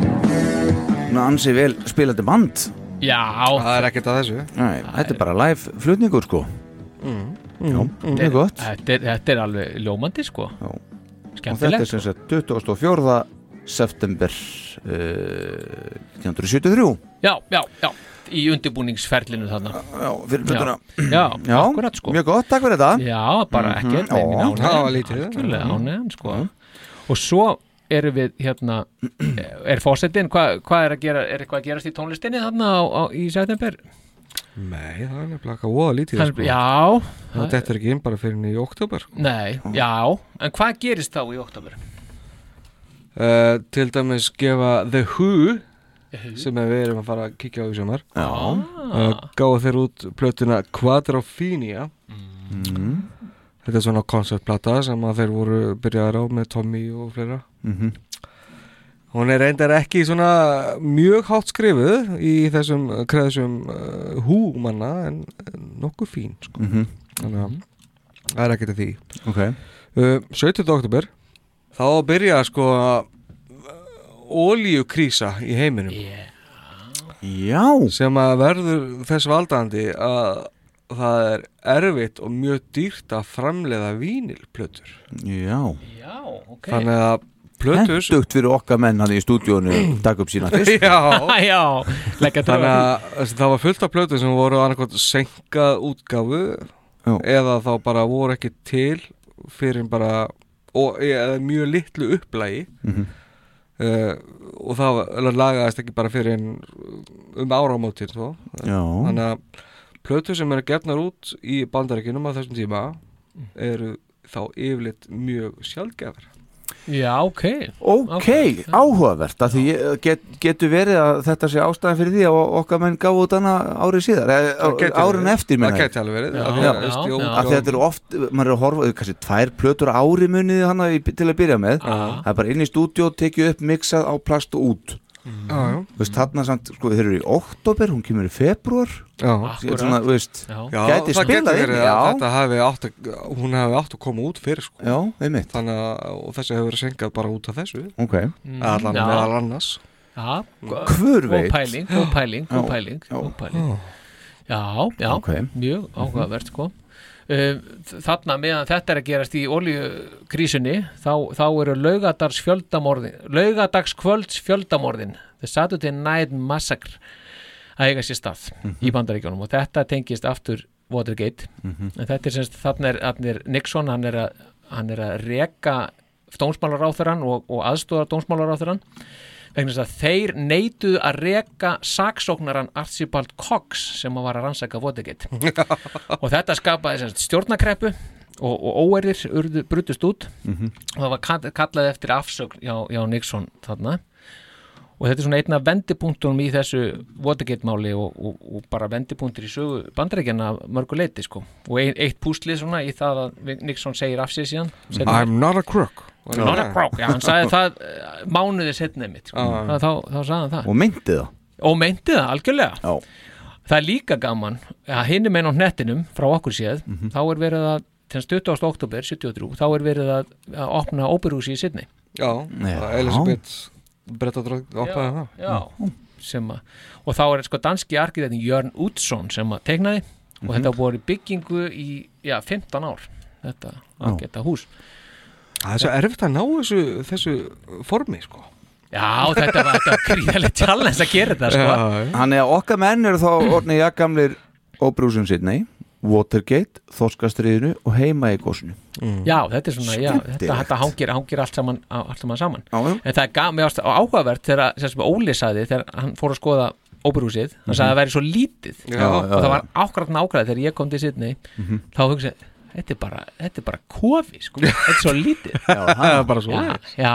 [SPEAKER 2] náttúrulega ansi vel spilandi band
[SPEAKER 3] Já Það
[SPEAKER 4] er ekkert að þessu
[SPEAKER 2] Nei, Þetta er bara live flutningur sko
[SPEAKER 3] mm.
[SPEAKER 2] Já, mjög gott.
[SPEAKER 3] þetta er, þetta er alveg ljómandi sko
[SPEAKER 2] Og þetta er
[SPEAKER 3] Skemmtilegt
[SPEAKER 2] sem sagt 24. september uh, 1973
[SPEAKER 3] Já, já, já, í undirbúningsferlinu þarna
[SPEAKER 2] Já, fyrir plötuna.
[SPEAKER 3] Já,
[SPEAKER 2] Já, akkurat, sko. mjög gott, takk fyrir þetta
[SPEAKER 3] Já, bara
[SPEAKER 2] Mhm,
[SPEAKER 3] ekkert
[SPEAKER 2] já,
[SPEAKER 3] mm -hmm.
[SPEAKER 2] það var lítið.
[SPEAKER 3] Algjörlega
[SPEAKER 2] Mhm.
[SPEAKER 3] ánægðan sko Og svo erum við hérna Er fósettin, hvað hva er að gera Er eitthvað að gerast í tónlistinni þarna á, á, í september?
[SPEAKER 4] Nei, það er nefnilega eitthvað voða lítið
[SPEAKER 3] Hann-
[SPEAKER 4] sko.
[SPEAKER 3] já.
[SPEAKER 4] Það þetta er ekki inn bara fyrir henni í oktober sko.
[SPEAKER 3] Nei,
[SPEAKER 2] Mhm.
[SPEAKER 3] já En hvað gerist þá í oktober?
[SPEAKER 4] uh, Til dæmis gefa The Who
[SPEAKER 3] The Who.
[SPEAKER 4] sem að við erum að fara að kíkja á í sumar
[SPEAKER 2] Já.
[SPEAKER 4] uh, Gáðu þeir út plötuna Quadrophenia
[SPEAKER 2] mm.
[SPEAKER 4] Þetta er svona konceptplata sem að þeir voru byrjaðar á með Tommy og fleira
[SPEAKER 2] Mhm.
[SPEAKER 4] Hún er reyndar ekki svona mjög hátt skrifuð í þessum kreðsum uh, húmanna en en nokkuð fín sko.
[SPEAKER 2] Mhm.
[SPEAKER 4] Þannig að það er ekkert að því
[SPEAKER 2] Ok.
[SPEAKER 4] uh, 17. oktober þá byrja sko oljukrísa í heiminum
[SPEAKER 3] yeah.
[SPEAKER 2] Já
[SPEAKER 4] sem að verður þess valdandi að það er erfitt og mjög dýrt að framleiða vínilplötur
[SPEAKER 2] Já,
[SPEAKER 3] Já, ok
[SPEAKER 4] þannig að plötur
[SPEAKER 2] Hendugt fyrir okkar menn hann í stúdíónu Takk upp sína fyrst
[SPEAKER 4] Já.
[SPEAKER 3] já, leggja til
[SPEAKER 4] Þannig að þessi, það var fullt af plötu sem voru annarkot senkað útgáfu eða þá bara voru ekki til fyrir bara og, e, eða mjög litlu upplægi
[SPEAKER 2] Mhm.
[SPEAKER 4] uh, og það var- lagaðist ekki bara fyrir um áramótin þó
[SPEAKER 2] Já.
[SPEAKER 4] þannig að plötu sem eru gefnar út í bandarækjunum á þessum tíma
[SPEAKER 2] Mhm.
[SPEAKER 4] eru þá yfirleitt mjög sjálfgefar
[SPEAKER 3] Já, ok
[SPEAKER 2] Ok, áhugavert að því ég- eh, get, getur verið að þetta sé ástæðan fyrir því að okkar menn gáðu út hana árið síðar eh,
[SPEAKER 4] Það gæti
[SPEAKER 2] árin
[SPEAKER 4] verið.
[SPEAKER 2] eftir meina
[SPEAKER 4] Það
[SPEAKER 2] ég.
[SPEAKER 4] gæti alveg verið.
[SPEAKER 2] Já,
[SPEAKER 4] Af því
[SPEAKER 2] já,
[SPEAKER 4] að, veist,
[SPEAKER 2] já,
[SPEAKER 4] Jón-
[SPEAKER 2] já. Af því að þetta eru oft, maður er að horfa kannski tvær plötur á ári munið hana í, til að byrja með það er bara inn í stúdíó, tekið upp, miksað á plast og út
[SPEAKER 4] Já, já.
[SPEAKER 2] Þú veist, þarna samt, sko, þeir eru í oktober, hún kemur í februar
[SPEAKER 4] Já,
[SPEAKER 2] Ah, svona, þú veist, gæti
[SPEAKER 4] það getur
[SPEAKER 2] spilað inn
[SPEAKER 4] verið
[SPEAKER 2] í,
[SPEAKER 4] að
[SPEAKER 2] já,
[SPEAKER 4] þetta hafi átt að, hún hafi átt að koma út fyrir sko.
[SPEAKER 2] Já, einmitt
[SPEAKER 4] Þannig að og þessi hefur verið senkað bara út af þessu
[SPEAKER 2] Ok.
[SPEAKER 3] Mm,
[SPEAKER 4] Allan
[SPEAKER 3] já.
[SPEAKER 4] meðal annars
[SPEAKER 3] Já,
[SPEAKER 4] Hver veit?
[SPEAKER 3] Góð pæling, góð pæling, góð
[SPEAKER 4] Já,
[SPEAKER 3] pæling,
[SPEAKER 4] já.
[SPEAKER 3] góð pæling. Já, já,
[SPEAKER 4] Ok. Mhm.
[SPEAKER 3] mjög áhugavert sko. Um, þ- þarna meðan þetta er að gerast í oljukrísunni þá, þá eru laugadags fjöldamorðin laugadagskvölds fjöldamorðin The Saturday Night Massacre að eiga sér stað
[SPEAKER 4] Mhm.
[SPEAKER 3] í bandaríkjónum og þetta tengist aftur Watergate
[SPEAKER 10] Mhm.
[SPEAKER 3] en þetta er semst, þarna er, þarna er Nixon hann er að, hann er að reka dómsmálaráþurann og, og aðstóða dómsmálaráþurann vegna þess að þeir neituðu að reka saksóknaran Archibald Cox sem að var að rannsaka Watergate og þetta skapaði semst stjórnakreppu og, og óerir urðu, brutust út
[SPEAKER 10] Mhm.
[SPEAKER 3] og það var kall- kallað eftir afsögn já, já Nixon þarna og þetta er svona einna vendipunktunum í þessu Watergate-máli og, og, og bara vendipunktur í sögu bandarækjana mörgu leiti sko og ein, eitt púslið svona í það að Nixon segir af sér síðan seinna.
[SPEAKER 4] I'm not a crook
[SPEAKER 3] Not a crook, já, hann sagði það eh, mánuði setnið mitt, sko.
[SPEAKER 4] Já, já.
[SPEAKER 3] þá, þá, þá sagði hann það
[SPEAKER 2] og myndið það
[SPEAKER 3] og meinti það algjörlega
[SPEAKER 2] já.
[SPEAKER 3] það er líka gaman að hinn er meina á hnettinum frá okkur séð þá er verið að til 20. oktober 73 þá er verið að, að opna óperúsi í Sydney
[SPEAKER 4] Já,
[SPEAKER 3] Já.
[SPEAKER 4] Elisabeth Brettadrögg opnaði það
[SPEAKER 3] já, sem að og þá er sko danski arkitektin Jörn Útsson sem að teiknaði og
[SPEAKER 4] Mhm.
[SPEAKER 3] þetta voru í byggingu í já, 15 ár þetta ágæta hús
[SPEAKER 4] Það er svo erfitt að ná þessu, þessu formi sko.
[SPEAKER 3] já, þetta var, þetta var gríðarlega challenge að gera þetta sko.
[SPEAKER 2] Þannig að okkar menn eru þá orðnið jafngamlir óbrúsum sinni Watergate, Þorskastriðinu og heima í gósinu
[SPEAKER 3] Já, þetta er svona, já, þetta,
[SPEAKER 2] Skemmtilegt.
[SPEAKER 3] þetta hangir, hangir allt saman, á- allt saman saman.
[SPEAKER 2] Já, já.
[SPEAKER 3] En það er gaf, mér ást, áhugavert þegar sem sem Óli sagði, þegar hann fór að skoða óperúsið, hann sagði að það væri svo lítið
[SPEAKER 2] Mhm. Já,
[SPEAKER 3] og
[SPEAKER 2] já,
[SPEAKER 3] það
[SPEAKER 2] já.
[SPEAKER 3] var ákvært nákvæmt þegar ég kom til Sydney
[SPEAKER 2] Mhm.
[SPEAKER 3] þá hugsaði, þetta er bara, þetta er bara kofi, sko, þetta er svo lítið
[SPEAKER 2] Já, það er bara
[SPEAKER 3] já,
[SPEAKER 2] svoleiðis.
[SPEAKER 3] já,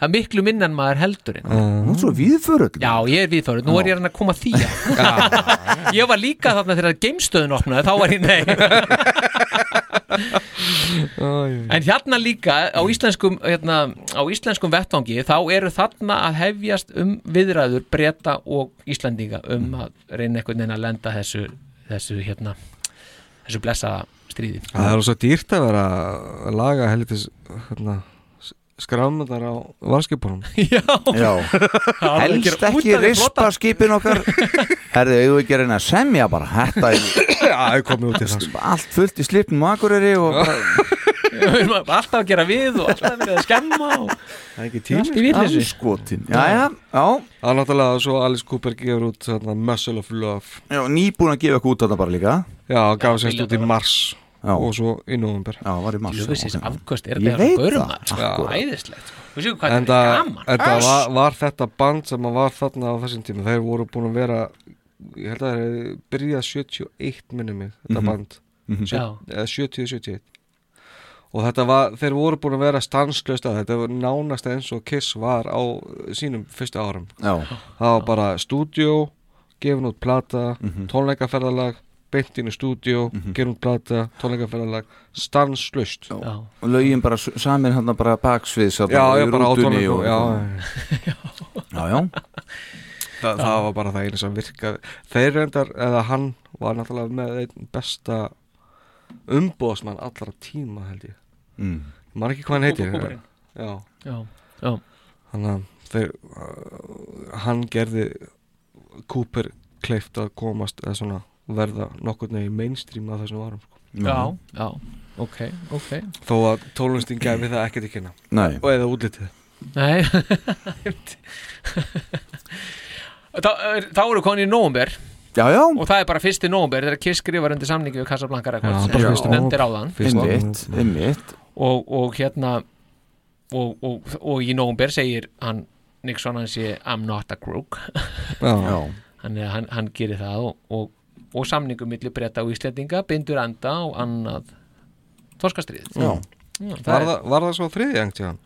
[SPEAKER 3] það er miklu minn en maður heldur hérna.
[SPEAKER 2] Nú er svo viðförull
[SPEAKER 3] Já, ég er viðförull, nú er ég að reyna að koma að því já. Ég var líka þarna þegar geimstöðun opnaði, þá var ég nei En hérna líka á íslenskum, hérna, á íslenskum vettvangi þá eru þarna að hefjast um viðræður breyta og Íslandinga um
[SPEAKER 4] Mm.
[SPEAKER 3] að reyna einhvern veginn að lenda þessu, þessu hérna þessu blessa stríði
[SPEAKER 4] Það er svo dýrt að vera að laga helvitis hérna, s- skrámundar á varskipunum
[SPEAKER 3] Já,
[SPEAKER 4] Já.
[SPEAKER 2] Helst ekki rispa skipin okkar Herði, eigum við ekki að reyna að semja bara Þetta
[SPEAKER 4] er komið út í það sko.
[SPEAKER 2] Allt fullt í slipnum og akureyri og bara,
[SPEAKER 3] Við erum alltaf að gera við og alltaf verið að skemma og...
[SPEAKER 4] Það er ekki
[SPEAKER 3] tími, Allt í vitleysu.
[SPEAKER 2] Anskotin, jæja, já
[SPEAKER 4] Það er náttúrulega svo Alice Cooper gefur út þarna, Muscle of Love
[SPEAKER 2] Já, nýbúin að gefa eitthvað út þarna bara líka
[SPEAKER 4] Já, gaf sérst út í mars
[SPEAKER 2] Já.
[SPEAKER 4] og svo í november
[SPEAKER 2] Já, var í mars
[SPEAKER 3] Jöfisins afkvöst er
[SPEAKER 4] Ég
[SPEAKER 3] þegar hann
[SPEAKER 4] veit
[SPEAKER 3] gaurum
[SPEAKER 4] það,
[SPEAKER 3] maður
[SPEAKER 4] akkurat.
[SPEAKER 3] Æðislegt Þú séu hvað
[SPEAKER 4] En
[SPEAKER 3] þetta er gaman
[SPEAKER 4] það
[SPEAKER 3] Öss!
[SPEAKER 4] var, var þetta band sem var þarna á þessum tíma Þeir voru búin að vera Ég held að þeir byrja 71 minni mig Þetta
[SPEAKER 3] Mhm.
[SPEAKER 4] band
[SPEAKER 3] Mhm.
[SPEAKER 4] Sjö-
[SPEAKER 3] Já.
[SPEAKER 4] eða 70-71 Og þetta var, þeir voru búin að vera stanslöst að þetta var nánast eins og Kiss var á sínum fyrstu árum
[SPEAKER 2] Já.
[SPEAKER 4] Það var bara stúdíó, gefin út plata, tónleikaferðalag, beint inn í stúdíó, gefin út plata, tónleikaferðalag, stanslöst
[SPEAKER 2] Já. Og lögin bara s- samin hann bara baksviðs þarna
[SPEAKER 4] Já,
[SPEAKER 2] í
[SPEAKER 4] já, bara á
[SPEAKER 2] rútunni
[SPEAKER 4] tónleikum,
[SPEAKER 2] og-
[SPEAKER 4] já.
[SPEAKER 2] Já, já
[SPEAKER 4] það, það var bara það einu sem virkaði þeir reyndar, eða hann var náttúrulega með einn besta umbóðsmann allra tíma held ég
[SPEAKER 2] Mm.
[SPEAKER 4] ég maður ekki hvað hann heitir
[SPEAKER 3] Kúparinn.
[SPEAKER 4] já.
[SPEAKER 3] Já, já.
[SPEAKER 4] þannig að þeir uh, hann gerði Cooper kleift að komast eða svona verða nokkurnu í mainstream af þessum varum sko.
[SPEAKER 3] Já, já, ok, ok
[SPEAKER 4] þó að tólunstin gæfi það ekkert ekki kynna
[SPEAKER 2] Nei.
[SPEAKER 4] og eða útlitið
[SPEAKER 3] Nei Þá, er- þá eru konin í nóumber
[SPEAKER 2] Já, já
[SPEAKER 3] Og það er bara fyrsti nóumber Þegar Kiss skrifar undir samningi við Casablanca Records
[SPEAKER 4] Já,
[SPEAKER 3] eins
[SPEAKER 4] bara
[SPEAKER 3] og
[SPEAKER 4] fyrsti
[SPEAKER 3] þú nefndir
[SPEAKER 4] nóvember.
[SPEAKER 3] áðan
[SPEAKER 4] Fyrsti Einmitt, nóvember.
[SPEAKER 2] einmitt
[SPEAKER 3] og, og hérna og, og, og í nóumber segir hann Nixon hann sé I'm not a crook
[SPEAKER 4] Já. Já.
[SPEAKER 3] hann, er- hann, hann gerir það og, og, og samningum milli breyta og Íslendinga bindur anda og annað Þorskastrið
[SPEAKER 4] Já.
[SPEAKER 3] það
[SPEAKER 4] var,
[SPEAKER 3] er-
[SPEAKER 4] það, var það svo þriðjangt hjá hann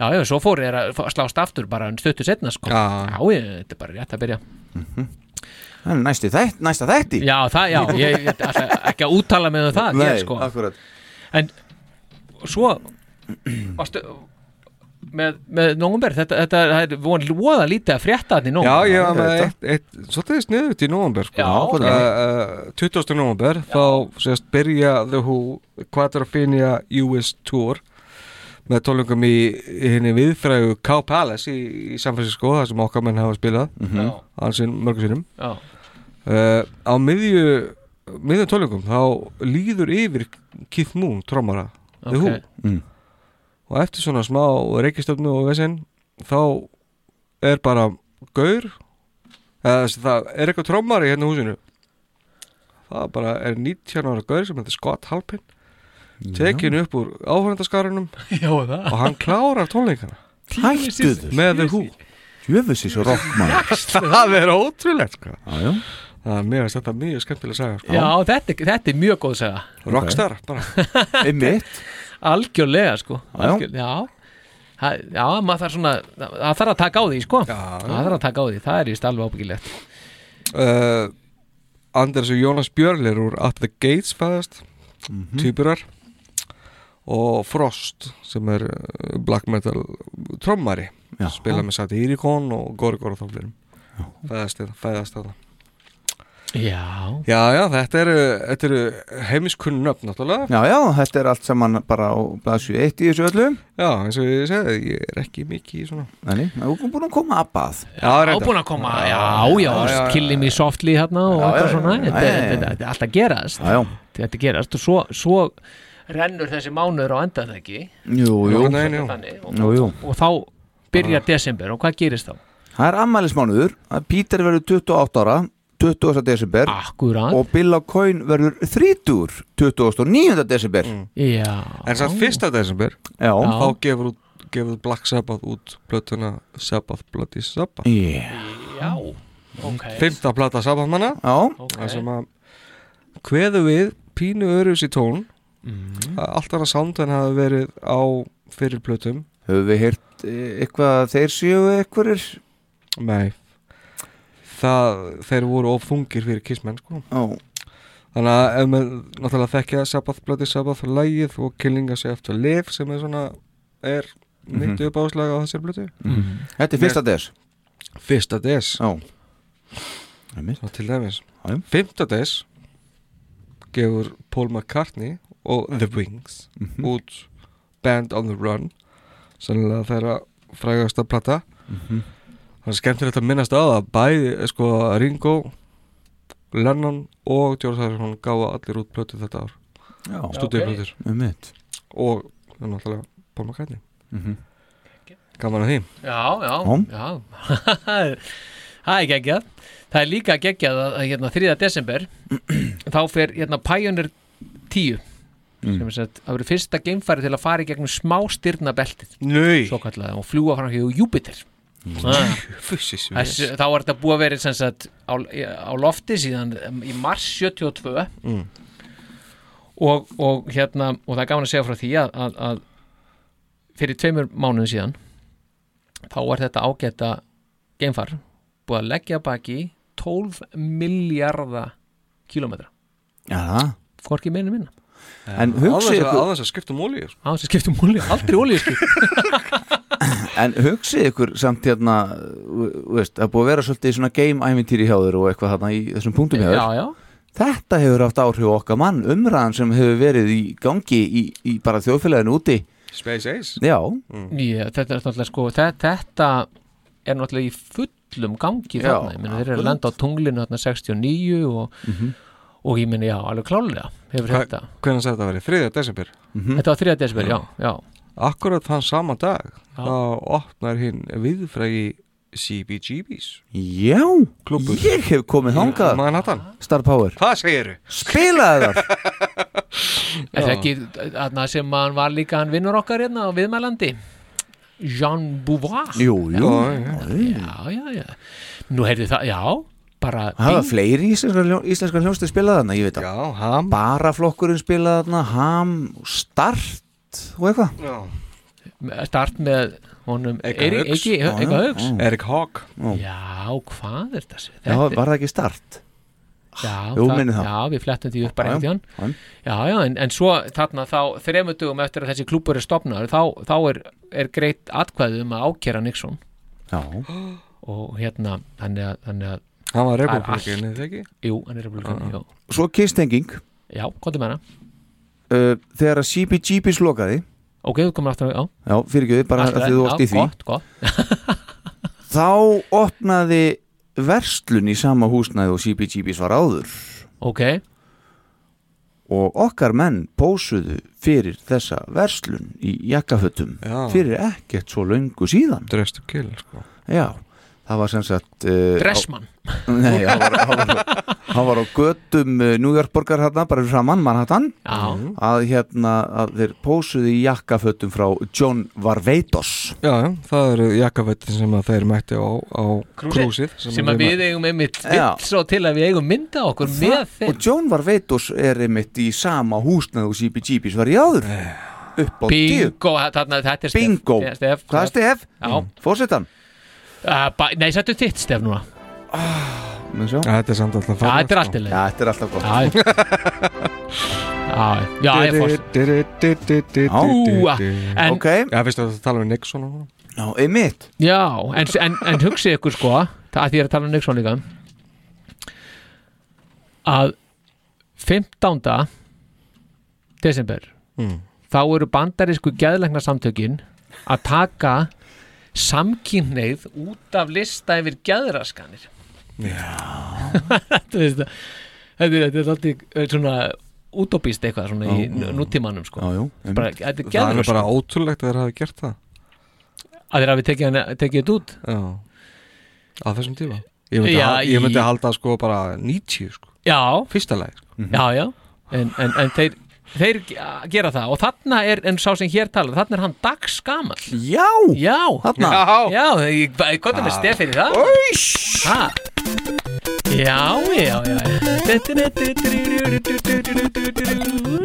[SPEAKER 3] Já, já, svo fóru þeir að fá- slást aftur bara en stuttu setna sko. Já, já, þetta er bara rétt að byrja
[SPEAKER 2] Það er næsti þætt, næsta þætti
[SPEAKER 3] Já, það, já, ég, ég ætla ekki að úttala með um það
[SPEAKER 2] Nei,
[SPEAKER 3] ég, sko.
[SPEAKER 2] akkurat
[SPEAKER 3] En svo varstu, með, með nógumber þetta, þetta það er von loða lítið að frétta hann í
[SPEAKER 4] Já,
[SPEAKER 3] nógumber
[SPEAKER 4] ég var með eitt, eitt svolítið sniðut í nóvumber sko.
[SPEAKER 3] Já, ok.
[SPEAKER 4] uh, uh, 20. nóvumber þá sést byrja The Who Quadrophenia US Tour með tólungum í, í henni viðfrægu K-Palace í, í San Francisco þar sem okkar menn hafa spilað
[SPEAKER 3] Mhm.
[SPEAKER 4] ansinn mörgum sinnum
[SPEAKER 3] Já.
[SPEAKER 4] uh, á miðju miðjum tólungum þá líður yfir Keith Moon trommara The
[SPEAKER 3] Ok.
[SPEAKER 4] Who
[SPEAKER 2] Mm.
[SPEAKER 4] og eftir svona smá reykistöfnu og vesinn þá er bara gaur eða þessi, það er eitthvað trommari hérna í húsinu það bara er 19 ára gaur sem heitir Scott Halpin tekin upp úr áhörndaskaranum
[SPEAKER 3] Já, það.
[SPEAKER 4] og hann klárar tónleikana
[SPEAKER 2] Hættu þér.
[SPEAKER 4] með The Who
[SPEAKER 2] Jöfusins og rockmann
[SPEAKER 4] það er ótrúlegt sko.
[SPEAKER 2] Já, já
[SPEAKER 4] Það er mjög, þetta er mjög skemmtilega að segja sko.
[SPEAKER 3] Já, þetta, er- þetta er mjög góð saga
[SPEAKER 4] Rockstar, bara.
[SPEAKER 2] Einmitt
[SPEAKER 3] Algjörlega sko
[SPEAKER 4] Já, já.
[SPEAKER 3] Algjör, Já Það- Já, maður þarf svona Það þarf að taka á því sko Það þarf að taka á því, það er víst alveg ábyggilegt
[SPEAKER 4] uh, Anders og Jónas Björlir úr At the Gates fæðast
[SPEAKER 2] Mhm.
[SPEAKER 4] týpurar og Frost sem er uh, black metal trommari
[SPEAKER 2] Já.
[SPEAKER 4] spila með Satirikon og Gorgor og þáflirum fæðast þetta fæðast þetta
[SPEAKER 3] Já
[SPEAKER 4] Já, já, þetta eru, þetta eru heimiskunn nöfn náttúrulega
[SPEAKER 2] Já, já, þetta er allt saman bara á blaðsju 1 í þessu öllu
[SPEAKER 4] Já, eins og ég segði, ég er ekki mikið í svona
[SPEAKER 2] Þannig, þú erum búin að koma að bað
[SPEAKER 3] Já, búin að koma, já, já, já, já killim í softly hérna og
[SPEAKER 2] Já,
[SPEAKER 3] alltaf
[SPEAKER 2] já,
[SPEAKER 3] svona
[SPEAKER 2] já,
[SPEAKER 3] þetta,
[SPEAKER 2] já,
[SPEAKER 3] er-
[SPEAKER 2] já.
[SPEAKER 3] þetta, þetta er alltaf gerast
[SPEAKER 2] Já, já.
[SPEAKER 3] Þetta er gerast og svo, svo rennur þessi mánuður á enda það ekki
[SPEAKER 2] Jú, jú
[SPEAKER 3] Þetta er þannig. og,
[SPEAKER 2] Jú, jú
[SPEAKER 3] og þá byrjar desember og hvað gerist þá?
[SPEAKER 2] Það er ammælismánuður að Pítur verður 28 ára 20. desember
[SPEAKER 3] Akkurat
[SPEAKER 2] Og Bill á Coyne verður 30 29. desember
[SPEAKER 3] Mm. Já
[SPEAKER 4] En samt fyrsta desember
[SPEAKER 2] Já.
[SPEAKER 4] þá gefur, út- gefur Black Sabbath út blötuna Sabbath Bloody Sabbath
[SPEAKER 2] yeah.
[SPEAKER 3] Já, ok
[SPEAKER 4] Fymta plata Sabbathmanna
[SPEAKER 2] okay.
[SPEAKER 4] Það sem að kveðu við pínu öruðs í tón mm. Allt annað sound en hafi verið á fyrir plötum
[SPEAKER 2] Höfum við heyrt e, eitthvað að þeir séu eitthvarir?
[SPEAKER 4] Nei Það, þeir voru ofungir fyrir kissmenn sko
[SPEAKER 2] Ó.
[SPEAKER 4] Þannig að ef með náttúrulega þekkja Sabbath Bloody Sabbath lægið og Killing Us After Live sem er svona er
[SPEAKER 2] Mhm.
[SPEAKER 4] mitt upp áslag á þessari blötu
[SPEAKER 2] Mhm. Þetta er fyrsta des
[SPEAKER 4] Fyrsta des
[SPEAKER 2] Já
[SPEAKER 4] Svo til dæmis Fymta des gefur Mhm. Paul McCartney og The Wings út Band on the Run sennilega þeirra frægasta plata Mhm. það er skemmtilegt að minnast á að bæði eh, sko Ringo Lennon og George Harrison gáðu allir út plötu þetta ár
[SPEAKER 2] Já.
[SPEAKER 4] stúdíuplötur
[SPEAKER 2] Ok. Einmitt.
[SPEAKER 4] og það er náttúrulega Paul McCartney
[SPEAKER 2] Mhm.
[SPEAKER 4] gaman að því
[SPEAKER 3] Já, já,
[SPEAKER 4] Hóm.
[SPEAKER 3] já Það er geggjað Það er líka geggjað að að, hérna, 3. desember þá fer hérna Pioneer 10
[SPEAKER 10] Mm.
[SPEAKER 3] sem er sett, það verður fyrsta geimfæri til að fara í gegnum smá styrnabeltið
[SPEAKER 4] Nei.
[SPEAKER 3] svo kallega og fljúa fram hjá Júpiter Ah.
[SPEAKER 4] Fussis,
[SPEAKER 3] Þessu,
[SPEAKER 4] yes.
[SPEAKER 3] þá var þetta búið að vera sem sagt, á, á lofti síðan um, í mars 72
[SPEAKER 4] Mm.
[SPEAKER 3] og, og hérna og það er gaman að segja frá því að, að, að fyrir tveimur mánuðum síðan þá var þetta ágæta geimfar búið að leggja að baki 12 miljardar kilometra
[SPEAKER 2] Já,
[SPEAKER 3] hvorki meina minna
[SPEAKER 2] En hugsið
[SPEAKER 4] ykkur-
[SPEAKER 2] ykkur,
[SPEAKER 4] aðeins að skipta um olíu
[SPEAKER 3] á þess að skipta um olíu, aldrei olíu
[SPEAKER 2] en hugsið ykkur samt hérna, þú veist, það er búið að vera svolítið svona game-ævintýri hjá þér og eitthvað þarna í þessum punktum hjá þér.
[SPEAKER 3] Já, já.
[SPEAKER 2] Þetta hefur haft áhrif á okkar mann, umræðan sem hefur verið í gangi í, í bara þjóðfélaginu úti.
[SPEAKER 4] Space Ace
[SPEAKER 2] Já.
[SPEAKER 3] Já, þetta er náttúrulega sko þe- þetta er náttúrulega í fullum gangi
[SPEAKER 2] Já,
[SPEAKER 3] þarna, ég meina þeir eru að landa á tunglinu þarna 69 og,
[SPEAKER 4] Mhm.
[SPEAKER 3] og ég meina já, alveg klálega hefur
[SPEAKER 4] Hva-
[SPEAKER 3] þetta,
[SPEAKER 4] Hvenær sagði þetta að vera? 3. desember?
[SPEAKER 2] Mhm.
[SPEAKER 3] þetta var 3. desibel, já, já
[SPEAKER 4] Akkurat þann sama dag þá opnar hinn viðfrægi CBGB's
[SPEAKER 2] Já,
[SPEAKER 4] Klúbbur.
[SPEAKER 2] ég hef komið þangað.
[SPEAKER 4] Manhattan.
[SPEAKER 2] Star Power.
[SPEAKER 4] Hvað segiru?
[SPEAKER 2] Spilaði það.
[SPEAKER 3] Er það ekki þarna sem hann var líka hann vinnur okkar hérna á viðmælandi Jean Beauvoir
[SPEAKER 2] Jú, jú.
[SPEAKER 4] eh,
[SPEAKER 3] Já, já, já Nú heyrðu það, já, bara
[SPEAKER 2] Það var fleiri íslenskar, hljó, íslenskar hljónstu spilaði þarna, ég veit að
[SPEAKER 4] Já, ham
[SPEAKER 2] Bara flokkurinn spilaði þarna, ham, start og eitthvað
[SPEAKER 3] fín- start með honum
[SPEAKER 4] Eika
[SPEAKER 3] Eirík-
[SPEAKER 4] Hauks.
[SPEAKER 3] Eiki-
[SPEAKER 4] Já,
[SPEAKER 3] Eika
[SPEAKER 4] já.
[SPEAKER 3] Hauks
[SPEAKER 4] Mm. Eric Hawk.
[SPEAKER 2] Mm.
[SPEAKER 3] Já, hvað er þetta?
[SPEAKER 2] Já, var það ekki start?
[SPEAKER 3] Já,
[SPEAKER 2] Jú,
[SPEAKER 3] það-
[SPEAKER 2] minni það.
[SPEAKER 3] já, við flettum því upp bara
[SPEAKER 2] Já,
[SPEAKER 3] einhvern tíðan
[SPEAKER 2] já.
[SPEAKER 3] Já, já, en, en svo þarna þá þremur dugum eftir að þessi klúbur er stopnar þá, þá er, er greitt atkvæði um að ákjæra Nixon
[SPEAKER 2] Já
[SPEAKER 3] og hérna, þannig að, þannig að
[SPEAKER 4] Hann var
[SPEAKER 3] það er
[SPEAKER 4] repúblikani,
[SPEAKER 3] allt-
[SPEAKER 4] eða ekki?
[SPEAKER 3] Jú, hann er republikani, já
[SPEAKER 2] Svo kistenging
[SPEAKER 3] Já, komdu með hana
[SPEAKER 2] uh, Þegar að CBGB slokaði
[SPEAKER 3] Ok, þú komur aftur, já
[SPEAKER 2] Já, fyrir ekki, bara
[SPEAKER 3] Allt í
[SPEAKER 2] að
[SPEAKER 3] lagi,
[SPEAKER 2] þið þú
[SPEAKER 3] já,
[SPEAKER 2] varst í því
[SPEAKER 3] gott, gott.
[SPEAKER 2] Þá opnaði verslun í sama húsnæði og CBGB var áður
[SPEAKER 3] Ok
[SPEAKER 2] Og okkar menn pósuðu fyrir þessa verslun í jakkafötum
[SPEAKER 4] Já.
[SPEAKER 2] Fyrir ekkert svo löngu síðan
[SPEAKER 4] Dress to kill, sko
[SPEAKER 2] Já, það var sem sagt uh,
[SPEAKER 3] Dressmann.
[SPEAKER 2] á- Nei, hann var, hann var, hann var á götum uh, New York borgar hérna, bara fyrir saman Manhattan
[SPEAKER 3] Já.
[SPEAKER 2] að hérna, að þeir pósuðu í jakkafötum frá John Varveitos
[SPEAKER 4] Já, já, það eru jakkavettin sem að þeir mætti á, á krúsið
[SPEAKER 3] sem að við eigum einmitt
[SPEAKER 2] Já.
[SPEAKER 3] vill svo til að við eigum mynda okkur með þeim
[SPEAKER 2] og John Varveitos er einmitt í sama húsnað og CBGB's var í áður upp á tíu
[SPEAKER 3] Bingo, þarna, þetta er Stef
[SPEAKER 2] Bingo.
[SPEAKER 3] Stef, Stef,
[SPEAKER 2] Hvað er Stef? Mm.
[SPEAKER 3] Já.
[SPEAKER 2] Fórsetan
[SPEAKER 3] Uh, ba- nei, settu þitt Stef núna
[SPEAKER 2] Já,
[SPEAKER 4] Þetta er samt alltaf
[SPEAKER 3] Já, þetta er alltaf leið
[SPEAKER 2] Já, þetta er alltaf gott
[SPEAKER 3] Já, já, ég fórst Úa, en-
[SPEAKER 4] Ok Já, veistu að það tala um Nixon og
[SPEAKER 2] Já, einmitt
[SPEAKER 3] Já, en, en, en hugsið ykkur sko það að því ég er að tala um Nixon líka að 15. desember
[SPEAKER 4] Mm.
[SPEAKER 3] þá eru bandarísku geðlegna samtökin að taka samkynneið út af lista yfir geðraskanir Já Þetta veist það Þetta er- þetta er alltaf svona útópist eitthvað svona í
[SPEAKER 4] Já.
[SPEAKER 3] nútímanum sko
[SPEAKER 2] já,
[SPEAKER 3] bara, Þetta er
[SPEAKER 4] Það er
[SPEAKER 3] geðraskun
[SPEAKER 4] bara ótrúlegt að þeir hafi gert það
[SPEAKER 3] að þeir hafi tekið, hann- tekið þetta út
[SPEAKER 4] Já, á þessum tíma Ég myndi,
[SPEAKER 3] Já,
[SPEAKER 4] hal- ég myndi
[SPEAKER 3] í-
[SPEAKER 4] halda sko bara 90 sko
[SPEAKER 3] Já
[SPEAKER 4] Fyrsta lagi sko.
[SPEAKER 3] Já, já, en, en, en þeir, þeir gera það og þarna er, en sá sem hér talar þarna er hann dagskamall
[SPEAKER 2] Já,
[SPEAKER 3] já,
[SPEAKER 2] þarna
[SPEAKER 3] Já, ég gott með
[SPEAKER 10] Ah.
[SPEAKER 3] stef fyrir það ha. Já, já, já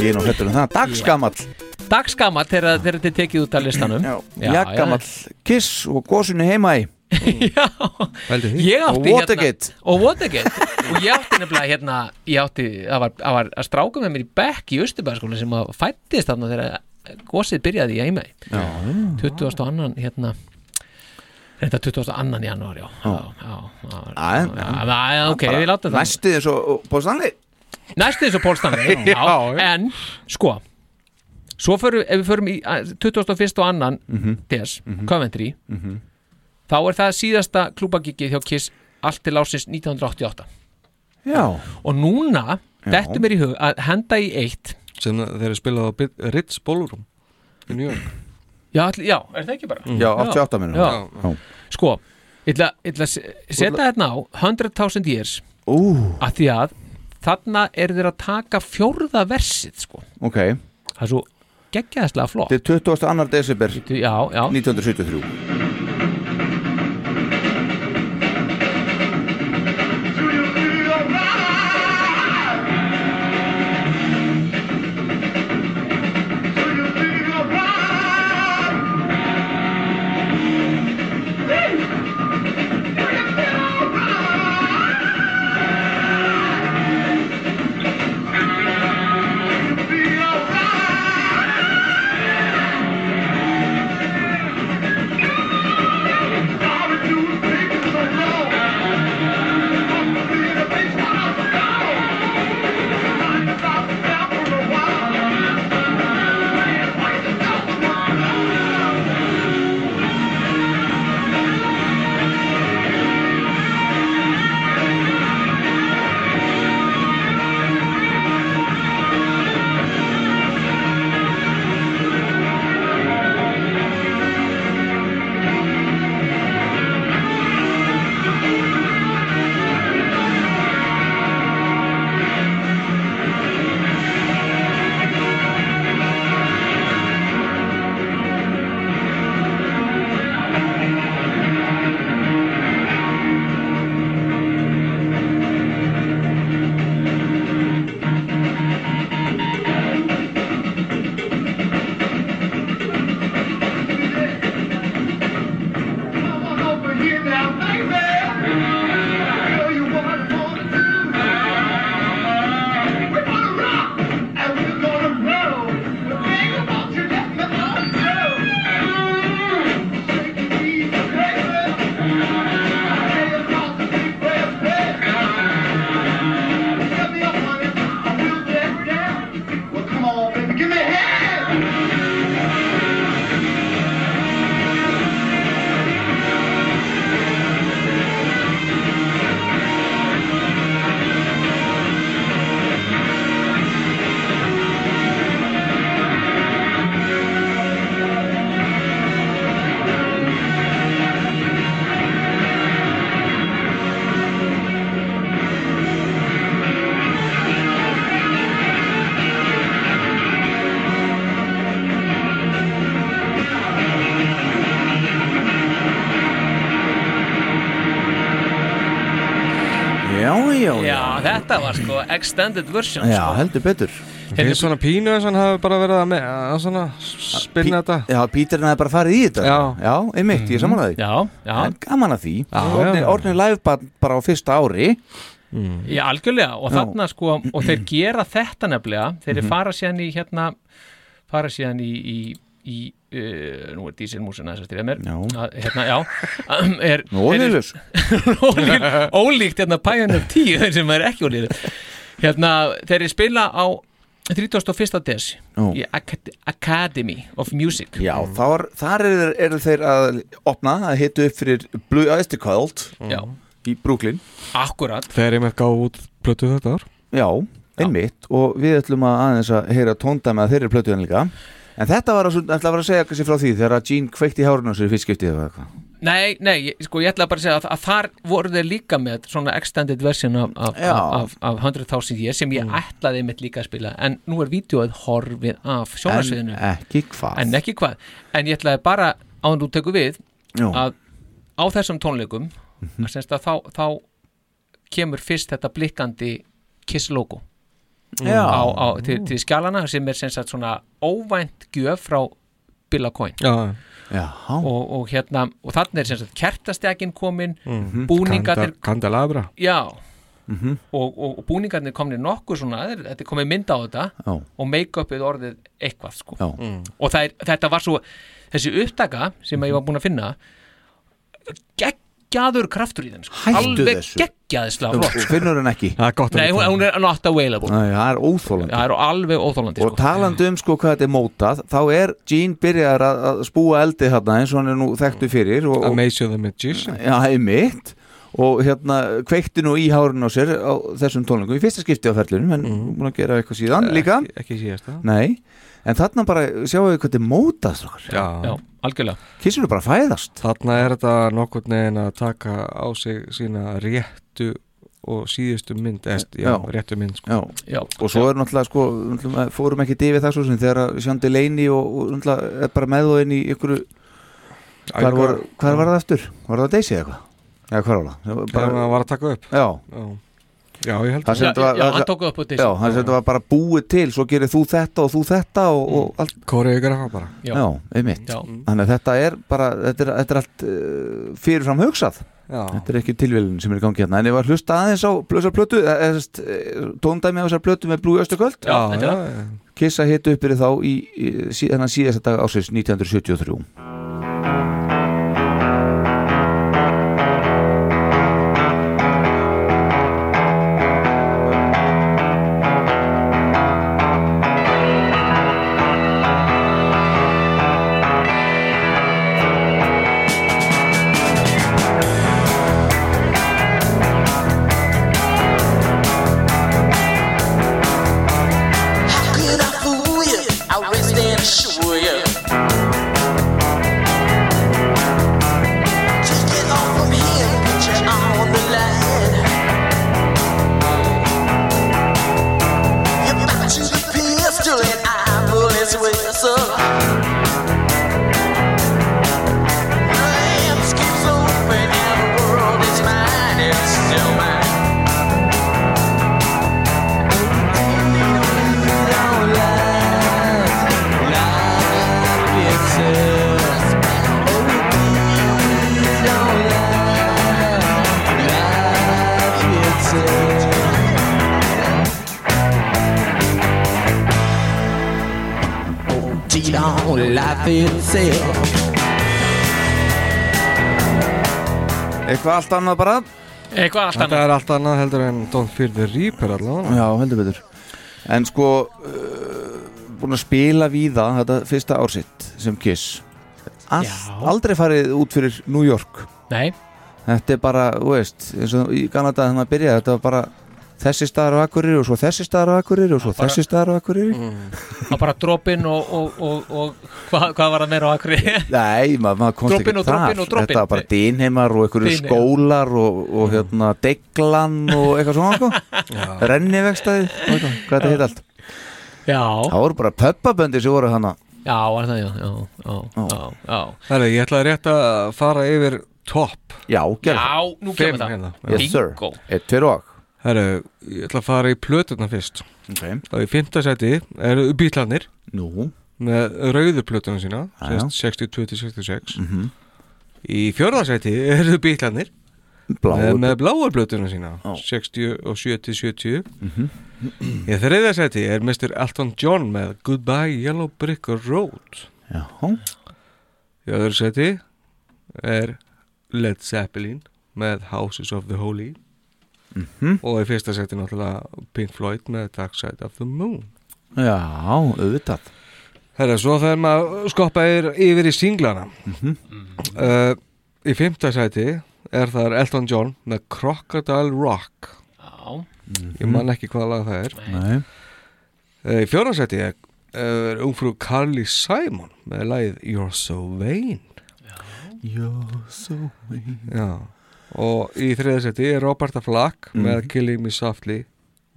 [SPEAKER 2] Ég er nú hættur um það, dagsgamall
[SPEAKER 3] Dagskamall þegar þegar þetta er tekið út af listanum Já,
[SPEAKER 2] Jakkamall, kiss og gósunni heima í
[SPEAKER 3] Ég átti
[SPEAKER 2] Og Watergate
[SPEAKER 3] hérna, Og Watergate Og ég átti nefnilega hérna Ég átti Það var, það var að stráka með mér í bekk í Östubæðarskóla sem að fættist þarna þegar gósið byrjaði í Eimæ
[SPEAKER 2] Já, já.
[SPEAKER 3] 22. hérna Þetta 22. janúar, já Já, já, já,
[SPEAKER 2] Æ,
[SPEAKER 3] já, já, já, ok, við látum það
[SPEAKER 2] Næstu þess og bóðstanli
[SPEAKER 3] Næstu þessu pólstanni, já,
[SPEAKER 2] Já,
[SPEAKER 3] en sko Svo förum, ef við förum í a, 21. og annan des, Coventry
[SPEAKER 2] Mhm.
[SPEAKER 3] þá er það síðasta klúbagikið hjá Kiss allt til ásins 1988
[SPEAKER 2] Já.
[SPEAKER 3] og núna,
[SPEAKER 4] Já.
[SPEAKER 3] þetta mér í hug að henda í eitt
[SPEAKER 4] sem þeir eru spilað á Bit- Ritz Ballroom í New York
[SPEAKER 3] Já, ætli, já er það ekki bara?
[SPEAKER 4] Mm. Já, 88 minnum.
[SPEAKER 3] Já.
[SPEAKER 4] Já. Já.
[SPEAKER 3] Sko, ég ætla ég ætla að se- setja þetta á 100.000 years
[SPEAKER 2] Ú.
[SPEAKER 3] að því að þarna eru þeir að taka fjórða versið sko.
[SPEAKER 2] ok
[SPEAKER 3] Það er svo geggjaðislega flott
[SPEAKER 2] Þetta er 22. desember
[SPEAKER 3] já, já.
[SPEAKER 2] 1973 Já, já, já
[SPEAKER 3] Já, þetta var sko extended version sko.
[SPEAKER 2] Já, heldur betur
[SPEAKER 4] Þetta er svona pínu eins og hann hafi bara verið að, með, að svona spinna þetta
[SPEAKER 2] Já, Píturinn hefði bara farið í þetta Já, já einmitt, ég samanlega
[SPEAKER 3] Já, Mhm. já.
[SPEAKER 2] En gaman að því
[SPEAKER 3] já.
[SPEAKER 2] Orðnir orðnir live bara, bara á fyrsta ári
[SPEAKER 3] Já, algjörlega og
[SPEAKER 2] Já.
[SPEAKER 3] þarna sko og þeir gera þetta nefnilega þeir
[SPEAKER 2] Mhm.
[SPEAKER 3] fara síðan í hérna fara síðan í, í, í uh, nú er dísilmúsin aðeins eftir mér
[SPEAKER 2] Já.
[SPEAKER 3] að, hérna, já Ahem, er,
[SPEAKER 2] Nú, olíulaus.
[SPEAKER 3] er- Ólík- ólíkt hérna Pioneer 10 þeir sem er ekki ólíður hérna þeir eru spila á 31. des
[SPEAKER 2] Já.
[SPEAKER 3] í Acad Academy of Music
[SPEAKER 2] Já, þar, þar eru þeir, er þeir að opna að hitu upp fyrir Blue Oyster Cult
[SPEAKER 3] Já.
[SPEAKER 2] í Brooklyn
[SPEAKER 3] Akkurat
[SPEAKER 4] Þegar ég með gáði út plötu þetta ár
[SPEAKER 2] Já, einmitt og við ætlum að aðeins að heyra tóndæmi að þeirri plötu en líka En þetta var að, ætla að vera að segja kannski frá því þegar að Gene kveikti í hárinu sér fyrstskiptið eða eitthvað
[SPEAKER 3] Nei, nei, ég- sko ég ætla bara að segja að, að þar voru þeir líka með svona extended version af, af,
[SPEAKER 2] Já. Mm.
[SPEAKER 3] af, af 100.000 ég sem ég ætlaði mitt líka að spila en nú er vídeoið horfið af sjónarsviðinu
[SPEAKER 2] En ekki hvað
[SPEAKER 3] en ekki hvað, en ég ætlaði bara áður en þú tekur við
[SPEAKER 2] Já.
[SPEAKER 3] að á þessum tónleikum mm
[SPEAKER 2] Mhm.
[SPEAKER 3] að þá, þá kemur fyrst þetta blikkandi Kiss logo
[SPEAKER 2] Já.
[SPEAKER 3] á, á, til, til skjálana sem er sem sagt svona óvænt gjöf frá Bill Coin
[SPEAKER 4] Já.
[SPEAKER 2] Já.
[SPEAKER 3] Og, og hérna og þannig er sem sagt kertastjakin komin
[SPEAKER 4] Mhm.
[SPEAKER 3] búningarnir
[SPEAKER 4] Kanda- Kandelabra
[SPEAKER 3] já
[SPEAKER 4] Mhm.
[SPEAKER 3] og, og, og búningarnir komnir nokkuð svona þeir- þetta er komið mynd á þetta
[SPEAKER 2] Já.
[SPEAKER 3] og make-upið orðið eitthvað sko
[SPEAKER 2] Já. Mm. Mhm.
[SPEAKER 3] og það er, þetta var svo þessi upptaka sem að ég var búin að finna geggjaður kraftur í þeim sko.
[SPEAKER 2] Hættu
[SPEAKER 3] alveg
[SPEAKER 2] þessu. Um
[SPEAKER 3] geggjaður slafrott sko.
[SPEAKER 2] finnur hann ekki
[SPEAKER 4] það er gott
[SPEAKER 3] nei, hún, hún er not available
[SPEAKER 2] það er óþólandi
[SPEAKER 3] það er alveg óþólandi
[SPEAKER 2] og talandi um sko hvað þetta er mótað þá er Gene byrjar að að spúa eldi þarna eins og hann er nú þekktu fyrir og,
[SPEAKER 4] Amazing the Magician
[SPEAKER 2] já, einmitt og hérna kveikti nú í hárun á sér á þessum tónleikum í fyrsta skipti á ferlunum en mm. búin að gera eitthvað síðan líka
[SPEAKER 4] ekki, ekki síðast það
[SPEAKER 2] nei, en þarna bara sjáum við hvað þetta er mótað strákar.
[SPEAKER 4] já.
[SPEAKER 3] já, algjörlega
[SPEAKER 2] kissur bara að fæðast
[SPEAKER 4] þarna er þetta nokkurn veginn að taka á sig sína réttu og síðustu mynd eðst, já,
[SPEAKER 2] Já.
[SPEAKER 4] réttu mynd sko.
[SPEAKER 2] Já. og svo er náttúrulega sko, náttúrulega, fórum ekki divið það svo sem þegar að Sjöndi Leini og, og náttúrulega er bara með og inn í ykkur hvar var, hvar var það eftir? Var það Daisy eða eitthvað? Já, hvar var það? það?
[SPEAKER 4] Þegar
[SPEAKER 2] Bara,
[SPEAKER 4] hann var að taka upp
[SPEAKER 2] já,
[SPEAKER 4] já, já ég held
[SPEAKER 2] það sem
[SPEAKER 3] Já,
[SPEAKER 2] þetta var,
[SPEAKER 3] já,
[SPEAKER 2] það-
[SPEAKER 3] hann tók upp á Daisy.
[SPEAKER 2] Já, hann sem þetta var bara búið til, svo gerir þú þetta og þú þetta og, og allt
[SPEAKER 4] koreografa bara
[SPEAKER 3] Já.
[SPEAKER 2] Já, einmitt
[SPEAKER 3] Já.
[SPEAKER 2] Þannig að þetta er bara, þetta er, þetta er allt uh, fyrirfram hugsað
[SPEAKER 4] Já.
[SPEAKER 2] Þetta er ekki tilvílun sem er í gangi hérna En ég var að hlusta aðeins á blöðsar plötu eh, Tóndæmi á þessar plötu með Blue Östu Kvöld
[SPEAKER 4] Já, þetta er það. já, já.
[SPEAKER 2] Kissa hitu upp fyrir þá í, í sí- þennan síðasta dag ásins 1973
[SPEAKER 10] Could I fool you? I'll rest and assure you. Just get off from here, put you on the line. You're back to the pistol and I pull his whistle. Hands keeps open and the world is mine, it's still mine. Cheat on life itself.
[SPEAKER 2] Eitthvað allt annað bara
[SPEAKER 3] eitthvað allt
[SPEAKER 4] þetta
[SPEAKER 3] annað
[SPEAKER 4] er allt annað heldur en Don't Fear the Reaper allavega
[SPEAKER 2] Já, heldur betur En sko uh, Búin að spila víða þetta fyrsta ársitt sem Kiss Allt,
[SPEAKER 3] Já.
[SPEAKER 2] Aldrei farið út fyrir New York
[SPEAKER 3] nei,
[SPEAKER 2] Þetta er bara, þú veist, eins og í Kanada þegar maður byrjaði, þetta var bara þessi staðar á Akureyri og svo þessi staðar á Akureyri og svo
[SPEAKER 3] bara- Mm.
[SPEAKER 2] þessi staðar á Akureyri
[SPEAKER 3] það bara droppin og, og, og, og hvað, hvað var það meira á akri
[SPEAKER 2] Nei, maður mað komst
[SPEAKER 3] Droppinn og
[SPEAKER 2] ekki þar
[SPEAKER 3] droppinn og droppinn.
[SPEAKER 2] Þetta var bara dýnheimar og einhverju
[SPEAKER 3] Dynheimar.
[SPEAKER 2] skólar og, og hérna deglan og eitthvað svona sko. Rennivegstæði, hvað þetta heit allt
[SPEAKER 3] já,
[SPEAKER 2] Það voru bara pöppaböndi sem voru hana
[SPEAKER 3] já, var það já, já, já, já, já.
[SPEAKER 4] Herri, ég ætlaði rétt að fara yfir top
[SPEAKER 2] Já, gerðu það
[SPEAKER 3] já nú
[SPEAKER 4] Fimm
[SPEAKER 3] kemur það
[SPEAKER 4] hérna.
[SPEAKER 2] Yes sir,
[SPEAKER 3] Bingo.
[SPEAKER 2] eitt fyrir og
[SPEAKER 4] Herri, ég ætla að fara í plötuna fyrst
[SPEAKER 2] okay.
[SPEAKER 4] Það er í fimmtasæti eru bílarnir
[SPEAKER 2] Nú,
[SPEAKER 4] með rauðu plötuna sína
[SPEAKER 2] Já, Mhm. já.
[SPEAKER 4] 62-66 mm -hmm. Í fjörðasæti eru bílarnir með,
[SPEAKER 2] bláu
[SPEAKER 4] Eh, með bláar plötuna sína
[SPEAKER 2] Já.
[SPEAKER 4] 60 og 70-70 Í þriðasæti er Mr. Elton John með Goodbye Yellow Brick Road
[SPEAKER 2] Já,
[SPEAKER 4] Í öðru sæti er Led Zeppelin með Houses of the Holy og í fyrsta sæti náttúrulega Pink Floyd með Dark Side of the Moon
[SPEAKER 2] já, auðvitað
[SPEAKER 4] Herra, svo þegar maður skoppa er yfir í singlana uh, Í fymta sæti er það Elton John með Crocodile Rock
[SPEAKER 3] já,
[SPEAKER 4] Ég man ekki hvaða lag það er
[SPEAKER 2] Nei,
[SPEAKER 4] uh, Í fjóra sæti er, er ungfrú Carly Simon með lagið You're So Vain Já. Og í þriða sæti er Roberta Flack með Killing Me Softly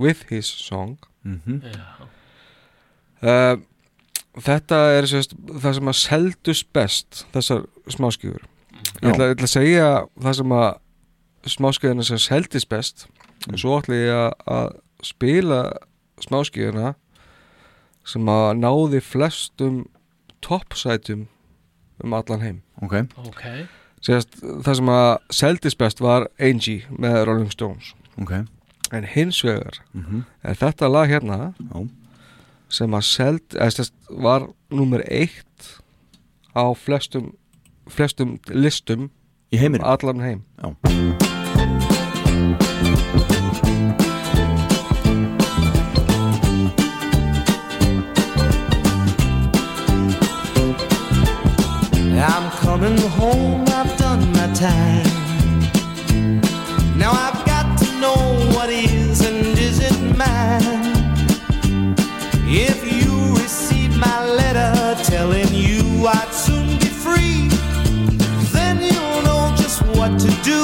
[SPEAKER 4] With His Song uh, Þetta er sérst, það sem að seldust best þessar smáskjöfur Ég
[SPEAKER 2] Já.
[SPEAKER 4] ætla, ég ætla að segja það sem að smáskjöfuna sem seldist best og svo ætla ég að, að spila smáskjöfuna sem að náði flestum toppsætum um allan heim
[SPEAKER 2] ok
[SPEAKER 3] ok
[SPEAKER 4] Sérst, það sem að seldist best var Angie með Rolling Stones
[SPEAKER 2] Ok,
[SPEAKER 4] en hins vegar
[SPEAKER 2] Mhm.
[SPEAKER 4] er þetta lag hérna
[SPEAKER 2] Já.
[SPEAKER 4] sem að seld eða, sérst, var nummer eitt á flestum, flestum listum
[SPEAKER 14] Í heiminum?
[SPEAKER 4] Allan heim
[SPEAKER 14] Já
[SPEAKER 10] I'm coming home, I've done my time. Now I've got to know what is and isn't mine. If you receive my letter telling you I'd soon be free, then you'll know just what to do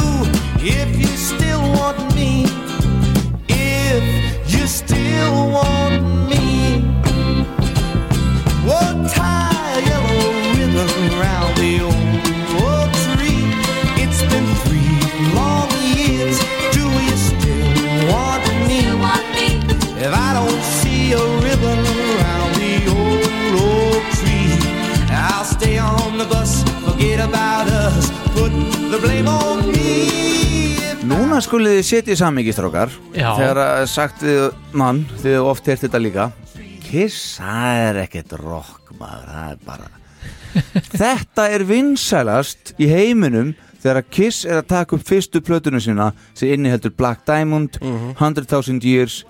[SPEAKER 10] if you still want me. If you still want me. Oh, tie a yellow ribbon round the old tree. It's been three long years. Do you still want me? If I don't see a ribbon around the old oak tree, I'll stay on the bus. Forget about us. Put the blame on me.
[SPEAKER 2] Núna skulið þið setja í samingi strákar
[SPEAKER 10] Já.
[SPEAKER 2] Þegar að sagt þið mann Þið hefur oft hert þetta líka Kiss, það er ekkert rock maður Það er bara Þetta er vinsælast í heiminum Þegar að Kiss er að taka upp fyrstu plötuna sína sem inniheldur Black Diamond 100.000 Years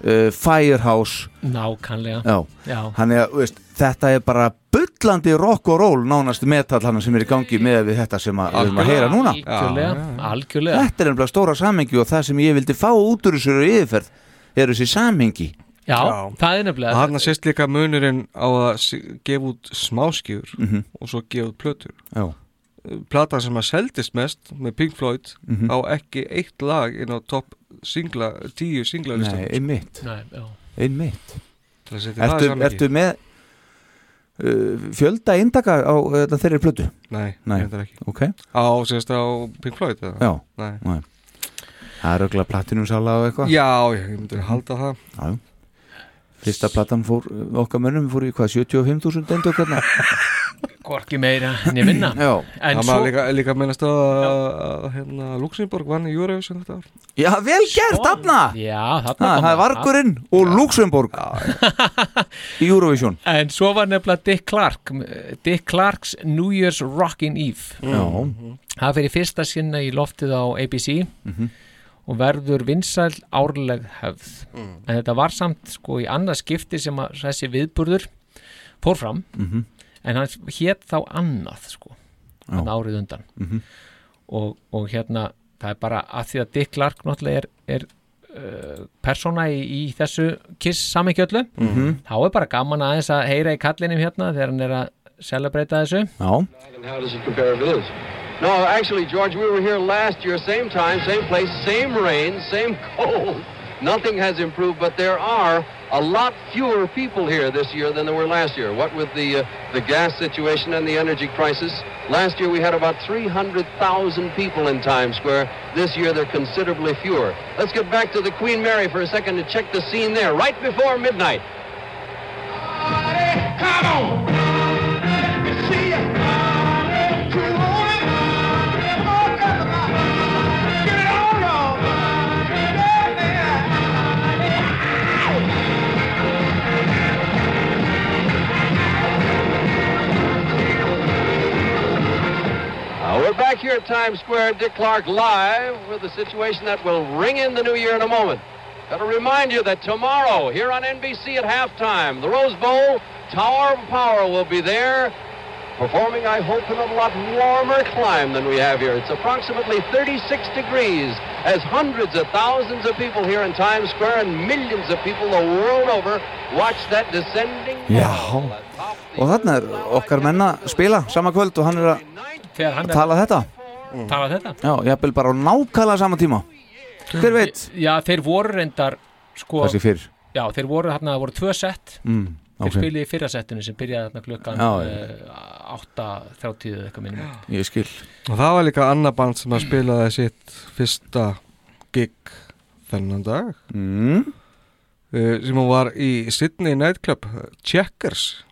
[SPEAKER 2] uh, Firehouse
[SPEAKER 3] Nákvæmlega
[SPEAKER 2] Já,
[SPEAKER 3] Já.
[SPEAKER 2] Þannig að, þú veist, þetta er bara bullandi rock og roll nánast metallana sem er í gangi með við þetta sem að, við erum að heyra núna
[SPEAKER 3] Algjörlega, algjörlega
[SPEAKER 2] Þetta er nefnilega stóra samhengi og það sem ég vildi fá út úr þessu yfirferð er þessi samhengi
[SPEAKER 3] Já, það er nefnilega
[SPEAKER 4] Og hann sést líka munurinn á að s- gefa út smáskjur og svo gefa út plötur
[SPEAKER 2] Mhm.
[SPEAKER 4] Eh,
[SPEAKER 2] Já.
[SPEAKER 4] Platan sem að seldist mest með Pink Floyd
[SPEAKER 2] Mhm.
[SPEAKER 4] á ekki eitt lag inn á topp singla, tíu singla
[SPEAKER 2] Nei, einmitt
[SPEAKER 3] Nei, já.
[SPEAKER 2] Einmitt
[SPEAKER 4] Til að setja það í
[SPEAKER 2] Ertu,
[SPEAKER 4] samhengi.
[SPEAKER 2] ertu með uh, fjölda eindaka á uh, þetta þeirri plötu?
[SPEAKER 4] Nei,
[SPEAKER 2] Nei.
[SPEAKER 4] reyndar ekki.
[SPEAKER 2] Ok,
[SPEAKER 4] Á, sést á Pink Floyd eða?
[SPEAKER 2] já
[SPEAKER 4] Nei.
[SPEAKER 2] Nei. Það er auðvitað platinumsala og eitthvað
[SPEAKER 4] Já, já, ég
[SPEAKER 2] Mhm.
[SPEAKER 4] myndi að halda það
[SPEAKER 2] Já, já. Fyrsta platan fór, okkar mönnum fór í hvað, 75.000 endokkarna?
[SPEAKER 3] Hvorki meira en ég minna
[SPEAKER 2] Já.
[SPEAKER 3] En
[SPEAKER 4] Það
[SPEAKER 3] svo
[SPEAKER 4] maður líka, líka minnast á að að, hérna, Luxemburg vann í Eurovision þetta ár
[SPEAKER 2] Já, vel gert, Afna!
[SPEAKER 3] Já, þarna kom
[SPEAKER 2] Ah, Það er
[SPEAKER 3] það.
[SPEAKER 2] Vargurinn og Luxemburg í Eurovision
[SPEAKER 3] En svo var nefnilega Dick Clark Dick Clarks New Year's Rockin' Eve
[SPEAKER 2] Já.
[SPEAKER 3] Það fyrir fyrsta sinna í loftið á ABC
[SPEAKER 2] Mhm.
[SPEAKER 3] og verður vinsæl árleg hefð en þetta var samt sko í annað skipti sem að þessi viðburður fór fram
[SPEAKER 2] Mhm.
[SPEAKER 3] en hann hét þá annað sko hann árið undan
[SPEAKER 2] Mhm.
[SPEAKER 3] og, og hérna það er bara að því að Dick Clark náttúrulega er, er uh, persóna í, í þessu kiss samikjöllu
[SPEAKER 2] Mhm.
[SPEAKER 3] þá er bara gaman aðeins að heyra í kallinum hérna þegar hann er að celebrata þessu
[SPEAKER 2] Já
[SPEAKER 15] And how does it compare to this? No, actually, George, we were here last year, same time, same place, same rain, same cold. Nothing has improved, but there are a lot fewer people here this year than there were last year. What with the uh, the gas situation and the energy crisis, last year we had about 300,000 people in Times Square. This year they're considerably fewer. Let's get back to the Queen Mary for a second to check the scene there, right before midnight. Uh, we're back here at Times Square, Dick Clark live with a situation that will ring in the new year in a moment. Got to remind you that tomorrow, here on NBC at halftime, the Rose Bowl, Tower of Power will be there, performing, I hope, in a lot warmer climb than we have here. It's approximately 36 degrees, as hundreds of thousands of people here in Times Square and millions of people the world over watch that descending.
[SPEAKER 2] Já Og þarna er okkar menna að spila sama kvöld og hann er
[SPEAKER 3] Þegar hann
[SPEAKER 2] að
[SPEAKER 3] er-
[SPEAKER 2] tala þetta
[SPEAKER 3] tala um þetta
[SPEAKER 2] Já, jafnvel bara á nákvæmlega sama tíma Hver veit?
[SPEAKER 3] Já, þeir voru reyndar sko,
[SPEAKER 2] Þessi fyrr
[SPEAKER 3] Já, þeir voru hérna, það voru tvö sett
[SPEAKER 2] Mm,
[SPEAKER 3] Þeir
[SPEAKER 2] ok.
[SPEAKER 3] spilið í fyrra settinu sem byrjaði hérna klukkan
[SPEAKER 2] Já,
[SPEAKER 3] uh, 8.30 eða eitthvað minnum
[SPEAKER 2] Ég skil
[SPEAKER 4] Og það var líka annað band sem að spilaði sitt fyrsta gig þennan dag
[SPEAKER 2] mm.
[SPEAKER 4] Eh, sem hún var í Sydney Nightclub Checkers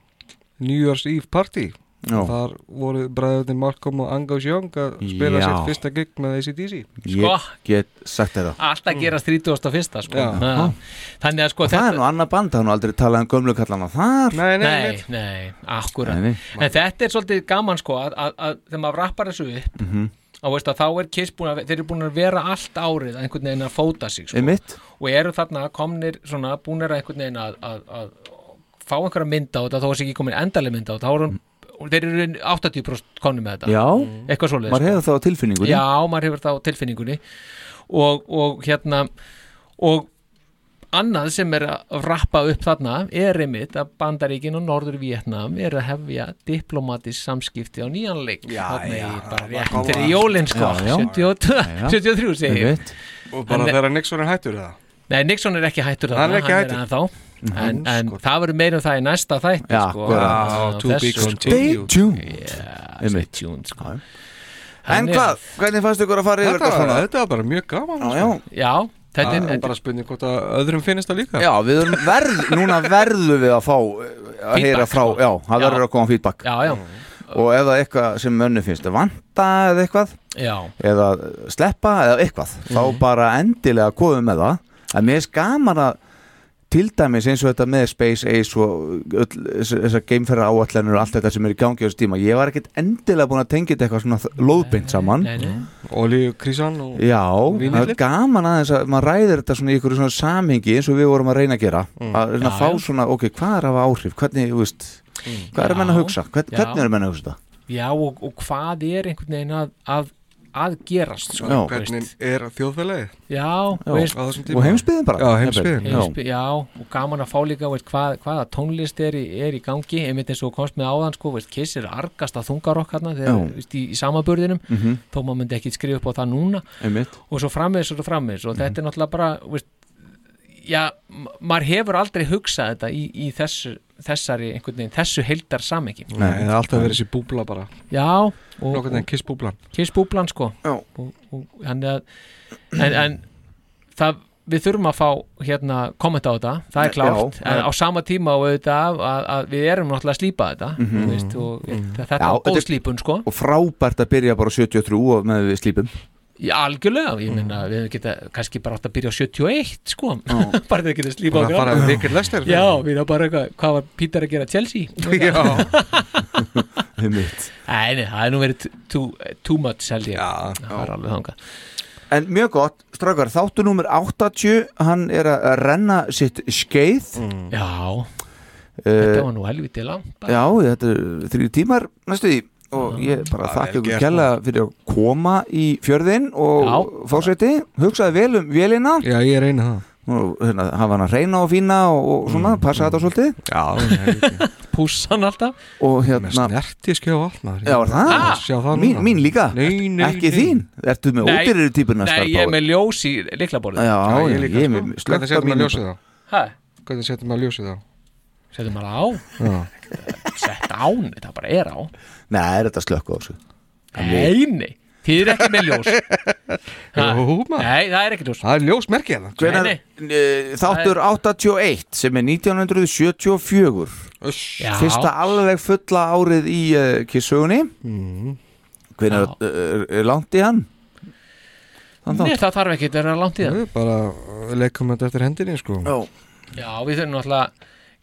[SPEAKER 4] New Year's Eve Party
[SPEAKER 2] Já.
[SPEAKER 4] Þar voru bræðurinn Malcolm og Angus Young að spila
[SPEAKER 2] Já.
[SPEAKER 4] sitt fyrsta gig með ACDC
[SPEAKER 3] sko.
[SPEAKER 2] Ég get sagt þetta
[SPEAKER 3] Alltaf gerast 31. sko
[SPEAKER 2] Já.
[SPEAKER 3] Ha. Þannig að sko
[SPEAKER 2] Og það er nú annað band, það er nú aldrei talað um gömlu kallana þar
[SPEAKER 4] Nei,
[SPEAKER 3] Nei, nei, akkurat
[SPEAKER 2] Nei, nei.
[SPEAKER 3] En þetta er svolítið gaman sko að, að, að þegar maður rappar þessu upp
[SPEAKER 2] Mhm.
[SPEAKER 3] og veist að þá er Kiss búin að þeir eru búin að vera allt árið að einhvern veginn að fóta sig sko.
[SPEAKER 2] Einmitt.
[SPEAKER 3] og eru þarna komnir svona búnir að einhvern veginn að, að, að fá einhverja mynd á þetta þó að sé ekki komin endaleg mynd á þetta þá eru og þeir eru 80% konum með þetta
[SPEAKER 2] Já,
[SPEAKER 3] eitthvað svoleiðis sko.
[SPEAKER 2] maður hefur það á tilfinningunni.
[SPEAKER 3] Mm. Já, maður hefur það á tilfinningunni og, og hérna og annað sem er að rappa upp þarna er einmitt að Bandaríkin og Norður Vietnam er að hefja diplomatisk samskipti á nýjanleik já, þarna já, bara rétt
[SPEAKER 4] kom
[SPEAKER 3] til
[SPEAKER 4] að-
[SPEAKER 3] jólinn sko
[SPEAKER 4] Já, já.
[SPEAKER 3] 72
[SPEAKER 4] Já, já.
[SPEAKER 3] 73 segi ég.
[SPEAKER 4] Einmitt. Og bara
[SPEAKER 3] En-
[SPEAKER 4] þegar Nixon er hættur eða?
[SPEAKER 3] Nei, Nixon er ekki hættur
[SPEAKER 4] Hann er
[SPEAKER 3] þarna,
[SPEAKER 4] ekki hættur.
[SPEAKER 3] ennþá En, en það verður meira um það í næsta þætti
[SPEAKER 2] Já,
[SPEAKER 3] sko,
[SPEAKER 2] akkurat.
[SPEAKER 3] Á
[SPEAKER 2] Já, to be
[SPEAKER 3] þessu- sko.
[SPEAKER 2] continued. Stay tuned.
[SPEAKER 3] Yeah,
[SPEAKER 2] Einmitt.
[SPEAKER 3] stay tuned sko.
[SPEAKER 2] En
[SPEAKER 3] Þannig
[SPEAKER 2] hvað, hvernig fannst ykkur að fara yfir
[SPEAKER 4] Þetta,
[SPEAKER 2] svona?
[SPEAKER 4] þetta var bara mjög gaman
[SPEAKER 2] Já, já.
[SPEAKER 3] Já, þetta er-
[SPEAKER 4] Það er bara spurning hvort að öðrum finnist það líka
[SPEAKER 2] Já, við erum verð, núna verðum við að fá eh, að heyra frá, já, það
[SPEAKER 3] sko. Já.
[SPEAKER 2] verður að koma feedback
[SPEAKER 3] Já, já,
[SPEAKER 2] og ef það er eitthvað sem önnu finnst vanta eða eitthvað
[SPEAKER 3] já
[SPEAKER 2] eða sleppa eða eitthvað
[SPEAKER 3] Mhm.
[SPEAKER 2] þá bara endilega komum með það að mér er skaman að til dæmis eins og þetta með Space Ace og öll þess- þessar geimferra áallanir og allt þetta sem er í gangi á þessu tíma ég var ekkert endilega búin að tengja þetta eitthvað svona þ- lóðbeint saman
[SPEAKER 4] Olíu krísan og
[SPEAKER 2] Já, það
[SPEAKER 4] Vínillinn?
[SPEAKER 2] er gaman aðeins að maður ræðir þetta svona í ykkur svona samhengi eins og við vorum að reyna að gera að reyna að
[SPEAKER 3] Mm. Já,
[SPEAKER 2] fá
[SPEAKER 3] já.
[SPEAKER 2] svona, ok, hvað er að hafa áhrif hvernig, þú veist, hvað er
[SPEAKER 3] Já.
[SPEAKER 2] menn að hugsa Hvern,
[SPEAKER 3] Já.
[SPEAKER 2] hvernig er menn að hugsa þetta
[SPEAKER 3] Já, og, og hvað er einhvern veginn að, að, að gerast sko,
[SPEAKER 2] Já.
[SPEAKER 3] þú veist.
[SPEAKER 4] Hvernig er þjóðfélagið?
[SPEAKER 3] Já,
[SPEAKER 4] Já,
[SPEAKER 3] veist,
[SPEAKER 4] á þessum tíma.
[SPEAKER 2] og heimsbyðin bara
[SPEAKER 4] Já, heimsbyggðin.
[SPEAKER 3] Heimsby- já, og gaman að fá líka veist, hvað, hvaða tónlist er í, er í gangi einmitt eins og komst með áðan sko, veist, Kiss er argast að þungar okkarna þegar,
[SPEAKER 2] Já.
[SPEAKER 3] veist, í, í samaburðinum
[SPEAKER 2] Mhm.
[SPEAKER 3] þó maður myndi ekki skrifa upp á það núna
[SPEAKER 2] Einmitt.
[SPEAKER 3] og svo frammeðis og svo frammeðis og þetta er
[SPEAKER 2] Mhm.
[SPEAKER 3] náttúrulega bara veist, já, ma- maður hefur aldrei hugsað þetta í, í þessu, þessari einhvern veginn, þessu heildar samengi
[SPEAKER 4] Nei, það er alltaf verið þessi búbla bara
[SPEAKER 3] Já og,
[SPEAKER 4] Nokkurn veginn kissbúblan.
[SPEAKER 3] Kissbúblan sko
[SPEAKER 2] og,
[SPEAKER 3] og, hann er, en, en það, við þurfum að fá hérna, kommenta á þetta, það
[SPEAKER 2] Já,
[SPEAKER 3] er klárt en
[SPEAKER 2] það-
[SPEAKER 3] á sama tíma og auðvitað að, að við erum náttúrulega að slípa þetta mm
[SPEAKER 2] Mhm.
[SPEAKER 3] veist, og mm þetta
[SPEAKER 2] Já,
[SPEAKER 3] er
[SPEAKER 2] þetta
[SPEAKER 3] góð
[SPEAKER 2] er-
[SPEAKER 3] slípun sko
[SPEAKER 2] og frábært að byrja bara á 73 og með við slípum
[SPEAKER 3] Já, algjörlega, ég minna
[SPEAKER 2] Mhm.
[SPEAKER 3] við hefum geta kannski bara átt að byrja á 71 sko, bara þegar geta slípa
[SPEAKER 4] Bara fara við Wicked Lester.
[SPEAKER 3] Já, við erum bara eitthvað, hvað var Pítar að gera Chelsea
[SPEAKER 4] Já.
[SPEAKER 2] Einmitt.
[SPEAKER 3] Nei, nei, það er nú verið too, eh, too much held ég Já, það er alveg þangað
[SPEAKER 2] Eh. en mjög gott, strákar, þáttu númer 80 hann er að renna sitt skeið
[SPEAKER 3] Já,
[SPEAKER 2] þetta
[SPEAKER 3] Mm. þetta var nú helviti langt
[SPEAKER 2] Já, þetta er þrjú tímar næstu því
[SPEAKER 3] Mm.
[SPEAKER 2] og ég bara þakka ykkur kella fyrir að koma í fjörðinn og fórsveiti, hugsaði vel um vélina
[SPEAKER 4] Já, ég reyna það
[SPEAKER 2] og hérna, hafa hann að reyna og fína og,
[SPEAKER 3] Mm.
[SPEAKER 2] og svona, passa þetta svolítið
[SPEAKER 4] Já,
[SPEAKER 3] Pússan alltaf
[SPEAKER 2] og hérna
[SPEAKER 4] Snerti skjá vatnar
[SPEAKER 2] Já, var það?
[SPEAKER 4] Ah, Sjá það
[SPEAKER 2] Ah, mín,
[SPEAKER 4] núna.
[SPEAKER 2] mín líka,
[SPEAKER 4] Nei, nei,
[SPEAKER 2] ekki
[SPEAKER 4] nei.
[SPEAKER 2] þín Ertu með
[SPEAKER 3] Nei.
[SPEAKER 2] ódýrur típuna
[SPEAKER 3] Nei, ég er með ljós í
[SPEAKER 2] Já,
[SPEAKER 3] liklaborðið
[SPEAKER 2] já, ég, ég er með
[SPEAKER 4] sko. Hvernig
[SPEAKER 2] slökta
[SPEAKER 4] setjum
[SPEAKER 2] mín
[SPEAKER 4] maður ljósið þá?
[SPEAKER 3] Hæ?
[SPEAKER 4] Hvernig setjum maður ljósið þá?
[SPEAKER 3] Setjum maður á
[SPEAKER 4] Já.
[SPEAKER 3] Sett án, þetta bara er á
[SPEAKER 2] Nei, er þetta slökka á þessu
[SPEAKER 3] Nei, nei, þið er ekki með ljós Ha?
[SPEAKER 2] Jú, maður.
[SPEAKER 3] Nei, það er ekki ljós
[SPEAKER 4] Það er hérna. ljósmerkið
[SPEAKER 2] Hvenar, eh, Þáttur 81 sem er 1974
[SPEAKER 3] Já.
[SPEAKER 2] Fyrsta alveg fulla árið í uh, kissugunni
[SPEAKER 4] Mhm.
[SPEAKER 2] mm. Hvenar er, er langt í hann? Þann
[SPEAKER 3] Nei,
[SPEAKER 2] þátt
[SPEAKER 3] það þarf ekki, þetta er langt í það
[SPEAKER 4] Við bara uh, leikum þetta eftir hendinni sko
[SPEAKER 2] Já
[SPEAKER 3] Já, við þurfum náttúrulega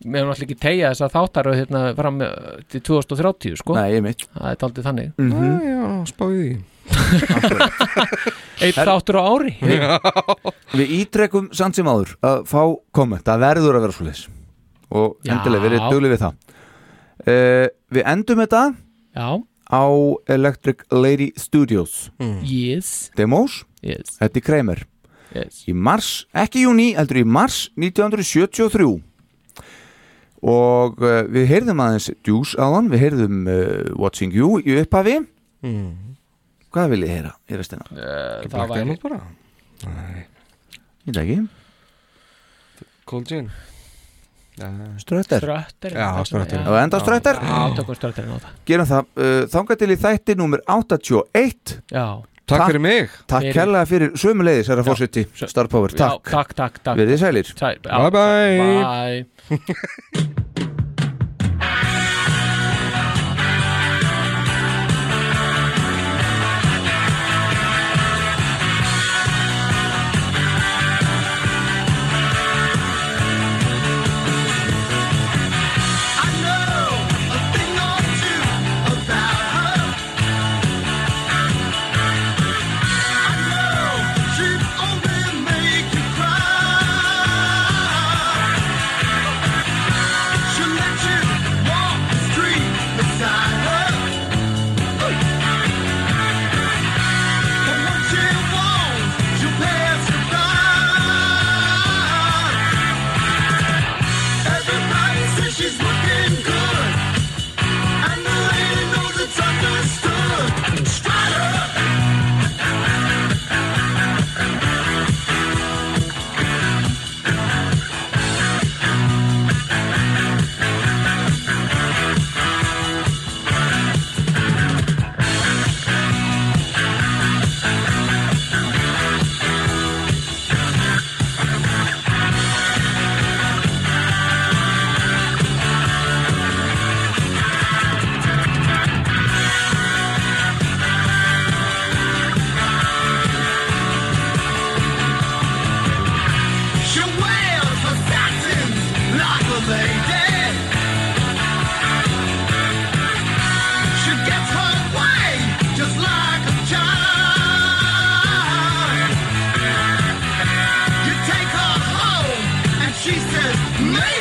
[SPEAKER 3] Við höfum náttúrulega ekki tegja þess að þáttar hérna, fram eh, til 2030 sko
[SPEAKER 2] Nei, ég mitt
[SPEAKER 3] Það er daldið þannig
[SPEAKER 2] Mhm.
[SPEAKER 4] Já, spáði því
[SPEAKER 3] Eitt þáttur á ári
[SPEAKER 2] Við ítrekum samt sem áður að fá komment, það verður að vera svo leis og
[SPEAKER 3] Já.
[SPEAKER 2] endilega verið dugli við það uh, Við endum þetta
[SPEAKER 3] Já.
[SPEAKER 2] á Electric Lady Studios
[SPEAKER 3] Yes
[SPEAKER 2] Demos
[SPEAKER 3] yes.
[SPEAKER 2] Þetta er Kramer
[SPEAKER 3] yes.
[SPEAKER 2] Í mars, ekki í júni, heldur í mars 1973 Og uh, við heyrðum aðeins Deuce áðan, við heyrðum uh, Watching You í upphafi Hvað viljið þið heyra í restina?
[SPEAKER 3] Uh,
[SPEAKER 4] Það var
[SPEAKER 3] væri-
[SPEAKER 4] bara
[SPEAKER 2] Ég veit ekki
[SPEAKER 4] Cold gin Nei.
[SPEAKER 2] Strötter.
[SPEAKER 3] Strötterinn,
[SPEAKER 4] Já,
[SPEAKER 3] þetta-
[SPEAKER 4] strötterinn.
[SPEAKER 3] já.
[SPEAKER 2] Og enda strötter
[SPEAKER 3] Já, tökum strötterinn á það
[SPEAKER 2] Gerum það, uh, þangað til í þætti númer 81
[SPEAKER 3] Já.
[SPEAKER 4] Takk fyrir mig.
[SPEAKER 2] Takk
[SPEAKER 3] Fyrir-
[SPEAKER 2] kærlega fyrir sömuleiðis, herra fórseti Star Power,
[SPEAKER 3] Já,
[SPEAKER 2] takk
[SPEAKER 3] takk, takk, takk.
[SPEAKER 2] Verið þið sælir
[SPEAKER 3] Sæl, já.
[SPEAKER 2] Bye bye.
[SPEAKER 3] Bye.
[SPEAKER 10] know a thing or two about her. Make